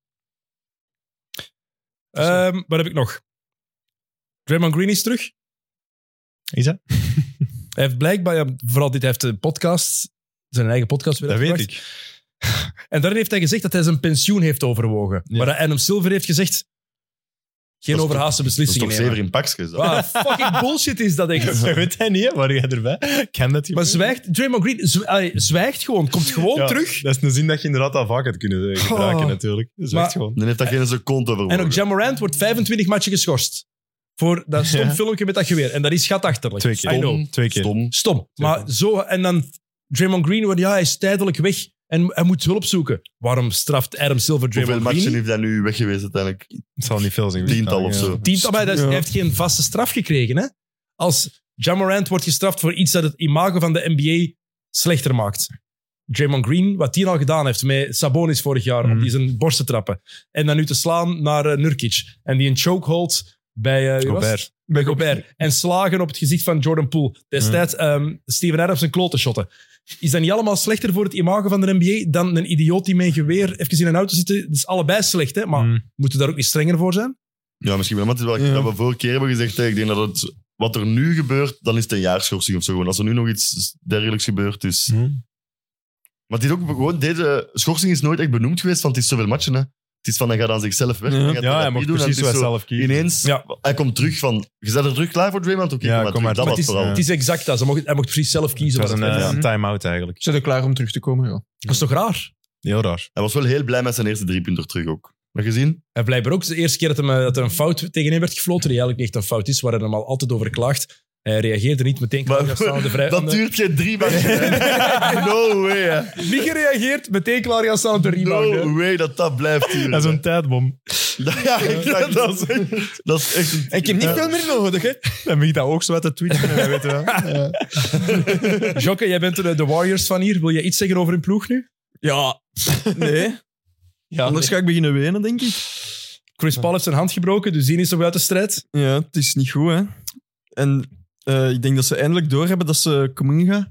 Speaker 1: Ehm, wat heb ik nog? Draymond Green is terug.
Speaker 3: Is dat?
Speaker 1: Hij heeft blijkbaar, ja, vooral dit, hij heeft de podcast, zijn eigen podcast weer
Speaker 3: Dat weet
Speaker 1: uitgebracht.
Speaker 3: ik.
Speaker 1: En daarin heeft hij gezegd dat hij zijn pensioen heeft overwogen.
Speaker 3: Ja.
Speaker 1: Maar dat Adam Silver heeft gezegd, geen
Speaker 2: toch-
Speaker 1: overhaaste
Speaker 2: dat is
Speaker 1: beslissingen
Speaker 2: toch zeker
Speaker 1: nemen.
Speaker 2: in pakjes. hè?
Speaker 1: Wat fucking bullshit is dat echt.
Speaker 3: Dat weet hij niet, hè? Waar jij erbij? Kan dat
Speaker 1: Maar
Speaker 3: gebeuren?
Speaker 1: zwijgt, Draymond Green zw- allee, zwijgt gewoon, komt gewoon
Speaker 3: Ja,
Speaker 1: terug.
Speaker 3: Dat is een zin dat je inderdaad al vaak had kunnen eh, gebruiken,
Speaker 1: Oh.
Speaker 3: natuurlijk. Dat is
Speaker 1: Maar-
Speaker 3: echt gewoon.
Speaker 2: Dan heeft dat geen seconde over.
Speaker 1: En ook Jam Morant wordt 25 matchen geschorst. Voor dat stom
Speaker 3: Ja.
Speaker 1: filmpje met dat geweer. En dat is gatachterlijk.
Speaker 3: Twee keer.
Speaker 1: I know.
Speaker 3: Twee keer.
Speaker 2: Stom.
Speaker 1: Stom. Maar zo, en dan Draymond Green, wordt, ja, hij is tijdelijk weg en hij moet hulp zoeken. Waarom straft Adam Silver
Speaker 2: Hoeveel
Speaker 1: Draymond
Speaker 2: matchen
Speaker 1: Green? niet?
Speaker 2: heeft hij nu weg geweest uiteindelijk?
Speaker 3: Het zal niet veel zijn.
Speaker 2: Tiental of zo.
Speaker 1: Tiental, maar hij is-
Speaker 4: Ja.
Speaker 1: hij heeft geen vaste straf gekregen. Hè? Als Jamorant wordt gestraft voor iets dat het imago van de NBA slechter maakt. Draymond Green, wat hij al gedaan heeft met Sabonis vorig jaar, om
Speaker 3: Mhm.
Speaker 1: die zijn borst te trappen. En dan nu te slaan naar eh, Nurkic. En die een choke holdt bij, eh wie was het?
Speaker 3: Gobert.
Speaker 1: bij Gobert. En slagen op het gezicht van Jordan Poole. Destijds ehm, Steven Adams een klote shotten. Is dat niet allemaal slechter voor het imago van de NBA dan een idioot die met een geweer even in een auto zit? Dat is allebei slecht, hè? maar
Speaker 3: Mm.
Speaker 1: moeten we daar ook niet strenger voor zijn?
Speaker 2: Ja, misschien wel. Want het is wel
Speaker 3: Ja.
Speaker 2: dat we vorige keer hebben gezegd. hè, Ik denk dat het, wat er nu gebeurt, dan is het een jaarschorsing of zo. Gewoon. Als er nu nog iets dergelijks gebeurt, is... Maar dit ook gewoon, deze schorsing is nooit echt benoemd geweest, want het is zoveel matchen. Hè. Het is van, hij gaat aan zichzelf weg.
Speaker 4: Ja.
Speaker 2: hij gaat
Speaker 3: Ja, hij
Speaker 2: therapie
Speaker 3: mag
Speaker 2: doen, en
Speaker 3: precies
Speaker 2: het
Speaker 3: wat
Speaker 2: is zo
Speaker 3: zelf kiezen.
Speaker 2: Ineens,
Speaker 1: Ja.
Speaker 2: hij komt terug van... Je zet er terug klaar voor Draymond? Oké,
Speaker 3: Ja,
Speaker 2: kom maar
Speaker 3: kom
Speaker 2: terug.
Speaker 3: maar
Speaker 2: Dat
Speaker 3: terug.
Speaker 1: Maar
Speaker 2: was
Speaker 1: het, is,
Speaker 2: vooral.
Speaker 1: het is exact dat. Ze mocht, hij mocht precies zelf kiezen.
Speaker 3: Het was
Speaker 1: wat
Speaker 3: een
Speaker 1: het werd.
Speaker 3: eh,
Speaker 2: Ja.
Speaker 3: een time-out eigenlijk.
Speaker 4: Zijn er klaar om terug te komen? Ja.
Speaker 1: dat is toch raar?
Speaker 3: Heel raar.
Speaker 2: Hij was wel heel blij met zijn eerste driepunter terug ook. Heb je gezien?
Speaker 1: En blijkbaar ook de eerste keer dat, hem, eh, dat er een fout tegen hem werd gefloten, die eigenlijk niet echt een fout is, waar hij hem al altijd over klaagt. Hij reageerde niet meteen.
Speaker 2: Maar-
Speaker 1: klaarstaande vrij,
Speaker 2: Dat duurt
Speaker 3: eh,
Speaker 2: geen drie matchen. hè. no way, hè.
Speaker 1: Niet gereageerd, meteen klaar gaan staan op de rebound. hè.
Speaker 2: No way dat dat blijft duren.
Speaker 3: Dat is een tijdbom.
Speaker 2: Ja, exact. Dat is echt, dat is echt een...
Speaker 4: Ik heb niet veel meer nodig, hè.
Speaker 3: Dan ben ik dat ook zo uit de Twitter. en wij weten wel.
Speaker 1: Jokke, jij bent de, de Warriors van hier. Wil je iets zeggen over hun ploeg nu?
Speaker 4: Ja. Nee.
Speaker 1: Ja,
Speaker 4: Anders ga ik beginnen wenen, denk ik.
Speaker 1: Chris Paul heeft zijn hand gebroken, dus die is nog uit de strijd.
Speaker 4: Ja, het is niet goed, hè. En eh, ik denk dat ze eindelijk doorhebben dat ze Cominga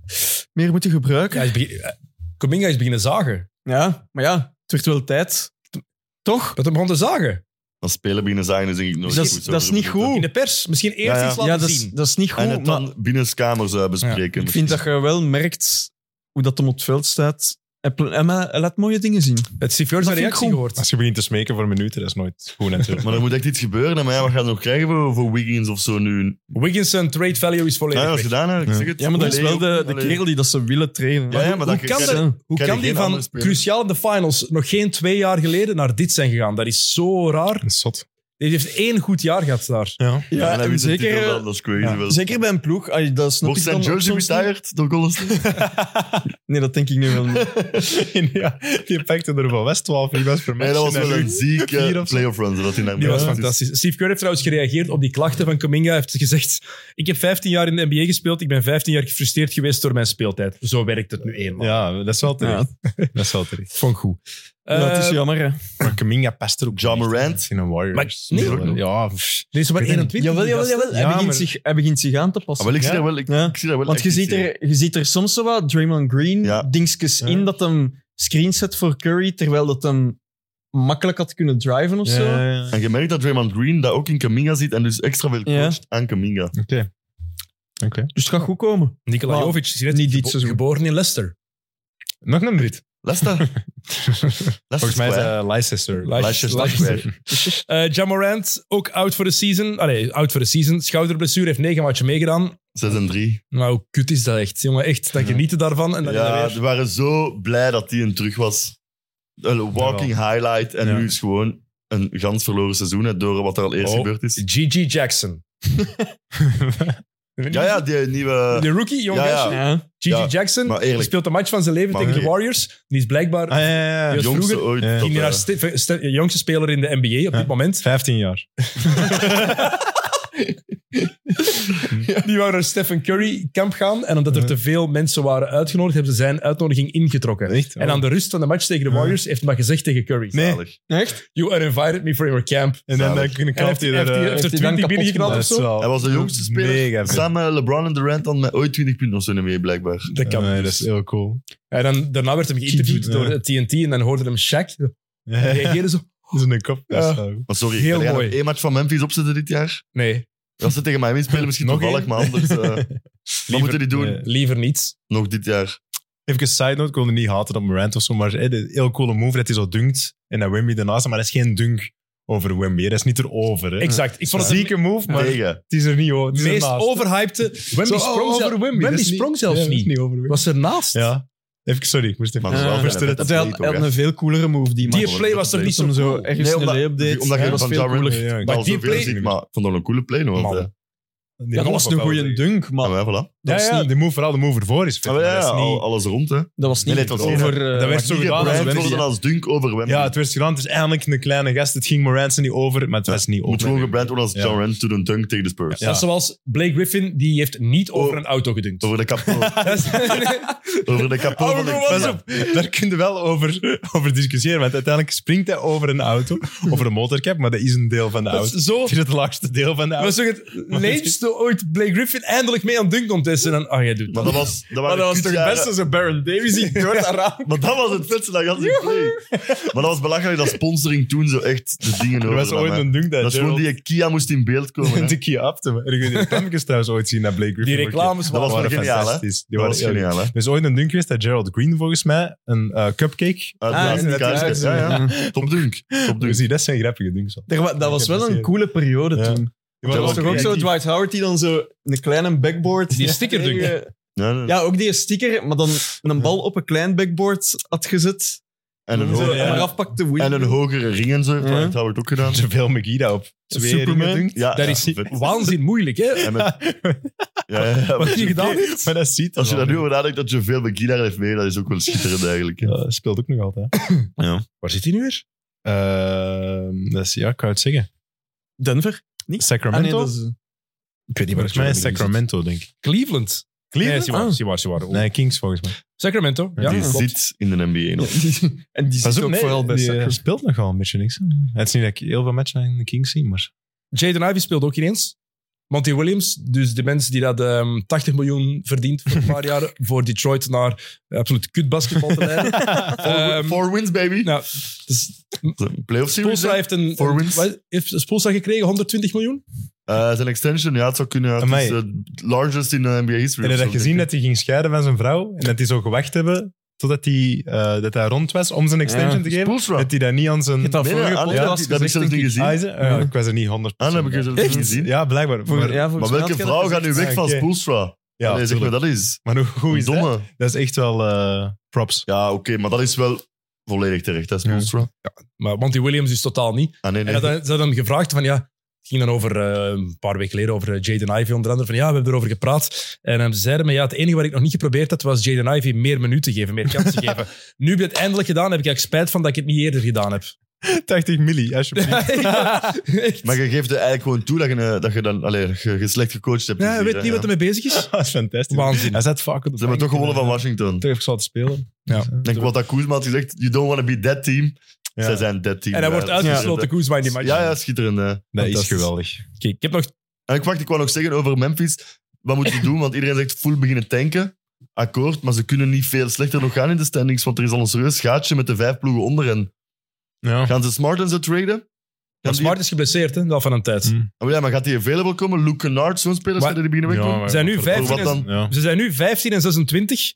Speaker 4: meer moeten gebruiken.
Speaker 1: Ja, hij is begin- eh, Kuminga is beginnen zagen.
Speaker 4: Ja, maar ja, het werd wel tijd. T- Toch?
Speaker 1: Dat hij begon te zagen.
Speaker 2: Als spelen binnen zijn, is denk ik nooit
Speaker 4: Dat is-
Speaker 2: goed. zo
Speaker 4: dat is niet
Speaker 2: verzoeken.
Speaker 1: In
Speaker 4: goed.
Speaker 1: de pers. Misschien eerst
Speaker 2: Ja, ja.
Speaker 1: iets laten
Speaker 4: Ja, dat is,
Speaker 1: zien.
Speaker 4: dat is niet goed.
Speaker 2: En het
Speaker 4: maar
Speaker 2: dan binnenskamers eh, bespreken.
Speaker 4: ik vind dat je wel merkt hoe dat hem op het veld staat. Hij pl- En maar hij laat mooie dingen zien.
Speaker 1: Het Sifjord zijn
Speaker 4: Dat vind ik
Speaker 1: reactie
Speaker 4: goed.
Speaker 1: gehoord.
Speaker 3: Als je begint te smeken voor minuten, dat is nooit goed natuurlijk.
Speaker 2: Maar er moet echt iets gebeuren. hè. Maar ja, wat gaan we nog krijgen voor, voor Wiggins of zo nu?
Speaker 1: Wigginson trade value is volledig
Speaker 2: Ja, dat
Speaker 1: weg.
Speaker 2: is gedaan. hè. Ik zeg het.
Speaker 4: Ja, maar dat is wel de, de
Speaker 2: Allee.
Speaker 4: kerel die dat ze willen trainen.
Speaker 2: Ja, ja, maar
Speaker 1: hoe
Speaker 2: dat
Speaker 1: kan
Speaker 2: kan
Speaker 1: dat- Hoe
Speaker 2: Ken
Speaker 1: kan
Speaker 2: je
Speaker 1: die
Speaker 2: geen
Speaker 1: van
Speaker 2: andere speler?
Speaker 1: cruciaal in de finals nog geen twee jaar geleden naar dit zijn gegaan? Dat is zo raar.
Speaker 3: Dat is zot.
Speaker 1: Die heeft één goed jaar gehad daar.
Speaker 3: Ja.
Speaker 4: Ja, en zeker, eh,
Speaker 2: Titel, dan, dat is crazy.
Speaker 3: ja.
Speaker 2: wel.
Speaker 4: zeker bij een ploeg. Ay, dat snap
Speaker 2: Wordt
Speaker 4: ik dan
Speaker 2: zijn jersey
Speaker 4: soms niet.
Speaker 2: retired door Golden State?
Speaker 4: Nee, dat denk ik nu wel niet.
Speaker 3: ja, die pakte er van West 12 rebounds per match.
Speaker 2: Nee, dat was wel
Speaker 3: En
Speaker 2: een
Speaker 3: nu-
Speaker 2: zieke
Speaker 3: Vier of zo.
Speaker 2: playoff run. zodat hij naar
Speaker 1: Die was
Speaker 2: Ja.
Speaker 1: fantastisch. Steve Kerr heeft trouwens gereageerd op die klachten van Kuminga. Hij heeft gezegd, ik heb 15 jaar in de NBA gespeeld. Ik ben 15 jaar gefrustreerd geweest door mijn speeltijd. Zo werkt het nu eenmaal.
Speaker 3: Ja, dat is wel terecht. Dat is wel terecht.
Speaker 1: Vond ik goed.
Speaker 4: Ja, het is
Speaker 1: Eh,
Speaker 4: jammer, hè.
Speaker 3: Maar Kaminga past er ook.
Speaker 2: Ja
Speaker 3: niet echt
Speaker 2: Morant.
Speaker 3: in. In een Warriors.
Speaker 1: Maar- nee.
Speaker 3: Speler. ja, pff.
Speaker 1: er is maar
Speaker 3: Ik weet
Speaker 1: 21.
Speaker 4: Jawel, jawel, jawel. Hij,
Speaker 3: Ja,
Speaker 4: begint
Speaker 3: maar-
Speaker 4: zich, hij begint zich aan te passen.
Speaker 2: Ah, wel, ik zie
Speaker 3: Ja.
Speaker 2: daar wel, ik,
Speaker 4: Ja.
Speaker 2: ik zie daar wel
Speaker 4: Want
Speaker 2: echt
Speaker 4: je
Speaker 2: iets
Speaker 4: ziet,
Speaker 2: in.
Speaker 4: er, je ziet er soms zo wat Draymond Green
Speaker 2: Ja.
Speaker 4: dingetjes
Speaker 3: Ja.
Speaker 4: in dat hem screens zet voor Curry, terwijl dat hem makkelijk had kunnen driven of
Speaker 3: Ja,
Speaker 4: zo.
Speaker 3: ja, ja.
Speaker 2: En je merkt dat Draymond Green dat ook in Kaminga ziet en dus extra veel
Speaker 4: Ja.
Speaker 2: coacht aan Kaminga.
Speaker 3: Oké. Oké.
Speaker 4: Dus het gaat goed komen.
Speaker 1: Nikola
Speaker 4: Maar
Speaker 1: Jovic is net
Speaker 4: niet dit
Speaker 1: gebo-
Speaker 4: seizoen.
Speaker 1: geboren in Leicester.
Speaker 3: Nog een Brit.
Speaker 2: Leicester.
Speaker 3: Volgens mij is eh, Leicester.
Speaker 1: Leicester.
Speaker 2: Leicester.
Speaker 1: Eh Jamorant, ook out voor de season. Allee, out voor de season. Schouderblessure, heeft negen matchen meegedaan.
Speaker 2: 6 en 3.
Speaker 1: Nou, hoe kut is dat echt, jongen. Echt, dat genieten daarvan. En dan is
Speaker 2: Ja,
Speaker 1: dat weer...
Speaker 2: we waren zo blij dat hij een terug was. Een walking highlight. En
Speaker 3: Ja.
Speaker 2: nu is gewoon een gans verloren seizoen hè, door wat er al eerst
Speaker 1: Oh.
Speaker 2: gebeurd is.
Speaker 1: G.G. Jackson.
Speaker 2: Ja, ja, die
Speaker 3: eh,
Speaker 2: nieuwe...
Speaker 1: De rookie, jong
Speaker 2: Ja, ja.
Speaker 1: gastje.
Speaker 4: Ja.
Speaker 1: G.G.
Speaker 2: Ja,
Speaker 1: Jackson
Speaker 2: maar eerlijk.
Speaker 1: speelt de match van zijn leven
Speaker 2: Maar
Speaker 1: tegen de
Speaker 2: oké.
Speaker 1: Warriors. Die is blijkbaar
Speaker 3: Ah, ja, ja, ja.
Speaker 1: Ja.
Speaker 2: jongste
Speaker 1: vroeger
Speaker 2: ooit.
Speaker 3: Ja.
Speaker 2: dat,
Speaker 1: ging die
Speaker 2: eh,
Speaker 1: naar sti- ver- sti- jongste speler in de NBA op
Speaker 3: Ja.
Speaker 1: dit moment.
Speaker 3: 15 jaar.
Speaker 1: Die wou naar Stephen Curry kamp gaan. En omdat er te veel mensen waren uitgenodigd, hebben ze zijn uitnodiging ingetrokken.
Speaker 3: Echt? Oh.
Speaker 1: En aan de rust van de match tegen de Warriors heeft hij maar gezegd tegen Curry.
Speaker 3: Nee.
Speaker 2: Zalig.
Speaker 4: Echt?
Speaker 1: You are invited me for your camp.
Speaker 3: En dan
Speaker 2: Zalig.
Speaker 3: kunnen
Speaker 1: En heeft,
Speaker 3: hij
Speaker 1: hij heeft,
Speaker 3: er,
Speaker 1: hij-
Speaker 3: eh,
Speaker 1: heeft er
Speaker 4: hij
Speaker 1: 20
Speaker 4: dan kapot
Speaker 1: binnengeknald
Speaker 4: gemaakt?
Speaker 1: of
Speaker 3: dat is
Speaker 1: zo.
Speaker 3: wel
Speaker 2: Hij was de jongste speler.
Speaker 3: Mega vet.
Speaker 2: Samen LeBron en Durant dan met ooit 20 punten of zo mee, blijkbaar.
Speaker 1: Dat kan
Speaker 3: Nee, dat
Speaker 1: dus.
Speaker 3: is heel cool.
Speaker 1: En dan, daarna werd hem geïnterviewd
Speaker 3: Ja.
Speaker 1: door eh, TNT en dan hoorde hem Shaq. En hij
Speaker 3: Dat
Speaker 1: reageerde zo.
Speaker 3: is een kop.
Speaker 1: Ja.
Speaker 2: Maar sorry,
Speaker 1: Heel
Speaker 2: Heel jij
Speaker 1: mooi.
Speaker 2: nog één match van Memphis opzetten dit jaar?
Speaker 1: Nee,
Speaker 2: Als ze tegen Miami spelen, misschien
Speaker 3: Nog
Speaker 2: toevallig,
Speaker 3: één?
Speaker 2: maar anders... eh, wat moeten die doen
Speaker 3: nee.
Speaker 1: liever niet.
Speaker 2: nog dit jaar?
Speaker 3: Even een side note, ik wilde niet haten op Morant of zo, maar hey, de heel coole move dat hij zo dunkt en dat Wimby ernaast staat, maar dat is geen dunk over Wimby, hè. dat is niet erover. Hè.
Speaker 1: Exact. Ik
Speaker 3: Van
Speaker 1: vond
Speaker 3: een
Speaker 1: het
Speaker 3: zieke move, maar
Speaker 2: Tegen.
Speaker 3: het is er niet hoor. Het
Speaker 1: de
Speaker 3: is
Speaker 1: meest
Speaker 3: ernaast.
Speaker 1: overhypte. Wemby
Speaker 3: Zo,
Speaker 1: sprong,
Speaker 3: oh,
Speaker 1: zelf-
Speaker 3: over Wemby,
Speaker 1: Wemby
Speaker 3: dat is
Speaker 1: sprong
Speaker 3: niet-
Speaker 1: zelfs
Speaker 3: ja, dat is
Speaker 1: niet.
Speaker 3: over Wimby.
Speaker 1: Was ernaast.
Speaker 3: Ja, even, sorry, ik moest even
Speaker 2: Maar dat is wel
Speaker 4: Eh,
Speaker 2: verder
Speaker 3: versterren.
Speaker 2: dat
Speaker 4: Hij had,
Speaker 2: play
Speaker 4: hij had
Speaker 2: toch, hè?
Speaker 4: een veel coolere move, die man.
Speaker 1: Die
Speaker 2: Maar
Speaker 1: play
Speaker 2: dat
Speaker 1: was er
Speaker 2: play.
Speaker 1: niet
Speaker 4: Niet om
Speaker 1: zo
Speaker 4: zo
Speaker 1: cool.
Speaker 4: ergens
Speaker 2: Nee,
Speaker 4: een
Speaker 2: omdat-
Speaker 4: lay-update.
Speaker 2: Omdat
Speaker 4: Ja,
Speaker 2: je
Speaker 4: dat
Speaker 2: van
Speaker 4: was veel
Speaker 2: Jaron
Speaker 4: cooler.
Speaker 3: Ja, ik
Speaker 2: maar
Speaker 1: Maar die
Speaker 2: die
Speaker 1: play-
Speaker 2: play... maar ik vond dat een coole play nog
Speaker 1: Man.
Speaker 2: altijd.
Speaker 3: Die
Speaker 4: Ja, dat
Speaker 3: move
Speaker 4: was een
Speaker 3: wel
Speaker 4: goede
Speaker 3: zeggen.
Speaker 4: dunk,
Speaker 2: Ah, Ja,
Speaker 4: maar
Speaker 2: maar voilà.
Speaker 3: Dat
Speaker 1: Ja,
Speaker 3: is
Speaker 1: ja.
Speaker 3: niet de move, vooral de move ervoor is vet,
Speaker 2: Maar
Speaker 3: maar
Speaker 2: Ah, ja, oh,
Speaker 3: dat is niet-
Speaker 2: al- alles rond, hè.
Speaker 4: dat was
Speaker 2: Nee,
Speaker 4: niet
Speaker 2: nee, het was
Speaker 4: over... eh,
Speaker 3: Dat werd
Speaker 2: Niet
Speaker 3: zo gedaan als
Speaker 2: gebrand
Speaker 3: Wemby.
Speaker 2: worden
Speaker 3: hè.
Speaker 2: als dunk over Wemby.
Speaker 3: Ja, het werd gedaan. Het is eindelijk een kleine gast. Het ging Morant niet over, maar het was niet
Speaker 2: moet
Speaker 3: over.
Speaker 2: gewoon gebrand worden als
Speaker 3: Ja.
Speaker 2: John Rand to the dunk tegen de Spurs.
Speaker 3: Ja.
Speaker 1: Dat is zoals Blake Griffin, die heeft niet over
Speaker 2: Oh.
Speaker 1: een auto gedunkt.
Speaker 2: Over de kapot.
Speaker 1: Dat is-
Speaker 2: over de kapot van de
Speaker 1: Over was
Speaker 3: Pas op, daar kun je wel over, over discussiëren. Want uiteindelijk springt hij over een auto, over een motorcap, maar dat is een deel van de
Speaker 1: dat
Speaker 3: auto.
Speaker 1: is zo...
Speaker 3: Het is het laagste deel van de
Speaker 1: Dat was
Speaker 3: auto.
Speaker 1: toch het leemste ooit Blake Griffin eindelijk mee aan dunk contest. En dan, ah, jij doet
Speaker 2: Maar
Speaker 1: dat.
Speaker 2: dat was, dat waren
Speaker 1: Maar dat was toch
Speaker 2: kutjaren.
Speaker 1: best als een Baron Davis die door dat raam...
Speaker 2: Maar dat was het vetste dat ik had zien play. Maar dat was belachelijk dat sponsoring toen zo echt de dingen
Speaker 3: Er
Speaker 2: over
Speaker 3: was
Speaker 2: nam,
Speaker 3: ooit
Speaker 2: hè.
Speaker 3: een dunk dat,
Speaker 2: Dat is gewoon die Kia moest in beeld komen. hè.
Speaker 3: de Kia Apte. maar Ik weet niet, dat heb ik trouwens ooit zien naar Blake Griffin.
Speaker 1: Die reclames
Speaker 2: Dat was
Speaker 1: waren...
Speaker 2: wel geniaal, hè?
Speaker 3: Die
Speaker 2: Dat
Speaker 3: waren
Speaker 2: was
Speaker 3: heel goed.
Speaker 2: geniaal, hè?
Speaker 3: Er is ooit een dunk geweest dat Gerald Green volgens mij een eh, cupcake...
Speaker 2: Uit de
Speaker 4: Ah,
Speaker 2: laatste
Speaker 4: inderdaad,
Speaker 2: kaartjes.
Speaker 4: ja,
Speaker 2: Ja,
Speaker 4: ja.
Speaker 2: ja. Top dunk. Top
Speaker 3: Dus
Speaker 2: dunk.
Speaker 3: die, dat zijn grappige dunks. al.
Speaker 4: er wa- dat was wel een coole periode
Speaker 3: Ja.
Speaker 4: toen.
Speaker 3: Die
Speaker 4: Dat was
Speaker 2: ook
Speaker 3: waren
Speaker 4: toch ook zo
Speaker 3: creatief.
Speaker 4: Dwight Howard die dan zo een kleine backboard...
Speaker 1: Die sticker dunk.
Speaker 4: tegen-
Speaker 2: Ja, ja.
Speaker 4: Ja, ook die sticker, maar dan een bal op een klein backboard had gezet.
Speaker 2: En, een
Speaker 4: Zo,
Speaker 2: ho-
Speaker 4: En
Speaker 1: ja.
Speaker 4: eraf pakte win.
Speaker 2: en een hogere ring en zo. heeft
Speaker 4: Ja.
Speaker 2: Dat hebben we ook gedaan.
Speaker 3: Javale McGee dat op twee
Speaker 4: Superman.
Speaker 3: ringen dunkt.
Speaker 2: Ja,
Speaker 1: Dat
Speaker 2: ja,
Speaker 1: is
Speaker 2: vet.
Speaker 1: waanzin moeilijk, hè?
Speaker 2: En met- ja, ja, ja.
Speaker 1: Wat je gedaan
Speaker 3: Oké,
Speaker 1: hebt?
Speaker 3: Maar dat ziet
Speaker 2: Als je
Speaker 3: er
Speaker 2: daar nu
Speaker 3: wel.
Speaker 2: over nadenkt dat je veel met Guy daar heeft mee, dat is ook wel schitterend eigenlijk. hè.
Speaker 3: Ja, dat speelt ook nog altijd.
Speaker 2: Ja.
Speaker 3: Waar zit hij nu weer? Ehm, dat is, ja, ik kan het zeggen.
Speaker 4: Denver? Ah, nee,
Speaker 3: Sacramento?
Speaker 4: dat is-
Speaker 3: Ik weet niet waar
Speaker 1: waar
Speaker 3: Volgens mij is
Speaker 1: Jordan
Speaker 3: Sacramento, denk ik.
Speaker 1: Cleveland. Nee, ze
Speaker 4: Ah,
Speaker 1: waren, ze waren, ze waren.
Speaker 3: Ah. Nee, Kings volgens mij.
Speaker 1: Sacramento, ja.
Speaker 2: die
Speaker 1: klopt.
Speaker 2: zit in de NBA nog.
Speaker 4: En die zit ook vooral bij
Speaker 1: eh,
Speaker 3: die eh,
Speaker 4: Sacramento.
Speaker 3: speelt nogal een beetje niks. hè. Het is niet dat ik heel veel matchen aan de Kings zie, maar...
Speaker 1: Jaden Ivey speelde ook ineens. Monty Williams, dus de mens die dat ehm, 80 miljoen verdient voor een paar jaar, voor Detroit naar eh, absoluut kut basketbal te leiden.
Speaker 2: Four,
Speaker 1: Ehm,
Speaker 2: four wins, baby.
Speaker 1: nou, dus
Speaker 2: Playoff series.
Speaker 1: Spoelstra
Speaker 2: hè?
Speaker 1: heeft een...
Speaker 2: Four wins.
Speaker 1: wat- heeft Spoelstra gekregen 120 miljoen?
Speaker 2: Eh, zijn extension, ja, het zou kunnen. Ja, het
Speaker 3: Amai.
Speaker 2: is eh, largest in de NBA history. of
Speaker 3: En heb je
Speaker 2: zo,
Speaker 3: dat gezien
Speaker 2: denk
Speaker 3: dat hij ging scheiden van zijn vrouw? En dat hij zo gewacht hebben totdat hij, eh, dat hij rond was om zijn extension
Speaker 4: Ja.
Speaker 3: te
Speaker 2: ik.
Speaker 3: geven?
Speaker 2: Spoelstra.
Speaker 3: Dat hij dat niet aan zijn...
Speaker 4: Je hebt dat
Speaker 2: Nee, nee,
Speaker 4: vorige
Speaker 2: ah, nee, dat-
Speaker 4: podcast
Speaker 2: dat heb ik
Speaker 4: gezegd,
Speaker 2: zelfs niet
Speaker 4: denk ik.
Speaker 2: gezien.
Speaker 3: Ah,
Speaker 2: Ah,
Speaker 3: is het? Ah, ja, ik was er niet 100%
Speaker 2: dat heb ik
Speaker 3: bij.
Speaker 2: er zelfs niet
Speaker 1: Echt?
Speaker 2: gezien.
Speaker 3: Ja, blijkbaar.
Speaker 4: Voor-
Speaker 3: Maar,
Speaker 4: ja, volgens
Speaker 2: Maar welke
Speaker 4: mij had je
Speaker 2: vrouw
Speaker 4: dat
Speaker 2: gaat nu
Speaker 4: gezegd.
Speaker 2: weg van
Speaker 3: Ah, oké.
Speaker 2: Spoelstra?
Speaker 3: ja,
Speaker 2: Allee, zeg maar,
Speaker 3: tuurlijk.
Speaker 2: dat is.
Speaker 3: maar hoe, hoe
Speaker 2: Een
Speaker 3: is dat?
Speaker 2: domme.
Speaker 3: Dat is echt wel eh, props.
Speaker 2: Ja, oké, maar dat is wel volledig terecht, hè, Spoelstra.
Speaker 1: Maar Monty Williams dus totaal niet.
Speaker 2: Ah, nee,
Speaker 1: En
Speaker 2: nee.
Speaker 1: dat, ze hadden hem gevraagd van ja... Het ging dan over, eh, een paar weken geleden, over eh, Jaden Ivey onder andere. Van ja, we hebben erover gepraat. En eh, ze zeiden me, ja, het enige wat ik nog niet geprobeerd had, was Jaden Ivey meer minuten geven, meer kansen geven. Nu heb ik het eindelijk gedaan, heb ik eigenlijk spijt van dat ik het niet eerder gedaan heb.
Speaker 3: 80 milli, alsjeblieft.
Speaker 1: Echt.
Speaker 2: Maar je geeft er eigenlijk gewoon toe dat je, eh, dat je dan allee, dat je, je slecht gecoacht hebt.
Speaker 1: Ja,
Speaker 2: Dus
Speaker 1: hij weet
Speaker 2: hier,
Speaker 1: niet
Speaker 2: ja.
Speaker 1: wat ermee bezig is.
Speaker 3: Dat is fantastisch.
Speaker 1: Waanzin.
Speaker 3: Hij zat vaak op
Speaker 2: Ze
Speaker 3: de
Speaker 2: hebben
Speaker 3: bank
Speaker 2: toch gewonnen
Speaker 3: en,
Speaker 2: van
Speaker 3: eh,
Speaker 2: Washington.
Speaker 3: Terug zal te spelen.
Speaker 1: Ja.
Speaker 3: Dus, eh,
Speaker 2: Ik denk wat dat Koesma had gezegd, you don't want to be that team.
Speaker 3: ja.
Speaker 2: Zij zijn that team.
Speaker 1: En hij
Speaker 2: Ja,
Speaker 1: wordt
Speaker 2: dat is
Speaker 1: uitgesloten, Koesma in die match.
Speaker 2: Ja, ja, schitterend. hè.
Speaker 3: Dat is
Speaker 1: Fantastisch.
Speaker 3: geweldig.
Speaker 1: Oké, ik heb nog...
Speaker 2: En ik wacht, ik wou nog zeggen over Memphis. Wat moeten we doen? Want iedereen zegt full beginnen tanken. Akkoord, maar ze kunnen niet veel slechter nog gaan in de standings, want er is al een serieus gaatje met de vijf ploegen onder hen.
Speaker 3: Ja.
Speaker 2: Gaan ze Smart en zo traden? Gaan
Speaker 1: Maar
Speaker 2: die-
Speaker 1: Smart is geblesseerd, hè, al van een tijd.
Speaker 3: Mm.
Speaker 2: Oh ja, maar gaat die available komen? Luke Kennard, zo'n speler,
Speaker 1: Maar-
Speaker 2: zullen die beginnen wegkomen?
Speaker 1: Ze zijn nu
Speaker 2: Voor wat
Speaker 1: 15 en,
Speaker 2: dan?
Speaker 3: Ja.
Speaker 1: Dus ze zijn nu 15 en 26.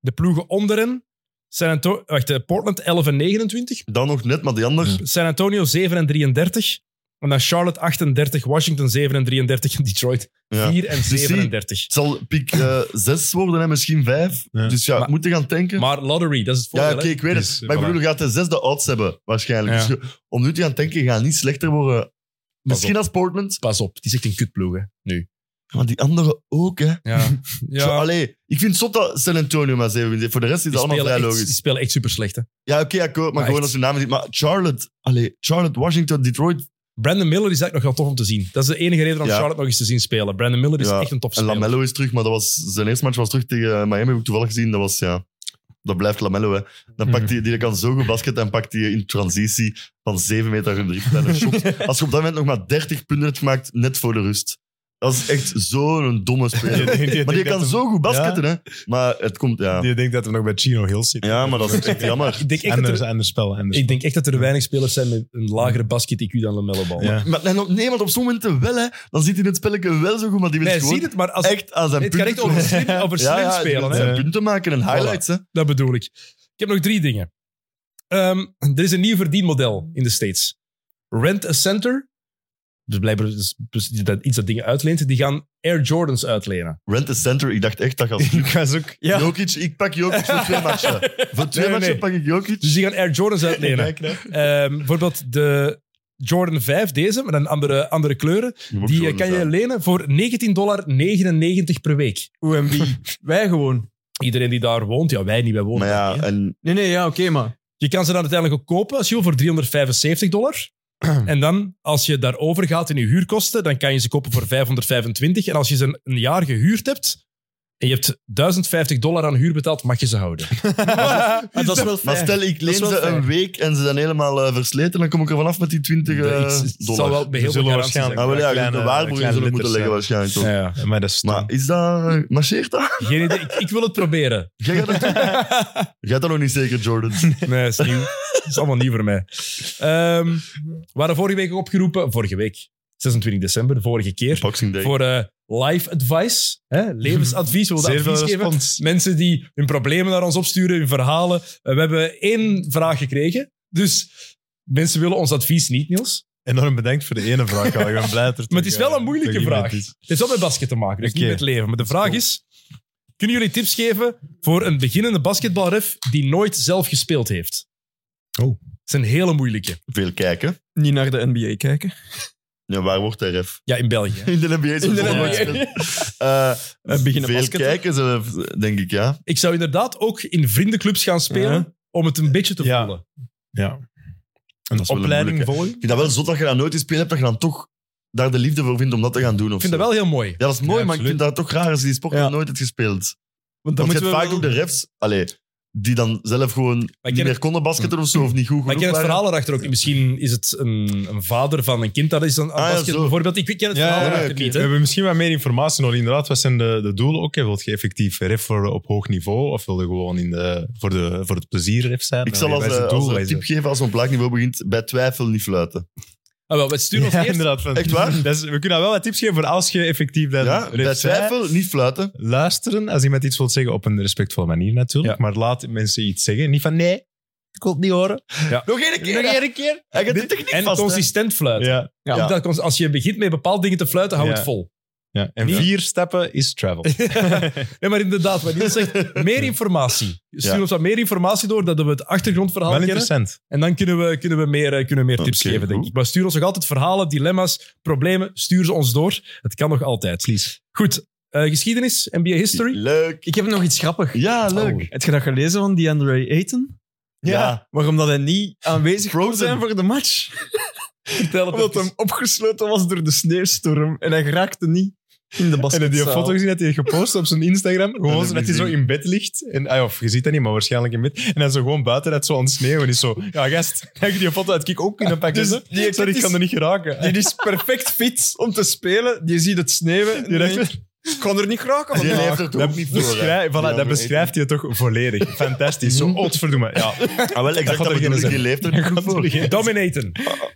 Speaker 1: De ploegen onder hen. San Anto- wacht, eh, Portland 11 en 29.
Speaker 2: Dan nog net, maar die ander...
Speaker 3: Ja.
Speaker 1: San Antonio 7 en 33. En dan Charlotte 38, Washington 7 en 33 en Detroit
Speaker 2: Ja. Dus
Speaker 1: 4 en
Speaker 2: zie-
Speaker 1: 37.
Speaker 2: Het zal piek 6 worden en misschien 5.
Speaker 3: Ja.
Speaker 2: Dus ja,
Speaker 1: Maar-
Speaker 2: moeten gaan tanken.
Speaker 1: Maar lottery, dat is het
Speaker 2: ja,
Speaker 1: voordeel.
Speaker 2: oké,
Speaker 1: hè.
Speaker 2: ik weet het.
Speaker 3: Dus,
Speaker 2: maar ik
Speaker 3: voilà.
Speaker 2: bedoel, je gaat de zesde odds hebben, waarschijnlijk.
Speaker 1: Ja.
Speaker 2: Dus je- om nu te gaan tanken, gaat niet slechter worden. Misschien als Portland,
Speaker 1: Pas op, het is echt een kutploeg, hè, nu.
Speaker 2: maar die andere ook, hè.
Speaker 1: Ja.
Speaker 2: Zo,
Speaker 1: ja.
Speaker 2: allee, ik vind het zot dat San Antonio maar 7 wint. Voor de rest is
Speaker 1: Die,
Speaker 2: dat allemaal
Speaker 1: spelen
Speaker 2: vrij
Speaker 1: echt,
Speaker 2: logisch.
Speaker 1: die spelen echt super slecht, hè.
Speaker 2: Ja, oké, akkoord. Maar,
Speaker 1: Maar
Speaker 2: gewoon
Speaker 1: echt.
Speaker 2: als je namen ziet. Maar Charlotte, allee, Charlotte, Washington, Detroit.
Speaker 1: Brandon Miller is eigenlijk nog wel tof om te zien. Dat is de enige reden om
Speaker 2: Ja.
Speaker 1: Charlotte nog eens te zien spelen. Brandon Miller is
Speaker 2: Ja,
Speaker 1: echt een tof
Speaker 2: En
Speaker 1: speler.
Speaker 2: Lamello is terug, maar dat was, zijn eerste match was terug tegen Miami, heb ik toevallig gezien. Dat was, ja, dat blijft Lamello, hè. Dan pakt hij, die kan zo goed basket en pakt hij in transitie van 7 meter een driepunten en een shot. Als je op dat moment nog maar 30 punten hebt gemaakt, net voor de rust. Dat is echt zo'n domme speler. Maar die kan zo goed basketten, hè. Maar het komt, ja.
Speaker 3: Je denkt dat we nog bij Chino Hills zitten.
Speaker 2: Ja, maar dat is echt jammer.
Speaker 1: Ik denk, echt dat
Speaker 3: Anders,
Speaker 1: er,
Speaker 3: anders spel. Anders.
Speaker 1: ik denk echt dat er weinig spelers zijn met een lagere basket-IQ dan Lamello Ball.
Speaker 3: Ja.
Speaker 2: Maar, nee, nee, maar op sommige momenten wel, hè. Dan ziet hij het spelletje wel zo goed, maar die wil
Speaker 1: Nee,
Speaker 2: gewoon
Speaker 1: zie het, maar als,
Speaker 2: echt aan zijn
Speaker 1: het gaat echt over slim, over slim
Speaker 2: Ja, ja, die wil
Speaker 1: spelen. Hè?
Speaker 2: zijn punten maken en highlights, hè.
Speaker 1: Dat bedoel ik. Ik heb nog drie dingen. Ehm, er is een nieuw verdienmodel in de States. Rent a center. Dus blijkbaar is- dus dat iets dat dingen uitleent. Die gaan Air Jordans uitlenen.
Speaker 2: Rent a center, ik dacht echt dat gaat lukken.
Speaker 3: ga ook...
Speaker 4: Ja.
Speaker 2: Jokic, ik pak Jokic voor twee matchen. Voor twee
Speaker 1: Nee,
Speaker 2: matchen
Speaker 1: nee.
Speaker 2: pak ik Jokic.
Speaker 1: Dus die gaan Air Jordans uitlenen.
Speaker 3: Kijk, hè.
Speaker 1: Ehm, bijvoorbeeld de Jordan 5, deze, maar dan andere, andere kleuren. Die eh, kan je lenen voor 19,99 per week.
Speaker 4: OMB. Wij gewoon.
Speaker 1: Iedereen die daar woont, ja, wij niet, wij wonen
Speaker 2: Maar
Speaker 1: daar
Speaker 2: ja,
Speaker 1: niet, hè.
Speaker 2: en
Speaker 4: Nee, nee, ja, oké, maar...
Speaker 1: Je kan ze dan uiteindelijk ook kopen als je wil voor 375 dollar. En dan, als je daarover gaat in je huurkosten, dan kan je ze kopen voor 525. En als je ze een, een jaar gehuurd hebt en je hebt 1050 dollar aan huur betaald, mag je ze houden.
Speaker 4: Maar dat is wel
Speaker 2: maar
Speaker 4: fair.
Speaker 2: stel, ik leen
Speaker 4: is wel
Speaker 2: ze
Speaker 4: fair.
Speaker 2: een week en ze zijn helemaal eh, versleten, dan kom ik er vanaf met die 20 eh,
Speaker 1: Dat is- het zal
Speaker 2: dollar.
Speaker 1: wel bij
Speaker 3: Ze
Speaker 1: heel veel
Speaker 3: zullen
Speaker 1: garanties zijn.
Speaker 3: waarschijnlijk-
Speaker 2: Ah, wel, ja,
Speaker 3: Kleine-
Speaker 2: de waarborgen
Speaker 3: kleine
Speaker 2: zullen
Speaker 3: letters,
Speaker 2: moeten leggen
Speaker 3: ja.
Speaker 2: waarschijnlijk. toch.
Speaker 1: Ja,
Speaker 3: Ja, Maar dat is
Speaker 2: Maar is dat... Marcheert dat?
Speaker 1: geen idee. Ik, ik wil het proberen.
Speaker 2: Jij gaat dat, doen? Jij gaat dat nog niet zeker, Jordan.
Speaker 1: Nee, is nieuw. Dat is allemaal nieuw voor mij. Ehm, we waren vorige week ook opgeroepen, vorige week, 26 december, de vorige keer,
Speaker 2: Boxing Day.
Speaker 1: voor eh, life advice, hè? levensadvies. We wilden
Speaker 3: Zeer veel
Speaker 1: advies geven.
Speaker 3: respons.
Speaker 1: Mensen die hun problemen naar ons opsturen, hun verhalen. Eh, We hebben één vraag gekregen. Dus mensen willen ons advies niet, Niels.
Speaker 3: Enorm bedankt voor de ene vraag. al. Ik ben blij dat er
Speaker 1: Maar het is
Speaker 3: toch,
Speaker 1: wel een
Speaker 3: eh,
Speaker 1: moeilijke
Speaker 3: toch iemand
Speaker 1: vraag.
Speaker 3: is.
Speaker 1: Het is wel met basket te maken, dus niet
Speaker 3: Oké.
Speaker 1: met leven. Maar de vraag is, kunnen jullie tips geven voor een beginnende basketbalref die nooit zelf gespeeld heeft?
Speaker 3: Oh.
Speaker 1: Het is een hele moeilijke.
Speaker 2: Veel kijken.
Speaker 4: Niet naar de NBA kijken.
Speaker 2: Ja, waar wordt hij ref?
Speaker 1: Ja, in België.
Speaker 2: In de NBA. is het
Speaker 4: In de
Speaker 2: volgende
Speaker 4: NBA.
Speaker 2: wedstrijd. Eh,
Speaker 4: Eh, beginnen
Speaker 2: Veel
Speaker 4: basketten.
Speaker 2: kijken, ze, denk ik, ja.
Speaker 1: Ik zou inderdaad ook in vriendenclubs gaan spelen
Speaker 4: Ja.
Speaker 1: om het een beetje te
Speaker 3: Ja.
Speaker 1: voelen.
Speaker 3: Ja. Een
Speaker 2: wel een
Speaker 3: opleiding
Speaker 2: moeilijke.
Speaker 3: volgen?
Speaker 2: Ik vind dat wel zot dat je dat nooit gespeeld hebt, dat je dan toch daar de liefde voor vindt om dat te gaan doen. Of
Speaker 1: Ik vind dat wel heel mooi.
Speaker 2: Ja, dat is mooi,
Speaker 3: Ja,
Speaker 2: maar ik vind dat toch raar als je die sport
Speaker 4: Ja.
Speaker 2: nog nooit hebt gespeeld.
Speaker 4: Want dan
Speaker 2: Want je hebt
Speaker 4: moeten we
Speaker 2: vaak
Speaker 4: wel-
Speaker 2: ook de refs, allee, die dan zelf gewoon
Speaker 1: ken
Speaker 2: niet meer
Speaker 1: het-
Speaker 2: konden basketten of zo, of niet
Speaker 1: Maar
Speaker 2: goed genoeg
Speaker 1: ik ken het
Speaker 2: waren.
Speaker 1: verhaal erachter ook. niet. Misschien is het een, een vader van een kind dat is aan aan
Speaker 2: Ah, ja,
Speaker 1: basket
Speaker 2: zo.
Speaker 1: bijvoorbeeld. Ik ken het
Speaker 3: Ja,
Speaker 1: verhaal
Speaker 3: ja,
Speaker 1: erachter
Speaker 2: oké.
Speaker 1: niet.
Speaker 3: We
Speaker 1: Hè?
Speaker 3: hebben misschien wat meer informatie nodig. Inderdaad, wat zijn de, de doelen? Oké, wilt je effectief ref worden op hoog niveau? Of wil je gewoon in de, voor, de, voor het plezier ref zijn?
Speaker 2: Ik zal als,
Speaker 3: Wat is
Speaker 2: eh,
Speaker 3: het
Speaker 2: als
Speaker 3: doel?
Speaker 2: een tip geven, als een op laag niveau begint, bij twijfel niet fluiten.
Speaker 1: Ah, wel, we sturen ons
Speaker 3: Ja,
Speaker 1: eerst.
Speaker 3: inderdaad. van-
Speaker 2: Echt waar?
Speaker 3: Dat is- we kunnen wel wat tips geven voor als je effectief dan
Speaker 2: Ja, bij
Speaker 3: ref bent.
Speaker 2: twijfel niet fluiten.
Speaker 3: Luisteren, als iemand iets wil zeggen, op een respectvolle manier natuurlijk. Maar laat mensen iets zeggen. Niet van nee, ik wil het niet horen.
Speaker 2: Nog één keer!
Speaker 3: Nog
Speaker 2: één keer! Hij gaat de techniek
Speaker 1: En
Speaker 2: vast, hè.
Speaker 1: consistent fluiten.
Speaker 3: Ja.
Speaker 4: Ja.
Speaker 1: Dat cons- als je begint met bepaalde dingen te fluiten, hou
Speaker 3: Ja.
Speaker 1: het vol.
Speaker 3: Ja. En
Speaker 1: Ja.
Speaker 3: vier stappen is travel.
Speaker 1: Nee, maar inderdaad, wat Niels zegt, meer informatie. Stuur
Speaker 2: Ja.
Speaker 1: ons wat meer informatie door, dat we het achtergrondverhaal
Speaker 3: Wel
Speaker 1: kennen.
Speaker 3: interessant.
Speaker 1: En dan kunnen we, kunnen we meer, eh, kunnen we meer tips
Speaker 2: Oké,
Speaker 1: geven, denk
Speaker 2: goed.
Speaker 1: ik. Maar stuur ons nog altijd verhalen, dilemma's, problemen. Stuur ze ons door. Het kan nog altijd.
Speaker 3: Please.
Speaker 1: Goed, eh, geschiedenis, NBA history.
Speaker 2: Leuk!
Speaker 4: Ik heb nog iets grappigs.
Speaker 2: Ja, leuk!
Speaker 1: Oh.
Speaker 4: Heb je dat gelezen van DeAndre Ayton?
Speaker 2: Ja.
Speaker 4: Waarom dat hij niet aanwezig kon
Speaker 2: Frozen.
Speaker 4: zijn voor de match?
Speaker 1: Vertel het
Speaker 4: Omdat
Speaker 1: even.
Speaker 4: hem opgesloten was door de sneeuwstorm en hij geraakte niet in de
Speaker 3: En
Speaker 4: basketzaal.
Speaker 3: heb je een foto gezien dat hij heeft gepost op zijn Instagram?
Speaker 2: heb
Speaker 3: Gewoon zo
Speaker 2: ik
Speaker 3: dat hij zo
Speaker 2: gezien.
Speaker 3: in bed ligt. En, ah, ja, of je ziet dat niet, maar waarschijnlijk in bed. En dan zo gewoon buiten dat zo aan het sneeuwen is. Zo, ja gast, heb je die foto uit Kik ook kunnen pakken?
Speaker 4: Dus
Speaker 3: hè?
Speaker 4: die-
Speaker 3: Sorry, ik kan er niet geraken.
Speaker 4: Die is perfect fit om te spelen. Die ziet het sneeuwen. en
Speaker 3: Die
Speaker 4: denkt,
Speaker 3: dacht-
Speaker 4: Ik kon er niet geraken
Speaker 2: Die
Speaker 4: vandaag.
Speaker 2: leeft er toch ook niet voor, hè?
Speaker 3: nou, Beschrijf, voilà,
Speaker 2: Die andere
Speaker 3: dat beschrijft hij toch volledig. Fantastisch. Zo, godverdomme. Ja,
Speaker 2: eten. Mm. Ah, wel,
Speaker 3: Dat
Speaker 2: exact,
Speaker 3: gaat
Speaker 2: dat
Speaker 3: er geen
Speaker 2: bedoel ik,
Speaker 3: zin.
Speaker 2: die leeft er niet goed voor.
Speaker 1: Dominaten.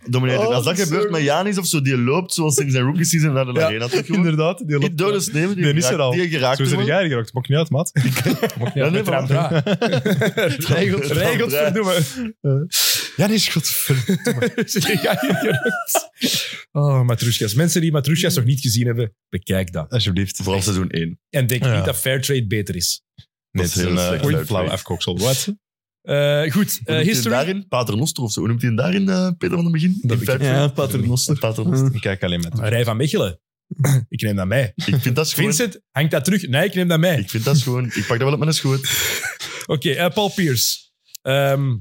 Speaker 2: Dominator.
Speaker 4: Oh,
Speaker 2: Als dat
Speaker 4: dat is
Speaker 2: gebeurt
Speaker 4: zo-
Speaker 2: met Janis of zo, die loopt zoals in zijn rookie season naar de
Speaker 3: Ja,
Speaker 2: arena toe. gewoon.
Speaker 3: inderdaad. Die
Speaker 2: Die
Speaker 3: loopt-
Speaker 2: dode sneeuw, die,
Speaker 3: Die is er
Speaker 2: geraakt-
Speaker 3: al.
Speaker 2: die geraakt
Speaker 3: Zo zijn
Speaker 2: wordt.
Speaker 3: jij er geraakt. Maakt niet uit, maat.
Speaker 2: Ja, nee,
Speaker 1: Met
Speaker 2: voilà.
Speaker 1: Randra.
Speaker 2: Regelt- regelt,
Speaker 3: verdomme. Ja, die is godverdomme.
Speaker 1: Ja, inderdaad. oh, Matruskas. Mensen die Matruskas nog niet gezien hebben, bekijk dat.
Speaker 3: Alsjeblieft.
Speaker 2: Vooral seizoen 1.
Speaker 1: En denk
Speaker 3: Ja.
Speaker 1: niet dat Fairtrade beter is.
Speaker 3: Nee,
Speaker 2: Dat is
Speaker 3: het is
Speaker 2: heel
Speaker 3: een
Speaker 2: slecht.
Speaker 3: eh,
Speaker 2: Leuk,
Speaker 3: flauw
Speaker 2: leuk.
Speaker 3: afkoksel. Wat?
Speaker 1: Eh, goed, eh,
Speaker 2: Hoe noemt hij hem
Speaker 1: history.
Speaker 2: daarin? Paternoster of zo. Hoe noemt hij hem daarin, eh, Peter van den Begin?
Speaker 1: Dat
Speaker 2: In
Speaker 1: weet ik
Speaker 2: Fairtrade?
Speaker 4: Ja, Paternoster.
Speaker 2: Paternoster.
Speaker 3: Ik kijk alleen met.
Speaker 1: Rij van Mechelen. ik neem dat mij.
Speaker 2: Ik vind dat schoon.
Speaker 1: Vincent, hangt dat terug? Nee, ik neem dat mij.
Speaker 2: Ik vind dat schoon. Ik pak dat wel op mijn schoot.
Speaker 1: Oké, eh, Paul Pierce. Ehm,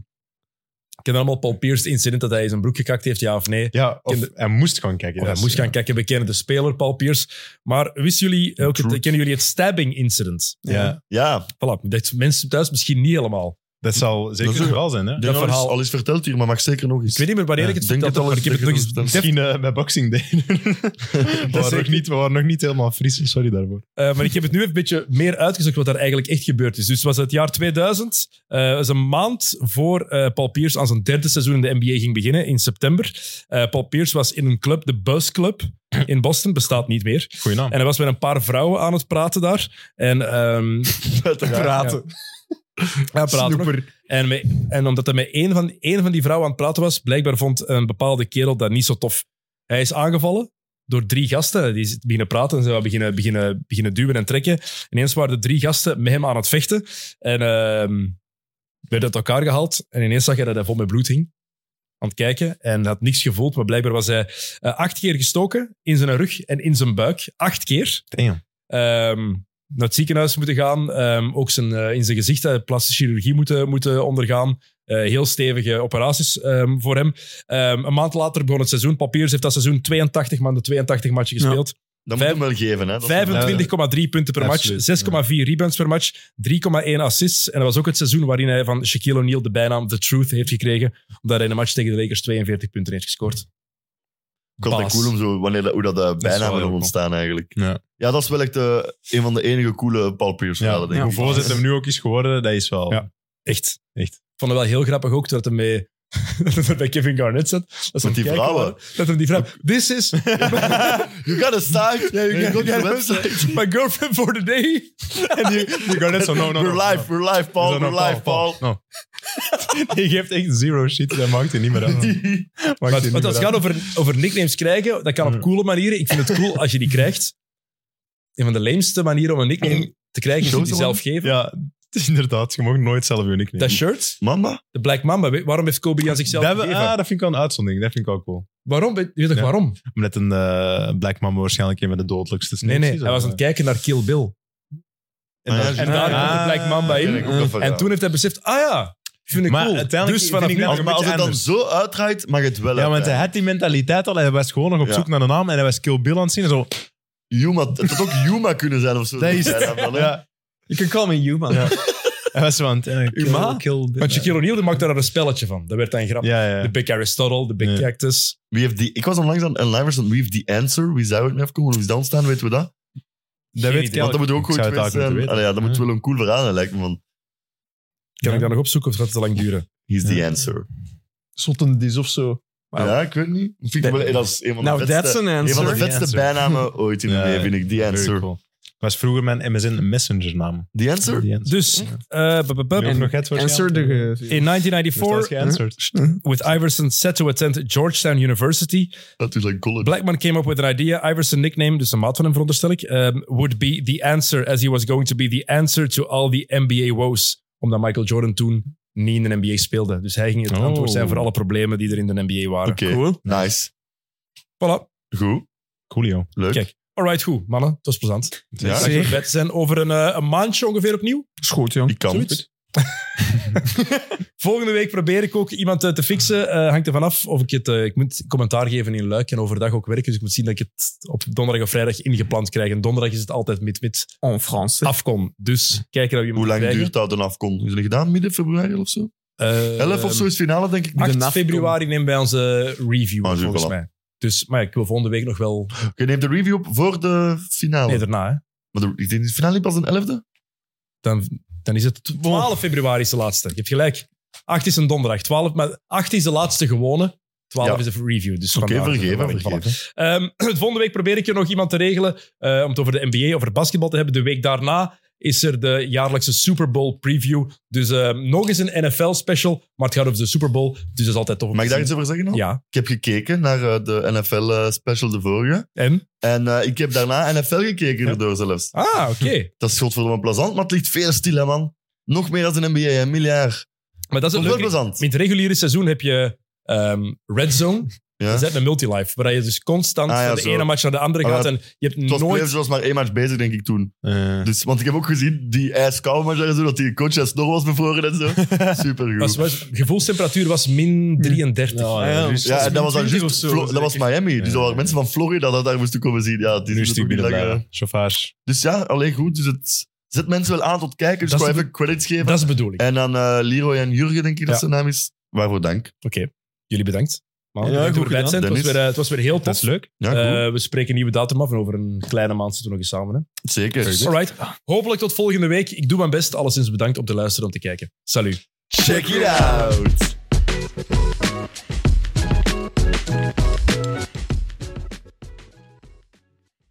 Speaker 1: Ken je allemaal Paul Pierce, het incident dat hij in zijn broek gekakt heeft, ja of nee?
Speaker 3: Ja, of
Speaker 1: Kinder-
Speaker 3: hij moest gewoon kijken.
Speaker 1: Of hij
Speaker 3: dat is-
Speaker 1: moest gaan kijken, we kennen de speler Paul Pierce. Maar wisten jullie, ook het-
Speaker 2: Truth.
Speaker 1: kennen jullie het stabbing incident?
Speaker 3: Ja,
Speaker 2: Ja,
Speaker 1: Voilà, dat mensen thuis misschien niet helemaal.
Speaker 3: dat zal zeker
Speaker 2: is
Speaker 3: het
Speaker 2: ook-
Speaker 3: geval zijn. Hè?
Speaker 2: dat
Speaker 1: verhaal-
Speaker 2: verhaal al is verteld hier, maar mag zeker nog eens.
Speaker 1: Ik weet niet meer wanneer
Speaker 2: Ja,
Speaker 1: ik het
Speaker 2: ik denk
Speaker 1: verteld heb, maar
Speaker 2: dat
Speaker 1: ik heb het nog
Speaker 2: alles
Speaker 1: eens...
Speaker 2: zeker
Speaker 3: Misschien eh, bij Boxing Day. we,
Speaker 1: Dat
Speaker 3: waren
Speaker 1: zeker.
Speaker 3: nog niet, we waren nog niet helemaal fris, sorry daarvoor.
Speaker 1: Eh, maar ik heb het nu een beetje meer uitgezocht wat daar eigenlijk echt gebeurd is. Dus het was het jaar 2000. eh dat is een maand voor eh, Paul Pierce aan zijn derde seizoen in de NBA ging beginnen, in september. Eh, Paul Pierce was in een club, de Buzz Club in Boston, bestaat niet meer.
Speaker 3: Goeie naam.
Speaker 1: En hij was met een paar vrouwen aan het praten daar. En ehm
Speaker 2: Praten.
Speaker 1: hij praatte nog. En, met- en omdat hij met één van, één van die vrouwen aan het praten was, blijkbaar vond een bepaalde kerel dat niet zo tof. Hij is aangevallen door drie gasten. Die zitten beginnen praten en ze hebben beginnen, beginnen, beginnen duwen en trekken. En ineens waren de drie gasten met hem aan het vechten. En ehm werd uit elkaar gehaald. En ineens zag hij dat hij vol met bloed hing. Aan het kijken. En had niks gevoeld. Maar blijkbaar was hij eh, acht keer gestoken. In zijn rug en in zijn buik. Acht keer
Speaker 3: Damn.
Speaker 1: ehm, naar het ziekenhuis moeten gaan. ehm, ook zijn, eh, in zijn gezicht eh, plastische chirurgie moeten, moeten ondergaan. Eh, heel stevige operaties ehm, voor hem. Ehm, een maand later begon het seizoen. Papiers heeft dat seizoen 82 maanden, 82 matchen
Speaker 4: Ja.
Speaker 1: gespeeld.
Speaker 2: Dat moet
Speaker 1: Vijf-
Speaker 2: hem wel geven, hè. Dat is-
Speaker 1: 25,3 punten per match,
Speaker 3: Absoluut,
Speaker 1: 6,4 rebounds per match, 3,1 assists. En dat was ook het seizoen waarin hij van Shaquille O'Neal de bijnaam The Truth heeft gekregen, omdat hij in een match tegen de Lakers 42 punten heeft gescoord.
Speaker 2: Ik vond dat
Speaker 1: Baas.
Speaker 2: cool om zo, wanneer dat, hoe dat de bijnamen
Speaker 3: wel
Speaker 2: er
Speaker 3: heel
Speaker 2: ontstaan eigenlijk.
Speaker 3: Ja.
Speaker 2: Ja, dat is wel echt eh, een van de enige coole Paul Pierce
Speaker 3: Ja,
Speaker 2: verhalen, denk
Speaker 3: hoe
Speaker 2: ik.
Speaker 3: voorzet hem nu ook is geworden, dat is wel...
Speaker 1: Ja. Echt.
Speaker 3: Echt.
Speaker 1: Ik vond het wel heel grappig ook dat hij mee... dat hij bij Kevin Garnett zat. Dat ze aan het
Speaker 2: die
Speaker 1: kijken
Speaker 2: vrouwen.
Speaker 1: waren, Dat hem die vrouw... This is
Speaker 2: You got a start. Ja,
Speaker 1: you got- you got a
Speaker 2: website.
Speaker 1: my girlfriend for the day. en die,
Speaker 3: Die Garnett zo, no, no, no.
Speaker 2: We're live, we're live, Paul. We're live, Paul.
Speaker 3: Je geeft echt zero shit, dat maakt hij niet meer aan. Maakt hij
Speaker 1: Maar
Speaker 3: niet
Speaker 1: het- want
Speaker 3: meer Hmm.
Speaker 1: als het
Speaker 3: aan.
Speaker 1: gaat over, over nicknames krijgen, dat kan
Speaker 3: Ja.
Speaker 1: op coole manieren. Ik vind het cool als je die krijgt. Een van de leemste manieren om een nickname te krijgen is om die
Speaker 2: Zo
Speaker 1: zelf geven.
Speaker 3: Ja, het is inderdaad, je mag nooit zelf je nickname.
Speaker 1: Dat shirt,
Speaker 2: Mama?
Speaker 1: de Black Mamba, weet- waarom heeft Kobe die aan zichzelf
Speaker 3: dat, we-
Speaker 1: gegeven?
Speaker 3: ah, dat vind ik wel een uitzondering, dat vind ik ook cool.
Speaker 1: waarom? Weet weet je toch
Speaker 3: Ja.
Speaker 1: waarom?
Speaker 3: Omdat een eh, Black Mamba waarschijnlijk een van de dodelijkste
Speaker 1: Nee, nee,
Speaker 3: snitches,
Speaker 1: hij was
Speaker 3: of,
Speaker 1: aan het kijken naar Kill Bill.
Speaker 2: Ah, ja,
Speaker 3: daar-
Speaker 2: juist.
Speaker 1: En daar
Speaker 3: Ah,
Speaker 1: komt de Black Mamba
Speaker 2: Ken
Speaker 1: in.
Speaker 2: ik ook dat verhaal.
Speaker 1: En toen heeft hij beseft, ah ja, vind ik
Speaker 3: Maar
Speaker 1: cool.
Speaker 3: uiteindelijk
Speaker 1: dus
Speaker 3: vind
Speaker 1: vanaf
Speaker 3: ik
Speaker 1: nu...
Speaker 3: dat-
Speaker 2: Als-
Speaker 3: nog
Speaker 2: maar als
Speaker 3: iets
Speaker 2: het dan
Speaker 3: anders.
Speaker 2: zo uitdraait, mag het wel
Speaker 3: Ja, want hij
Speaker 2: uitdraaien.
Speaker 3: had die mentaliteit al. Hij was gewoon nog op
Speaker 2: Ja.
Speaker 3: zoek naar een naam en hij was Kill Bill aan het zien. en Zo,
Speaker 2: Yuma, het had ook Yuma kunnen zijn of zo.
Speaker 3: Dat is het.
Speaker 2: Ja, dan, hè.
Speaker 3: ja.
Speaker 4: You can call me you, man.
Speaker 3: Ja. Hij was zo aan het... eh, kill-
Speaker 4: Uma?
Speaker 3: Kill Bill.
Speaker 1: Want Shaquille O'Neal die maakte daar een spelletje van. Dat werd dan grappig.
Speaker 3: Ja, ja.
Speaker 1: De Big Aristotle, de Big
Speaker 3: Ja.
Speaker 1: Cactus.
Speaker 2: Wie heeft die... Ik was onlangs aan een live van Wie heeft die answer? Wie zou het mee afkomen? Hoe is dan staan? Weten we dat?
Speaker 3: Dat weet ik
Speaker 1: idee.
Speaker 2: Want dat moet ook
Speaker 3: Ik
Speaker 2: goed
Speaker 3: zou het
Speaker 2: geweest
Speaker 3: eigenlijk moeten
Speaker 2: zijn.
Speaker 3: weten.
Speaker 2: Allee, ja, dat moet wel een cool verhaal zijn, lijkt me. Van,
Speaker 1: Kan
Speaker 3: Ja.
Speaker 1: ik dat nog opzoeken of gaat het te lang duren?
Speaker 2: he's the
Speaker 3: Ja.
Speaker 2: answer.
Speaker 4: Zotten dis of zo. Wauw.
Speaker 2: Ja, ik weet niet. Vind ik
Speaker 4: Dat-
Speaker 2: wel, dat is een van de
Speaker 4: Nou, that's
Speaker 2: vetste,
Speaker 4: an
Speaker 2: een van de
Speaker 4: answer.
Speaker 2: vetste
Speaker 3: The answer.
Speaker 2: bijnamen ooit in mijn
Speaker 3: Ja,
Speaker 2: leven, vind ik. The
Speaker 3: Very
Speaker 2: answer.
Speaker 3: cool. was vroeger mijn MSN Messenger naam.
Speaker 2: The answer?
Speaker 3: Die answer.
Speaker 1: Dus, eh, bu- bu- bu-
Speaker 3: En-
Speaker 1: in
Speaker 4: Answer de...
Speaker 1: in 1994, with Iverson set to attend Georgetown University,
Speaker 2: Dat is een college.
Speaker 1: Blackman came up with an idea. Iverson nickname, dus een maat van hem veronderstel ik, um, would be the answer as he was going to be the answer to all the NBA woes. Omdat Michael Jordan toen niet in de NBA speelde. Dus hij ging het
Speaker 3: Oh.
Speaker 1: antwoord zijn voor alle problemen die er in de NBA waren.
Speaker 2: Oké,
Speaker 4: Cool.
Speaker 2: nice.
Speaker 1: Voilà.
Speaker 2: Goed,
Speaker 3: Coolio.
Speaker 2: leuk.
Speaker 1: Kijk. Alright, goed, mannen. Het was plezant.
Speaker 2: Ja,
Speaker 1: Dank voor het bed zijn over een, eh, een maandje ongeveer opnieuw.
Speaker 4: Schoot, jong.
Speaker 2: die kan.
Speaker 1: Zoiets. Volgende week probeer ik ook iemand eh, te fixen. Eh, hangt er vanaf of ik het... eh, ik moet commentaar geven in Luik en overdag ook werken. Dus ik moet zien dat ik het op donderdag of vrijdag ingepland krijg. En donderdag is het altijd mid-mid.
Speaker 4: En France.
Speaker 1: afkom. Dus kijken naar wie
Speaker 2: Hoe lang duurt dat dan afkomt? Is dat gedaan? Midden februari of zo? 11 of zo is finale, denk ik.
Speaker 1: 8
Speaker 4: de NAF
Speaker 1: Eh, februari nemen wij onze review,
Speaker 2: Ah,
Speaker 1: op,
Speaker 2: zo,
Speaker 1: volgens
Speaker 2: voilà.
Speaker 1: mij. Dus, maar ja, ik wil volgende week nog wel...
Speaker 2: Je neemt de review op voor de finale.
Speaker 1: Nee, daarna, hè.
Speaker 2: maar de, ik denk, is de finale pas een 11e?
Speaker 1: Dan, dan is het 12 februari is de laatste. Je hebt gelijk. 8 is een donderdag. 12, maar 8 is de laatste gewone. 12
Speaker 2: Ja.
Speaker 1: is de review. Dus
Speaker 2: Oké,
Speaker 1: vandaar-
Speaker 2: vergeven,
Speaker 1: voilà.
Speaker 2: vergeven.
Speaker 1: Ehm, volgende week probeer ik er nog iemand te regelen eh, om het over de NBA, over basketbal te hebben. De week daarna is er de jaarlijkse Super Bowl preview. Dus ehm, nog eens een NFL special, maar het gaat over de Super Bowl. Dus dat is altijd tof om
Speaker 2: Mag ik
Speaker 1: te
Speaker 2: daar iets
Speaker 1: zien.
Speaker 2: over zeggen? dan?
Speaker 1: Ja.
Speaker 2: Ik heb gekeken naar eh, de NFL-special, de vorige.
Speaker 1: En?
Speaker 2: En eh, ik heb daarna NFL gekeken, daardoor zelfs.
Speaker 1: Ah, oké.
Speaker 2: Dat is godverdomme plezant, maar het ligt veel stil, hè, man. Nog meer dan een NBA, een miljard.
Speaker 1: Maar dat is een
Speaker 2: Dat is wel
Speaker 1: leuke.
Speaker 2: plezant.
Speaker 1: In het reguliere seizoen heb je ehm Red Zone.
Speaker 2: Ja.
Speaker 1: Dat is met Multilife, waar je dus constant
Speaker 2: Ah, ja,
Speaker 1: van de
Speaker 2: zo.
Speaker 1: ene match naar de andere
Speaker 2: Ah,
Speaker 1: gaat
Speaker 2: ja.
Speaker 1: en je hebt
Speaker 2: Het was
Speaker 1: nooit...
Speaker 2: Playoffs was maar één match bezig, denk ik, toen.
Speaker 3: Eh,
Speaker 2: Dus, want ik heb ook gezien die ijskoude match daar en zo, dat die coach zijn snor was bevroren en zo. Supergoed.
Speaker 1: was, was, gevoelstemperatuur was min 33.
Speaker 3: nou, ja, dus-
Speaker 2: Hm. ja, en dat was dan
Speaker 4: 20
Speaker 2: juist,
Speaker 4: of zo,
Speaker 2: Flo- dat was
Speaker 4: zeker.
Speaker 2: Miami. Dus
Speaker 3: Ja.
Speaker 2: dat waren mensen van Florida dat daar moesten komen zien. Ja, het is
Speaker 3: nu is het
Speaker 2: natuurlijk
Speaker 3: binnen
Speaker 2: niet langer.
Speaker 3: blijven. Chauffage.
Speaker 2: Dus ja, alleen goed. Dus het zet mensen wel aan tot kijken. Dus
Speaker 1: Dat is
Speaker 2: gewoon
Speaker 1: de-
Speaker 2: even credits geven.
Speaker 1: Dat is de bedoeling.
Speaker 2: En dan eh, Leroy en Jurgen, denk ik dat
Speaker 1: Ja.
Speaker 2: zijn naam is. Waarvoor dank.
Speaker 1: Oké, jullie bedankt. Maar
Speaker 4: Ja,
Speaker 1: bedankt
Speaker 4: goed
Speaker 1: dat we erbij zijn.
Speaker 4: gedaan,
Speaker 1: Het was, weer,
Speaker 2: Dennis.
Speaker 1: eh, het was weer heel tof.
Speaker 3: Dat is leuk.
Speaker 2: Ja, cool.
Speaker 1: Eh, we spreken een nieuwe datum af en over een kleine maand zitten we nog eens samen. Hè?
Speaker 2: Zeker.
Speaker 1: Alright. Hopelijk tot volgende week. Ik doe mijn best. Alleszins bedankt om te luisteren en te kijken. Salut.
Speaker 2: Check it out.